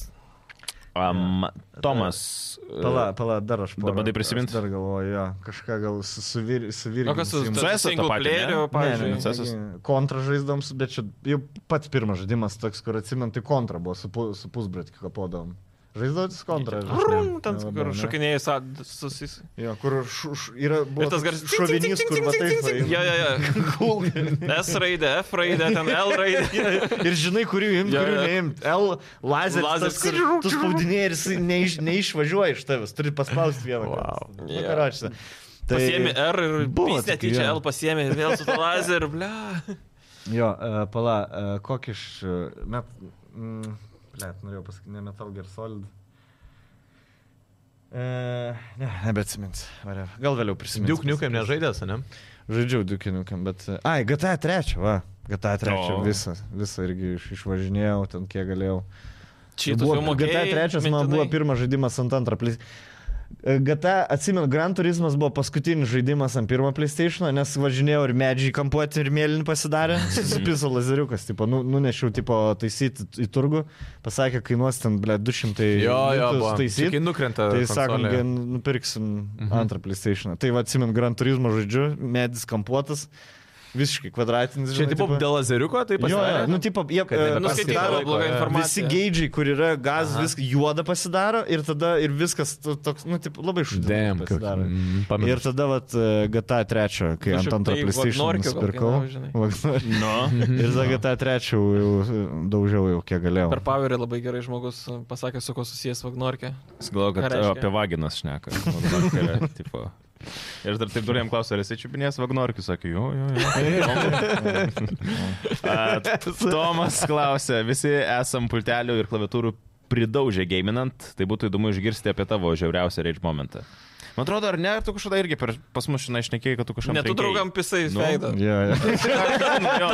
Speaker 1: Um, Tomas.
Speaker 2: Pala, pala, dar aš porą-
Speaker 1: bandai prisimint?
Speaker 2: aš Dar galvoju, jo, kažką gal su, su, vir, su
Speaker 3: O kas su
Speaker 2: virginiu.
Speaker 1: su ESO tą
Speaker 3: single
Speaker 1: patį, ne?
Speaker 3: playeriu,
Speaker 2: Ne, ne,
Speaker 3: pavyzdžiui?
Speaker 1: Cesas?
Speaker 2: ne, kontra žaisdams, bet čia jau pats pirmas žaidimas toks, kur atsimint, tai kontra buvo su, pu- su pusbratkiu kapodavom. Žaisdavotis kontra. aš
Speaker 3: Rum,
Speaker 2: ne-
Speaker 3: ten
Speaker 2: nelabai,
Speaker 3: kur
Speaker 2: ne.
Speaker 3: šokinėjai sa- susis.
Speaker 2: Jo, kur š, š, yra buvo
Speaker 3: Ir tas garsas.
Speaker 2: šovinys, kur matai.
Speaker 3: Jo, jo, jo. S raidė, F raidė, ten L raidė.
Speaker 2: Ir žinai, kurių imti,
Speaker 3: Jo,
Speaker 2: kurių
Speaker 3: jo.
Speaker 2: neimti. L lazeris,
Speaker 3: Lazeris,
Speaker 2: tas, kur tu spaudinėjai ir jis neiš, neišvažiuoja iš tavęs, turi paspausti vieną. Wow.
Speaker 3: Jo.
Speaker 2: Na, karočią.
Speaker 5: Tai
Speaker 3: Pasiemi R ir
Speaker 2: Buvo
Speaker 3: buvo.
Speaker 2: tokių,
Speaker 3: Netyčia
Speaker 2: jo.
Speaker 3: L pasiemi, vėl su tuo lazeriu, ble.
Speaker 2: Jo, e, pala, e, kokį iš... e, Met... mm, Blet, norėjau pasakyti, ne Metal Gear Solid. E, ne, nebeatsimins. Gal vėliau prisimins.
Speaker 4: Diuk niukai nežaidęs, ne?
Speaker 2: Žaidžiau Dukiniukam, bet... e, Ai, GTA 3, va. GTA 3
Speaker 1: O.
Speaker 2: visą, visą irgi iš, išvažinėjau, ten kiek galėjau.
Speaker 3: Čia tu
Speaker 2: buvo,
Speaker 3: jau mokėjai.
Speaker 2: GTA 3 man
Speaker 3: mintinai?
Speaker 2: buvo pirmas žaidimas ant antrą E, plės. GTA, atsimenu, Gran Turismas buvo paskutinis žaidimas ant pirmo PlayStation, nes važinėjau ir medžiai kampuoti ir mėlynį pasidarė. Susipiso lazeriukas, tipo, nu, nunešiau, tipo, taisyti į turgų. Pasakė, kainuos ten, ble, 200
Speaker 4: Jo, jo, buvo. Tik
Speaker 2: taisyti.
Speaker 4: nukrenta.
Speaker 2: Tai sakom,
Speaker 4: konsolė.
Speaker 2: kad nupirksim mhm. antrą PlayStation. Tai va, atsimenu, Gran Turismo žodžiu, medis kampuotas, visiškai kvadratinis.
Speaker 4: Čia
Speaker 2: žinai,
Speaker 4: tipo dėl lazeriuko, tai
Speaker 2: Jo, jo,
Speaker 4: pasidarė.
Speaker 2: nu, tipo, jie
Speaker 4: Kad
Speaker 2: e,
Speaker 4: nebepasidaro
Speaker 2: pasidaro
Speaker 3: Nuskaitydavo blogą
Speaker 2: Visi
Speaker 3: informaciją.
Speaker 2: geidžiai, kur yra gaz, viskas juoda pasidaro ir tada ir viskas to- toks, nu, taip, labai
Speaker 4: Damn,
Speaker 2: šūdinai
Speaker 4: kaip.
Speaker 2: pasidaro.
Speaker 4: mm, Pamenu.
Speaker 2: Ir tada, vat, e, GTA 3, kai
Speaker 3: Kažkaip
Speaker 2: ant antro
Speaker 3: tai
Speaker 2: PlayStation
Speaker 3: Vagnorkio
Speaker 2: nusipirkau.
Speaker 3: kokį, na, žinai.
Speaker 2: Vagnorkį.
Speaker 1: Nu.
Speaker 2: Ir tada GTA 3 jau e, daužiau jau kiek galėjau.
Speaker 3: Per Powerį labai gerai žmogus e, pasakė, su kuo susijęs Vagnorkė.
Speaker 1: Jis galvoja,
Speaker 3: Ką
Speaker 1: kad
Speaker 3: reiškia?
Speaker 1: o, apie vaginas šneka. Vagnorka, tipo. Ir aš dar taip durėjom klausimą, ar esi čiupinės Vagnorkius, sakė, jo, jo, jo. A, Tomas klausė, visi esam pultelių ir klaviatūrų pridaužę gaiminant, tai būtų įdomu išgirsti apie tavo žiauriausią rage momentą. Man atrodo, ar ne, ar tu kažkada irgi per, pas mus šiandien išnekėjai, kad tu kažkam...
Speaker 3: Net tu
Speaker 1: trenkei.
Speaker 3: draugam pisai
Speaker 1: Nu.
Speaker 3: veidą.
Speaker 5: Jo, jo.
Speaker 1: Jo,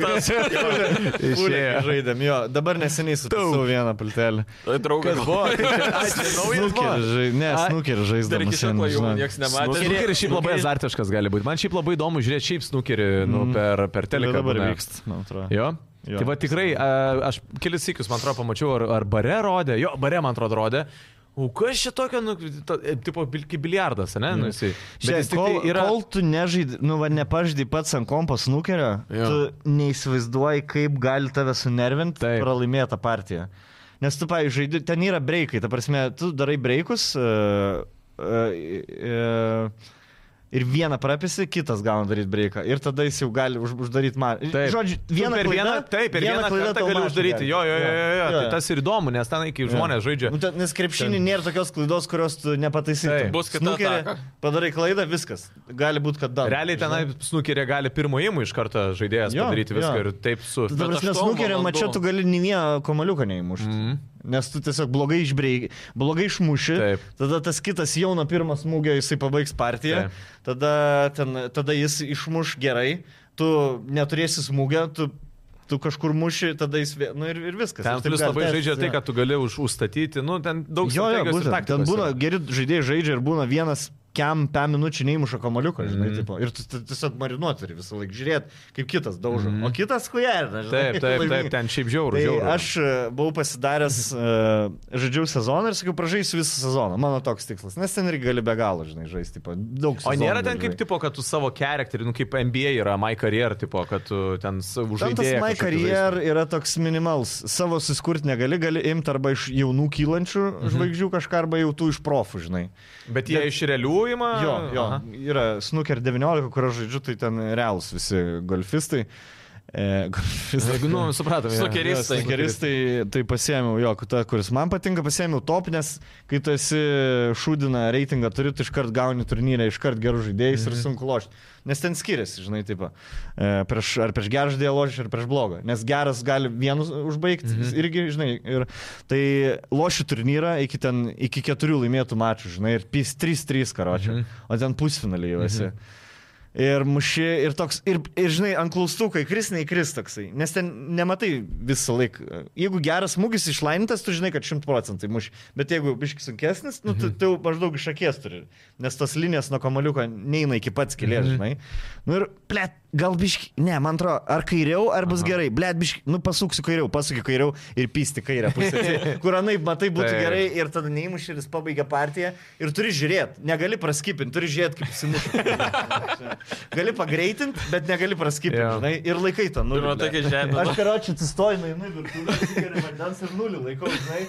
Speaker 3: Tas
Speaker 5: Išėjo. Žaidėm, jo, dabar neseniai sutaupiau vieną pultelį.
Speaker 3: draugas buvo.
Speaker 5: Snuker, žai... ne, snuker
Speaker 3: Dar
Speaker 5: žaisdamas
Speaker 3: iki šiol
Speaker 5: šiandien.
Speaker 3: jau
Speaker 5: žinok.
Speaker 3: niekas nematė.
Speaker 4: Snukeris šiaip labai azartiškas gali būti. Man šiaip labai įdomu žiūrėti šiaip snukerį nu,
Speaker 2: Mhm.
Speaker 4: per, per
Speaker 5: Ir
Speaker 4: teleką.
Speaker 5: dabar
Speaker 4: būna.
Speaker 5: vyksta, man atrodo.
Speaker 4: Jo?
Speaker 5: Jo.
Speaker 4: jo. Tai va tikrai, a, aš kelis sykius, man atrodo, pamačiau, ar, ar bare rodė, jo, bare man atrodo rodė. O kas šitokio, nu, to, e, tipo, bil- kaip biliardas, ne?
Speaker 2: Mhm.
Speaker 4: Nu, jisai. Bet
Speaker 5: Žiūrėk,
Speaker 4: jis tik
Speaker 5: kol,
Speaker 4: tai
Speaker 5: yra...
Speaker 4: yra...
Speaker 5: kol tu nežaidži, nu, va, nepažydai pats ant kompos nukerio,
Speaker 4: Jo.
Speaker 5: tu neįsivaizduoji, kaip gali tave sunervinti
Speaker 4: Taip.
Speaker 5: pralaimėta partija. Nes tu, pavyzdžiui, žaidi, ten yra breikai, ta prasme, tu darai breikus uh, uh, uh, ir vieną prapisi, kitas gauna daryti breiką ir tada jis jau gali už, uždaryti man.
Speaker 4: Taip.
Speaker 5: Žodžiu,
Speaker 4: Tu
Speaker 5: vieną
Speaker 4: per
Speaker 5: klaidą,
Speaker 4: vieną, taip, per vieną, vieną kartą
Speaker 5: tau
Speaker 4: gali
Speaker 5: mačą
Speaker 4: uždaryti.
Speaker 5: gali.
Speaker 4: Jo, jo, jo, jo, jo. Tai tas ir įdomu, nes ten, kai žmonės žaidžia.
Speaker 5: Nu, tai ten- Nes krepšinį nėra tokios klaidos, kurios tu
Speaker 4: Taip.
Speaker 5: nepataisytum.
Speaker 3: Bus kita
Speaker 5: Snukerį
Speaker 3: ataka.
Speaker 5: Padarai klaidą, viskas. Gali būti, kad dar.
Speaker 4: Realiai tenai snukerė gali pirmojimų iš karto žaidėjas
Speaker 5: Jo,
Speaker 4: padaryti viską
Speaker 5: jo.
Speaker 4: ir taip su...
Speaker 5: Tada
Speaker 3: Bet
Speaker 5: prasme,
Speaker 3: aštuom
Speaker 5: snukerio
Speaker 3: valandų.
Speaker 5: mačia tu gali nei vieno kamaliuką neįmušti. Mm. Nes tu tiesiog blogai išbreikai, blogai išmuši,
Speaker 4: Mhm, Taip.
Speaker 5: tada tas kitas jau nuo pirmo smūgio jisai pabaigs partiją,
Speaker 4: Taip.
Speaker 5: tada, ten, tada jis išmuš gerai, tu neturėsi smūgio, tu, tu kažkur muši, tada jis... vė- Nu ir, ir viskas.
Speaker 4: Ten
Speaker 5: Ir taip
Speaker 4: plus
Speaker 5: gali
Speaker 4: labai
Speaker 5: tęstis,
Speaker 4: žaidžia tai,
Speaker 5: jo.
Speaker 4: kad tu gali už, užstatyti, nu, ten daug
Speaker 5: Jo, jo,
Speaker 4: strategijos ir
Speaker 5: būtent. Ten
Speaker 4: taktikos
Speaker 5: būna
Speaker 4: yra.
Speaker 5: geri žaidėjai žaidžia ir būna vienas kiam pem minučių neįmuša kamaliuko, žinai,
Speaker 4: Mhm.
Speaker 5: mm. tipo. Ir tu tu tiesiog marinuot turi visą laiką žiūrėti, kaip kitas daužo. Mm. O kitas kujerina,
Speaker 4: Mhm.
Speaker 5: žinai.
Speaker 4: Taip, taip, taip,
Speaker 5: laimingas.
Speaker 4: ten šiaip žiaurų.
Speaker 5: Tai
Speaker 4: žiaurų.
Speaker 5: aš e, buvau pasidaręs, e, žaidžiau sezoną ir sakiau, pražaisiu visą sezoną. Mano toks tikslas. Nes ten irgi gali be galo, žinai, žaisti. Tipo, daug
Speaker 4: O
Speaker 5: sezonų.
Speaker 4: nėra ten
Speaker 5: dar
Speaker 4: kaip
Speaker 5: žaist.
Speaker 4: tipo, kad tu savo charakterį, nu kaip NBA yra, my career, tipo, kad tu ten užuot.
Speaker 5: Ten tas My Career yra toks minimalus. Savo susikurti negali, gali imti arba iš jaunų kylančių mhm. žvaigždžių kažką, arba jau tų iš profų, žinai.
Speaker 4: Bet jie
Speaker 5: bet-
Speaker 4: iš realių ima.
Speaker 5: Jo, jo.
Speaker 4: Aha.
Speaker 5: Yra Snooker 19, kurio žaidžiu, tai ten realūs visi golfistai. E, golfistai.
Speaker 4: Jeigu, nu, supratome.
Speaker 3: Snookeris. Snukeristai.
Speaker 5: Snukeristai, tai pasiemiau jo, tą, kuris man patinka, pasiemiau top, nes kai tu esi šūdina reitingą, turi, tu iškart gauni turnyrę, iškart gerų
Speaker 4: Mhm.
Speaker 5: žaidėjus mm -hmm. ir sunku lošti. Nes ten skiriasi, žinai, taip, prieš, ar prieš gerą žaidėją loši, ar prieš blogą. Nes geras gali vienus užbaigti,
Speaker 4: Mhm.
Speaker 5: mm -hmm. irgi, žinai, ir tai loši turnyrą iki, ten, iki keturių laimėtų mačų, žinai, ir pys 3-3 karočią, mm -hmm. o ten pusfinalį jau esi. Mm -hmm. Ir muši, ir toks, ir, ir žinai, ant klaustukai, kris, nei kris toksai. Nes ten nematai visą laiką. Jeigu geras smūgis išlainintas, tu žinai, kad 100 procentai muši. Bet jeigu biškis sunkesnis, nu, tu, tu jau maždaug iš akies turi. Nes tos linijos nuo kamaliuko neina iki pats kilės, žinai. Nu ir, ble, gal biški, ne, man atrodo, ar kairiau, ar bus Aha. gerai. Ble, biški, nu pasuksiu kairiau, pasukiu kairiau ir pysti kairę pusę. Kur anaip, matai, būtų
Speaker 4: Taip.
Speaker 5: gerai ir tada neįmuši ir jis pabaigia partiją. Ir turi žiūrėti, negali praskipinti, turi žiūrėti, kaip jis įmuša. Gali pagreitinti, bet negali praskipinti,
Speaker 4: Jo. Tai
Speaker 5: yeah. žinai, ir laikai tą nulį.
Speaker 3: Ir man tokia
Speaker 4: nu.
Speaker 3: žemė. nu,
Speaker 5: Aš karočią atsistoju, einu į virtuvę, geriu vandens ir nulį laikau, žinai,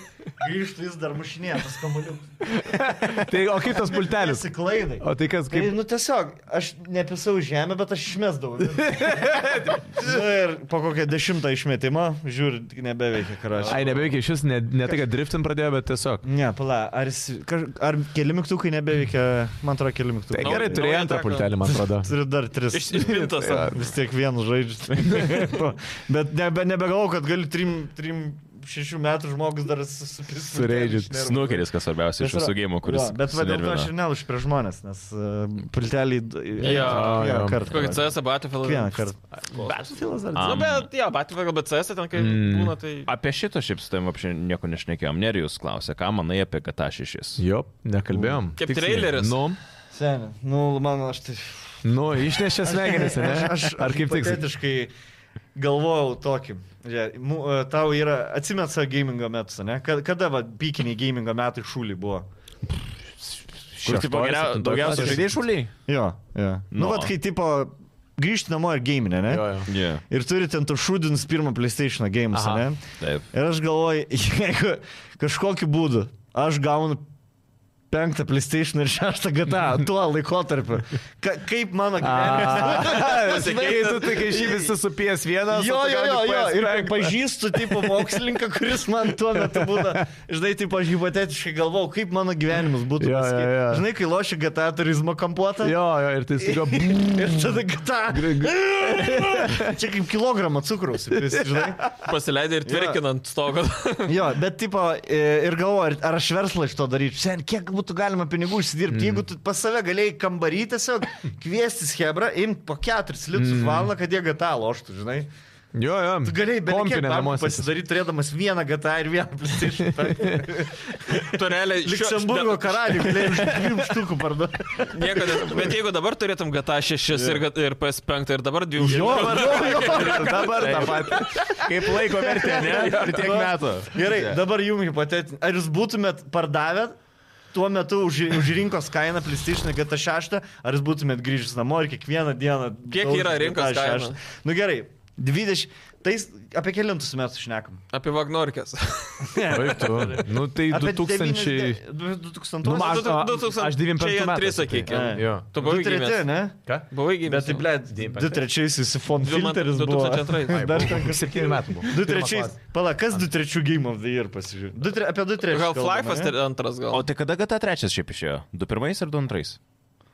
Speaker 5: grįžtu vis dar mušinėje tas kamuoliukas.
Speaker 4: Tai o kaip tas pultelis?
Speaker 5: Pasiklaidai.
Speaker 4: O tai kas
Speaker 5: Tai,
Speaker 4: kaip...
Speaker 5: nu tiesiog, aš nepisau į žemę, bet aš išmestau. nu, ir po kokią dešimtą išmetimą, žiūri, tik nebeveikia karočią.
Speaker 4: Ai, nebeveikia, šis ne, ne tai, kad driftin pradėjo, bet tiesiog.
Speaker 5: Ne, pala, ar, jis- kaž- ar keli mygtukai nebeveikia, man atrodo, keli mygtukai.
Speaker 4: Tai
Speaker 3: Nau-
Speaker 4: gerai, turėjo
Speaker 3: nauja
Speaker 4: antrą
Speaker 3: ataka.
Speaker 4: pultelį, man atrodo.
Speaker 5: Turiu dar tris.
Speaker 3: Išpintas.
Speaker 5: Vis tiek vienu žaidžiu. Bet nebe, nebegalau, kad gali trim, trim šešių metų žmogus dar susipisų.
Speaker 4: Sureidžit.
Speaker 1: Snukeris, kas svarbiausia iš visų gėjimų, kuris...
Speaker 5: Jo, bet vadinasi,
Speaker 1: sunervina.
Speaker 5: aš ir nelaušiu prie žmonės, nes uh, pultelį...
Speaker 3: Jo,
Speaker 5: jo,
Speaker 4: jo.
Speaker 5: kartą.
Speaker 3: Kokį CS Battlefield?
Speaker 5: Vieną kartą.
Speaker 4: Battlefield dar.
Speaker 3: Nu,
Speaker 1: Am.
Speaker 3: bet, jo, Battlefield, bet CS ten kai
Speaker 4: Mm.
Speaker 3: būna, tai...
Speaker 1: Apie šitą šiaip su tavim apšė nieko nešnekėjom. Nerijus klausė, ką manai apie GTA 6?
Speaker 4: Jo, nekalbėjom.
Speaker 3: Kaip
Speaker 4: Tiksliai.
Speaker 3: traileris.
Speaker 4: Nu,
Speaker 5: Seniai, nu, man aš tai...
Speaker 4: nu išnešė smegenis, ne?
Speaker 5: Aš,
Speaker 4: Ar kaip tik...
Speaker 5: Patetiškai galvojau tokį. Ja, mu, e, tau yra, atsimeta savo gamingo metus, ne? Ka- Kada va, pykiniai gamingo metai šūly buvo?
Speaker 1: Kur tai buvo geriau- daugiausia žaidėjai šuliai?
Speaker 5: Jo, jo. Nu,
Speaker 1: Nu.
Speaker 5: nu vad, kai tipo grįžti namo ir gaiminę, ne?
Speaker 4: Jo, jo.
Speaker 1: Ne.
Speaker 5: Ir turi ten tu šūdins pirmą PlayStation gaimus,
Speaker 4: Aha.
Speaker 5: ne?
Speaker 1: Taip.
Speaker 5: Ir aš galvoju, jeigu kažkokiu būdu aš gaunu penktą PlayStation ir šeštą GTA tuo laikotarpiu, ka, kaip mano gyvenimas.
Speaker 4: tai Kai tu tik iš jį visi supies vienas.
Speaker 5: Jo, jo, jo, jo. Ir kaip pažįstu, tipo, mokslininką, kuris man tuo metu būna, žinai, tipo, aš hipotetiškai galvau, kaip mano gyvenimas būtų.
Speaker 4: Jo,
Speaker 5: pasikei-
Speaker 4: jo, jo.
Speaker 5: Žinai, kai loši GTA turizmo kampuotą,
Speaker 4: Jo, jo, ir tai staiga...
Speaker 5: Ir tada kita. Čia kaip kilogramą cukraus, įpilsi, žinai.
Speaker 3: Pasileidai ir tvirkinant stogo.
Speaker 5: Jo, bet tipo, e, ir galvoju, ar- ar aš verslą iš to daryčiau. Sen, kiek būtų galima pinigų
Speaker 4: Mm.
Speaker 5: užsidirbti, jeigu tu pas save galėjai kambarį tiesiog kviesti Hebra, imti po keturis
Speaker 4: Mm.
Speaker 5: litrus valandą, kad jie GTA loštų, žinai.
Speaker 4: Jo, jo.
Speaker 5: Tu galėjai bent
Speaker 4: Kompinė
Speaker 5: kiek
Speaker 4: namuose.
Speaker 5: pasidaryti turėdamas vieną GTA ir vieną PlayStation.
Speaker 3: Turelė,
Speaker 5: Liksemburgo karalių galėjai už dviejų štukų parduoti.
Speaker 3: Niekada, bet jeigu dabar turėtum GTA 6 ir, gat- ir PS5 tai ir dabar 2
Speaker 5: Jo, jo, jo.
Speaker 1: Dabar tą patį. Kaip laiko vertė, ne? Ir tiek metų.
Speaker 5: Gerai, dabar jums hipotetinė. Ar jūs būtumėt pardavę tuo metu už, už rinkos kainą PlayStation GTA 6, ar jūs būtumėt grįžęs namo ir kiekvieną dieną...
Speaker 3: Kiek
Speaker 5: daužyt
Speaker 3: yra rinkos
Speaker 5: GTA
Speaker 3: kaina?
Speaker 5: 6? Nu gerai, 20. Tais apie kelintus metus šnekam.
Speaker 3: Apie Vagnorkės.
Speaker 4: Taip, tu. Nu, tai
Speaker 5: Apie
Speaker 4: 2000.
Speaker 5: 90 2000.
Speaker 4: Nu, ma- aš-
Speaker 3: Du- du- du tūkstan-
Speaker 4: aš 95
Speaker 3: čia į antrį,
Speaker 4: metais
Speaker 3: sakykim.
Speaker 5: atėjau.
Speaker 4: Jo.
Speaker 3: Tu buvai
Speaker 5: treti,
Speaker 3: gimęs.
Speaker 5: ne?
Speaker 4: Ką?
Speaker 3: Buvai gimęs.
Speaker 5: Bet tai, ble,
Speaker 4: Dvim-
Speaker 5: 2 trečiais jis fon
Speaker 3: Du man-
Speaker 5: filteris buvo.
Speaker 3: 2002. Ai,
Speaker 5: Dar ten kažkas.
Speaker 4: 7 metų buvo.
Speaker 5: 2 trečiais. Pala, kas 2 trečių Game of the Year pasižiūrė? Du tre- Apie 2 trečius.
Speaker 3: Gal Flyfas tai antras
Speaker 1: O
Speaker 3: gal.
Speaker 1: tai kada GTA 3 šiaip išėjo? 2-1 ir 2-2?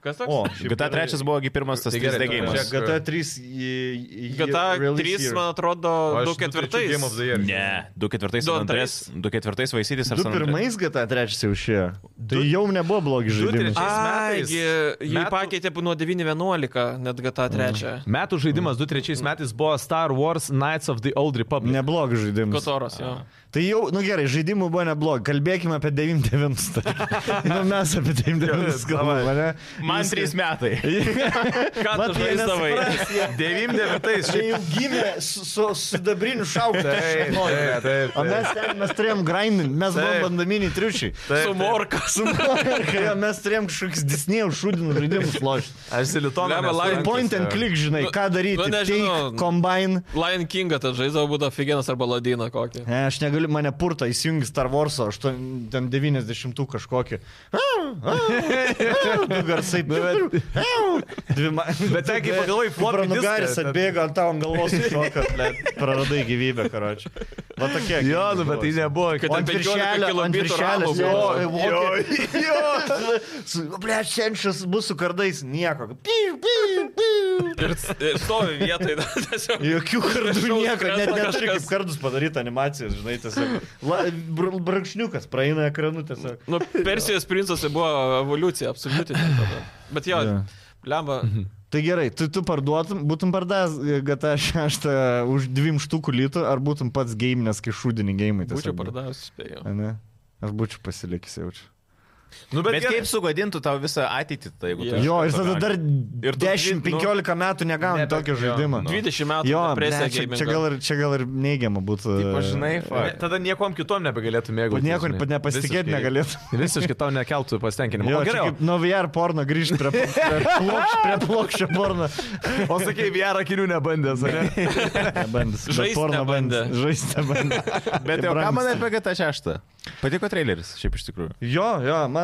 Speaker 3: Kas
Speaker 5: O,
Speaker 3: toks?
Speaker 1: GTA 3 buvogi pirmas tas
Speaker 4: Tai
Speaker 1: 3D
Speaker 4: gerai,
Speaker 1: gėjimas.
Speaker 4: čia-
Speaker 5: GTA 3 į...
Speaker 3: GTA 3, man atrodo,
Speaker 4: O aš
Speaker 3: 2 ketvirtais.
Speaker 4: Game of the Year.
Speaker 1: Ne, 2-4
Speaker 3: Du
Speaker 1: San Andrės,
Speaker 3: antrais.
Speaker 1: 2-4 Vaisytis ar
Speaker 5: Du
Speaker 1: San Andrės.
Speaker 5: pirmais GTA 3 jau išėjo. Tai jau nebuvo blogi
Speaker 4: Du
Speaker 5: žaidimai.
Speaker 4: trečiais. metais-
Speaker 3: Aigi, jį
Speaker 4: metų-
Speaker 3: pakeitė nuo 9.11, net GTA 3.
Speaker 5: Mm.
Speaker 4: Metų žaidimas 23 metais buvo Star Wars Knights of the Old Republic.
Speaker 5: Neblogi žaidimai.
Speaker 3: Kotoras, jo.
Speaker 5: Tai jau, nu gerai, žaidimų buvo neblogi. Kalbėkime apie 99. tarkim. nu mes apie 99 galvojame.
Speaker 1: Man 3 metai.
Speaker 3: Ką
Speaker 5: Vat
Speaker 3: tu
Speaker 5: jie
Speaker 3: žaisdavai?
Speaker 5: nesupras,
Speaker 4: 99-ais.
Speaker 5: Jie Tai jau gimė su, su, su dabriniu šaukštu.
Speaker 4: Taip, taip, taip.
Speaker 5: O mes, ten- mes turėjom grindinti, mes buvom
Speaker 4: Taip.
Speaker 5: bandaminiai triušiai.
Speaker 3: Su Morkas.
Speaker 5: Su Morka, jo, mes turėjom kažkokius Disney'ų šūdinų žaidimus lošti.
Speaker 4: Aš silitoną.
Speaker 3: Blemba,
Speaker 4: nesu
Speaker 3: lai-
Speaker 4: lankęs,
Speaker 5: Point and
Speaker 4: jo.
Speaker 5: click, žinai,
Speaker 3: Nu,
Speaker 5: ką daryti.
Speaker 3: nu, nežinau.
Speaker 5: Take, combine.
Speaker 3: Lion Kingą tas žaisdavo būtų Figenas arba Ladiną kokį.
Speaker 5: Ne, aš negaliu, mane purta įsijungi Star Wars, aš ten 90 kažkokį. Du garsai. Nu, bet... Dvi ma...
Speaker 4: Bet ten, kai pagalvoji, floppy diską,
Speaker 5: Pranugaris
Speaker 4: ten-
Speaker 5: atbėgo ant tavo ant galvos, šoka, praradai gyvybę, karoči. Va tokie.
Speaker 4: Jo, nu, bet tai nebuvo.
Speaker 3: Kad
Speaker 5: O ant
Speaker 3: ten 15
Speaker 5: viršelio, ant
Speaker 3: kilobitų
Speaker 5: viršelio.
Speaker 3: rabo buvo.
Speaker 5: Jo, jo. Ble, senčias bus su kardais, nieko. Piu, piu, piu.
Speaker 3: Ir s- ir stovi vietoj. tiesiog.
Speaker 5: Jokių kardų
Speaker 3: Viršaus
Speaker 5: nieko, net
Speaker 3: krenta
Speaker 5: neturi kaip
Speaker 3: kažkas.
Speaker 5: kardus padaryti animacijas, žinai, tiesiog. La, br brakšniukas praeina ekranu tiesiog.
Speaker 3: Nu, Persijos princas buvo evoliucija, absoliuti. ten tada. Bet jo,
Speaker 5: Jo.
Speaker 3: blemba.
Speaker 5: Tai gerai, tu, tu parduotum, būtum pardavęs e, GTA 6 už dviem štukų litų, ar būtum pats game, nes kai šūdinį game tiesiog. nu.
Speaker 3: Būčiau pardavęs, spėjau.
Speaker 5: Ne, aš būčiau pasilikęs jaučiu.
Speaker 4: Nu, bet,
Speaker 1: Bet kaip sugadintų tau visą ateitį, tai jeigu tu...
Speaker 3: Jo.
Speaker 5: Jo, ir tada dar
Speaker 1: Ir tu
Speaker 5: 10-15 metų negauni
Speaker 4: Nebe-
Speaker 5: tokio
Speaker 4: jo,
Speaker 5: žaidimo.
Speaker 4: nu.
Speaker 3: 20 metų
Speaker 5: Jo, ble,
Speaker 3: depresija
Speaker 5: čia,
Speaker 3: gamingo.
Speaker 5: čia, gal ir, čia gal ir neigiama būtų.
Speaker 1: Tipo, žinai,
Speaker 4: Ne,
Speaker 1: fuck.
Speaker 4: Tada niekom kitom nebegalėtų mėgautis.
Speaker 5: Bet nieko
Speaker 4: žinai.
Speaker 5: nepasitikėti
Speaker 4: Visiškai-
Speaker 5: negalėtum.
Speaker 4: Visiškai tau nekeltų pasitenkinimo.
Speaker 5: Jo,
Speaker 4: O
Speaker 5: gerai.
Speaker 4: geriau.
Speaker 5: Kaip, nuo VR porno grįžti prie, prie, plokš, prie plokščio porno.
Speaker 4: O sakai, VR akinių nebandęs, ar ne?
Speaker 5: Nebandys.
Speaker 3: Žaist
Speaker 5: porno
Speaker 3: nebandė.
Speaker 5: Žaisti nebandė.
Speaker 1: Bet jau ką
Speaker 5: Brangs.
Speaker 1: man apie GTA 6? Patiko traileris, šiaip iš tikrųjų.
Speaker 5: Jo, jo, man...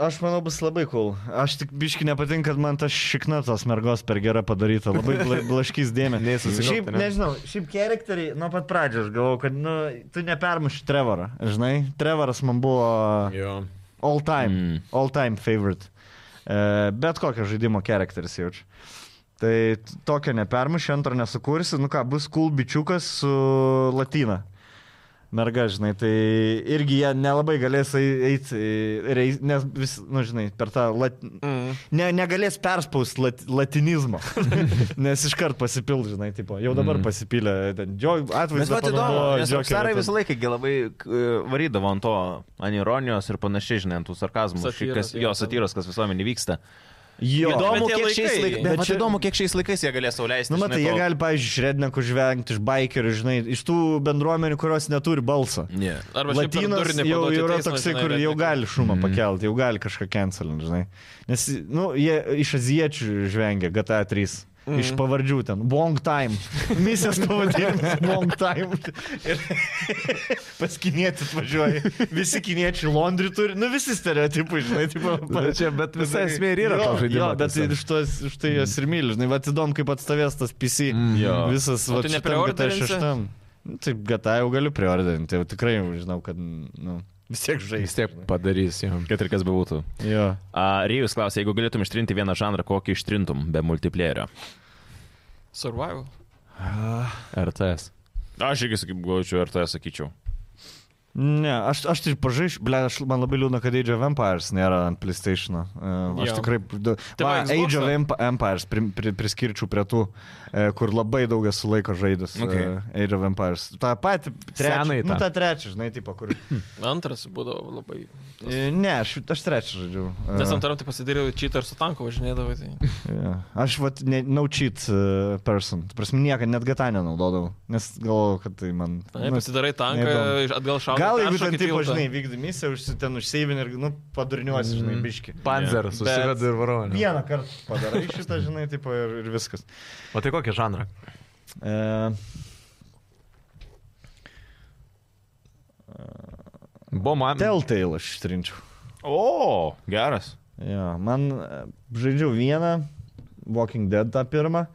Speaker 5: Aš manau, bus labai cool. Aš tik biški nepatinka, kad man ta šikna tos mergos per gerą padaryta. Labai bla, blaškys dėmesį.
Speaker 4: Nei susigaut,
Speaker 5: Šiaip,
Speaker 4: ne?
Speaker 5: nežinau, šiaip charakteriai nuo pat pradžios aš galvojau, kad nu, tu nepermuši Trevorą. Žinai, Trevoras man buvo...
Speaker 4: Jo.
Speaker 5: All time.
Speaker 1: Mm.
Speaker 5: Mm. All time favorite. E, bet kokio žaidimo charakteris jaučiu. Tai t- tokio nepermuši, antro nesukursi. Nu ką, bus cool bičiukas su latina. Merga, žinai, tai irgi jie nelabai galės eiti, nes vis, nu, žinai, per tą lat...
Speaker 3: Mm.
Speaker 5: ne, negalės perspausti lat, latinizmo, nes iškart pasipil, žinai, tipo, jau dabar
Speaker 1: Mm.
Speaker 5: pasipylė, ten, džio,
Speaker 1: Mes
Speaker 5: atvaizdas.
Speaker 1: pat įdomu, nes Rockstarai visą laiką gi labai k- varydavo ant to anironijos ir panašiai, žinai, ant tų sarkazmų,
Speaker 3: Satyros,
Speaker 1: kas,
Speaker 3: jo,
Speaker 1: jo
Speaker 3: ten.
Speaker 1: satyros, kas visuomenį vyksta.
Speaker 5: Jo,
Speaker 1: Įdomu,
Speaker 3: Bet tie
Speaker 1: kiek šiais
Speaker 3: laikai-
Speaker 1: laikais,
Speaker 5: bet
Speaker 1: bet
Speaker 5: čia-
Speaker 1: įdomu, kiek šiais laikais jie galės sauliaisti.
Speaker 5: Nu, matai, jie gali, pavyzdžiui, iš rednekų žvengti, iš bikerių, žinai, iš tų bendruomenių, kurios neturi balsą.
Speaker 1: Yeah.
Speaker 3: Arba šiaip per
Speaker 5: Latinas
Speaker 3: durnių
Speaker 5: jau
Speaker 3: paduot į
Speaker 5: yra
Speaker 3: teismą,
Speaker 5: toksai,
Speaker 3: žinai,
Speaker 5: kur
Speaker 3: bet
Speaker 5: jau
Speaker 3: tik-
Speaker 5: gali šumą
Speaker 4: Mhm.
Speaker 5: pakelti, jau gali kažką cancelinti, žinai. Nes, nu, jie iš aziečių žvengia GTA 3. Mm.
Speaker 3: Mhm.
Speaker 5: Iš pavardžių ten. Long time. Misijos pavadinimas. Long time. Ir pas kinietį atvažiuoja. Visi kiniečiai Londrį turi. Nu, visi stereotipai, žinai, taip pat.
Speaker 4: Bet Nu, čia, bet visa esmė ir yra
Speaker 5: Jo,
Speaker 4: to žaidimo.
Speaker 5: Jo, bet tai iš, tos, iš tai jos ir myli, žinai, va įdomu, kaip atstovės tas PC
Speaker 4: Mhm.
Speaker 5: mm, visas
Speaker 3: O
Speaker 5: va,
Speaker 3: tu
Speaker 5: šitam GTA
Speaker 3: nepreorderinsi?
Speaker 5: šeštam. Nu, Taip, GTA jau galiu priordinti, jau tikrai jau žinau, kad, nu, vis tiek žaisti.
Speaker 4: vis tiek padarys. jo.
Speaker 1: Kad ir kas bebūtų.
Speaker 5: Jo.
Speaker 1: Uh, Rėjus klausė, jeigu galėtum ištrinti vieną žanrą, kokį ištrintum be multiplayerio?
Speaker 3: Survival.
Speaker 4: RTS.
Speaker 1: Aš irgi sakyčiau, RTS sakyčiau.
Speaker 5: Ne, aš, aš tai pažaišiu, ble, aš, man labai liūdna, kad Age of Empires nėra ant PlayStation. Uh, aš
Speaker 3: Jo.
Speaker 5: tikrai... Da,
Speaker 3: Tai
Speaker 5: va,
Speaker 3: va, Xbox'ą?
Speaker 5: Age of Emp- Empires pri, pri, priskirčiau prie tų, e, kur labai daug esu laiko žaidęs.
Speaker 1: Okay.
Speaker 5: e, Age of Empires. Ta pati trečia.
Speaker 4: Senąjį
Speaker 5: Nu,
Speaker 4: tą.
Speaker 5: ta trečia, žinai, tipo, kur...
Speaker 3: Antras būdavo labai.
Speaker 5: E, ne, aš, aš trečią žaidžiu. E,
Speaker 3: Nes antaram tai pasidariau čitą ir su tanku važinėdavai. Tai.
Speaker 5: jo. Aš, vat, ne, no cheat e, person. Ta Prasme, niekad net gatą nenaudodavau, nes galvojau, kad tai man...
Speaker 3: Na, pasidarai tanką,
Speaker 5: neįdomu.
Speaker 3: iš- atgal šaudai.
Speaker 5: Gal jeigu ten
Speaker 3: peršoki
Speaker 5: taip,
Speaker 3: tiltą.
Speaker 5: žinai, vykdai misiją, užsi- ten užseivin ir, nu, padurniuosi, žinai,
Speaker 4: Mhm.
Speaker 5: biški.
Speaker 4: Panzer susivedu ir varau. ne?
Speaker 5: Vieną kartą padarai šitą, žinai, tipo ir, ir viskas.
Speaker 4: O tai kokį žanrą?
Speaker 5: E,
Speaker 4: Buvo man.
Speaker 5: Telltale aš ištrinčiau.
Speaker 1: O, geras.
Speaker 5: Jo, man e, žaidžiau vieną, Walking Dead tą pirmą.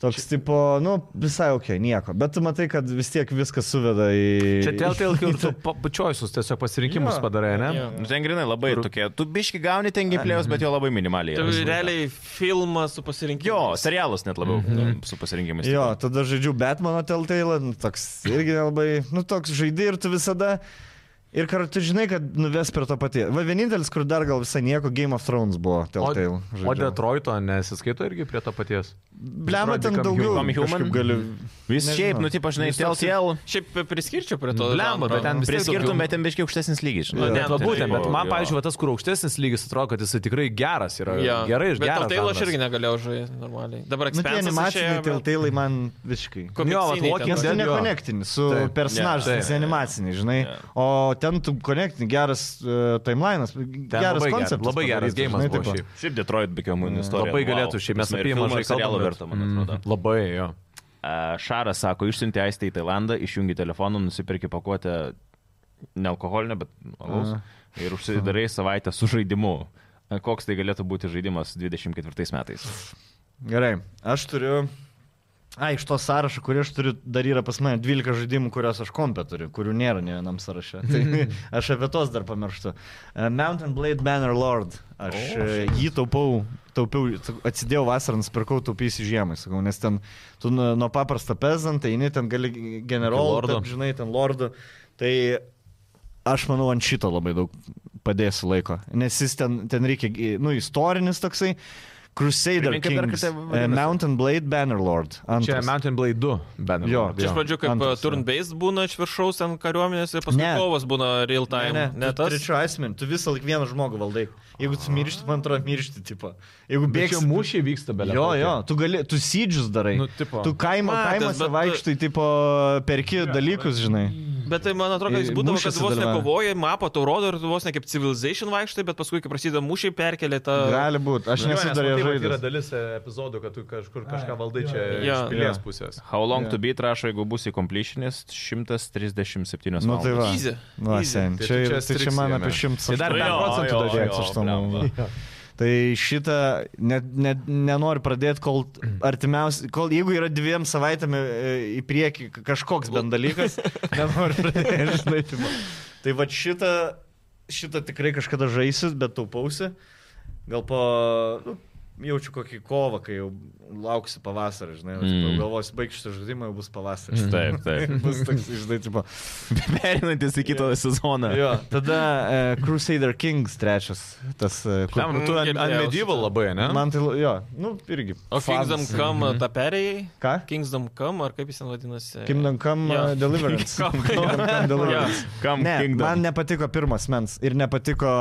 Speaker 5: Toks tipo, nu, visai ok, nieko. Bet tu matai, kad vis tiek viskas suveda į...
Speaker 4: Čia Telltale, kai tu pačiojusius tiesiog pasirinkimus
Speaker 5: Jo.
Speaker 4: padarai, ne?
Speaker 3: Jo.
Speaker 1: Nu, ten grinai labai
Speaker 4: Kur-
Speaker 1: tokie. Tu biški gauni ten gimplėjus, bet jo labai minimaliai.
Speaker 3: Tai
Speaker 1: yra.
Speaker 3: realiai filmas su pasirinkimu.
Speaker 1: Jo, serialus net labiau nu, su pasirinkimais.
Speaker 5: Jo, tada žaidžiu Batmano Telltale, nu, toks irgi labai, nu toks žaidži ir tu visada. Ir kartu žinai, kad nuves prie to paties. Va vienintelis, kur dar gal visai nieko, Game of Thrones buvo
Speaker 2: tai
Speaker 5: Telltale.
Speaker 4: O Detroito nesiskaito irgi prie to paties.
Speaker 5: Blema ten
Speaker 4: Detroit
Speaker 5: daugiau.
Speaker 1: Become Human?
Speaker 5: kažkaip Galiu...
Speaker 1: Vis
Speaker 5: Nežinau.
Speaker 1: šiaip, nu, tipo, žinai,
Speaker 4: Jis toks-
Speaker 1: TLTL
Speaker 3: Šiaip priskirčiau prie to.
Speaker 4: Blemba,
Speaker 3: žanro.
Speaker 4: bet ten vis tiek
Speaker 1: priskirtum,
Speaker 4: daugiau-
Speaker 1: bet ten biški aukštesnis lygis.
Speaker 5: Jo.
Speaker 1: žinai.
Speaker 4: Net
Speaker 3: Ne,
Speaker 4: va
Speaker 3: tai-
Speaker 4: nu, būtent, bet man,
Speaker 1: jo.
Speaker 4: pavyzdžiui, va tas, kur aukštesnis lygis, atrodo, kad jisai tikrai geras yra.
Speaker 3: Jo.
Speaker 4: Gerai, iš
Speaker 3: Bet
Speaker 4: geras.
Speaker 3: Telltale aš
Speaker 4: žanras.
Speaker 3: irgi negalėjau žaisti normaliai. Dabar
Speaker 5: Nu, tie
Speaker 3: ekspertas.
Speaker 5: animaciniai Telltale man visiškai.
Speaker 4: Jo, vat Walking
Speaker 5: Nes
Speaker 4: Dead
Speaker 5: tu
Speaker 4: jo.
Speaker 5: nekonektinį su
Speaker 4: Taip.
Speaker 5: personažais,
Speaker 4: Ne,
Speaker 5: nes
Speaker 4: taip.
Speaker 5: jie animaciniai, žinai. O ten tu konektinį, geras uh, timelinas,
Speaker 4: Ten
Speaker 5: geras
Speaker 4: labai geras-
Speaker 5: konceptas.
Speaker 4: Labai geras
Speaker 5: padarytas,
Speaker 4: gėjimas
Speaker 5: žinai,
Speaker 4: buvo
Speaker 5: tipo.
Speaker 4: šiaip.
Speaker 1: Šiaip Detroit Become Human istorija.
Speaker 4: Mm. Labai galėtų šiaip, mes apie jį mažai
Speaker 1: serialą
Speaker 4: kalbam. bet-
Speaker 1: vertą, man atrodo.
Speaker 4: Mm, Labai, jo.
Speaker 1: A, Šaras sako, išsiuntė aistę į Tailandą, išjungi telefoną, nusipirki pakuotę nealkoholinę, bet alaus. Ir užsidarai savaitę su žaidimu. A, Koks tai galėtų būti žaidimas 24 metais?
Speaker 5: Gerai, aš turiu. A, iš to sąrašo, kurį aš turiu, dar yra pas mane 12 žaidimų, kuriuos aš kompė turiu, kurių nėra ne vienam sąraše. Tai aš apie tos dar pamirštu. E, Mountain Blade Banner Lord. Aš o, jį taupau, taupiau, atsidėjau vasarą, nusipirkau taupysi žiemai, sakau, nes ten tu nuo nuo paprasto pezant, tai eini ten gali generolą,
Speaker 4: lordo.
Speaker 5: taip, žinai, ten lordų. Tai aš manau ant šito labai daug padėsiu laiko, nes jis ten, ten reikia, gi- nu, istorinis toksai. Crusader
Speaker 1: Primink, kaip dar
Speaker 5: Kings,
Speaker 1: kartą
Speaker 5: e,
Speaker 1: vadinasi.
Speaker 5: Mountain Blade Bannerlord.
Speaker 4: Čia
Speaker 5: Antras.
Speaker 4: Mountain Blade 2, bent
Speaker 5: Jo.
Speaker 3: Iš pradžių kaip
Speaker 5: Antras, jo.
Speaker 3: turn-based būna iš viršaus ant kariuomenės ir paskui
Speaker 5: Ne.
Speaker 3: kovas būna real-time.
Speaker 5: Ne, ne,
Speaker 3: ne
Speaker 5: tu
Speaker 3: tas.
Speaker 5: Trečiu asmeniu, tu visą laiką vieną žmogų valdai. Jeigu tu miršti, man atrodo, miršti, tipo. Jeigu
Speaker 4: Bėgsi
Speaker 5: bėgsi.
Speaker 4: mūšiai vyksta be
Speaker 5: Jo, jo, tu, gali, tu sydžius darai.
Speaker 4: Nu, tipo.
Speaker 5: tu kaimo,
Speaker 3: Matęs,
Speaker 5: kaimuose
Speaker 3: bet tu-
Speaker 5: vaikštai, tipo, perki dalykus, žinai.
Speaker 3: Bet tai man atrodo, kad jis
Speaker 5: Į
Speaker 3: būdavo, kad
Speaker 5: E, mūšiuose
Speaker 3: vos
Speaker 5: dalyvauja.
Speaker 3: nekovoja, mapą tau rodo ir tu vos ne kaip Civilization vaikštai, bet paskui, kai prasideda mūšiai, perkelia tą...
Speaker 5: Gali būti,
Speaker 4: Nu,
Speaker 5: aš nesu dar jo
Speaker 4: tai Yra
Speaker 5: žaidęs.
Speaker 4: dalis e, epizodų, kad tu kažkur kažką valdai čia
Speaker 3: Jo.
Speaker 4: iš pilies
Speaker 5: Jo.
Speaker 4: pusės.
Speaker 1: How long
Speaker 5: Jo.
Speaker 1: yeah. to beat rašo, jeigu būsi completionist, 137
Speaker 5: Nu tai va.
Speaker 3: Easy.
Speaker 5: Na,
Speaker 3: Easy.
Speaker 5: sen,
Speaker 4: Tai tu
Speaker 5: čia, čia,
Speaker 4: čia
Speaker 5: čia, čia
Speaker 4: striksi
Speaker 5: man
Speaker 4: jame.
Speaker 5: apie šimtas.
Speaker 4: Tai dar
Speaker 1: Jo,
Speaker 4: bent procentų
Speaker 1: jo,
Speaker 4: daugiau.
Speaker 1: jo.
Speaker 5: Aš tam-
Speaker 1: blemba.
Speaker 5: Tai šitą net, net, nenoriu pradėti, kol artimiausiai, kol jeigu yra dviem savaitėm e, į priekį k- kažkoks bent dalykas, nenoriu pradėti. žinai, tipo. tai va šitą, šitą tikrai kažkada žaisiu, bet taupausi. Gal po, nu, jaučiu kokį kovą, kai jau lauksiu pavasarį, žinai, mm.
Speaker 1: Mm.
Speaker 5: galvosiu, baigsiu šitą žaidimą, jau bus pavasaris.
Speaker 1: Taip, taip.
Speaker 5: Bus toks, žinai, tipo.
Speaker 1: Perinantis į kitą sezoną.
Speaker 5: Jo, tada uh, Crusader Kings trečias, tas, uh, kur...
Speaker 4: Tam,
Speaker 3: Mm,
Speaker 4: tu ant ant
Speaker 3: girdėjau
Speaker 4: medieval labai, ne?
Speaker 5: Man tai, la- jo, nu, irgi.
Speaker 3: O Kingdom
Speaker 5: fanas.
Speaker 3: Come
Speaker 4: Mhm.
Speaker 3: tą perėjai?
Speaker 5: Ką?
Speaker 3: Kingdom Come, ar kaip jis ten vadinasi?
Speaker 5: Kingdom Come
Speaker 3: Jo.
Speaker 5: uh, Deliverance.
Speaker 3: Come,
Speaker 5: Kingdom Come Deliverance.
Speaker 1: Kam
Speaker 5: Ne, man
Speaker 1: Kingdom?
Speaker 5: nepatiko pirmas mens ir nepatiko,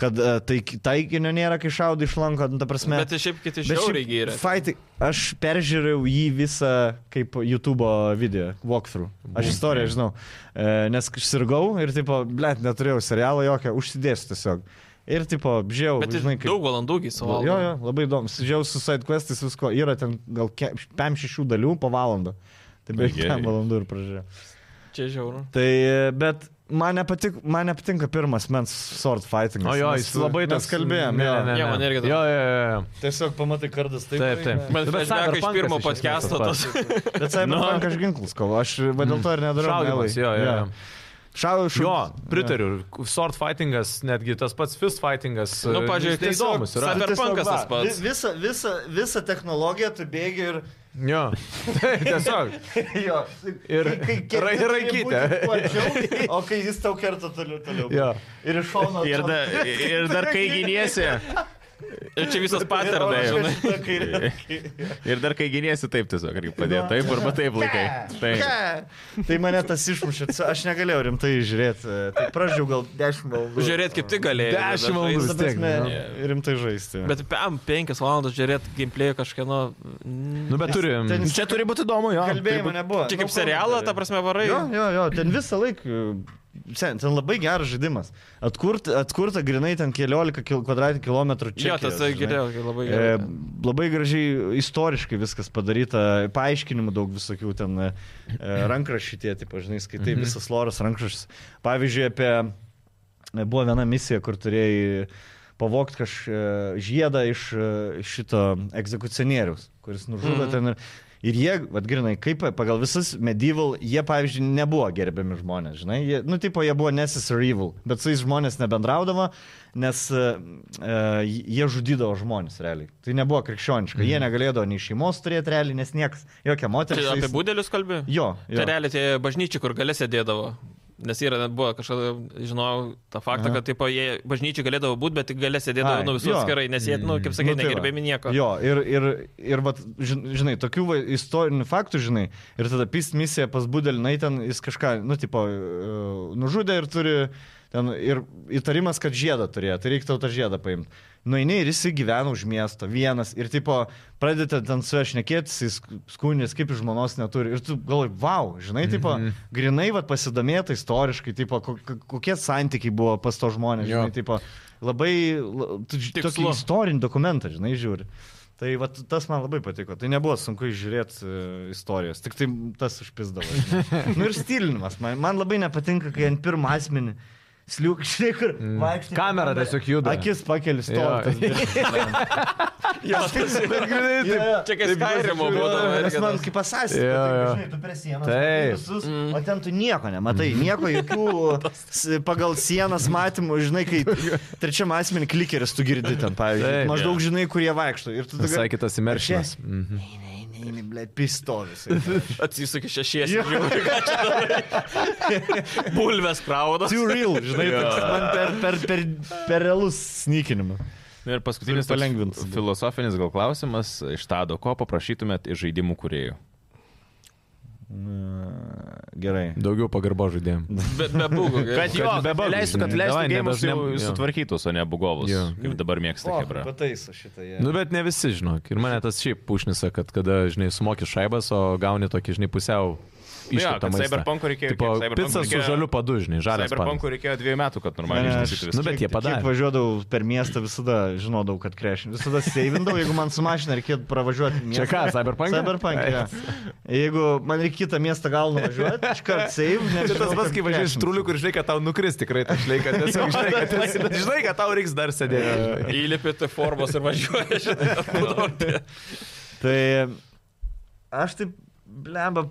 Speaker 5: kad uh, taik, taikinio nėra, kai šaudai iš lanko, nu, ta prasme.
Speaker 3: Bet šiaip kiti
Speaker 5: Bet šiaip
Speaker 3: žiauriai gyrė.
Speaker 5: Fight, aš peržiūrėjau jį visą kaip YouTube video, walkthrough. Aš istoriją žinau, e, nes sirgau ir, tipo, blėt, neturėjau serialo jokio, užsidėsiu tiesiog. Ir, tipo, žiau,
Speaker 3: Bet
Speaker 5: žinai,
Speaker 3: žinai,
Speaker 5: kaip...
Speaker 3: daug valandų gyvavo.
Speaker 5: Jo, jo, labai įdomus. Žiau su sidequestais visko. Yra ten gal 5-6 dalių po valandą. Tai beveik
Speaker 1: Gerai.
Speaker 5: 5 valandų ir pražiūrėjau.
Speaker 3: Čia žiauru.
Speaker 5: Tai, bet man, nepatik, man nepatinka pirmas mens sword fighting.
Speaker 4: O jo, jis labai
Speaker 5: tas kalbėjom.
Speaker 4: Ne, ne, ne.
Speaker 3: Jo, man irgi
Speaker 4: Jo, jo, jo, jo.
Speaker 5: Tiesiog pamatai kardas taip.
Speaker 4: Taip, taip.
Speaker 3: Man
Speaker 4: Bet
Speaker 3: flashback iš
Speaker 4: Cyberpunkas
Speaker 3: pirmo
Speaker 4: iš esmės
Speaker 3: podcast'o
Speaker 4: tas
Speaker 3: tas.
Speaker 5: Bet savai, nu, man kažkaip ginklus kovo. Aš va, dėl to ir nedarau.
Speaker 4: Šaudymas, jo, jo. jo.
Speaker 5: Šau, šau,
Speaker 4: Jo, pritariu. Sword fightingas, netgi tas pats fist fightingas.
Speaker 3: Nu, pavyzdžiui,
Speaker 4: tai
Speaker 3: tiesiog
Speaker 4: įdomus yra.
Speaker 3: cyber- Cyberpunkas tas pats.
Speaker 5: Visa, visa, visa technologija, tu bėgi ir
Speaker 4: Jo. Tai Tiesiog.
Speaker 5: Jo.
Speaker 4: Ir
Speaker 5: kerti,
Speaker 4: ra-
Speaker 5: turi
Speaker 4: raikyti.
Speaker 5: būti plačiau, O kai jis tau kerta toliau, toliau.
Speaker 4: Jo.
Speaker 5: Ir iš šono.
Speaker 1: Ir, da, ir dar kai giniesi,
Speaker 3: Ir čia visas paternai, žinai.
Speaker 5: žinai.
Speaker 1: ir dar kai giniesi, taip tiesiog reikia padėti. Taip arba taip laikai. Taip.
Speaker 5: Tai mane tas išmušė, aš negalėjau rimtai žiūrėti. Tai pražiau gal 10 valandų.
Speaker 3: Žiūrėt, kaip tik galėjai. tada žaist.
Speaker 4: Dešimt valandų.
Speaker 5: Ta prasme,
Speaker 1: jo.
Speaker 5: Rimtai žaisti.
Speaker 3: Bet pam, 5 valandas žiūrėt gameplay kažkieno... mm,
Speaker 4: Nu, bet turim.
Speaker 5: ten-
Speaker 1: Čia turi būti įdomu, jo.
Speaker 5: Kalbėjimo nebuvo.
Speaker 3: Čia kaip
Speaker 5: Nu,
Speaker 3: serialą, ta prasme, varai.
Speaker 5: Jo, jo, jo, ten visą laiką. Sen, ten labai geras žaidimas. Atkurt, atkurta grinai ten 15 kil- kvadratinių kilometrų čia.
Speaker 3: Jo, tas geriau, labai
Speaker 5: E,
Speaker 3: gerai.
Speaker 5: labai gražiai istoriškai viskas padaryta, paaiškinimų daug visokių ten e, rankrašytie, tai pažinai, skaitai mhm. visas loras rankrašys. Pavyzdžiui, apie e, buvo viena misija, kur turėjai pavogti kažkokį žiedą iš e, šito egzekucionieriaus, kuris nužudė mhm. ten ir... Ir jie, atgrinai, kaip pagal visas medieval, jie, pavyzdžiui, nebuvo gerbiami žmonės, žinai, jie, nu, tipo, jie buvo necessary evil, bet su jais žmonės nebendraudavo, nes e, e, jie žudydavo žmonės realiai. Tai nebuvo krikščioniška, mm. jie negalėdavo nei šeimos turėti realiai, nes niekas, jokia
Speaker 3: Čia
Speaker 5: moteris. su
Speaker 3: Mhm. Tai apie
Speaker 5: jais-
Speaker 3: būdelius kalbė?
Speaker 5: Jo, jo.
Speaker 3: Tai realiai tie bažnyčiai, kur galės sėdėdavo. Nes yra, net buvo kažkada, žinojau tą faktą,
Speaker 5: Aha.
Speaker 3: kad taip, jie bažnyčiai galėdavo būti, bet tik galės sėdėdavo
Speaker 5: Ai,
Speaker 3: nu, visus
Speaker 5: jo.
Speaker 3: gerai, nes jie, nu, kaip sakai,
Speaker 5: Nu,
Speaker 3: nu,
Speaker 5: tai va.
Speaker 3: negerbėmi nieko.
Speaker 5: Jo, ir, ir, ir vat, žin- žinai, tokių va, istorinių faktų, žinai, ir tada pist misija pas Budelinai ten jis kažką, nu, tipo, e, nužudė ir turi, ten, ir įtarimas, kad žiedą turėjo, tai reiktų tą žiedą paimti. Nueini ir jis gyvena už miesto, vienas, ir tipo, pradedate ten su juo šnekėtis, jis skundės, kaip iš žmonos neturi, ir tu galvoj, wow, žinai, tipo, mm -hmm. grinai, vad pasidomėta istoriškai, tipo, ko- ko- kokie santykiai buvo pas to žmonės,
Speaker 4: Jo.
Speaker 5: žinai, tipo, labai, la- tu ž-
Speaker 3: Tikslu.
Speaker 5: tokį istorinį dokumentą, žinai, žiūri. Tai va, tas man labai patiko. Tai nebuvo sunku žiūrėti istorijos, tik tai tas užpizdavo. žinai. nu ir stilinimas. Man, man labai nepatinka, kai ant pirmą asmenį sliūkščiai, kur mm. vaikščiai.
Speaker 4: Kamera tiesiog juda.
Speaker 5: Akis pakeli
Speaker 4: Jo.
Speaker 5: stovi.
Speaker 3: Čia kaip Skyrimo būdavo.
Speaker 5: Nes
Speaker 3: irgi
Speaker 5: man
Speaker 3: tas.
Speaker 5: kaip pasąsi,
Speaker 4: Jo, jo.
Speaker 5: žinai, tu prie sienos.
Speaker 4: Taip. Mm.
Speaker 5: matai Visus, o ten tu nieko nematai, nieko jokių s- pagal sienas matymų, žinai, kai trečiam asmenį klikeris tu girdi ten, pavyzdžiui.
Speaker 4: Taip.
Speaker 5: Maždaug žinai, kur jie vaikšto. Ir tu
Speaker 4: Visai
Speaker 5: tokia-
Speaker 4: kitas imeršinas.
Speaker 5: Čia- Nei, nei, nei, blėt, pistolis. Too
Speaker 3: Atsisuki šešies, žiūri, ką čia darai. Bulves kraudas.
Speaker 5: real, žinai, toks man per, per, per, per realus snikinimas.
Speaker 1: Nu Ir paskutinis
Speaker 5: Turi
Speaker 1: toks
Speaker 5: palengvint.
Speaker 1: Filosofinis gal klausimas iš Tado, ko paprašytumėt iš žaidimų kuriejų?
Speaker 5: Gerai.
Speaker 4: Daugiau pagarbo žaidėjim.
Speaker 3: Be, be būgų.
Speaker 1: Kad jo,
Speaker 4: be bugų,
Speaker 1: leistų, kad
Speaker 4: žinai,
Speaker 1: leistų
Speaker 4: davai,
Speaker 1: gėjimus
Speaker 4: nebes-
Speaker 1: jau
Speaker 4: ne- jo.
Speaker 1: sutvarkytus, o ne bugovus,
Speaker 4: Jo.
Speaker 1: kaip dabar mėgsta Hebra.
Speaker 5: Pataiso šitą. jie.
Speaker 4: Nu, bet ne visi, žinok. Ir mane tas šiaip pušnisa, kad kada, žinai, sumoki šaibas, o gauni tokį, žinai, pusiau
Speaker 1: kad
Speaker 4: iškėtą maistą.
Speaker 1: Cyberpunk'o reikėjo-
Speaker 4: Tipo,
Speaker 1: kiek Cyberpunk'o
Speaker 4: pica su
Speaker 1: reikėjo-
Speaker 4: žaliu padu, žinai, žalias padas.
Speaker 1: Cyberpunk'ui reikėjo dviejų metų, kad normaliai
Speaker 5: Ne,
Speaker 1: ištaisytų
Speaker 4: Nu,
Speaker 1: viską.
Speaker 4: bet jie
Speaker 5: Kiek
Speaker 4: padarė.
Speaker 5: važiuodavau per miestą, visada žinodavau, kad krešim. Visada seivindavau, jeigu man su mašina reikėtų pravažiuoti.
Speaker 4: Čia
Speaker 5: į miestą.
Speaker 4: ką, Cyberpunk?
Speaker 5: Cyberpunk. jo. Jeigu man reikia kitą miestą gal nuvažiuoti, iškart save.
Speaker 4: Čia tas pats, kai važiuoji iš trulių, kur žinai, kad tau nukris tikrai ta šleika. Tiesiog žinai, kad, esi- žinai, kad tau reiks dar sėdėti. žinai.
Speaker 3: Įlipėti formos ir važiuoji. žinai.
Speaker 5: Tai aš taip, blemba,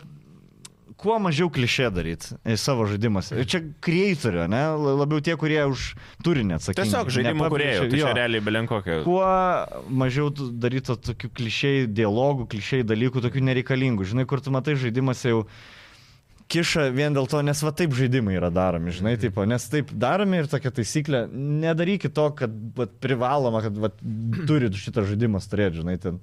Speaker 5: kuo mažiau klišė daryti savo žaidimuose. Ir Čia kreatorio, ne? La- Labiau tie, kurie už turinį atsakingi.
Speaker 1: Tiesiog žaidimų
Speaker 5: Ne,
Speaker 1: kuriejų, tai
Speaker 5: jo.
Speaker 1: čia realiai belenkokio.
Speaker 5: Kuo mažiau daryti tokių klišėjų dialogų, klišėjų dalykų, tokių nereikalingų. Žinai, kur tu matai žaidimuose jau kiša vien dėl to, nes va taip žaidimai yra daromi, žinai, taip, nes taip daromi ir tokia taisyklė, nedarykit to, kad va, privaloma, kad va, turit šitą žaidimą turėti, žinai, ten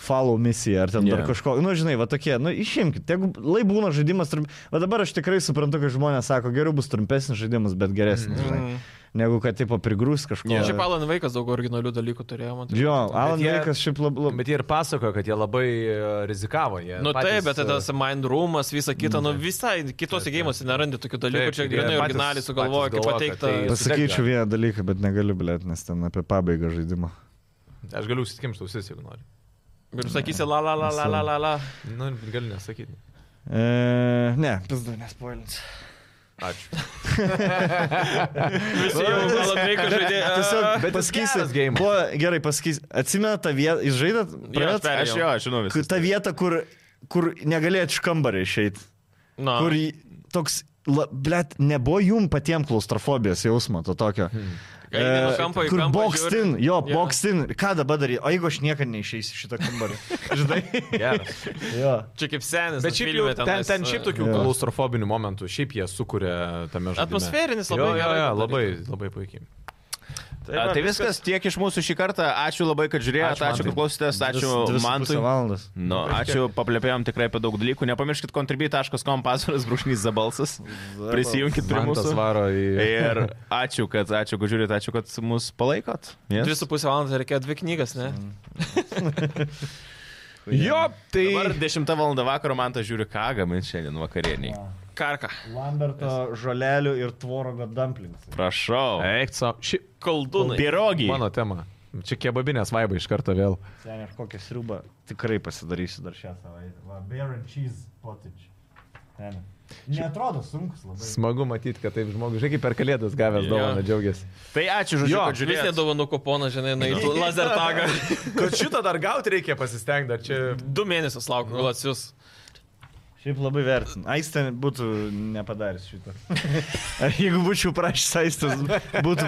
Speaker 5: follow misiją ar ten yeah.
Speaker 1: Jo.
Speaker 5: dar kažko, nu žinai, va tokie, nu išimkit, jeigu lai būna žaidimas, trump... va dabar aš tikrai suprantu, kad žmonės sako, geriau bus trumpesnis žaidimas, bet geresnis, žinai, negu kad taip prigrūs kažko.
Speaker 3: Šiaip Alan Vaikas daug originalių dalykų turėjo, man atrodo.
Speaker 5: Jo, Alan
Speaker 4: jie-
Speaker 5: Veikas šiaip labai... Lab...
Speaker 4: Nu, Bet jie ir pasakojo, kad jie labai e, rizikavo. Jie
Speaker 3: Nu
Speaker 4: patys,
Speaker 3: taip, bet tai tas
Speaker 4: e, Mm.
Speaker 3: mind roomas, visa kita, nu visai kitose gėjimuose nerandi tokių dalykų,
Speaker 4: Taip,
Speaker 3: čia
Speaker 4: jie
Speaker 3: grinai
Speaker 4: patys-
Speaker 3: originaliai
Speaker 4: patys
Speaker 3: sugalvoja, kaip
Speaker 4: galvoja,
Speaker 3: pateikta.
Speaker 4: kad tai-
Speaker 5: Pasakyčiau vieną dalyką, bet negaliu, blėt, nes ten apie pabaigą žaidimo.
Speaker 4: Aš galiu užsikimšti ausis, jeigu nori.
Speaker 3: Ir sakysi, la la la la la la la.
Speaker 4: Nu, gali nesakyti.
Speaker 5: E, ne, pizdu, nespoilins.
Speaker 4: Ačiū.
Speaker 3: Visi jau Alan Vaikas žaidė.
Speaker 5: Tiesiog, bet
Speaker 4: geras
Speaker 5: pasakysit,
Speaker 4: geimas.
Speaker 5: buvo gerai, pasakysit, Tai atsimena tą vietą, jūs žaidėt, praėjot,
Speaker 3: perėjau.
Speaker 1: Aš jo, aš žinau
Speaker 5: Kur-
Speaker 1: viską.
Speaker 5: ta vieta, kur, kur negalėjai iš kambario išeiti,
Speaker 3: Na,
Speaker 5: kur jį- toks, la, blėt, nebuvo jum patiems klaustrofobijos jausmo to tokio. E,
Speaker 3: Gali vienu kampu į
Speaker 2: kur
Speaker 3: kampą
Speaker 2: bokstin,
Speaker 3: žiūri.
Speaker 2: jo,
Speaker 3: Jo.
Speaker 2: bokstin. Ką dabar daryti? O jeigu aš niekada neišeisiu iš šito kambario? Žinai?
Speaker 4: Geras.
Speaker 2: jo.
Speaker 3: Čia kaip senis.
Speaker 4: Bet šiaip jau
Speaker 3: filme
Speaker 4: ten, ten šiaip tokių
Speaker 2: Jo.
Speaker 4: klaustrofobinių momentų, šiaip jie sukuria tame žaidime.
Speaker 3: Atmosferinis
Speaker 4: jo,
Speaker 3: labai
Speaker 4: jo,
Speaker 3: gerai
Speaker 4: jo,
Speaker 3: padaryta.
Speaker 4: labai, labai puikiai.
Speaker 1: Tai, tai viskas tiek iš mūsų šį kartą. Ačiū labai, kad žiūrėjote,
Speaker 4: Ačiū,
Speaker 1: ačiū, kad
Speaker 4: Mantai.
Speaker 1: klausėtės,
Speaker 2: Dvi-
Speaker 1: ačiū
Speaker 2: dvi su
Speaker 1: man.
Speaker 2: puse valandos.
Speaker 1: Nu, ačiū, paplėpėjom tikrai apie daug dalykų. Nepamirškit contribui.com pasvaras brūšnys zabalsas. Prisijunkit prie
Speaker 4: Mantas
Speaker 1: mūsų.
Speaker 4: varo į...
Speaker 1: Ir ačiū, kad, ačiū, kad žiūrit, ačiū, kad mus palaikot.
Speaker 3: Dvi su pusė valandos reikėjo dvi knygas, ne?
Speaker 4: Mm. Jo, tai...
Speaker 1: Dabar 10 val. vakaro man tas žiūri, ką gamint šiandien vakarieniai.
Speaker 3: Karka.
Speaker 2: Lamberto žolelių ir tvorogo dumplings.
Speaker 1: Prašau.
Speaker 4: Eik savo. Ši...
Speaker 3: Koldūnai.
Speaker 1: Pirogi.
Speaker 4: Mano tema. Čia kebabinės vaibai iš karto vėl.
Speaker 2: Sen aš kokią sriubą tikrai pasidarysiu dar šią savaitę. Va, Bear and cheese pottage. Ten. Neatrodo sunkus labai.
Speaker 4: Smagu matyti, kad taip žmogus, žinai, kaip per kalėdas gavęs
Speaker 3: Jo.
Speaker 4: dovaną džiaugiasi.
Speaker 1: Tai ačiū, žodžiu,
Speaker 4: Jo,
Speaker 1: kad
Speaker 3: Vis
Speaker 1: žiūrėjote.
Speaker 3: nedovanų kuponą, žinai, na, į laser tagą.
Speaker 4: Kad šitą dar gauti reikia pasistengti, dar čia...
Speaker 3: Du mėnesius laukiu, kol Nu, atsius.
Speaker 2: Šiaip labai vertinu. Aistė būtų nepadaręs šito. Jeigu būčiau prašęs aistės, būtų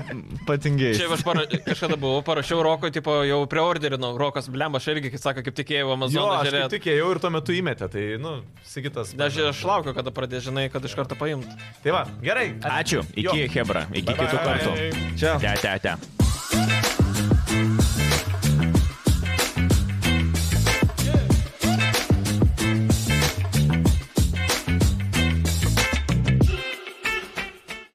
Speaker 2: patingiai.
Speaker 3: Čia aš para, kažkada buvau, parašiau Roko, tipo, jau preorderinau. Rokas Blemba, aš irgi, kaip sako, kaip tikėjau
Speaker 4: Jo,
Speaker 3: Amazoną
Speaker 4: aš kaip
Speaker 3: žiūrėti.
Speaker 4: tik ėjau ir tuo metu įmetė, tai, nu, Sigitas.
Speaker 3: Aš, aš laukiu, kada pradės, žinai, kad iš karto paimt.
Speaker 4: Tai va, gerai.
Speaker 1: Ačiū.
Speaker 4: Jo.
Speaker 1: Iki Hebra. Iki kitų kartų.
Speaker 4: Bye.
Speaker 1: Te, te, te.